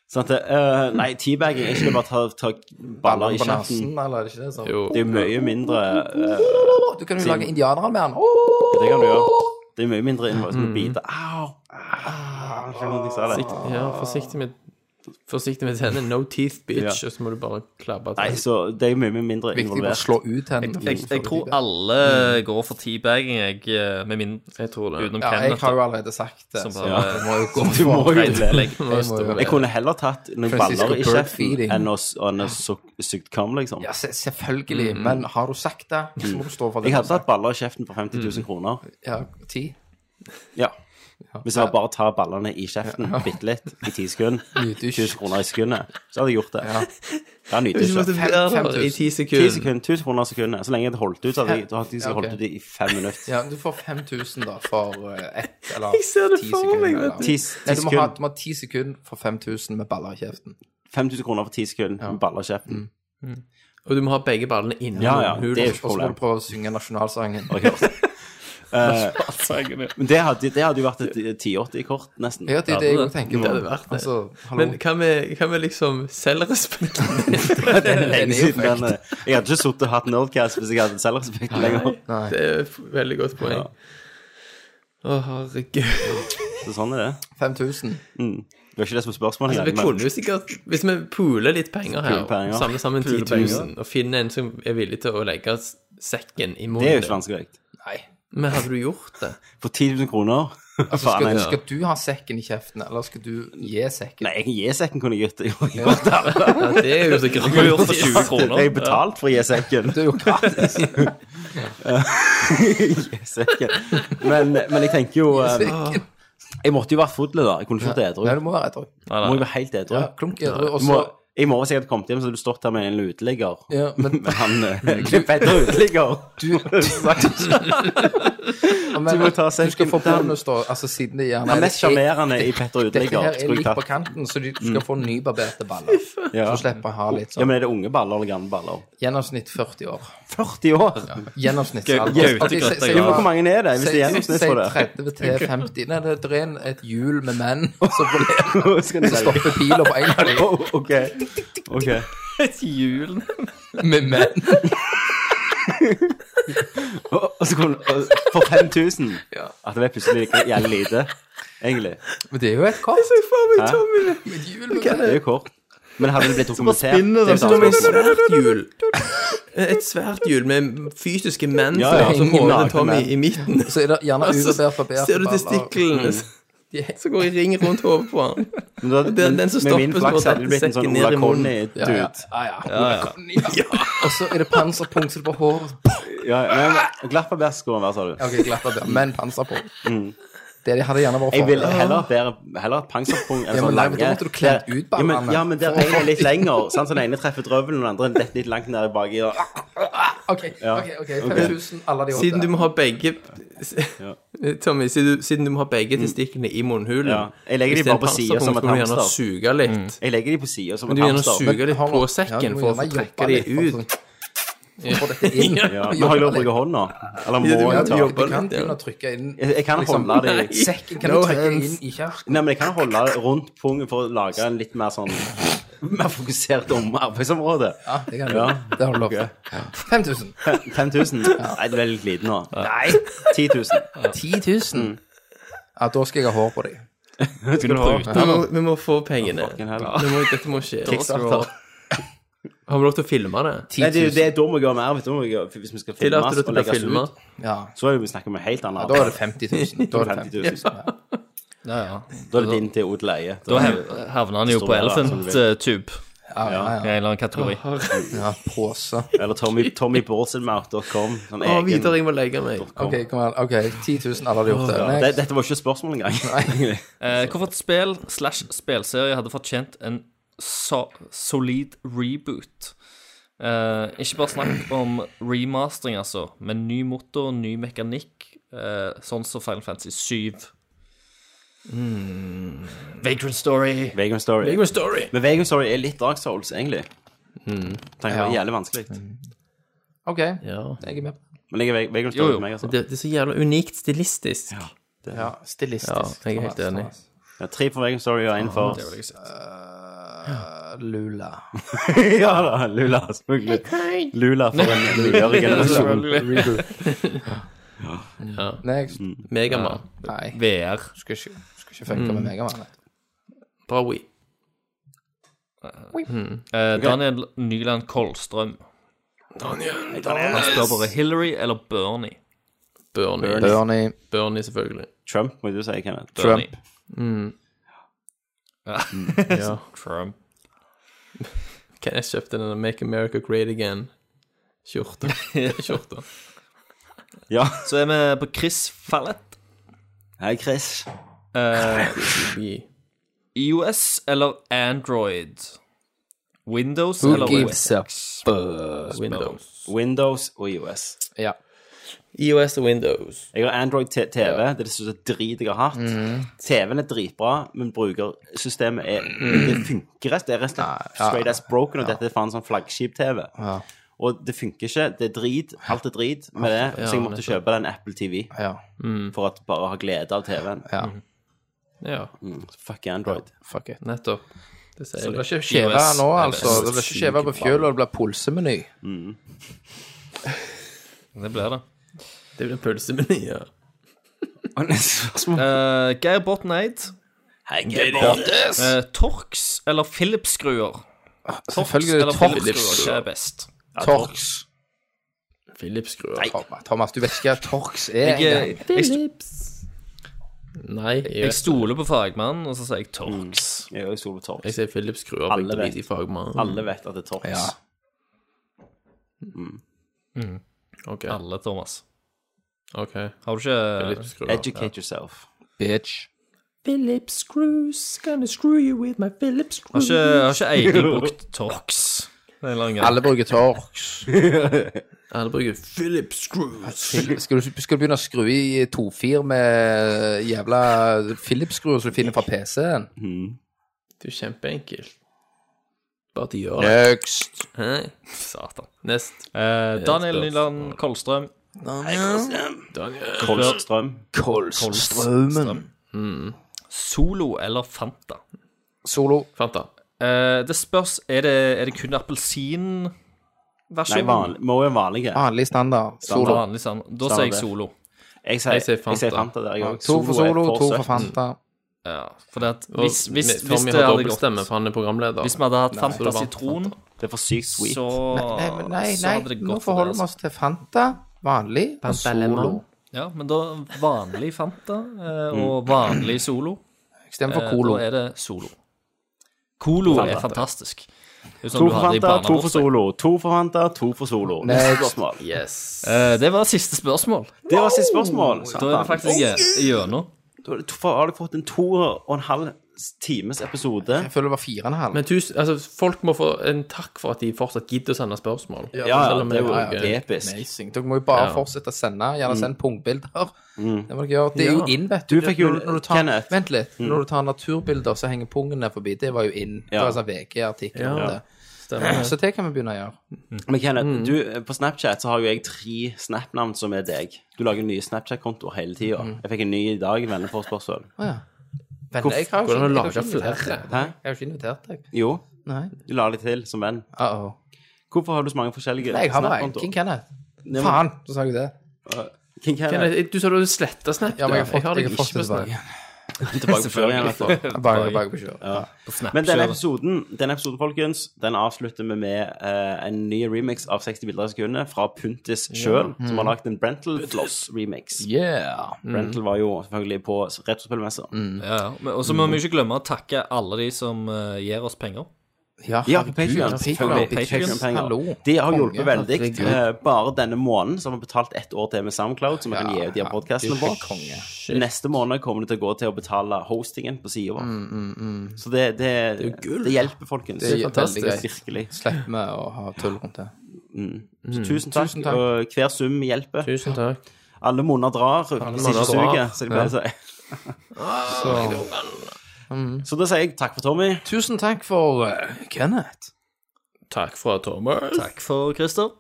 S4: Sant det. Eh, nei, teabagging er ikke det bare å ta, ta baller i
S7: på
S4: kjeften.
S7: nasen, eller er det ikke det? sånn?
S5: Jo.
S4: Det er jo mye mindre eh,
S7: Å, Du kan jo lage indianere med den. Å,
S4: Det kan du gjøre. Det er mye mindre invasjon
S7: Mm.
S4: å bite. Au! Au! Skjønner du hva jeg sa, eller?
S5: Ja, forsiktig med Forsiktig med tennene. No teeth, bitch.
S4: Ja.
S5: Og så må du bare klabbe
S4: Nei,
S5: til.
S4: så det er jo mye mindre
S7: Viktig å
S4: involvert.
S7: slå ut henne.
S6: Jeg, jeg tror alle går for teabagging, jeg, eh, med min
S5: Jeg tror det.
S6: utenom
S7: Ja, jeg
S6: Kenneth.
S7: har jo allerede sagt det,
S6: Som
S7: så
S6: bare-
S7: jeg må jo gå
S4: Du må
S7: for
S4: jo
S6: Rent
S4: det.
S6: belegg.
S7: Jeg må jo-
S4: Jeg kunne heller tatt noen
S7: Francisco
S4: baller i
S7: bird
S4: kjeften
S7: feeding.
S4: enn å, enn å su- sugd kam, liksom.
S7: Ja, se- selvfølgelig, men har du sagt det, så må du stå for det.
S4: Mm.
S7: Mm.
S4: Jeg hadde tatt baller i kjeften for 50 000 kroner.
S7: Ja, ti.
S4: Ja. Hvis jeg bare tar ballene i kjeften bitte litt i ti sekunder,
S7: Nydusj.
S4: 1000 kroner i sekundet, så hadde jeg gjort det. Ja,
S5: Du måtte
S4: nydusj.
S7: Fem-
S5: være
S7: fem
S5: der i
S7: tusen.
S5: ti
S4: Ti
S5: sekunder.
S4: sekunder, 1000 kroner i sekundet. Så lenge jeg hadde holdt ut, så hadde jeg, da hadde jeg
S7: Ja, ok.
S4: holdt ut i fem minutter.
S7: Ja, men du får 5000 da for eh, ett eller
S5: Jeg ser det
S7: ti
S5: for
S7: sekunder.
S5: meg,
S7: eller-
S5: vet du.
S4: Ti,
S7: Nei,
S4: ti
S7: du må ha-
S4: sekunder,
S7: du må ha ti sekunder for 5000 med baller i kjeften.
S4: 5000 kroner for ti sekunder med baller i kjeften.
S5: Og du må ha begge ballene inni
S4: Ja, ja,
S5: lommehulen.
S4: det er jo ikke
S7: Og så må du
S4: problem.
S7: prøve å synge nasjonalsangen.
S4: Ok.
S6: Sverige,
S4: Eh, Men det hadde, det hadde jo vært et 1080-kort, nesten.
S7: Ja, det er det jeg
S6: det.
S7: også tenker
S5: Det hadde
S7: på.
S5: vært det.
S7: Altså, hallo.
S5: Men hva med, hva med liksom selvrespekten?
S4: det er
S7: Den
S4: lenge
S7: er jo
S4: siden den, eh, Jeg hadde ikke sittet og hatt Nerdcast hvis jeg hadde selvrespekt lenger.
S5: Det er et veldig godt poeng.
S4: Ja.
S5: Å, herregud.
S4: Så sånn er det.
S7: 5000.
S4: Det var ikke det som var spørsmålet.
S5: Altså, Vi
S4: men-
S5: kunne jo sikkert Hvis vi puler litt penger her,
S4: Puler penger.
S5: og samler sammen 10 000, og finner en som er villig til å legge s- sekken i
S4: det er jo
S5: munnen
S4: ikke vanskelig.
S7: Nei.
S5: Men hadde du gjort det?
S4: For 10 000 kroner
S7: Altså,
S4: Faen,
S7: skal,
S4: jeg-
S7: skal du ha sekken i kjeften, eller skal du gi sekken?
S4: Nei, jeg gir sekken kunne jeg gitt det. Jo, jo, da.
S5: Ja, det er jo sikkert
S6: Vi har gjort for 20 kroner.
S4: Jeg er betalt for å gi sekken.
S7: Det er jo gratis.
S4: Gi sekken. Men, men jeg tenker jo eh,
S7: Sekken.
S4: Jeg måtte jo vært full, da. Jeg kunne ikke vært edru.
S7: Nei, du må være edru.
S6: Nei,
S4: Må
S6: nei.
S4: jeg være helt edru?
S7: Ja, klunk edru. Og
S4: Du må,
S7: så
S4: I morgen sikkert kommet hjem, så hadde du stått her med en uteligger.
S7: ja, men,
S4: Men han eh, klipper etter uteligger.
S7: du, men,
S4: Du må ta
S7: Du skal
S4: sekken.
S7: få bonus, da. Altså, siden det gjerne
S4: Den mest sjarmerende i Petter
S7: Dette her
S4: Uteligger.
S7: er
S4: skulle jeg
S7: litt på
S4: tatt.
S7: kanten, så du du skal få nybarberte baller.
S4: Ja.
S7: Så slipper jeg ha litt
S4: ja,
S7: sånn.
S4: men er det unge baller eller gamle baller?
S7: Gjennomsnitt 40 år.
S4: 40 år!
S7: Gjennomsnittsalder.
S6: Gaute
S7: Ok, si- si-
S6: Grøtta,
S4: Hvor mange er det, hvis det er
S7: Si
S4: gjennomsnitt på det?
S7: 30 til 50 Nei, det er en, et hjul med menn som rullerer.
S4: Skal du
S7: Så
S4: selge?
S7: stopper pila på en av dem
S4: Oh, ok. ok.
S6: Julen.
S7: med menn.
S4: Og, og så kunne, og, for 5000
S7: Ja.
S4: At det var plutselig ikke jævlig lite, egentlig.
S7: Men det er jo et kort.
S4: Hæ?
S7: Et hjul med menn.
S4: Det er jo kort. Men hadde det blitt dokumentert?
S5: Det er
S4: Det er
S5: som
S4: bare
S5: et
S4: spørsmål.
S5: svært hjul. Et svært hjul med fysiske menn
S4: Ja,
S5: som
S4: ja,
S5: henger
S4: nakne
S5: hodet Tommy
S4: menn.
S5: i midten.
S7: Så er det gjerne
S5: Og så
S7: ubarbert barbert
S5: ser du
S7: baller.
S5: testiklene
S4: Mm.
S5: som går i ring rundt hodet på han.
S4: Men da-
S5: Den- den
S4: men-
S5: som
S4: Med min
S5: stopper,
S4: flaks
S5: så
S4: hadde det blitt en sånn
S5: sekken ned
S4: Ola
S5: i munnen.
S7: Ja, ja.
S4: Conny-dude.
S7: Ja, ja. Og så er det panserpunkt, så det bare håret
S4: Ja, ja, men Glappabær skulle han være, sa du.
S7: Ok, glatt av det, men panserpunkt. Det hadde gjerne vært
S4: Mm. Jeg
S7: for.
S4: ville heller hatt bedre Heller hatt panserpung enn
S7: Ja, men
S4: sånn
S7: nei, men
S4: lange
S7: da måtte du klemt ut
S4: Ja, men-
S7: ballene.
S4: Ja, men der ene er litt lenger. Sant? Så den ene treffer drøvelen, og den andre detter litt langt ned baki. og-
S7: Ok, ok, ok, 5000, alle de åtte.
S5: Siden du må ha begge Tommy, siden du, siden du må ha begge testiklene i munnhulen
S4: Mm. Ja. Jeg legger de
S5: hvis det er
S4: bare på
S5: en
S4: siden som
S5: panserpung, så
S4: et
S5: må du gjerne
S4: hamster.
S5: suge litt.
S4: Jeg legger de på sida som
S5: Men
S4: en
S5: du må gjerne
S4: hamster.
S5: suge litt
S7: Har-
S5: på
S7: ja,
S5: sekken
S7: du må
S5: for å få
S7: gjerne jobbe
S5: trekke de
S7: litt for
S5: ut.
S7: å få- få dette inn.
S4: Ja, men har jeg lov til å bruke hånda? Eller må
S5: du Liksom. må
S4: jeg
S5: ta-
S4: jobbe?
S5: jobbe
S7: Du kan
S5: litt, ja.
S7: begynne å trykke inn
S4: Jeg jeg kan holde det i-
S7: Sekken kan du trykke inn i kjeften.
S4: Nei, men jeg kan holde det rundt pungen for å lage en litt mer sånn Mer fokusert om arbeidsområdet.
S7: Ja, det kan du.
S4: Ah, Ja.
S7: Det har du lov til. 5000.
S4: 5000? Nei, det er litt lite nå.
S7: Nei,
S4: 10 000.
S7: 10
S4: Mm.
S7: 000. Ja, da skal jeg ha hår på dem.
S4: Skal du prøve?
S5: Vi må, vi må få pengene.
S4: Fucking hell.
S5: Det må, dette må skje.
S4: Kickstarter.
S5: Har vi lov til å filme det?
S4: Nei, det er jo det da må jeg gjøre mer. vet du, da må jeg gjøre- Hvis vi skal
S5: Tillater
S4: filmes
S5: du at
S4: og
S5: det blir
S4: legges
S5: filma?
S4: ut,
S7: Ja.
S4: så er vi snakker om en helt annen
S7: Da er det 50 000. Da er det 50 000.
S4: 50 000.
S7: Ja, ja.
S4: Da er det din til odel eie.
S6: Da hev- havner han jo på
S4: Store, da, som
S6: Elephant
S4: du
S6: eh, Tube
S7: Ja, ja,
S6: i en
S7: ja.
S6: eller annen kategori.
S7: ja pose.
S4: Eller Tommy, tommyborsenmouth.com. Sånn
S5: Å,
S4: egen
S5: Vidar, jeg må legge meg.
S4: com.
S7: Ok, kom an. Ok, 10 000, alle har gjort det.
S4: det,
S7: Next.
S4: Dette var ikke et spørsmål engang.
S6: Eh, hvorfor et spill slash spelserie hadde fortjent en so solid reboot? Eh, ikke bare snakk om remastering, altså, men ny motor, ny mekanikk, eh, sånn som Final Fantasy 7. Hmm. Vagrant Story.
S4: Vagrant Story.
S5: Legg meg story.
S4: Men Vagrant Story er litt Dark Souls, egentlig. Tenker jeg, Jævlig vanskelig.
S7: Ok,
S5: Ja.
S7: jeg er med på det.
S4: Men jeg er Vag- Vagrant Story
S6: Jo, jo.
S4: for meg, altså.
S5: Det, det er så jævla unikt stilistisk.
S7: Ja, stilistisk.
S5: Ja, jeg er helt enig.
S4: Ja, tre for Vagrant Story og én for
S7: Eh, Lula.
S4: Ja da, Lula. Selvfølgelig. Lula for en nyere generasjon.
S7: Next.
S5: Megamann.
S7: Nei,
S6: VR.
S7: skal ikke, skal ikke funke med Megaman. nei.
S5: Bra Wii.
S6: Eh, Daniel Nyland Kolstrøm. Han spør bare Hillary eller Bernie.
S5: Bernie.
S7: Bernie,
S5: Bernie, selvfølgelig.
S4: Trump, må du si, Kenneth.
S6: Bernie.
S7: Trump.
S5: Ja.
S6: Trump.
S5: Kan jeg kjøpte denne Make America Great Again-skjorta. Skjorta.
S4: Ja.
S6: Så er vi på Chris Fallett.
S4: Hei, Chris.
S5: Wii.
S6: iOS eller Android? Windows
S7: Who
S6: eller
S7: gives
S6: OS?
S7: a
S5: Windows.
S4: Windows og US.
S7: Ja.
S5: EOS og Windows.
S4: Jeg har Android T- TV. Det er det største drit jeg har hatt.
S7: Mhm.
S4: TV-en er dritbra, men
S7: Mhm.
S4: brukersystemet er Det funker rett. Det er rett og slett straight as broken, og dette er faen sånn flaggskip-TV. Og det funker ikke. Det er drit. Alt er drit med det.
S6: Ja,
S4: Så jeg måtte
S6: nettopp.
S4: kjøpe den Apple TV
S7: Ja.
S4: for at bare å ha glede av TV-en.
S7: ja.
S6: Ja,
S4: Fuck Android.
S7: Fuck it.
S6: nettopp. Det sier
S7: Det
S6: jeg.
S7: blir ikke skjeve
S6: iOS
S7: nå,
S6: er
S7: altså.
S6: best.
S7: Det blir ikke skjeve på fjøla, det blir pulsemeny.
S6: Det blir det.
S5: Det blir pølsemeny, ja.
S7: Og neste spørsmål
S6: Eh, Geir Botten Eid.
S7: Bortes!
S6: Eh, Torx eller Philips-skruer? Torx
S7: Selvfølgelig
S6: eller
S7: Torx.
S6: Philips-skruer er best.
S7: Torx.
S5: Philips-skruer.
S7: Thomas, du vet ikke hva Torx er engang.
S6: Jeg, jeg, jeg,
S5: Nei, jeg,
S6: jeg stoler på fagmannen, og så sier jeg Torx.
S4: Jeg er jo sol på torsk.
S5: jeg sier Philips-skruer.
S4: Alle
S5: Alle
S4: vet.
S5: vet. Fagmann.
S4: Alle vet at det er torsk.
S7: Ja.
S5: Ok,
S6: Alle, Thomas.
S5: ok.
S6: Har du ikke
S5: Philips-skruer.
S4: Educate yourself.
S7: Bitch.
S5: Philips screws, gonna screw you with my Philips
S6: Har
S5: screws.
S6: ikke, har ikke Egil brukt Torx? Det er en lang gang.
S7: Alle bruker Torx.
S5: Alle bruker Philips screws.
S7: Skal du, skal du begynne å skru i 2-4 med jævla Philips-skruer som du finner fra PC-en?
S5: Det er jo kjempeenkelt. Bare de gjør det.
S7: Next.
S5: Hæ?
S6: Satan.
S5: Nest.
S6: Eh, Daniel
S5: spørsmål.
S6: Nyland Kolstrøm.
S4: Kolstrøm.
S7: Kolstrømmen.
S6: Solo eller Fanta?
S7: Solo.
S5: Fanta.
S6: Eh, det spørs Er det, er det kun appelsinversjonen?
S4: Nei, vanlig. må jo være vanlige.
S7: Vanlig standard. Solo.
S6: Vanlig sånn. Da sier jeg
S4: det.
S6: Solo.
S4: Jeg sier,
S5: Jeg sier
S4: jeg sier
S5: Fanta.
S4: Fanta der, jeg òg.
S7: To for Solo, to for Fanta.
S6: Ja, for det at
S5: Og
S6: hvis, hvis,
S5: med-
S6: hvis
S5: Tommy
S6: det
S5: har
S6: hadde gått
S5: dobbeltstemme, for han er programleder.
S6: Hvis vi hadde hatt
S5: så det
S6: Fanta
S5: var
S6: sitron,
S4: Det er for sykt sweet.
S6: så,
S7: Nei, men nei,
S6: så hadde
S7: nei.
S6: det
S7: nå
S6: gått for
S7: forholder
S6: det.
S7: vi
S6: Altså.
S7: oss til Fanta. Vanlig. Og
S5: Fanta
S7: Solo.
S5: Lemon.
S6: Ja, men da vanlig Fanta eh, og vanlig Solo.
S7: Jeg stemmer for
S6: Eh,
S7: Colo.
S6: Da er det Solo. Colo er fantastisk. Det er jo sånn
S4: To
S6: du
S4: for
S6: har det i
S4: Fanta, to for
S6: barnebursdag.
S4: Solo. To for Fanta, to for Solo.
S7: Nei.
S4: Neste spørsmål.
S5: Yes.
S6: Eh, Det var siste spørsmål.
S4: Det var siste spørsmål.
S6: Da er vi
S4: Satan.
S6: faktisk i- i gjennom.
S4: Da er det- Hvorfor har du fått en to og en halv times episode?
S7: Jeg føler det var fire og en halv.
S5: Men tusen, altså, folk må få en takk for at de fortsatt gidder å sende spørsmål.
S4: Ja, ja,
S5: Selv om
S4: det
S5: jeg
S4: er
S5: bruker-
S4: jo episk.
S7: Amazing. Dere må jo bare
S5: Ja. Mm.
S7: fortsette å sende. Gjerne send punktbilder. Det må dere gjøre. Det er jo
S5: Ja.
S7: inn, vet
S4: Mm. Du fikk jo-
S7: Når, når du tar,
S4: Kenneth. Mm.
S7: Vent litt. Når du tar naturbilder, så henger pungen ned forbi. Det var jo inn. Det
S4: Ja.
S7: var en sånn VG-artikkel om
S5: Ja.
S7: det.
S5: Stemmer det.
S7: Så det kan vi begynne å gjøre.
S4: Men Kenneth, du, på Snapchat så har jo jeg tre Snap-navn som er deg. Du lager nye Snapchat-kontoer hele tida. Jeg fikk en ny i dag, venneforespørsel.
S7: Å ja. Venner, jeg har
S5: Hvordan har
S7: jo ikke-
S5: du
S7: jeg har
S5: laget
S7: ikke invitert
S5: flere?
S7: deg.
S4: Hæ?
S7: Jeg har jo ikke invitert deg.
S4: Jo,
S7: Nei.
S4: du la det til som venn.
S7: Uh -oh.
S4: Hvorfor har du så mange forskjellige
S7: Nei, jeg har bare
S4: Snap-kontoer?
S7: King Kenneth.
S4: Nei, men-
S7: Faen, så sa jeg det.
S4: King Kenneth.
S5: Kenneth, Eh, Du sa du hadde sletta Snap.
S7: Ja, men jeg har
S5: da.
S7: fått, jeg
S5: har
S7: har
S5: deg
S7: fått
S5: ikke
S7: det
S5: på Snap.
S7: tilbake.
S4: Tilbake på fjøla igjen, vet du.
S7: Jeg er Bare, bare på kjøret.
S4: Men denne episoden, denne episoden, folkens, den avslutter vi med eh, en ny remix av 60 bilder i sekundet fra Puntis sjøl,
S7: Mm.
S4: som har lagd en Brental Floss-remix.
S7: Yeah.
S4: Brental var jo selvfølgelig på retrospillmessa.
S7: Mm.
S6: Ja, ja. Men- Og så må vi ikke glemme å takke alle de som eh, gir oss penger.
S7: Ja,
S4: Ja, på
S7: herregud,
S4: Patreon.
S7: Patreon.
S6: Patreon.
S7: Hallo.
S4: De har hjulpet
S7: Konge,
S4: veldig.
S7: herregud.
S4: Eh, Bare denne måneden så har vi betalt ett år til med Soundcloud, som vi kan
S7: Ja,
S4: gi ut de her
S7: ja,
S4: podcastene
S7: du er
S4: på.
S7: konge.
S4: Neste måned kommer det til å gå til å betale hostingen på sida vår.
S7: Mm,
S4: Så det, det, det, hjelper, folkens.
S7: Det er
S5: fantastisk.
S7: veldig greit.
S4: Virkelig.
S7: Slipper vi å ha tull rundt det.
S4: Så tusen takk.
S7: Mm. Tusen takk.
S4: Og hver sum hjelper.
S5: Tusen takk.
S4: Alle monner drar, hvis
S5: monner
S4: ikke suger,
S5: drar.
S4: så de pleier å si.
S7: Så
S4: Så da sier jeg takk for Tommy.
S7: tusen takk for eh, Kenneth.
S5: Takk fra Thomas.
S6: Takk for Christer.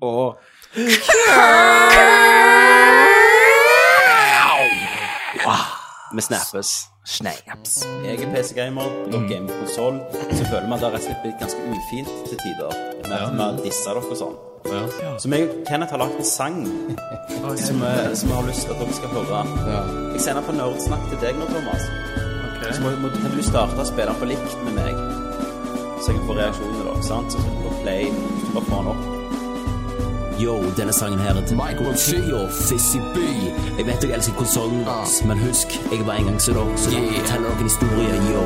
S4: Og Vi snappes.
S7: Snaps.
S4: Jeg er PC-gamer, dere gamer på konsoll. Så føler man at det har rett og slett blitt ganske ufint til tider. Med at vi disser dere og sånn. Så jeg og Kenneth har lagd en sang som, eh, som jeg har lyst til at dere skal høre. Jeg sender på Nerdsnakk til deg nå, Thomas. Så må, må, kan du starte å spille den på likt med meg. Så jeg kan få reaksjoner, da. Sant? Så trykker du på play. Hvis du bare får den opp.
S10: Yo, denne sangen her er til Michael T og Fizzy B. Jeg vet dere elsker konsollen, men husk, jeg var en gang så da, så la meg fortelle dere en historie, yo.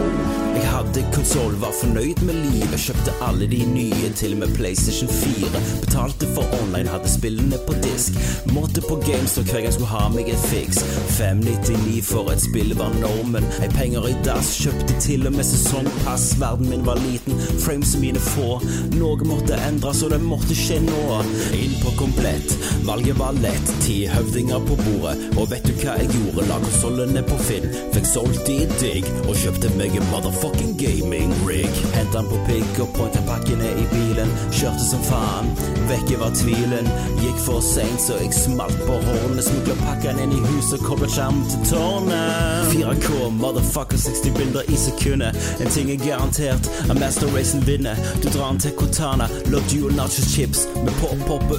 S10: Jeg hadde konsoll, var fornøyd med livet, kjøpte alle de nye, til og med PlayStation 4. Betalte for online, hadde spillene på disk. Måtte på GameStop hver gang jeg skulle ha meg et fiks. 599 for et spill var normen. Jeg penger i dass, kjøpte til og med sesongpass. Verden min var liten, frames mine få. Noe måtte endres, og det måtte skje nå. Inn på komplett, valget var lett. Ti høvdinger på bordet, og vet du hva jeg gjorde? La konsollene på Finn, fikk solgt de digg, og kjøpte meg en motherfucking gaming rig.
S4: Hentet han på pigg og pointa pakkene i bilen. Kjørte som faen, vekke var tvilen. Gikk for seint, så jeg smalt på hornet. Smugla pakkene inn i huset og kobla skjermen til tårnet. 4K, motherfucker, 60 bilder i sekundet. En ting er garantert, at Master Racen vinner. Du drar han til Cortana, lov dual nacho chips. Med pop-pop og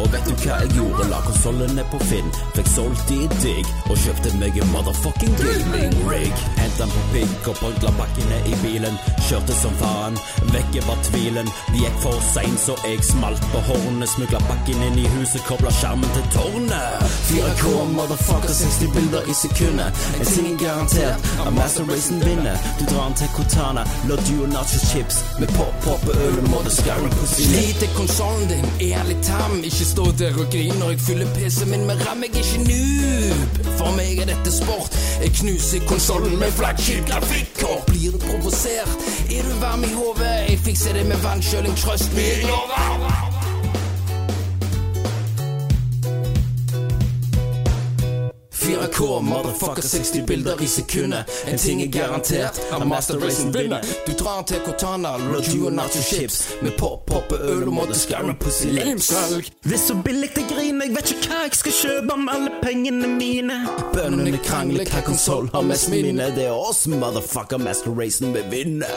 S4: og vet du hva jeg gjorde? La konsollene på Finn, fikk solgt de digg, og kjøpte meg en motherfucking gaming rig. Henta på pigg og brødla pakkene i bilen. Kjørte som faen, vekke var tvilen. Det gikk for seint, så jeg smalt på hornet. Smugla pakken inn i huset, kobla skjermen til tårnet. 4K, motherfucker, 60 bilder i sekundet. En ting er garantert at Master Racen vinner. Du drar den til Cortana, la duo nacho chips med pop-pop og øl og måte Skyrim på sine.
S2: Sliter konsollen din, er litt tam. Ikke stå der og grin når jeg fyller PC-en min med ram. Jeg er ikke noob, for meg er dette sport. Jeg knuser konsollen med flaggskip grafikkort. Blir du provosert, er du varm i hodet? Jeg fikser det med vannkjøling, trøst me, jeg lover.
S4: Fire k motherfucker, 60 bilder i sekundet. En ting er garantert, at Master Racen vinner.
S2: Du drar den til Cortana, Loju og Nacho Chips. Med pop-pop og øl og måtte skarme på sin
S4: Limsalg. Det er så billig jeg griner, jeg vet ikke hva jeg skal kjøpe med alle pengene mine. Bøndene krangler hva konsoll har mest minne. Det er oss, motherfucker, Master Racen vil vinne.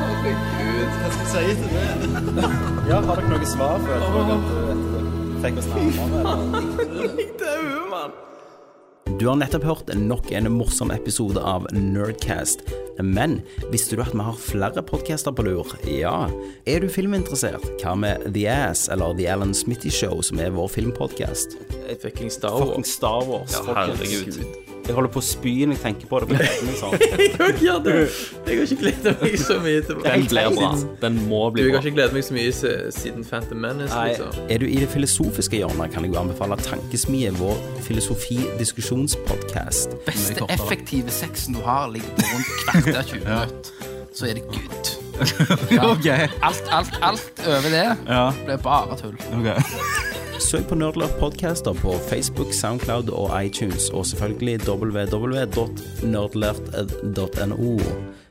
S11: Herregud, hva skal jeg si til det? Ja, har dere noe svar for at du fikk oss nærmere?
S5: Jeg dauer, mann.
S4: Du har nettopp hørt nok en morsom episode av Nerdcast. Men visste du at vi har flere podcaster på lur? Ja. Er du filminteressert? Hva med The Ass eller The Alan Smitty Show, som er vår filmpodcast?
S5: Fucking Star Wars.
S11: Fucking Star Wars.
S6: Ja,
S11: folkens.
S6: herregud.
S11: Jeg holder på å spy når jeg tenker på det. For jeg tenker sånn.
S5: Jeg har ikke gjort det. Jeg har ikke gledet meg så mye til
S6: Den blir bra. Den må
S5: Du,
S6: bli
S5: jeg
S6: bra.
S5: har ikke gledet meg så mye se- siden Phantom Menace, liksom.
S4: Er du i det filosofiske hjørnet, kan jeg jo anbefale Tankesmie, vår filosofi-diskusjonspodcast.
S7: beste effektive sexen du har, ligger på rundt kvarter 20 minutter. Så er det good.
S12: OK.
S7: Alt, alt, alt over det
S12: Ja,
S7: blir bare tull.
S12: ok.
S4: Søk på Nerdlurf Podcaster på Facebook, Soundcloud og iTunes, og selvfølgelig www.nerdlurf.no.